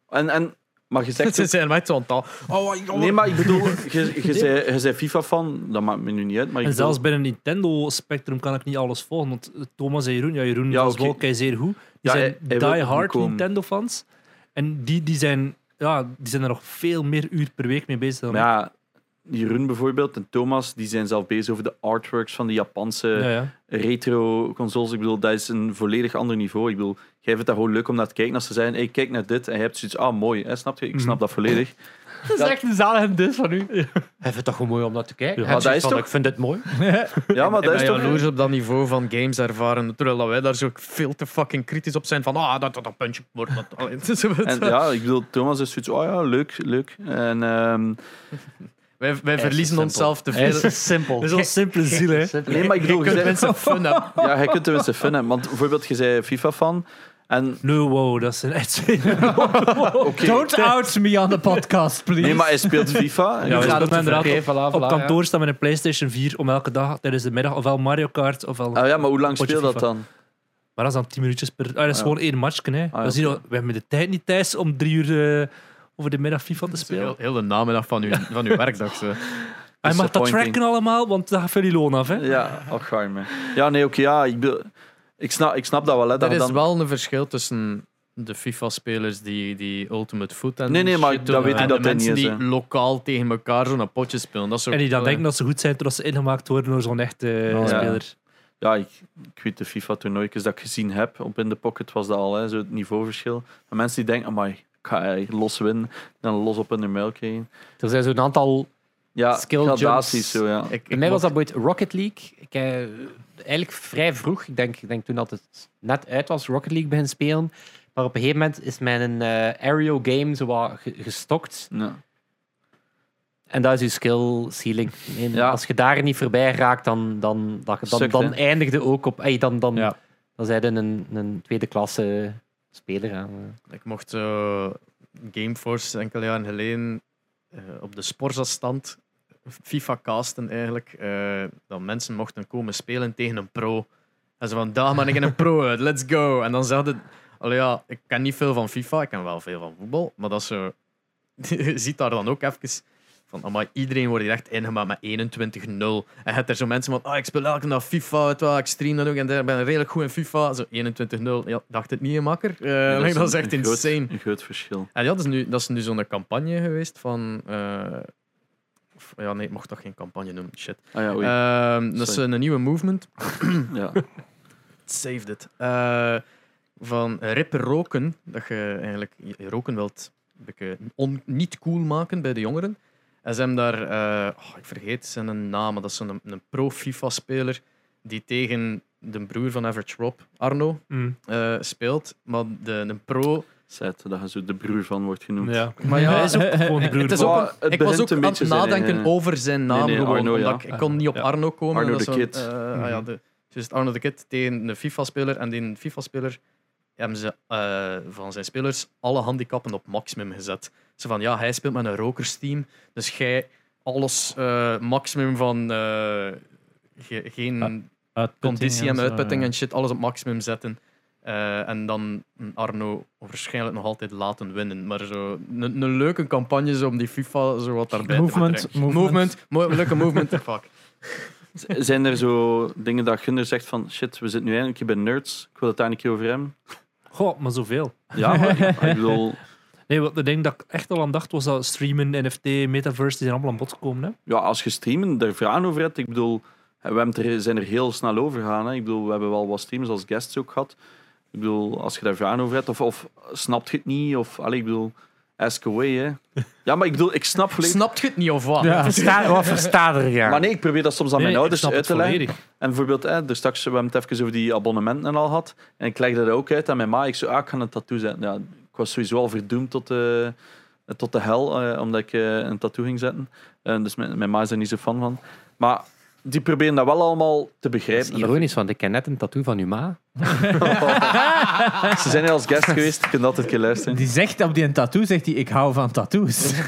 S3: En, en, maar je zegt...
S4: Ze
S3: ook-
S4: zijn mij zo aan het al- Oh, jongen.
S3: Nee, maar ik bedoel, je, je, zei, je zei FIFA-fan, dat maakt me nu niet uit, maar ik
S2: En
S3: bedoel-
S2: zelfs binnen Nintendo Spectrum kan ik niet alles volgen. Want eh, Thomas en Jeroen, ja, Jeroen
S3: Ja,
S2: was
S3: oké.
S2: wel kei zeer goed.
S3: Ja, hij-
S2: Die zijn
S3: hij wil
S2: die-hard
S3: opkomen.
S2: Nintendo-fans. En die, die, zijn, ja, die zijn er nog veel meer uur per week mee bezig dan
S3: Maar ja, Jeroen bijvoorbeeld en Thomas, die zijn zelf bezig over de artworks van de Japanse
S2: ik. Ja, ja.
S3: retro-consoles. Ik bedoel, dat is een volledig ander niveau. Ik bedoel, jij vindt dat gewoon leuk om naar te kijken. Als ze zeggen, hey, kijk naar dit, en je hebt zoiets, ah, mooi, hè, snap je? Ik snap dat volledig.
S1: Dat is echt een zalig dus van u. Hij vindt het toch gewoon mooi om dat te kijken. Hij
S3: dat
S1: zegt
S3: is
S1: van,
S3: toch-
S1: Ik vind het mooi.
S3: Ja, maar
S4: Ik
S3: dat
S4: ben
S3: is toch...
S4: jaloers op dat niveau van games ervaren. Terwijl dat wij daar zo veel te fucking kritisch op zijn. Van, ah, dat, dat, dat puntje wordt dat. allee, het is zo-
S3: En, ja, ik bedoel, Thomas is zoiets, oh ja, leuk, leuk. En ehm,
S4: Wij, wij verliezen
S1: simpel.
S4: onszelf te
S1: Hij
S4: veel.
S1: is simpel.
S2: Dat is al simpele ziel, hè.
S3: nee, maar ik bedoel, je
S4: Kunnen
S3: zei-
S4: mensen fun hebben.
S3: ja, hij kunt er wel fun hebben. Want bijvoorbeeld, je zei FIFA-fan. En
S2: Nee, wow, dat zijn echt...
S3: oké,
S5: Don't out me on the podcast, please.
S3: nee, maar hij speelt FIFA.
S2: Ja, we
S3: Ja,
S2: zouden inderdaad
S1: Oké,
S2: op,
S1: voilà,
S2: op
S1: voilà,
S2: kantoor staan met een PlayStation 4 om elke dag tijdens de middag ofwel Mario Kart ofwel.
S3: ah, ja, maar hoe lang
S2: Potje
S3: speelt dat
S2: FIFA.
S3: dan?
S2: Maar dat is dan 10 minuutjes per. Ah, dat is
S3: ja. Ah,
S2: gewoon één matchje. Hè.
S3: ja,
S2: Dan zie je wel, we hebben de tijd niet thuis om drie uur eh, over de middag FIFA te
S4: Heel,
S2: spelen.
S4: heel de namiddag van uw, van uw werkdag. Zo.
S2: Hij mag dat
S3: disappointing.
S2: tracken allemaal, want dan gaat veel loon af. Hè.
S3: Ja, ach, arme. Ja, nee, oké, ja, ik, bedoel- ik, snap, ik snap dat wel. Hè, dat
S4: Er
S3: we
S4: is
S3: dan,
S4: wel een verschil tussen de FIFA-spelers die, die Ultimate Foot en
S3: Nee, nee, maar
S4: shit doen,
S3: dat weet ik
S4: en
S3: dat
S4: de
S3: dat niet
S4: mensen
S3: is,
S4: die
S3: hè.
S4: lokaal tegen elkaar zo'n potje spelen. Dat is ook,
S2: En die dan
S4: eh,
S2: denken dat ze goed zijn totdat ze ingemaakt worden door zo'n echte eh,
S3: ja.
S4: Oh,
S2: speler.
S3: Ja, ik, ik weet de FIFA-toernooitjes dat ik gezien heb. Op In The Pocket was dat al, hè, zo het niveauverschil. Maar mensen die denken, amai, ik ga eh, los winnen. Dan los op in de muil krijgen.
S1: Er zijn zo'n aantal.
S3: Ja,
S1: Skill
S3: gradaties
S1: jumps.
S3: zo, ja.
S4: Ik,
S1: Bij
S4: ik
S1: mij was
S4: mocht-
S1: dat ooit Rocket League. Ik, eh, eigenlijk vrij vroeg. Ik denk, ik denk toen dat het net uit was, Rocket League begin spelen. Maar op een gegeven moment is mijn eh aerial game zo wat ge- gestokt.
S3: Ja.
S4: Eh,
S1: En dat is uw skill ceiling. En
S3: Ja.
S1: Als je daar niet voorbij raakt, dan, dan, dan, dan,
S3: Sukt,
S1: dan
S3: hè?
S1: eindigde ook op. ey, dan, dan,
S5: Ja.
S1: dan zijn je een, een tweede klasse speler. Aan. eh.
S4: Ik mocht zo Gameforce enkele jaren geleden eh, op de Sporza-stand FIFA casten eigenlijk. eh, dat mensen mochten komen spelen tegen een pro. En ze van, dag man, ik ben een pro uit, let's go. En dan zeiden ze, allee, ja, ik ken niet veel van FIFA, ik ken wel veel van voetbal. Maar dat is zo, je ziet daar dan ook even van, amai, iedereen wordt hier echt ingemaakt met 21-0. En je hebt er zo mensen van, ah, ik speel elke dag FIFA, weet je wel, ik stream dat ook en daar ben ik redelijk goed in FIFA. Zo 21-0, ja, dacht het niet, hè, makker. Eh, dat, is echt
S3: een
S4: insane.
S3: Groot, een groot verschil.
S4: En ja, dat is nu, dat is nu zo'n campagne geweest van. eh, of- ja, nee, ik mocht toch geen campagne noemen. Shit.
S3: Ah ja, oei.
S4: Ehm, dat is
S3: Sorry.
S4: een nieuwe movement.
S3: ja.
S4: Saved it. Eh, van rippen roken. Dat je eigenlijk je roken wilt een beetje on- niet cool maken bij de jongeren. En ze hebben daar, eh, oh, ik vergeet zijn naam, maar dat is een, een pro-FIFA-speler die tegen de broer van Average Rob, Arno,
S2: Mm,
S4: eh, speelt. Maar de, een pro
S3: Zet, dat je zo de broer van wordt genoemd.
S2: ja.
S4: Maar ja,
S2: hij is ook gewoon de broer.
S4: Het is
S2: van-
S4: ook
S3: Wow,
S4: een-
S3: het
S4: ik
S3: begint
S4: was ook
S3: een
S4: aan het
S3: beetje zijn,
S4: nadenken
S3: ja, ja.
S4: over zijn naam.
S3: Nee, nee,
S4: gewoon,
S3: Arno, ja.
S4: omdat ik, ik kon niet op
S2: Ja.
S4: Arno komen.
S3: Arno
S4: dat
S3: de
S4: is zo'n,
S3: Kid. Mhm.
S4: eh, ah ja, de, dus Arno de Kid tegen een FIFA-speler. En die FIFA-speler hebben ze eh, van zijn spelers alle handicappen op maximum gezet. Ze van, ja, hij speelt met een rokersteam. Dus jij alles eh, maximum van... eh, ge- geen
S5: Uitputting
S4: conditie en
S5: zo,
S4: uitputting
S5: ja.
S4: en shit, alles op maximum zetten. Eh, en dan Arno waarschijnlijk nog altijd laten winnen. Maar zo, een- een leuke campagne zo om die FIFA zo wat daarbij
S5: Movement,
S4: te betrekken.
S5: movement.
S4: mo- leuke movement. Fuck.
S3: Z- Zijn er zo dingen dat Gunder zegt van, shit, we zitten nu eindelijk hier bij nerds. Ik wil het daar een keer over hebben.
S2: Goh, maar zoveel.
S3: Ja, maar ik bedoel,
S2: Nee, wat ik denk dat ik echt al aan dacht was dat streamen, NFT, metaverse, die zijn allemaal aan bod gekomen. Hè?
S3: ja, als je streamen daar vragen over hebt, ik bedoel, we hebben het er, zijn er heel snel over gegaan. Hè. Ik bedoel, we hebben wel wat streamers als guests ook gehad. Ik bedoel, als je daar vragen over hebt, of, of snapt je het niet, of, allee, ik bedoel, ask away, hè. Ja, maar ik bedoel, ik snap volledig-
S4: Snapt je het niet of wat?
S1: Versta, wat versta er ja?
S3: Maar nee, ik probeer dat soms aan
S2: Nee,
S3: mijn
S2: nee,
S3: ouders
S2: ik snap
S3: nou dus uit te
S2: het
S3: leggen.
S2: volledig.
S3: En bijvoorbeeld, hè, er straks, we hebben het even over die abonnementen al gehad. En ik legde dat ook uit aan mijn ma. Ik zei, ah, ik ga een tattoo zetten. Ja, ik was sowieso al verdoemd tot, eh, tot de hel, eh, omdat ik eh, een tattoo ging zetten. Eh, dus mijn, mijn ma is er niet zo fan van. Maar die proberen dat wel allemaal te
S1: dat is
S3: begrijpen.
S1: ironisch, want ik ken net een tattoo van uw ma.
S3: Ze zijn hier als guest geweest, je kunt altijd een keer luisteren.
S5: Die zegt op die een tattoo, zegt hij, ik hou van tattoos.
S2: Nee,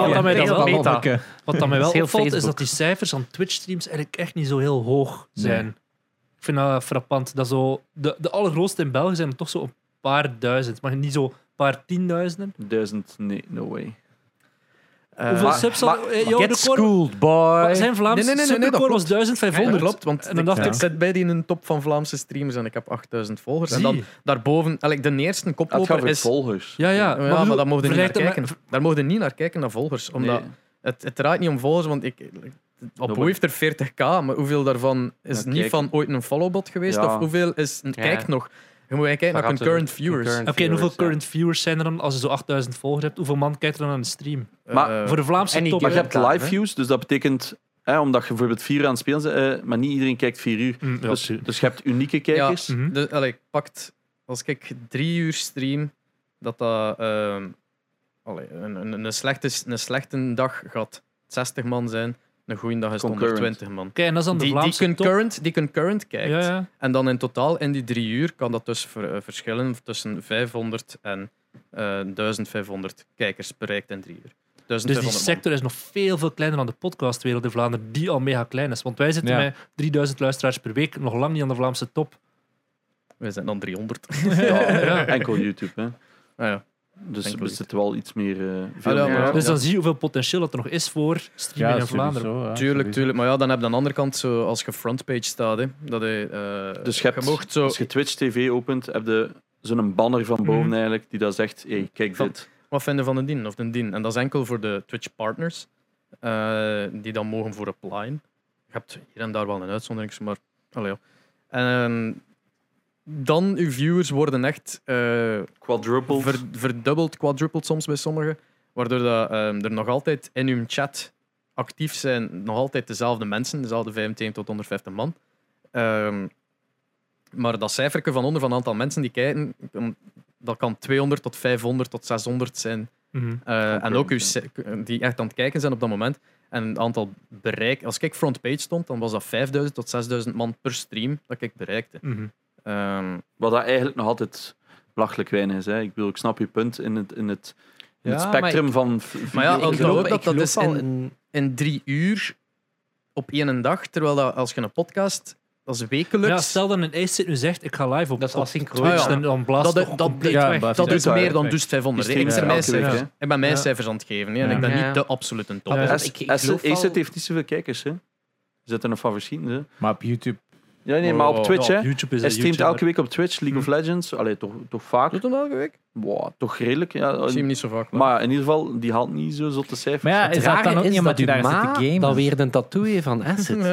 S2: wat, dat mij
S5: Heel
S2: dan
S5: dat
S2: wel,
S4: meta.
S5: manneke.
S2: wat dat mij
S1: Dat
S2: wel
S1: is heel
S2: opvalt, is dat
S1: Facebook.
S2: die cijfers aan Twitch-streams eigenlijk echt niet zo heel hoog zijn. Ik vind dat frappant. Dat zo, de, de allergrootste in België zijn er toch zo een paar duizend, maar niet zo een paar tienduizenden.
S3: Duizend, nee, no way.
S4: Eh,
S2: Hoeveel
S4: maar-
S2: subs
S3: maar-
S2: had... eh,
S1: Get
S2: joh, de core-
S1: schooled, boy.
S2: Zijn Vlaams
S4: Nee, nee, nee, nee, nee, dat
S2: Supercore was
S4: klopt. Ja,
S2: 1500.
S4: dat klopt, want
S2: En dan
S4: ik,
S2: dacht
S5: Ja.
S4: ik zit bij die in een top van Vlaamse streamers en ik heb 8000 volgers. En
S2: Zie
S4: dan
S2: je.
S4: daarboven, allee, de eerste
S3: Het gaat
S4: koploper
S3: over
S4: is...
S3: volgers.
S2: Ja, ja.
S4: Ja, maar,
S2: bedoel,
S4: daar mogen niet naar
S2: vergelijk dat
S4: kijken.
S2: met-
S4: Daar mogen niet naar kijken, naar volgers. Omdat
S3: Nee.
S4: het, het draait niet om volgers, want ik... Op
S3: maar-
S4: hoe heeft er 40k, maar hoeveel daarvan is
S3: Ja,
S4: niet
S3: kijken.
S4: van ooit een followbot geweest?
S3: Ja.
S4: Of hoeveel is... Kijk nog. Je moet kijken naar
S1: Vergat
S4: concurrent
S1: het.
S4: viewers.
S1: Concurrent
S2: Oké, en hoeveel
S1: viewers, ja.
S2: current viewers zijn er dan als je zo 8000 volgers hebt? Hoeveel man kijkt er dan aan de stream?
S3: Maar
S4: Eh,
S2: Voor de Vlaamse
S4: en die
S2: top.
S3: Maar je
S4: Ja,
S3: hebt
S4: klaar,
S3: live
S4: hè?
S3: views, dus dat betekent, hè, omdat je bijvoorbeeld vier uur aan het spelen bent, eh, maar niet iedereen kijkt vier uur.
S2: Mm, ja,
S3: Dus,
S2: tuurlijk.
S3: dus je hebt unieke kijkers.
S2: Mhm.
S4: De, allee, ik pakt, als ik drie uur stream, dat dat ehm, allee, een, een, een, slechte, een slechte dag gaat 60 man zijn, een goede dag is het
S3: Concurrent.
S4: 120 man.
S2: Oké, en dat is dan de
S4: Die, die,
S2: Vlaamse top.
S4: concurrent, die concurrent kijkt.
S2: Ja, Dus ja.
S4: En dan in totaal in die drie uur kan dat dus ver- eh, verschillen tussen 500 en eh, 1500 kijkers bereikt in drie uur.
S2: Dus die
S4: 1500 man.
S2: sector is nog veel, veel kleiner dan de podcastwereld in Vlaanderen, die al mega klein is. Want wij zitten
S5: Ja.
S2: met 3000 luisteraars per week, nog lang niet aan de Vlaamse top.
S4: We zijn dan 300.
S2: Ja.
S3: Enkel YouTube. Hè.
S4: Ah, ja.
S3: Dus
S4: Enkel
S3: we zitten wel iets meer. eh, veel
S4: Ah, ja,
S3: meer
S4: maar-
S3: aan.
S2: Dus dan zie je hoeveel potentieel dat er nog is voor streamen in Vlaanderen.
S5: sowieso, ja,
S4: Tuurlijk,
S5: sowieso.
S4: tuurlijk. Maar ja, dan heb je aan de andere kant, zo, als je frontpage staat, hè, dat je, eh,
S3: Dus je hebt-
S4: mocht zo...
S3: Als je Twitch TV opent, heb je zo'n banner van boven eigenlijk die dat zegt: hey, kijk
S4: Mhm. Van-
S3: dit.
S4: wat vinden van de dien of de dien. En dat is enkel voor de Twitch partners, eh, die dan mogen voor applyen. Je hebt hier en daar wel een uitzondering, maar allee, ja. En dan, uw viewers worden echt eh,
S3: Quadruple.
S4: ver- verdubbeld, quadrupled soms bij sommigen, waardoor dat, eh, er nog altijd in uw chat actief zijn, nog altijd dezelfde mensen, dezelfde 25 tot 150 man. Ehm, maar dat cijferke van onder van het aantal mensen die kijken, om- dat kan 200 tot 500 tot 600 zijn
S2: Mhm.
S4: eh, en
S3: Concurrent,
S4: ook uw
S3: ja.
S4: se- die echt aan het kijken zijn op dat moment. En het aantal bereik. Als ik frontpage stond, dan was dat 5000 tot 6000 man per stream dat ik bereikte.
S2: Mhm.
S4: Ehm,
S3: Wat dat eigenlijk nog altijd belachelijk weinig is. Hè. Ik, bedoel, ik snap je punt in het, in het, in het
S1: Ja, maar
S3: spectrum van. v-
S4: maar ja,
S3: video-
S1: Ik
S4: onthoud
S1: geloof
S4: ook dat dat
S1: geloof
S4: is
S1: al
S4: in-
S1: in-
S4: in drie uur op één dag, terwijl dat, als je een podcast, dat is
S2: Ja,
S4: wekelijks.
S2: stel dat een Ace zit nu zegt, ik ga live op,
S1: Dat is
S2: op
S1: asynchroon.
S2: Twitch,
S4: Ja.
S2: dan, dan blaast
S4: Dat-
S2: Ah, dat,
S4: dat-
S2: compleet
S5: ja,
S2: weg.
S5: blijft
S4: dat
S5: weg.
S4: doet meer dan
S1: Ja.
S4: dus
S3: die
S4: 500. Ik
S3: streamen elke
S4: ben, mijn
S3: week,
S4: cijfers,
S3: hè.
S4: ik ben mijn
S2: Ja.
S4: cijfers aan het geven. hè, en
S5: Ja.
S4: ik ben
S1: Ja.
S4: niet de absolute top.
S2: Ja.
S4: Ja.
S1: Ja.
S3: S-
S1: Ik- ik
S3: S-
S1: geloof wel-
S3: AZ heeft niet zoveel kijkers. Hè. Er zitten er van verschillende. hè.
S5: Maar op YouTube...
S3: Ja, nee, maar op
S4: Wow.
S3: Twitch,
S2: Ja,
S3: hè?
S2: op YouTube
S3: Hij
S2: is dat
S3: streamt
S2: YouTube,
S3: elke week op Twitch League
S4: Mhm.
S3: of Legends. Allee, toch, toch vaak.
S4: Doet hem elke week?
S3: Wow, toch redelijk. Ja.
S4: Ik zie hem niet zo vaak. Maar.
S3: Maar in ieder geval, die haalt niet zo zotte cijfers.
S5: Maar ja,
S1: Het
S5: is dat
S1: rare
S5: dan ook
S1: is
S5: niet omdat
S1: dat
S5: u
S1: uw
S5: daar zit
S1: ma
S5: te gamen?
S1: dan weer een tattoo heeft van Acid.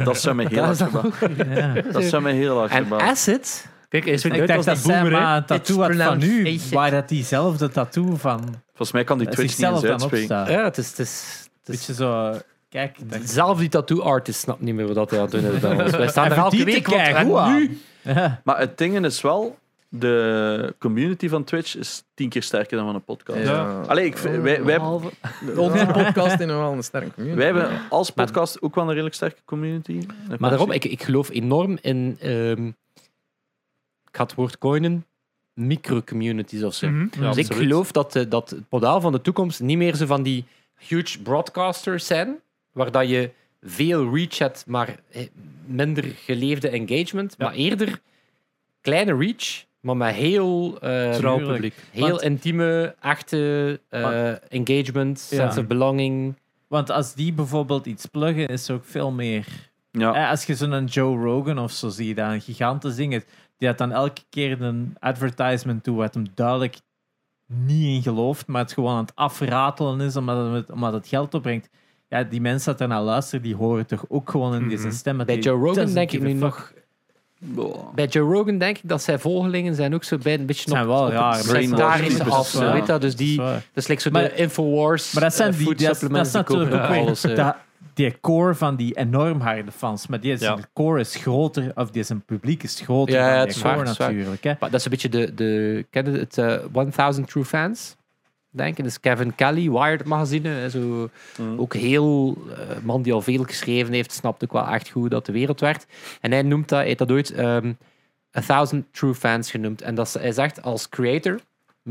S3: Ja, dat zou mij heel
S1: Dat
S3: hard
S1: is dan
S3: verbazen.
S5: Ja.
S3: Dat zou mij heel hard
S1: En
S3: verbazen.
S1: Acid?
S2: hè. Kijk, Ace vindt
S5: Ik
S2: uit
S5: dacht
S2: als
S5: dat
S2: die
S5: zij
S2: boomer,
S3: ah,
S2: hè.
S5: maar een
S4: It's
S5: tattoo had van
S4: pronounced
S5: u,
S4: Asian.
S5: waar dat diezelfde tattoo van
S3: Volgens mij kan die Twitch niet
S5: zichzelf
S3: eens
S5: dan
S3: uitspreken.
S5: opstaat.
S1: Ja, het is... Het is, het is
S5: Beetje zo... eh, Kijk, dat-
S1: zelf die tattoo-artist snapt niet meer wat hij aan het doen is bij ons. Wij staan
S5: En
S1: er
S5: voor
S1: elke
S5: die te
S1: week want-
S5: kijken,
S1: en
S5: hoe
S1: nu-
S5: Ja.
S3: Maar het ding is wel, de community van Twitch is tien keer sterker dan van een podcast.
S2: Ja.
S3: Allee, ik, wij, wij, wij,
S1: Behalve-
S4: Onze podcast in wel een sterke community.
S3: hebben als podcast ook wel een redelijk sterke community.
S1: Maar daarom, ik, ik geloof enorm in... ehm, ik ga het woord coinen. Micro-communities of zo.
S2: Mhm.
S1: dus ik geloof dat, eh, dat het model van de toekomst niet meer zo van die huge broadcasters zijn, waar dat je veel reach hebt, maar eh, minder geleefde engagement, maar eerder kleine reach, maar met heel, eh,
S2: Trouw
S5: tuurlijk.
S2: publiek.
S1: heel
S5: Want-
S1: intieme, echte eh,
S5: Want-
S1: engagement,
S5: Ja.
S1: sense of belonging.
S5: Want als die bijvoorbeeld iets pluggen, is er ook veel meer.
S3: Ja,
S5: Eh, Als je zo'n Joe Rogan of zo ziet, dan een gigantisch ding. Het die had dan elke keer een advertisement toe, wat hem duidelijk niet in gelooft, maar het gewoon aan het afratelen is omdat het, met- omdat het geld opbrengt. Ja, die mensen dat daarna luisteren, die horen toch ook gewoon in deze
S2: Mhm.
S5: stem. dat
S1: Bij
S5: die
S1: Joe Rogan
S5: doesn't
S1: denk ik
S5: give a
S1: nu
S5: fuck.
S1: nog.
S3: Boah.
S1: Bij Joe Rogan denk ik dat zijn volgelingen zijn ook zo bij een beetje
S5: Het zijn
S1: op-
S5: wel
S1: op het
S5: raar
S3: brainwashed
S1: sectarische
S3: types.
S1: af. zo,
S5: Ja.
S1: Weet dat? Dus die,
S5: Dat is waar.
S1: dat is like zo
S5: Maar-
S1: de Infowars.
S5: Maar dat zijn
S1: eh,
S5: die,
S1: food
S5: dat, is- dat
S1: supplements
S5: is natuurlijk
S1: die
S5: ook
S1: kopen
S5: weer
S1: alles. eh.
S5: dat- die core van die enorm harde fans. Maar die is,
S2: Ja.
S5: de core is groter, of die zijn publiek is groter
S1: Ja,
S5: dan
S1: ja,
S5: die
S1: het is
S5: core
S1: waar, het is waar.
S5: natuurlijk. Hè.
S1: Maar dat is een beetje de, de ken je het eh, 1000 True Fans? Denk ik. Dat is Kevin Kelly, Wired magazine. hè, Zo,
S3: Mm.
S1: ook heel eh, man die al veel geschreven heeft, snapte ook wel echt goed dat de wereld werd. En hij noemt dat, hij heeft dat ooit ehm 1000 True Fans genoemd. En dat is, hij zegt als creator,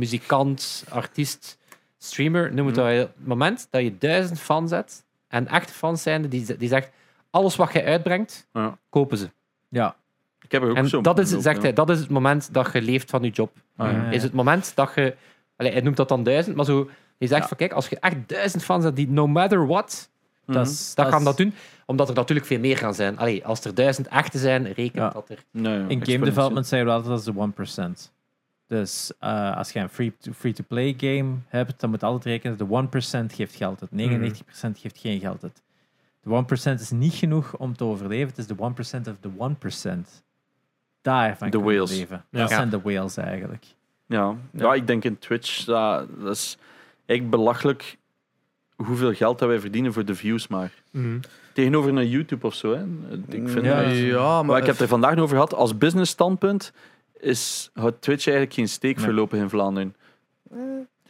S1: muzikant, artiest, streamer, noem het
S3: Mm.
S1: dat je- het moment dat je duizend fans hebt en echte fans zijn, die, die zegt alles wat je uitbrengt,
S3: Ja.
S1: kopen ze.
S5: Ja.
S3: Ik heb er ook
S1: En
S3: zo'n
S1: dat is,
S3: op,
S1: zegt
S3: ja.
S1: hij, dat is het moment dat je leeft van je job
S3: Ah, ja.
S5: Ja.
S1: is het moment dat je. Allee, hij noemt dat dan duizend, maar zo. Hij zegt van kijk, als je echt duizend fans hebt die no matter what,
S3: Mhm.
S5: Dat, is,
S1: dan
S5: is-
S1: gaan dat doen. Omdat er natuurlijk veel meer gaan zijn. Allee, als er duizend echte zijn, reken
S5: Ja.
S1: dat er.
S3: Ja, ja,
S5: In game
S3: exponentieel.
S5: development zeggen we altijd dat is de 1%. Dus eh, als je een free- free-to-play game hebt, dan moet je altijd rekenen dat de 1% geeft geld
S1: Mhm.
S5: uit. 99% geeft geen geld uit. De 1% is niet genoeg om te overleven. Het is de 1% of de 1%. Daarvan
S3: De
S5: kunnen we
S3: whales.
S5: leven.
S2: Ja.
S5: Dat
S1: Ja.
S5: zijn de whales eigenlijk.
S3: Ja. Ja, ik denk in Twitch, dat, dat is echt belachelijk hoeveel geld dat wij verdienen voor de views maar.
S2: Mhm.
S3: Tegenover een YouTube of zo. Hè. Ik vind
S4: ja,
S3: dat-
S4: ja,
S3: Maar
S4: maar
S3: ik heb het er vandaag over gehad. Als business standpunt is, houdt Twitch eigenlijk geen steek
S5: Nee.
S3: verlopen in Vlaanderen.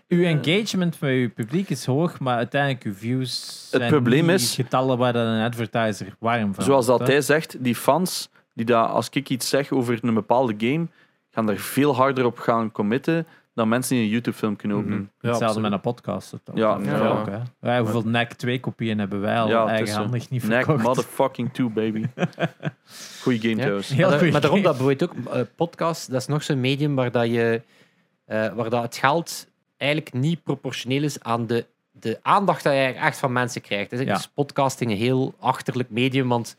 S5: Uw engagement met uw publiek is hoog, maar uiteindelijk uw views. zijn
S3: probleem
S5: niet
S3: is-
S5: getallen waar dan een advertiser warm van.
S3: Zoals dat
S5: wordt, hè.
S3: hij zegt, die fans, die daar, als ik iets zeg over een bepaalde game, gaan daar veel harder op gaan committen dan mensen die een YouTube-film kunnen openen.
S5: Hetzelfde met een podcast. dat- dat-
S3: Ja,
S5: dat-
S4: ja.
S5: dat ook, hè. Wij, hoeveel NAC 2 kopieën hebben wij al
S3: Ja, het is
S5: eigenhandig niet
S3: Neck
S5: verkocht?
S3: motherfucking two, baby. Goeie game
S1: Ja.
S3: trouwens.
S5: Heel
S1: maar,
S5: goeie
S1: maar daarom
S5: game.
S1: dat bijvoorbeeld ook eh, podcast, dat is nog zo'n medium waar dat je eh, waar dat het geld eigenlijk niet proportioneel is aan de, de aandacht dat je eigenlijk echt van mensen krijgt. Dus
S5: Ja.
S1: is podcasting een heel achterlijk medium, want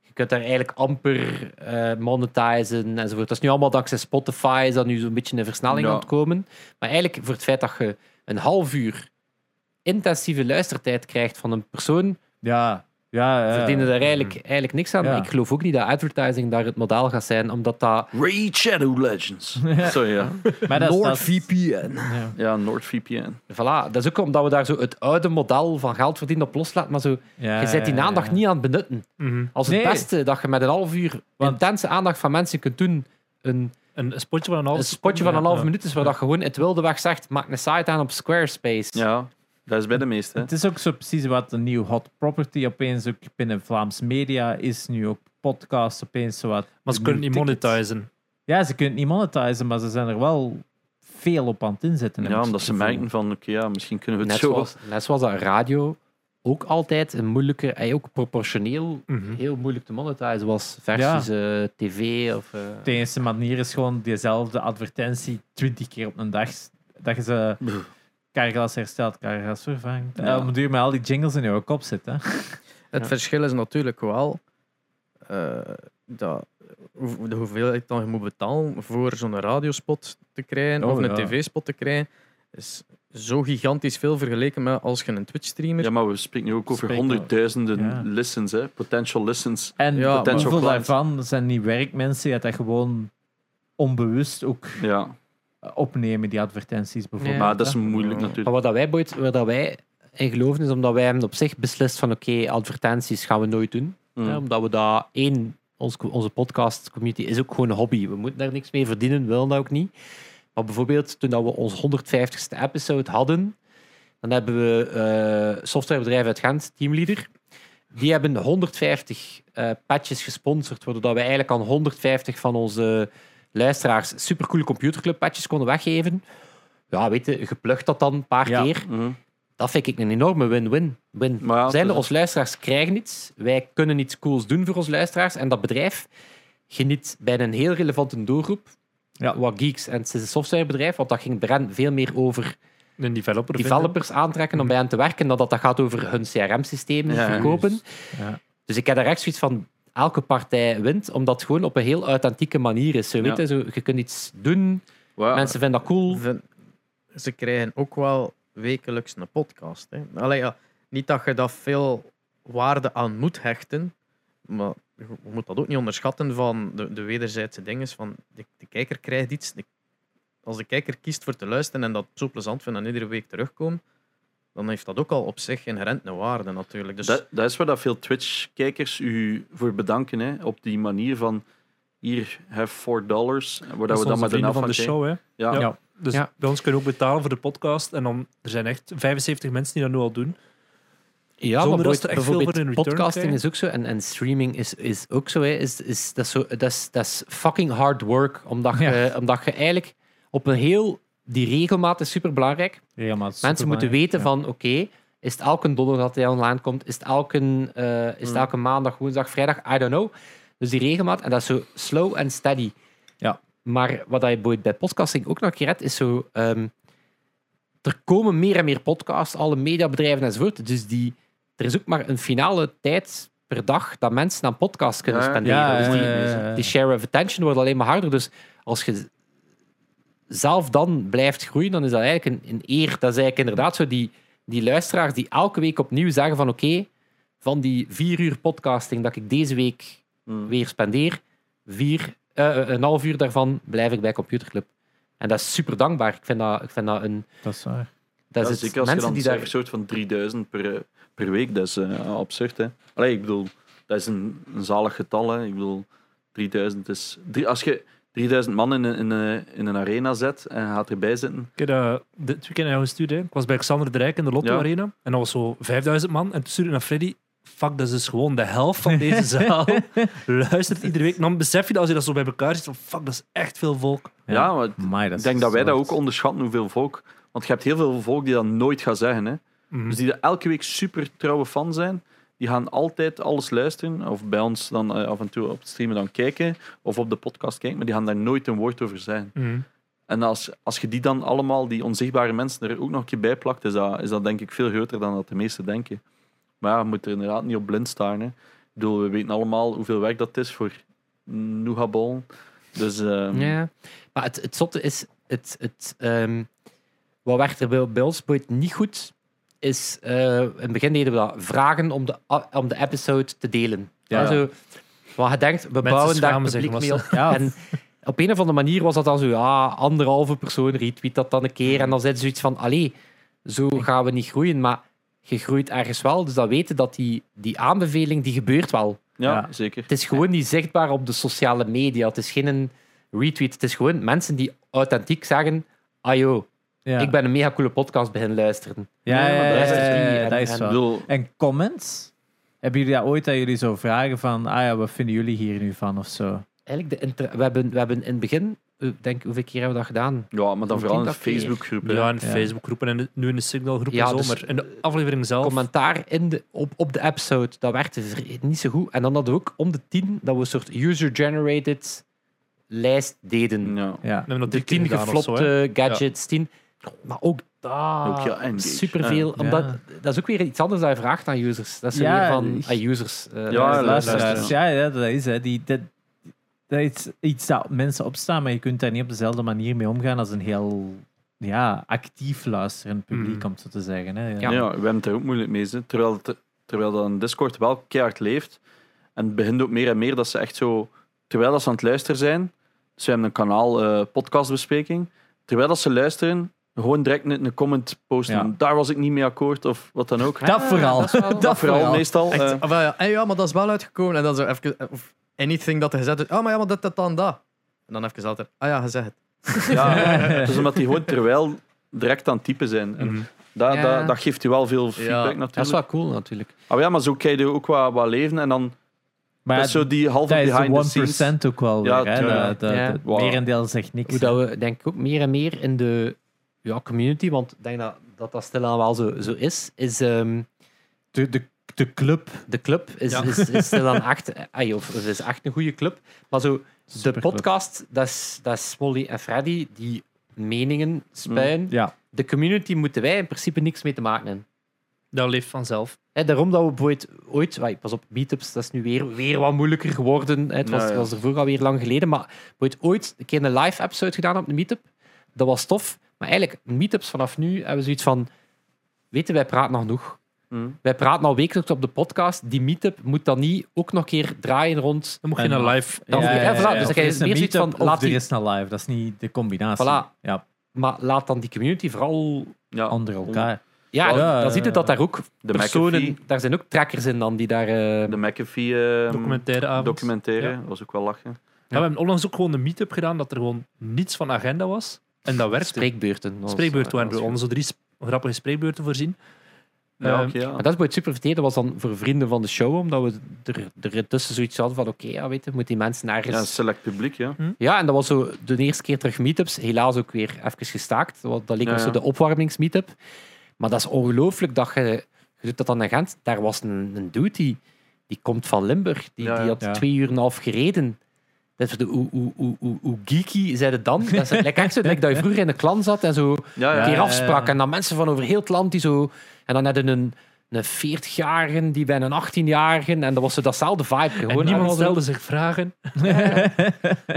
S1: je kunt daar eigenlijk amper eh monetizen enzovoort. Dat is nu allemaal dankzij Spotify, is dat nu zo'n beetje een versnelling
S3: Ja.
S1: aan het komen. Maar eigenlijk voor het feit dat je een half uur intensieve luistertijd krijgt van een persoon,
S5: Ja, ja. eh, ja.
S1: verdienen daar eigenlijk, eigenlijk niks aan.
S5: Ja.
S1: Ik geloof ook niet dat advertising daar het model gaat zijn, omdat dat...
S3: Raid Shadow Legends. Sorry, ja.
S5: Maar dat is- dat is-
S4: NordVPN.
S5: ja.
S3: Ja, NordVPN.
S1: Voilà, dat is ook omdat we daar zo het oude model van geld verdienen op loslaten, maar zo,
S5: Ja,
S1: je zet die
S5: ja, ja,
S1: aandacht
S5: ja.
S1: niet aan het benutten.
S2: Mhm.
S1: Als het
S5: Nee.
S1: beste dat je met een half uur
S5: Want-
S1: intense aandacht van mensen kunt doen, een,
S2: Een spotje van een half
S1: een spotje van een half minuut is waar dat gewoon het wilde weg zegt, maak een site aan op Squarespace.
S3: Ja, dat is bij de meeste.
S5: Het is ook zo precies wat een nieuw hot property opeens ook binnen Vlaams media is. Nu ook podcasts opeens zo wat.
S2: Maar ze kunnen niet monetizen.
S5: Ja, ze kunnen het niet monetizen, maar ze zijn er wel veel op aan het inzetten. heb
S3: Ja,
S5: ik
S3: omdat
S5: het
S3: ze
S5: gevoel.
S3: merken van, oké, ja, misschien kunnen we
S1: Net
S3: het zo...
S1: zoals, net zoals dat radio ook altijd een moeilijke, en ook proportioneel
S2: Mhm.
S5: Hm.
S1: heel moeilijk te monetizen was versus eh, tv of... eh,
S5: De enige manier is gewoon diezelfde advertentie 20 keer op een dag. Dat je ze karglas herstelt, karglas vervangt.
S3: Ja.
S5: Ja. Om het duur met al die jingles in je kop zitten. hè.
S4: Het
S1: Ja.
S4: verschil is natuurlijk wel eh, dat, hoe- de hoeveelheid dan je moet betalen voor zo'n radiospot te krijgen
S5: Oh,
S4: of een
S5: ja.
S4: tv-spot te krijgen, is zo gigantisch veel vergeleken met als je een Twitch-streamer...
S3: Ja, maar we spreken nu ook over
S5: Spreken we-
S3: honderdduizenden
S5: Ja.
S3: listens, hè. Potential listens.
S5: En
S4: Ja,
S5: hoeveel
S3: potential clients.
S5: daarvan zijn niet werkmensen die dat gewoon onbewust ook eh,
S3: Ja.
S5: opnemen, die advertenties bijvoorbeeld.
S3: Maar dat is moeilijk
S4: Ja.
S1: Maar
S3: natuurlijk.
S1: wat dat wij, boeit, waar dat wij in geloven is omdat wij hebben op zich beslist van oké, advertenties gaan we nooit doen.
S3: Mm.
S1: Hè, omdat we dat één, ons, onze podcast community is ook gewoon een hobby. We moeten daar niks mee verdienen, willen dat ook niet. Maar bijvoorbeeld toen dat we ons 150ste episode hadden, dan hebben we eh, softwarebedrijf uit Gent, Teamleader. Die hebben 150 eh, patches gesponsord, waardoor dat we eigenlijk aan 150 van onze luisteraars supercoole computerclub patches konden weggeven. Ja, weet je, geplukt dat dan een paar
S5: Ja.
S1: keer.
S3: Mhm.
S1: Dat vind ik een enorme win-win. Win.
S3: Maar ja, dus-
S1: Zijn
S3: het is-
S1: onze luisteraars krijgen iets, wij kunnen iets cools doen voor onze luisteraars en dat bedrijf geniet bij een heel relevante doelgroep.
S5: Ja.
S1: Wat geeks en het is een softwarebedrijf, want dat ging bij hen veel meer over
S2: Een developer.
S1: developers aantrekken om bij hen te werken, dan dat dat gaat over hun CRM-systeem
S3: Ja,
S1: verkopen.
S5: juist. Ja.
S1: Dus ik heb daar echt zoiets van, elke partij wint, omdat het gewoon op een heel authentieke manier is. Zo, weet
S3: Ja.
S1: je, zo, je kunt iets doen,
S3: Wow.
S1: mensen vinden dat cool.
S4: Vind- Ze krijgen ook wel wekelijks een podcast. Hè. Allee, ja, niet dat je daar veel waarde aan moet hechten, maar je moet dat ook niet onderschatten van de, de wederzijdse dingen. Van de, de kijker krijgt iets. de- als de kijker kiest voor te luisteren en dat zo plezant vindt en iedere week terugkomt, dan heeft dat ook al op zich inherent een waarde natuurlijk. Dus
S3: Dat, dat is waar dat veel Twitch-kijkers u voor bedanken. Hè? Op die manier van hier, have four dollars. Waar dat we dan
S2: onze
S3: met een
S2: vrienden
S3: af
S2: van de show, hè.
S3: Ja.
S2: Ja.
S3: Ja.
S2: Dus
S1: Ja.
S2: bij ons kunnen we ook betalen voor de podcast. En dan, er zijn echt 75 mensen die dat nu al doen.
S1: Ja,
S2: Zonder
S1: maar
S2: dat
S1: bijvoorbeeld,
S2: ze er echt veel
S1: bijvoorbeeld
S2: voor in return
S1: podcasting is
S2: krijgen.
S1: ook zo en, en streaming is, is ook zo. Hè. Is, is, dat, is zo dat, is, dat is fucking hard work, omdat je, omdat je eigenlijk op een heel... Die regelmaat is superbelangrijk.
S5: Ja, maar het is
S1: Mensen moeten
S5: superbelangrijk.
S1: weten van, oké, is het elke donderdag dat hij online komt? Is het elke, eh, is
S2: Mm.
S1: het
S3: Hmm.
S1: elke maandag, woensdag, vrijdag? I don't know. Dus die regelmaat, en dat is zo slow and steady.
S5: Ja.
S1: Maar wat je bij- bij podcasting ook nog een keer hebt, is zo... ehm, er komen meer en meer podcasts, alle mediabedrijven enzovoort. Dus die, er is ook maar een finale tijd per dag dat mensen aan podcasts kunnen
S3: Ja.
S1: spenderen.
S5: Ja,
S1: Dus die-
S5: eh,
S1: die share of attention wordt alleen maar harder. Dus als je zelf dan blijft groeien, dan is dat eigenlijk een, een eer. Dat is eigenlijk inderdaad zo die, die luisteraars die elke week opnieuw zeggen van oké, van die vier uur podcasting dat ik deze week
S3: Mm.
S1: weer spendeer, vier, eh, eh, een half uur daarvan blijf ik bij Computerclub. En dat is super dankbaar. Ik vind dat, ik vind dat een...
S5: dat is waar.
S1: Dat
S3: Ja,
S1: is
S3: zeker als je
S1: mensen
S3: dan
S1: die
S3: die
S1: daar...
S3: een soort van 3000 per, eh, per week, dat is eh, absurd. Hè? Allee, ik bedoel, dat is een, een zalig getal. Hè? Ik bedoel, 3000 is... Drie, als je 3000 man in een, in, een, in een arena zet en gaat erbij zitten...
S2: Ik heb eh, dit weekend aan gestuurd. hè. Ik was bij Xander de Rijk in de Lotto
S3: Ja.
S2: Arena. En dat was zo 5000 man. En toen stuurde ik naar Freddy... Fuck, dat is dus gewoon de helft van deze zaal.
S5: Oh.
S2: Luistert iedere week. Dan besef je dat als je dat zo bij elkaar ziet. van, Fuck, dat is echt veel volk.
S3: Ja, maar
S5: Amai, dat
S3: ik
S5: is
S3: denk dat wij dat
S5: zot.
S3: ook onderschatten, hoeveel volk. Want je hebt heel veel volk die dat nooit gaat zeggen. Hè?
S5: Hm.
S2: Mhm.
S3: Dus die er elke week super trouwe fan zijn. Die gaan altijd alles luisteren. Of bij ons dan eh, af en toe op het streamen dan kijken. Of op de podcast kijken. Maar die gaan daar nooit een woord over zijn.
S2: Mhm.
S3: En als, als je die dan allemaal, die onzichtbare mensen, er ook nog een keer bij plakt, is dat, is dat denk ik veel groter dan dat de meesten denken. Maar ja, je moet er inderdaad niet op blind staan. Hè. Ik bedoel, we weten allemaal hoeveel werk dat is voor Noegabol. Dus ehm,
S1: Ja. Maar het, het zotte is, het, het, ehm, wat werkt er bij, bij ons boeit niet goed, is eh, in het begin deden we dat, vragen om de, a- om de episode te delen.
S3: Ja.
S1: Ja. Zo, wat je denkt, we bouwen daar
S2: schamen zich,
S1: publiek mee
S2: was
S1: op.
S5: Ah.
S1: En op een of andere manier was dat dan zo, ja, anderhalve persoon retweet dat dan een keer. En dan zit zoiets van, allee, zo gaan we niet groeien. Maar je groeit ergens wel, dus dan weten dat die, die aanbeveling, die gebeurt wel.
S3: ja,
S5: Ja.
S3: zeker.
S1: Het is gewoon niet zichtbaar op de sociale media. Het is geen een retweet. Het is gewoon mensen die authentiek zeggen: Ah joh,
S5: Ja.
S1: ik ben een mega coole podcast beginnen luisteren.
S5: Ja, ja,
S1: maar
S5: ja,
S1: de rest is
S5: ja,
S1: niet.
S5: ja,
S1: En-
S5: dat is
S1: en-
S3: Ik
S5: wel.
S3: bedoel,
S5: En comments? Hebben jullie dat ooit dat jullie zo vragen van, ah ja, wat vinden jullie hier nu van of zo?
S1: Eigenlijk, de inter- we, hebben, we hebben in het begin, eh, denk hoeveel keer hebben we dat gedaan?
S3: ja, maar dan vooral in de
S1: dat keer.
S3: Facebookgroep. hè.
S2: Ja, in
S5: Ja.
S2: Facebookgroepen en nu in de Signalgroep
S1: Ja,
S2: en zo.
S1: dus-
S2: maar in
S3: eh,
S2: de aflevering zelf...
S1: Commentaar in de, op, op de episode, dat werkte vre- niet zo goed. En dan hadden we ook om de tien dat we een soort user-generated lijst deden.
S3: Ja.
S5: Ja.
S2: We hebben dat
S1: De
S2: drie keer
S1: tien
S2: gedaan of zo, hè.
S1: geflopte gadgets, tien. Maar ook daar
S3: Ook ja, engage.
S1: superveel.
S5: Ja.
S1: Omdat, dat is ook weer iets anders dat je vraagt aan users. Dat is zo
S5: Ja,
S1: weer van
S5: dus-
S1: ah, users. eh,
S3: Ja,
S5: Luisteraars,
S3: luisteraars.
S5: ja, ja, dat is hè. Die, dat, dat is iets dat mensen opstaan, maar je kunt daar niet op dezelfde manier mee omgaan als een heel ja, actief luisterend publiek,
S2: Mhm.
S5: om het zo te zeggen. Hè.
S1: Hmm. Ja.
S3: Ja. we hebben het er ook moeilijk mee. Ze. Terwijl, het, terwijl dat een Discord wel keihard leeft. En het begint ook meer en meer dat ze echt zo... Terwijl dat ze aan het luisteren zijn... Ze hebben een kanaal eh, podcastbespreking. Terwijl dat ze luisteren, gewoon direct een, een comment posten.
S5: Ja.
S3: Daar was ik niet mee akkoord of wat dan ook.
S1: Ja,
S5: Dat vooral.
S1: Ah, is wel-
S5: Dat-
S3: Vooral
S5: vooral.
S3: meestal.
S4: Echt,
S3: eh,
S4: ah, wel, ja. En ja, maar dat is wel uitgekomen. En dan zo even, eh, of anything dat hij gezegd heeft. Ah, maar ja, maar dit, dat, dan, dat. En dan even altijd, ah ja, gezegd.
S3: ja, dus omdat die gewoon terwijl direct aan het typen zijn. En
S2: Mhm.
S3: dat,
S1: Ja.
S3: dat, dat geeft u wel veel feedback natuurlijk.
S1: Dat is wel cool natuurlijk.
S3: Ah, ja, maar zo krijg je ook wat, wat leven. En dan
S5: Maar
S3: dat is zo die halve
S5: dat is
S3: behind the scenes.
S5: de 1% ook wel
S3: Ja,
S5: weer. Hè.
S3: tuurlijk.
S5: Dat, dat,
S1: Ja.
S5: Het
S3: Wow.
S5: merendeel zegt niks.
S1: Hoe
S5: hè.
S1: dat we denk ik ook meer en meer in de ja, community, want ik denk dat dat, dat stilaan wel zo, zo is, is ehm,
S5: de, de, de club.
S1: de club is,
S2: Ja.
S1: is, is stilaan echt, eh, ai, of het is echt een goede club. Maar zo, de
S5: Superclub.
S1: podcast, dat is, dat is Smolly en Freddy die meningen spuien.
S5: Mm, Ja.
S1: De community moeten wij in principe niks mee te maken hebben.
S2: Dat leeft vanzelf.
S1: Hè, daarom dat we bijvoorbeeld ooit, wai, pas op, meetups, dat is nu weer, weer wat moeilijker geworden. Hè. Het was,
S3: Ja, ja.
S1: was er vroeger alweer lang geleden, maar bijvoorbeeld ooit een keer een live episode gedaan op de meetup. Dat was tof, maar eigenlijk, meetups vanaf nu hebben we zoiets van, weten wij praten nog genoeg.
S3: Hm.
S1: Wij praten al wekelijks op de podcast. Die meetup moet dan niet ook nog een keer draaien rond.
S2: Dan moet
S5: En
S2: je naar
S5: nog-
S2: live.
S1: Dan
S5: Ja,
S1: moet je-
S5: ja,
S1: eh, voilà,
S5: ja,
S1: dus
S5: ja.
S1: dan
S5: Of
S1: krijg
S5: er
S1: je
S5: is een
S1: meer zoiets
S5: meetup
S1: van, laat
S5: of er
S1: die-
S5: is een live. Dat is niet de combinatie.
S1: Voilà.
S5: Ja,
S1: Maar laat dan die community vooral...
S3: Ja,
S5: onder elkaar.
S1: Ja,
S5: Ja,
S1: dan
S5: ja,
S1: ziet je
S5: ja.
S1: dat daar ook
S3: de
S1: personen...
S3: McAfee,
S1: Daar zijn ook trackers in dan die daar... eh,
S3: de McAfee ehm,
S2: Documentaire avond.
S3: documentaire,
S2: Ja.
S3: dat was ook wel lachen.
S2: Ja, we hebben onlangs ook gewoon een meet-up gedaan dat er gewoon niets van agenda was. En dat werkte.
S1: Spreekbeurten. Dat was-
S2: Spreekbeurten waren
S3: eh,
S1: dat
S2: we
S1: was goed.
S2: ons drie sp- grappige spreekbeurten voorzien.
S3: Ja,
S2: Ehm,
S3: oké, ja.
S1: Maar dat is bij het super verteerd. Dat was dan voor vrienden van de show, omdat we er, er tussen zoiets hadden van: oké, ja, weet je, moet die mensen
S3: Ja, een
S1: ergens. Ja, Hm?
S3: select publiek, ja.
S1: en dat was zo de eerste keer terug meetups. Helaas ook weer even gestaakt. want Dat leek
S3: Ja,
S1: ons zo
S3: ja.
S1: de opwarmingsmeetup. Maar dat is ongelooflijk dat je, je doet dat dan in Gent. Daar was een, een dude die, die komt van Limburg. Die,
S3: Ja, ja.
S1: die had
S5: Ja.
S1: twee uur en een half gereden. Dat is de, hoe, hoe, hoe, hoe, hoe geeky zei het dan? Dat is like, echt zo, like dat je vroeger in de klan zat en zo
S3: Ja,
S1: een
S3: ja.
S1: keer
S5: ja,
S1: afsprak.
S5: ja.
S1: En dan mensen van over heel het land die zo. En dan hadden een, een 40-jarige die bij een 18-jarige. En dat was zo datzelfde vibe. Gewoon
S2: en niemand
S1: allemaal zo.
S2: stelde zich vragen.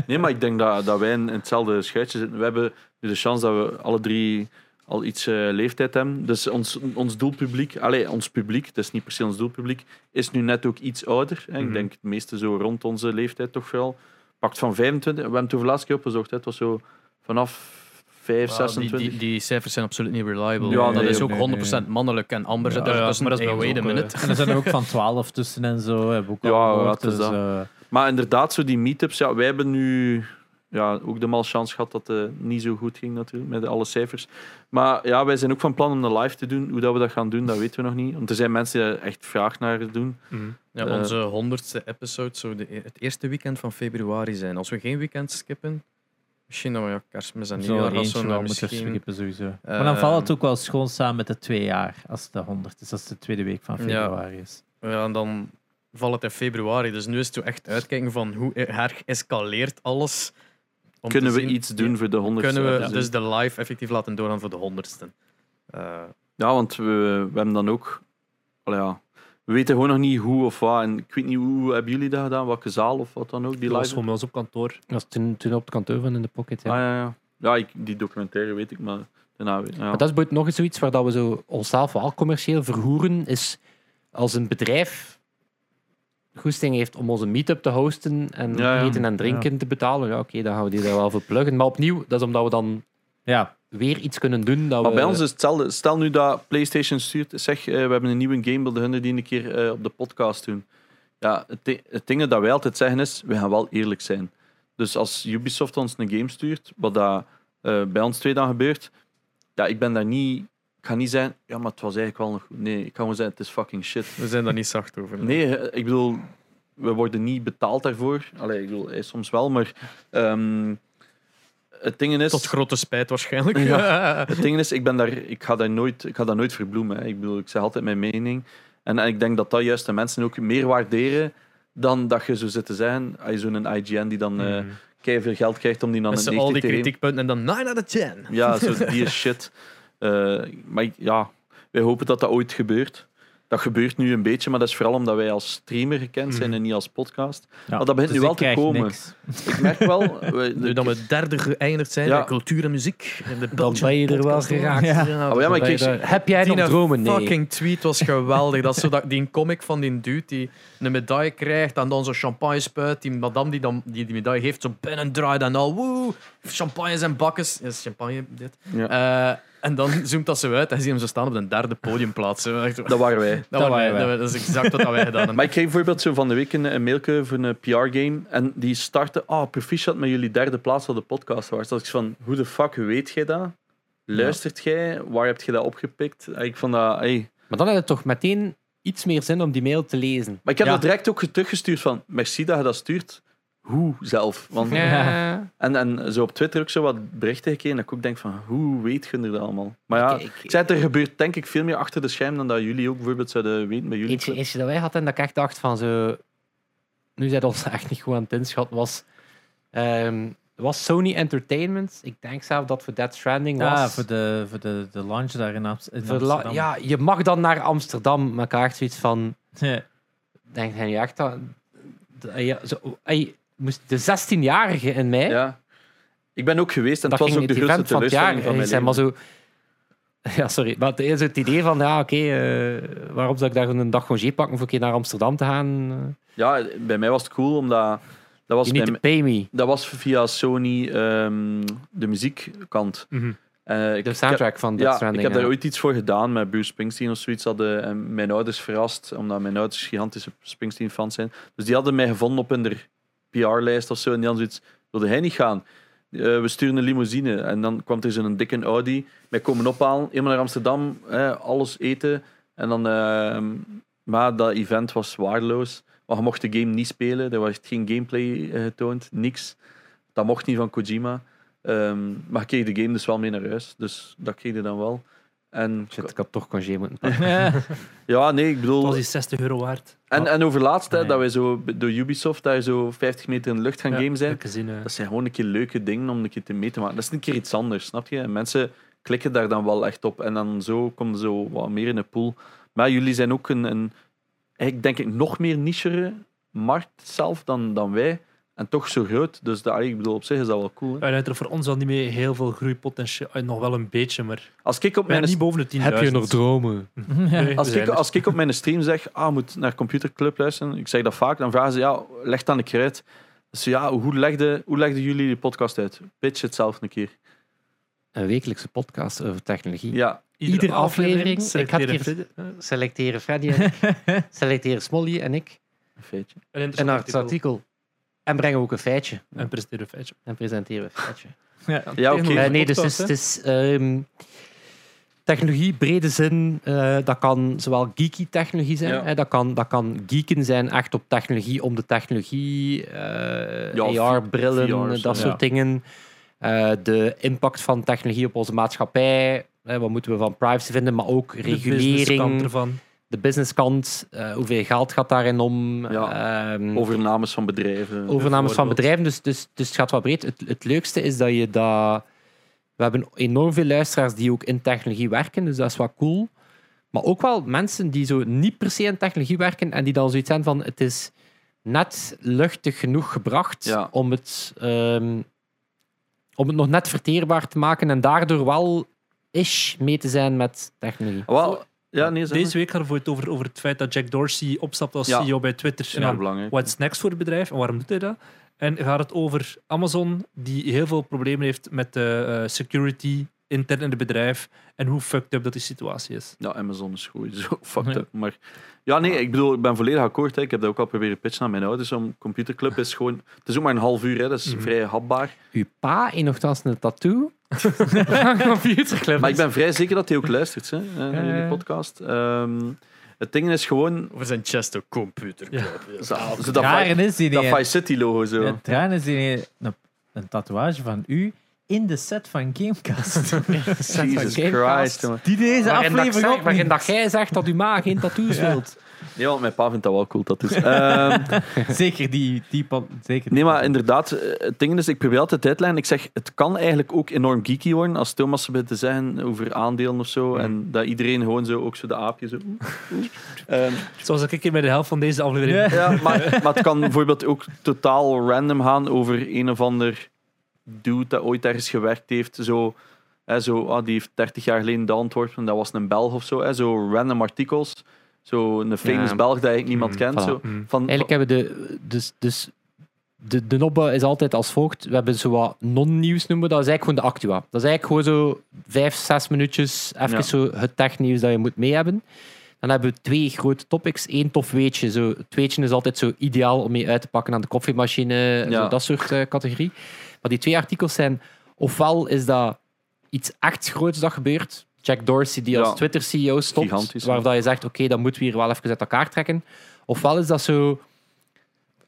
S3: Nee, maar ik denk dat, dat wij in hetzelfde schuitje zitten. We hebben nu de chance dat we alle drie al iets eh, leeftijd hebben. Dus ons, ons doelpubliek, allee, ons publiek, het is niet per se ons doelpubliek, is nu net ook iets ouder. Hè.
S2: Mhm.
S3: Ik denk het meeste zo rond onze leeftijd toch wel. Pakt van 25. We hebben het over de laatste keer opgezocht. Hè. Het was zo vanaf 5,
S4: Wel, die,
S3: 26.
S4: die, die cijfers zijn absoluut niet reliable.
S3: Ja,
S4: dat
S3: nee,
S4: is ook
S5: nee,
S4: 100% mannelijk en Amber
S2: Ja,
S4: zit daar
S2: ja,
S4: tussen.
S2: maar dat is bij
S4: Hey,
S2: ons
S4: wait a
S2: ook,
S4: minute.
S5: En er zijn er ook van 12 tussen en zo. Heb ik ook al
S3: Ja,
S5: gehoord,
S3: ja, het
S5: dus,
S3: is dat.
S5: eh,
S3: Maar inderdaad, zo die meetups. Ja, wij hebben nu ja, ook de malchance gehad dat het eh, niet zo goed ging natuurlijk, met alle cijfers. Maar ja, wij zijn ook van plan om dat live te doen. Hoe dat we dat gaan doen, dat weten we nog niet. Want er zijn mensen die er echt vraag naar doen.
S2: Mhm.
S4: Ja,
S3: Eh.
S4: onze honderdste episode zou de, e- het eerste weekend van februari zijn. Als we geen weekend skippen, misschien dan ja, kerstmis en
S5: zo
S4: nieuwjaar. dat
S5: eentje
S4: zou
S5: wel
S4: nou
S5: moeten
S4: misschien...
S5: skippen sowieso. maar dan valt het ook wel schoon samen met de twee jaar, als het de 100 is, als het de tweede week van
S4: Ja.
S5: februari is.
S4: Ja, en dan valt het in februari. Dus nu is het zo echt uitkijken van hoe her escaleert alles. om
S3: Kunnen
S4: te
S3: we
S4: zien-
S3: iets doen voor de honderdste?
S4: Kunnen we
S3: episode?
S4: dus de live effectief laten doorgaan voor de honderdste? Eh,
S3: Ja, want we, we hebben dan ook... Allee, ja, we weten gewoon nog niet hoe of wat. En ik weet niet, hoe hebben jullie dat gedaan? Welke zaal of wat dan ook? Die
S2: Die was
S3: live?
S2: gewoon bij ons op kantoor.
S1: Dat was toen, toen op het kantoor van in de pocket. Ja.
S3: Ah, ja, ja. ja ik, die documentaire weet ik, maar daarna... weet- Ja.
S1: Maar dat is bijvoorbeeld nog eens zoiets waar dat we zo onszelf wel commercieel verhoeren. Is als een bedrijf goesting heeft om onze meetup te hosten en
S3: Ja, ja.
S1: eten en drinken te betalen. Ja, oké, dan gaan we die daar wel voor pluggen. Maar opnieuw, dat is omdat we dan
S5: Ja,
S1: weer iets kunnen doen. Dat
S3: Maar
S1: we,
S3: bij ons is hetzelfde. Stel nu dat PlayStation stuurt, zeg, eh, we hebben een nieuwe game, wil de hunde die een keer eh, op de podcast doen. Ja, het, di- het ding dat wij altijd zeggen is, we gaan wel eerlijk zijn. Dus als Ubisoft ons een game stuurt, wat dat, eh, bij ons twee dan gebeurt, ja, ik ben daar niet... Ik ga niet zeggen, ja, maar het was eigenlijk wel nog goed. Nee, ik ga gewoon zeggen, het is fucking shit.
S4: we zijn daar niet zacht over.
S3: Nee, eh, ik bedoel, we worden niet betaald daarvoor. Allee, ik bedoel, eh, soms wel, maar... ehm, het ding is...
S4: Tot grote spijt waarschijnlijk.
S3: Het ding is, ik, ben daar, ik, ga daar nooit, ik ga daar nooit verbloemen. Hè. Ik bedoel, ik zeg altijd mijn mening. En, en ik denk dat dat juist de mensen ook meer waarderen dan dat je zo zit te zeggen. als je Zo'n IGN die dan eh veel geld krijgt om die dan
S4: Mhm. Met
S3: een
S4: z'n al
S3: 90
S4: die
S3: te geven.
S4: kritiekpunten en dan 9 out of 10.
S3: Ja, zo die is shit. Eh, maar ik- ja, wij hopen dat dat ooit gebeurt. Dat gebeurt nu een beetje, maar dat is vooral omdat wij als streamer gekend
S4: Mhm.
S3: zijn en niet als podcast.
S5: ja. Dus
S3: Maar dat begint nu wel
S5: ik
S3: te
S5: krijg
S3: komen.
S5: niks.
S3: Ik merk wel... we-
S4: Nu dat we derde geëindigd zijn
S3: Ja.
S4: bij cultuur en muziek. In de
S1: Dan ben je er wel geraakt.
S5: Ja.
S3: Oh ja, maar ik kreeg-
S1: Heb jij nog
S4: Die
S1: dromen? Nee.
S4: fucking tweet was geweldig. Dat is zo dat, die comic van die dude die een medaille krijgt en dan zo champagne spuit. Die madame die dan, die, die medaille geeft, zo binnen draait en al woe, champagnes en bakkes. Is champagne dit?
S3: Ja.
S4: Eh, en dan zoomt dat zo uit en zie je hem zo staan op de derde podiumplaats. Zo, echt zo.
S3: Dat waren wij.
S4: Dat,
S5: Dat
S4: waren wij,
S5: waren wij.
S4: dat- dat is exact wat dat wij gedaan hebben.
S3: Maar ik kreeg bijvoorbeeld zo van de week een, een mailke voor een PR-game. En die startte, ah, proficiat met jullie derde plaats van de podcast. Was. Dat ik zo van, hoe de fuck weet jij dat? Luistert jij? Waar heb je dat opgepikt? En Ik vond dat, hey.
S1: Maar dan had het toch meteen iets meer zin om die mail te lezen.
S3: Maar ik heb
S5: Ja.
S3: dat direct ook teruggestuurd van, merci dat je dat stuurt. Hoe zelf? Want,
S1: Ja.
S3: en, en zo op Twitter ook zo wat berichten gekregen. Dat ik ook denk van, hoe weet je dat allemaal? Maar ja,
S1: Kijk,
S3: ik zei het, er gebeurt denk ik veel meer achter de scherm dan dat jullie ook bijvoorbeeld zouden weten bij jullie.
S1: Eentje, eentje dat wij hadden en dat ik echt dacht van zo... Nu zijn ons echt niet goed aan het inschatten was... ehm, was Sony Entertainment. Ik denk zelf dat voor Dead Stranding was.
S5: Ah, voor de, voor de, de launch daar in, Abs- in
S1: Voor la-
S5: Amsterdam.
S1: ja, je mag dan naar Amsterdam, maar ik had echt zoiets van...
S5: Ja.
S1: Denk je niet echt dat... dat- ja, zo, ey, moest de 16-jarige in mij...
S3: Ja. Ik ben ook geweest en
S1: dat
S3: het was
S1: ging
S3: ook de
S1: het
S3: grootste
S1: event van het jaar.
S3: teleurstelling van
S1: Van
S3: mijn
S1: zijn
S3: leven.
S1: maar zo... Ja, sorry. Maar het is het idee van, ja, oké, eh, waarom zou ik daar een dag congé pakken voor een keer naar Amsterdam te gaan? Eh,
S3: Ja, bij mij was het cool, omdat dat was,
S1: you need
S3: bij
S1: to pay me.
S3: m- dat was via Sony ehm, de muziekkant.
S2: Mhm.
S3: Eh, ik-
S1: De
S3: ik-
S1: soundtrack van Death
S3: Ja,
S1: Stranding.
S3: ik heb
S1: ja.
S3: daar ooit iets voor gedaan met Bruce Springsteen of zoiets. Hadden en mijn ouders verrast, omdat mijn ouders gigantische Springsteen-fans zijn. Dus die hadden mij gevonden op hun PR-lijst of zo. En die hadden zoiets, wilde hij niet gaan? Eh, we sturen een limousine. En dan kwam er zo'n dikke Audi. Mij komen ophalen, helemaal naar Amsterdam, eh, alles eten. En dan... eh, maar dat event was waardeloos. Maar je mocht de game niet spelen. Er was geen gameplay eh, getoond, niks. Dat mocht niet van Kojima. Ehm, maar ik kreeg de game dus wel mee naar huis. Dus dat kreeg je dan wel. En
S1: Shit, ik had toch congé moeten pakken.
S3: ja, nee, ik
S2: Dat
S3: bedoel.
S2: was die 60 euro waard.
S3: En, en over laatst, hè,
S5: Nee.
S3: dat wij zo b- door Ubisoft daar zo 50 meter in de lucht gaan
S2: Ja,
S3: game
S2: heb
S3: zijn.
S2: ik gezien, eh.
S3: Dat zijn gewoon een keer leuke dingen om een keer te mee te maken. Dat is een keer iets anders, snap je? En mensen klikken daar dan wel echt op. En dan zo komt er zo wat meer in de pool. Maar jullie zijn ook een, een eigenlijk denk ik, nog meer nichere markt zelf dan, dan wij. En toch zo groot. Dus dat, ik bedoel, op zich is dat wel cool. hè.
S2: En uiteraard voor ons wel niet meer heel veel groeipotentieel. Eh, Nog wel een beetje, maar
S3: Als ik op
S2: maar
S3: mijn
S2: niet boven de 10.000.
S1: dromen?
S2: Nee,
S3: Als
S2: we
S3: ik,
S2: zijn dus er.
S3: als ik op mijn stream zeg, ah, je moet naar computerclub luisteren, ik zeg dat vaak, dan vragen ze, ja, leg dan een keer uit. Dus ja, hoe legden, hoe legden jullie die podcast uit? Pitch het zelf een keer.
S1: Een wekelijkse podcast over technologie.
S3: Ja,
S1: Iedere aflevering,
S2: selecteren
S1: ik had
S2: Freddy, eh,
S1: Selecteren Freddy en ik. Selecteren Smolly en ik.
S3: een feitje.
S2: Een
S1: Een
S2: interessant
S1: artikel. artikel. En brengen we ook een feitje.
S2: En presteren een feitje.
S1: En presenteren we een feitje.
S3: Ja, oké.
S1: Eh,
S2: Tegen
S1: nee, dus het is,
S2: podcast,
S1: het is, ehm, technologie, brede zin, eh, dat kan zowel geeky technologie zijn,
S3: Ja.
S1: hè, dat, kan, dat kan geeken zijn echt op technologie, om de technologie, eh,
S3: Ja,
S1: AR-brillen,
S3: VR,
S1: dat
S3: zo,
S1: soort
S2: ja.
S1: dingen. Eh, de impact van technologie op onze maatschappij, hè, wat moeten we van privacy vinden, maar ook
S2: hè. De businesskant
S1: regulering,
S2: ervan.
S1: de businesskant, eh, hoeveel geld gaat daarin om, ehm,
S3: Overnames van bedrijven.
S1: overnames van
S2: Bijvoorbeeld.
S1: bedrijven. Dus, dus, dus het gaat wat breed. Het, het leukste is dat je dat. We hebben enorm veel luisteraars die ook in technologie werken, dus dat is wat cool. Maar ook wel mensen die zo niet per se in technologie werken en die dan zoiets zijn van: het is net luchtig genoeg gebracht
S3: Ja.
S1: om, het, ehm, om het nog net verteerbaar te maken en daardoor wel ish mee te zijn met technologie.
S3: Wel, ja, nee, zeg maar.
S2: Deze week hadden we het over, over het feit dat Jack Dorsey opstapt als
S3: Ja.
S2: CEO bij Twitter. En
S3: ja,
S2: dan,
S3: belangrijk.
S2: wat is next voor het bedrijf en waarom doet hij dat? En gaat het over Amazon, die heel veel problemen heeft met de eh, security intern in het bedrijf en hoe fucked up dat die situatie is.
S3: Ja, Amazon is goed, zo fucked up. Maar ja, nee, ik bedoel, ik ben volledig akkoord. Hè. Ik heb dat ook al proberen pitchen aan mijn ouders. Om computerclub is gewoon, het is ook maar een half uur, hè. dat is
S2: Mhm.
S3: vrij hapbaar.
S1: Uw pa in nogthans een tattoo. Computerclub.
S3: Maar ik ben vrij zeker dat hij ook luistert, hè, eh, naar
S1: ja,
S3: jullie
S1: ja.
S3: podcast. Ehm, het ding is gewoon,
S4: Over zijn Chesto computer.
S3: zo, zo
S5: Het
S3: dat,
S5: rare
S3: Vi-
S5: is die
S3: dat
S5: niet.
S3: Vice City logo zo.
S5: Het rare is die niet- Een, een tatoeage van u in de set van Gamecast.
S3: Jesus
S1: van Gamecast.
S3: Christ, jongen.
S5: die deze
S1: Waarin dat, ik
S5: aflevering
S1: zeg,
S5: ook
S1: waarin
S5: niet.
S1: dat jij zegt dat uw ma geen tattoos wilt.
S3: Nee, want mijn pa vindt dat wel cool, dat is. Ehm,
S5: Zeker die, die pan- zeker
S3: nee, maar inderdaad, eh, het ding is, ik probeer altijd tijdlijn. Ik zeg, het kan eigenlijk ook enorm geeky worden als Thomas begint te zeggen over aandelen of
S1: Mm.
S3: zo. En dat iedereen gewoon zo, ook zo de aapjes. Zo, oeh, oeh. Ehm,
S2: Zoals ik hier bij de helft van deze aflevering.
S5: Ja.
S3: ja, maar, maar het kan bijvoorbeeld ook totaal random gaan over een of ander dude dat ooit ergens gewerkt heeft. Zo, hè, zo ah, die heeft 30 jaar geleden de Antwerpen, dat was een Belg of zo. Hè, zo random artikels. Zo een famous
S1: Ja. Mm,
S3: Belg dat eigenlijk niemand
S2: Hmm,
S3: kent.
S1: voilà.
S3: Zo.
S2: Hmm.
S3: Van,
S1: Eigenlijk hebben de. Dus, dus de, de nobbe is altijd als volgt. We hebben zo wat non-nieuws noemen. we Dat is eigenlijk gewoon de actua. Dat is eigenlijk gewoon zo vijf, zes minuutjes. Even
S3: Ja.
S1: zo het technieuws dat je moet mee hebben. Dan hebben we twee grote topics. Eén tof weetje. Zo, het weetje is altijd zo ideaal om mee uit te pakken aan de koffiemachine.
S3: Ja.
S1: Zo, dat soort eh, categorie. Maar die twee artikels zijn... Ofwel is dat iets echt groots dat gebeurt. Jack Dorsey die als E
S3: Ja.
S1: Twitter-CEO
S3: Gigantisch,
S1: stopt.
S3: ja.
S1: Waarvan je zegt, oké, dan moeten we hier wel even uit elkaar trekken. Ofwel is dat zo...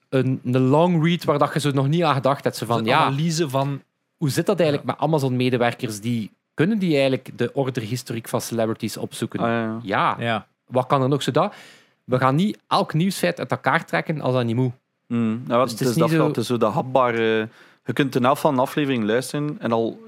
S1: Een, een long read waar dat je zo nog niet aan gedacht hebt. Zo van,
S2: Van,
S1: ja,
S2: analyse van
S1: hoe zit dat eigenlijk met Amazon-medewerkers? Die, kunnen die eigenlijk de orderhistoriek van celebrities opzoeken?
S3: Ah, ja, ja.
S1: ja,
S5: Ja.
S1: wat kan er nog zo dat? We gaan niet elk nieuwsfeit uit elkaar trekken als dat niet moet.
S3: Mm, nou,
S1: Dus
S3: het is, dat, wel, het is zo dat hapbare. eh, je kunt de helft van een aflevering luisteren en al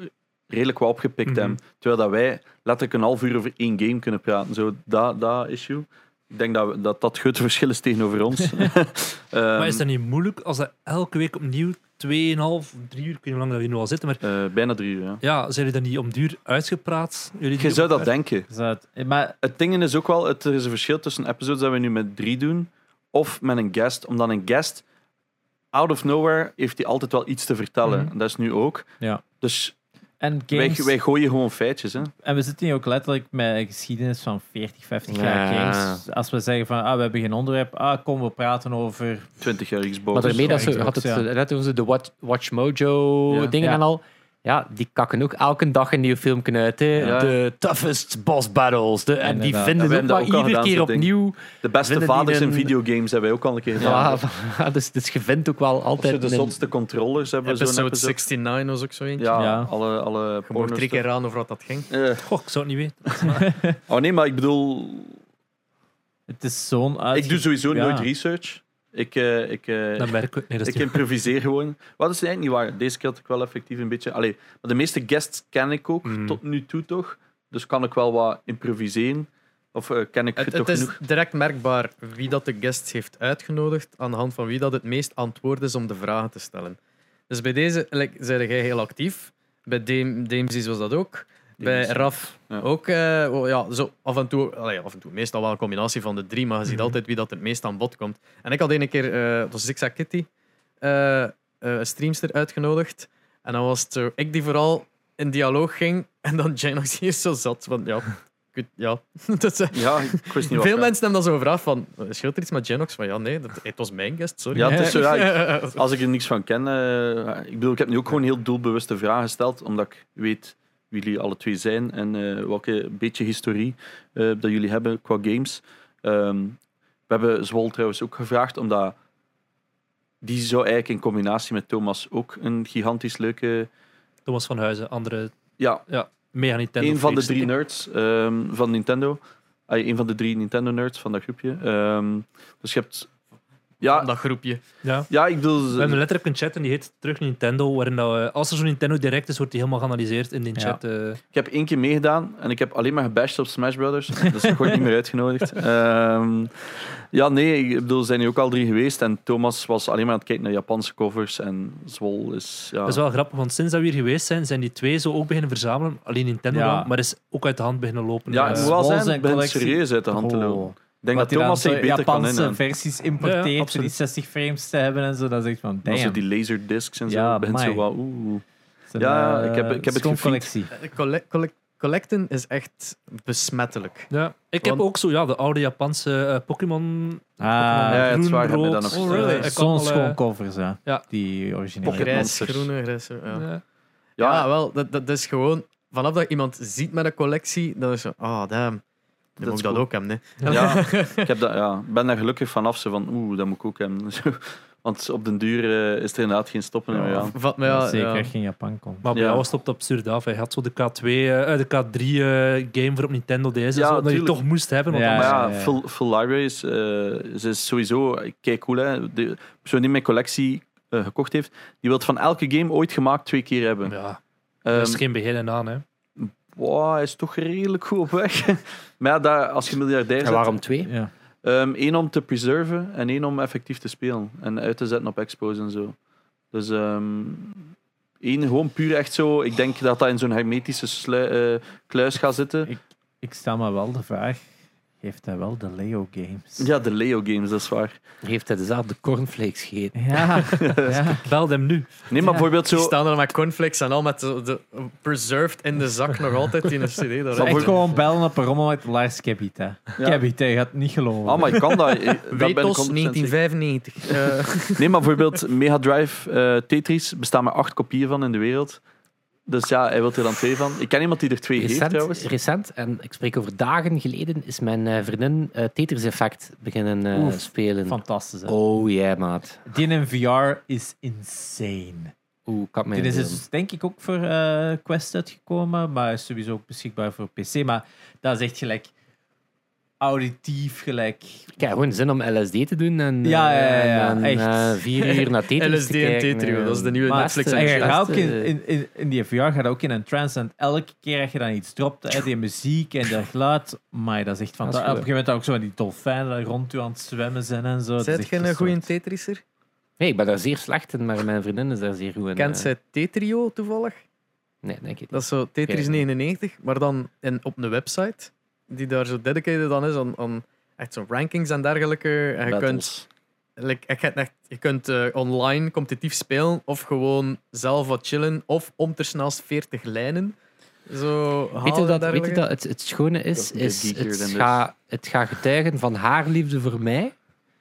S3: redelijk wat opgepikt
S2: Mhm.
S3: hebben. Terwijl dat wij letterlijk een half uur over één game kunnen praten. Zo, dat, dat issue. Ik denk dat we- dat, dat grote verschil is tegenover ons. Ehm,
S2: maar is dat niet moeilijk als dat elke week opnieuw 2,5, 3 uur, ik weet niet hoe lang dat we hier nu al zitten, maar
S3: Eh, bijna drie uur, ja.
S2: ja, zijn jullie dan niet om duur uitgepraat? Jullie
S3: Je
S2: die
S3: zou
S2: op-
S3: dat denken.
S5: Is dus dat- Maar
S3: Het ding is ook wel, het, er is een verschil tussen episodes dat we nu met drie doen, of met een guest. Omdat een guest, out of nowhere, heeft hij altijd wel iets te vertellen.
S5: Mhm.
S3: Dat is nu ook.
S5: Ja.
S3: Dus
S5: en
S3: wij,
S5: games,
S3: wij gooien gewoon feitjes. Hè.
S5: en we zitten hier ook letterlijk met een geschiedenis van 40, 50 jaar
S1: Ja.
S5: games. Als we zeggen van, ah, we hebben geen onderwerp, ah, kom, we praten over...
S3: 20 jaar Xbox.
S1: Maar daarmee
S5: wel
S1: dat ze,
S5: Xbox,
S1: had het
S5: ja.
S1: eh, net over zo de Watch, Watch Mojo
S3: Ja.
S1: dingen
S5: Ja.
S1: en al. Ja, die kakken ook elke dag een nieuw filmpje uit. hè.
S3: Ja.
S1: De toughest boss battles. De, en die
S5: Inderdaad.
S1: vinden
S3: Ja,
S1: we
S3: we
S1: ook
S3: hebben
S1: maar
S3: dat ook al
S1: iedere
S3: gedaan,
S1: keer
S3: zo'n ding.
S1: opnieuw.
S3: de beste
S1: Vinden die
S3: vaders in
S1: een-
S3: videogames hebben wij ook al een keer gedaan.
S1: Ja. dus, dus je vindt ook wel
S3: Of ze
S1: altijd...
S3: de
S1: een-
S3: zotste controllers hebben. Zo'n
S4: Episode
S3: episode.
S4: 69 was ook zo eentje.
S3: Ja,
S5: Ja.
S3: alle, alle
S4: Je mocht
S3: porno Eh,
S4: drie keer raden over wat dat ging.
S2: Goh, ik zou het niet weten.
S3: oh nee, maar ik bedoel...
S5: Het is zo'n
S3: Ik doe sowieso
S5: Ja.
S3: nooit research. Ik, eh, ik, eh,
S2: Dan merk ik het. Nee, dat is
S3: Ik
S2: niet
S3: improviseer gewoon. Wat is eigenlijk niet waar. Deze keer had ik wel effectief een beetje. Allee, maar de meeste guests ken ik ook
S2: Mhm.
S3: tot nu toe toch. Dus kan ik wel wat improviseren. Of eh, ken ik
S4: Het,
S3: toch
S4: het is
S3: genoeg?
S4: direct merkbaar wie dat de guest heeft uitgenodigd, aan de hand van wie dat het meest antwoord is om de vragen te stellen. Dus bij deze like, zijn jij heel actief. Bij Dame- Damesy's was dat ook. Bij
S3: Damesy's.
S4: Raf
S3: Ja.
S4: ook. eh, oh ja, zo af en toe, allee, af en toe, meestal wel een combinatie van de drie, maar je ziet
S2: Mhm.
S4: altijd wie dat het meest aan bod komt. En ik had een keer, eh dat was Zigzag Kitty, eh, eh, een streamster uitgenodigd. En dan was het zo, ik die vooral in dialoog ging en dan Janox hier zo zat. Want ja, kut, ja. dat is,
S3: Ja, ik wist niet wat.
S4: veel mensen hebben dan zo gevraagd van, scheelt er iets met Genox? Van ja, nee, dat, het was mijn guest, sorry.
S3: Ja, het is zo, ja,
S4: ik,
S3: Als ik er niks van ken. eh, ik bedoel, ik heb nu ook gewoon heel doelbewuste vragen gesteld. Omdat ik weet wie jullie alle twee zijn. En eh, welke beetje historie eh, dat jullie hebben qua games. Ehm, we hebben Zwol trouwens ook gevraagd. Omdat die zou eigenlijk in combinatie met Thomas ook een gigantisch leuke...
S2: Thomas van Huizen, andere
S3: Ja,
S2: mega Nintendo.
S3: een van de
S2: freaks.
S3: drie nerds ehm, van Nintendo. Ah, een van de drie Nintendo nerds van dat groepje. Ehm, dus je hebt. Ja,
S4: dat groepje.
S2: Ja.
S3: ja ik bedoel.
S2: We hebben letterlijk een chat en die heet Terug Nintendo, waarin dat we- als er zo'n Nintendo direct is, wordt die helemaal geanalyseerd in
S5: Ja.
S2: die chat. eh.
S3: Ik heb één keer meegedaan en ik heb alleen maar gebashed op Smash Brothers. Dus ik word niet meer uitgenodigd. Ehm, ja, nee, ik bedoel, er zijn hier ook al drie geweest. En Thomas was alleen maar aan het kijken naar Japanse covers. En Zwol is. Ja,
S2: Dat is wel grappig, want sinds dat we hier geweest zijn, zijn die twee zo ook beginnen verzamelen. Alleen Nintendo
S5: Ja.
S2: dan, maar is ook uit de hand beginnen lopen.
S3: ja
S2: Eh,
S3: ik moet wel
S5: Zwol
S3: zijn,
S5: zijn
S3: het begint
S5: collectie-
S3: serieus uit de hand te
S5: Oh.
S3: lopen. Ik denk
S5: Wat
S3: dat
S5: die dan
S3: Thomas zich
S5: zo
S3: beter kan
S5: Japanse
S3: inhalen.
S5: versies
S2: Ja, ja,
S5: importeert, die
S2: absoluut.
S5: 60 frames te hebben en zo. Dat is echt van,
S3: En
S5: damn.
S3: Als er die laserdiscs en zo,
S5: Ja,
S3: begint zo
S5: amai.
S3: wat. Oeh.
S5: Het is een,
S3: Ja,
S5: eh,
S3: ik heb- ik heb het
S5: schoon
S3: gefiet.
S5: collectie.
S4: Eh, Collect, collect- collecten is echt besmettelijk.
S2: Ja, ik heb
S4: Want-
S2: ook zo ja, de oude Japanse eh, Pokémon.
S5: Ah,
S2: Pokémon
S3: ja, het
S2: groen,
S3: is waar, heb je
S2: rood.
S3: dat nog
S2: Oh,
S3: gezien.
S2: really? Ik had
S5: Zo'n
S2: al, eh,
S5: schoon covers, hè.
S2: ja.
S5: Die originele.
S3: Pocket
S4: Grijs,
S3: monsters.
S4: groene, grijs. Ja. Ja.
S2: ja.
S3: Ja,
S4: wel, dat, dat is gewoon... Vanaf dat iemand ziet met een collectie, dan is zo, ah, damn. Dan
S3: Dat
S4: moet
S3: is
S4: ik dat
S3: cool.
S4: ook hebben, nee.
S3: Ja, ik heb dat, ja. Ik ben daar gelukkig vanaf. Zo van, oeh, dat moet ik ook hebben. Zo. Want op den duur eh, is er inderdaad geen stoppen meer aan.
S4: Vat me
S5: Ja,
S4: ja,
S5: zeker
S4: ja.
S5: geen Japan komt.
S2: Maar bij
S3: Ja.
S2: jou was het op het absurd af. Hij had zo de K2, eh, eh, de K3 eh, game voor op Nintendo DS. en zo, dat je
S3: tuurlijk.
S2: toch moest hebben. Want
S5: Ja,
S3: Maar
S2: anders-
S3: ja,
S5: ja, ja.
S3: Full, full Library is, eh, ze is sowieso kijk cool. Hè. De persoon die mijn collectie eh, gekocht heeft, die wil van elke game ooit gemaakt twee keer hebben.
S2: Ja,
S3: Ehm,
S2: er is geen begin en aan. Hè.
S3: wow, hij is toch redelijk goed op weg. maar ja, daar, als je miljardair
S1: En
S3: bent,
S1: waarom twee?
S5: Ja.
S3: Ehm, Eén om te preserven en één om effectief te spelen. En uit te zetten op expos en zo. Dus ehm één gewoon puur echt zo. Ik denk dat dat in zo'n hermetische slui- eh, kluis gaat zitten.
S5: Ik stel me wel de vraag, heeft hij wel de Leo games?
S3: Ja, de Leo games, dat is waar.
S1: Heeft hij dezelfde cornflakes gegeten?
S5: Ja, ja.
S2: Bel hem nu.
S3: Nee, maar
S5: Ja.
S3: bijvoorbeeld
S4: Die
S3: zo.
S4: staan er met cornflakes en al, met de, de- preserved in de zak nog altijd in een cd. Daar,
S3: Zal
S5: Echt
S3: voor-
S5: gewoon bellen op een rommel met Lars Kebbit, hè. Kebbit, hij gaat het niet geloven.
S3: Ah, maar ik kan dat. eh, dat ben ik 100% zeker.
S4: 1995.
S3: Nee, maar bijvoorbeeld Mega Drive eh, Tetris bestaan maar acht kopieën van in de wereld. Dus ja, hij wil er dan twee van. Ik ken iemand die er twee heeft
S1: Recent,
S3: trouwens.
S1: recent, en ik spreek over dagen geleden, is mijn eh, vriendin eh, Tetris Effect beginnen eh,
S5: Oef,
S1: spelen.
S5: Fantastisch, hè.
S1: Oh yeah, maat.
S5: Die in VR is insane.
S1: Oeh, ik had mij
S5: Dit is
S1: niet doen.
S5: dus denk ik ook voor eh, Quest uitgekomen, maar is sowieso ook beschikbaar voor PC. Maar dat is echt gelijk auditief gelijk.
S1: Ik heb gewoon zin om LSD te doen en, eh,
S5: Ja, ja, ja, ja,
S1: en,
S5: echt.
S1: eh, vier uur naar Tetris
S4: LSD
S1: te
S4: en
S1: kijken.
S4: Tetrio,
S1: eh.
S4: dat is de nieuwe
S5: Maar
S4: Netflix.
S5: en je
S1: series.
S4: action.
S5: gaat ook in, in, in, in die VR gaat ook in een trance. En elke keer dat je dan iets dropt, hè, die muziek en dat geluid. Maar dat is echt
S1: Dat is
S5: fantastisch. Op
S1: goed.
S5: een gegeven moment ook zo die dolfijnen die rond u aan het zwemmen zijn en zo. Dat is
S4: Zijt
S5: echt
S4: je een
S5: gestoord.
S4: goede Tetriser?
S1: Nee, ik ben daar zeer slecht in, maar mijn vriendin is daar zeer goed in.
S4: Kent
S1: eh.
S4: zij Tetrio toevallig?
S1: Nee, denk ik niet.
S4: Dat is zo Tetris
S1: Oké.
S4: 99, maar dan in, op een website die daar zo dedicated aan is, aan, aan echt zo'n rankings en dergelijke. En je kunt,
S1: Battles.
S4: like, je kunt echt, je kunt eh, online competitief spelen of gewoon zelf wat chillen of om ter snelst 40 lijnen. Zo
S1: Weet je
S4: halen
S1: dat,
S4: en
S1: weet je
S4: dergelijke.
S1: dat het, het schone is?
S3: Dat is
S1: is
S3: geekier
S1: het,
S3: dan dus.
S1: gaat het gaat getuigen van haar liefde voor mij.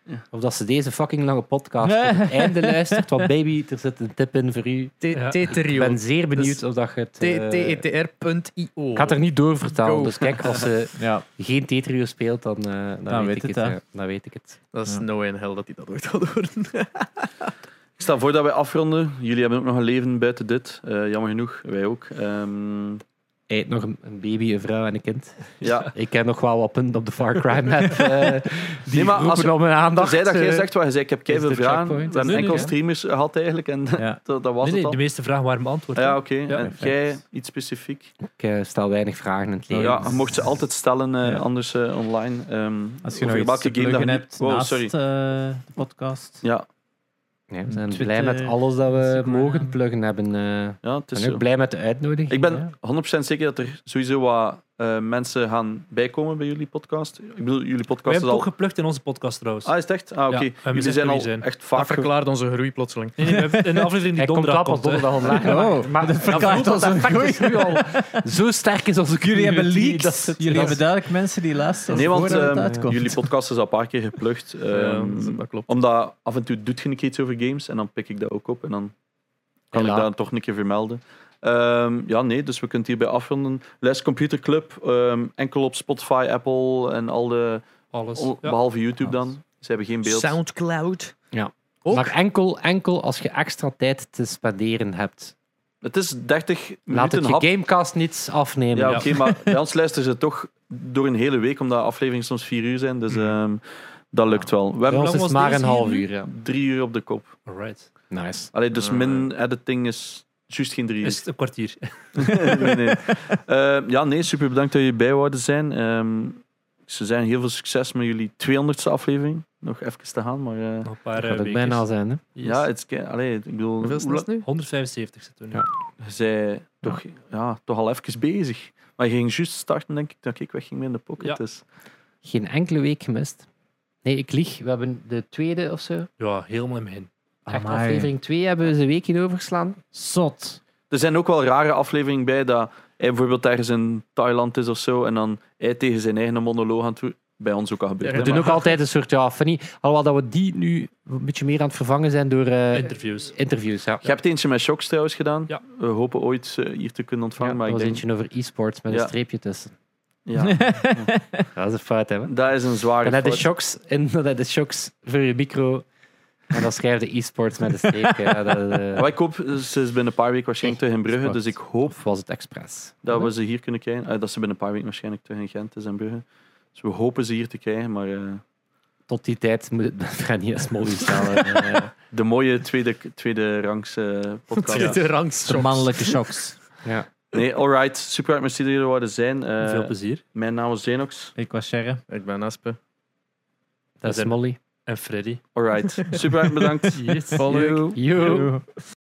S3: Ja.
S1: Of dat ze deze fucking lange podcast op het einde luistert. Want baby, er zit een tip in voor u.
S4: Te-
S2: Ja.
S1: Ik
S4: Tetrio. E
S1: ben zeer benieuwd
S4: Dus
S1: of dat je het... eh,
S4: TETR.io.
S1: ik ga het er niet door vertalen.
S4: Go.
S1: Dus kijk, als ze
S5: Ja,
S1: geen Tetrio speelt, dan, eh, dan, weet
S5: Dan weet
S1: ik het.
S5: het, hè.
S1: ja. dan weet ik het.
S4: Dat is
S5: Ja.
S4: no way in hell dat hij dat ooit gaat horen.
S3: Ik stel voor dat wij afronden. Jullie hebben ook nog een leven buiten dit. Eh, jammer genoeg, wij ook. Ehm,
S1: Hij heeft nog een, een baby, een vrouw en een kind.
S3: ja.
S1: Ik ken nog wel wat punten op de Far Cry map. eh, die
S3: Nee, maar als
S1: roepen
S3: je-
S1: om mijn aandacht.
S3: Zij dat jij
S1: eh.
S3: zegt, wat je zei, ik heb keihard
S1: is de
S3: vragen. We
S1: checkpoint.
S3: hebben
S1: Nee,
S3: enkel
S1: nee, ja.
S3: streamers gehad eigenlijk en
S5: ja.
S3: dat, dat was
S2: Nee, nee,
S3: het
S2: de
S3: al.
S2: meeste vragen waren beantwoord.
S3: ja,
S2: hè.
S3: oké. en
S5: perfect.
S3: jij iets specifiek? Nou
S1: Ik eh, stel weinig vragen in het leven.
S3: ja,
S1: dus-
S3: je mocht ze altijd stellen, eh,
S5: Ja.
S3: anders eh, online. Ehm
S5: Als je
S3: over
S5: nog iets te
S3: welke game dat je
S5: pluggen
S3: niet-
S5: hebt
S3: Wow,
S5: naast
S3: sorry.
S5: eh, de podcast.
S3: Ja,
S1: Nee, we zijn
S5: Twitter,
S1: blij met alles dat we
S5: eh, Instagram.
S1: mogen pluggen hebben. eh.
S3: ja, het is
S1: en ook
S3: zo.
S1: blij met de uitnodiging.
S3: Ik ben
S1: ja.
S3: 100% zeker dat er sowieso wat eh, mensen gaan bijkomen bij jullie podcast. Ik bedoel, jullie
S2: We
S3: podcast is
S2: hebben het
S3: dus al...
S2: ook geplukt in onze podcast trouwens.
S3: Ah, is het echt? Ah, oké.
S2: Ja, we hebben
S3: jullie
S2: gezegd
S3: zijn
S2: wie
S3: al
S2: zijn.
S3: echt vaak...
S4: Dat
S3: ge-
S4: verklaart onze groei plotseling.
S2: Nee, nee, we hebben een aflevering die
S1: Hij komt
S2: donderdag
S1: op
S2: komt.
S1: als
S2: hè.
S1: donderdag online.
S5: Oh,
S1: maar
S5: dat verklaart ons een goeie.
S1: nu al zo sterk is als ik
S5: Jullie hebben leaks.
S1: leaks. Dat, is-
S5: Jullie
S1: dat
S5: hebben duidelijk mensen die luisteren
S3: Nee, want
S5: voordat het
S3: ehm,
S5: uitkomt.
S3: jullie podcast is al een paar keer geplukt.
S4: Ja,
S3: ehm,
S4: dat klopt.
S3: omdat af en toe doet je een keer iets over games en dan pik ik dat ook op en dan kan
S1: Hela.
S3: ik dat toch een keer vermelden. Ehm, ja, nee, dus we kunnen het hierbij afronden. Les Computer Club, ehm, enkel op Spotify, Apple en al de...
S2: Alles.
S3: on-
S2: Ja.
S3: Behalve YouTube dan. Ze hebben geen beeld.
S4: Soundcloud.
S1: is-
S4: ook.
S1: Maar enkel, enkel als je extra tijd te spenderen hebt.
S3: Het is 30
S1: Laat
S3: minuten
S1: het
S3: hap.
S1: je gamecast niet afnemen.
S3: Ja,
S2: Ja.
S3: oké, maar bij ons luisteren ze toch door een hele week, omdat afleveringen soms vier uur zijn. Dus ehm, dat lukt wel. We
S1: Bij
S3: hebben
S1: ons is
S2: was
S1: het maar
S2: deze
S1: een half
S2: hier nu?
S1: uur. Ja.
S3: drie uur op de kop.
S2: Alright.
S1: Nice.
S3: Allee, dus
S4: Ah.
S3: min editing is juist geen drie
S2: Is
S3: uur.
S2: het een kwartier?
S3: nee, nee. Eh, ja, nee, super bedankt dat jullie bij wouden zijn. Ehm, ze zijn heel veel succes met jullie 200ste aflevering. Nog even te gaan, maar... eh,
S2: Nog een paar
S1: Dat gaat
S2: eh,
S1: ook
S2: weken.
S1: bijna zijn. Hè.
S2: Yes.
S3: Ja, het is ke- allee, ik bedoel,
S4: Hoeveel is
S3: hoe
S4: het nu?
S2: 175 zitten we nu.
S1: Ja.
S3: lang- ze zijn toch, ja, toch al even bezig. Maar je ging juist starten, denk ik, dat ik wegging met in de pocket.
S2: Ja.
S3: Dus.
S1: Geen enkele week gemist. Nee, ik lieg. We hebben de tweede of zo.
S2: Ja, helemaal in het begin.
S1: Echt
S5: Amai.
S1: aflevering 2 hebben we ze een weekje overgeslaan.
S5: Zot.
S3: Er zijn ook wel rare afleveringen bij dat hij bijvoorbeeld ergens in Thailand is of zo en dan hij tegen zijn eigen monoloog aan het doen. Bij ons ook al gebeurd.
S4: Ja,
S3: hè,
S1: We doen
S3: maar-
S1: ook altijd een soort ja, funny. Alhoewel dat we die nu een beetje meer aan het vervangen zijn door eh,
S2: Interviews.
S1: interviews. Ja.
S3: Je hebt eentje met Shocks trouwens gedaan.
S2: Ja.
S3: We hopen ooit eh, hier te kunnen ontvangen.
S1: Ja,
S3: maar
S1: er
S3: ik
S1: was
S3: denk,
S1: eentje over e-sports met
S3: Ja.
S1: een streepje tussen.
S3: ja,
S1: Dat is een fout, hè? man.
S3: dat is een zware
S1: Dan heb je
S3: fout.
S1: shocks en dan heb je shocks voor je micro. En dan schrijf je e-sports met een streepje. Ja, dat, eh,
S3: Maar ik hoop, ze is binnen een paar weken waarschijnlijk terug in Brugge. Dus ik hoop
S1: of was het expres?
S3: dat we ze hier kunnen krijgen. Eh, dat ze binnen een paar weken waarschijnlijk terug in Gent is en Brugge. Dus we hopen ze hier te krijgen. Maar eh,
S1: Tot die tijd moet het bij Frania Smolly staan. eh, ja.
S3: de mooie tweede, tweede rangs eh, podcast.
S4: Tweede rangs.
S5: De mannelijke shocks.
S1: ja.
S3: Nee, alright. Super hard, merci dat jullie er wouden zijn. Eh,
S2: Veel plezier.
S3: mijn naam is Zenox.
S5: Ik was Sharon.
S4: Ik ben Aspe.
S1: Dat is Smolly.
S2: En Freddy.
S3: Alright. Super hard, bedankt.
S2: Yes.
S4: Volgende week.
S1: Yo.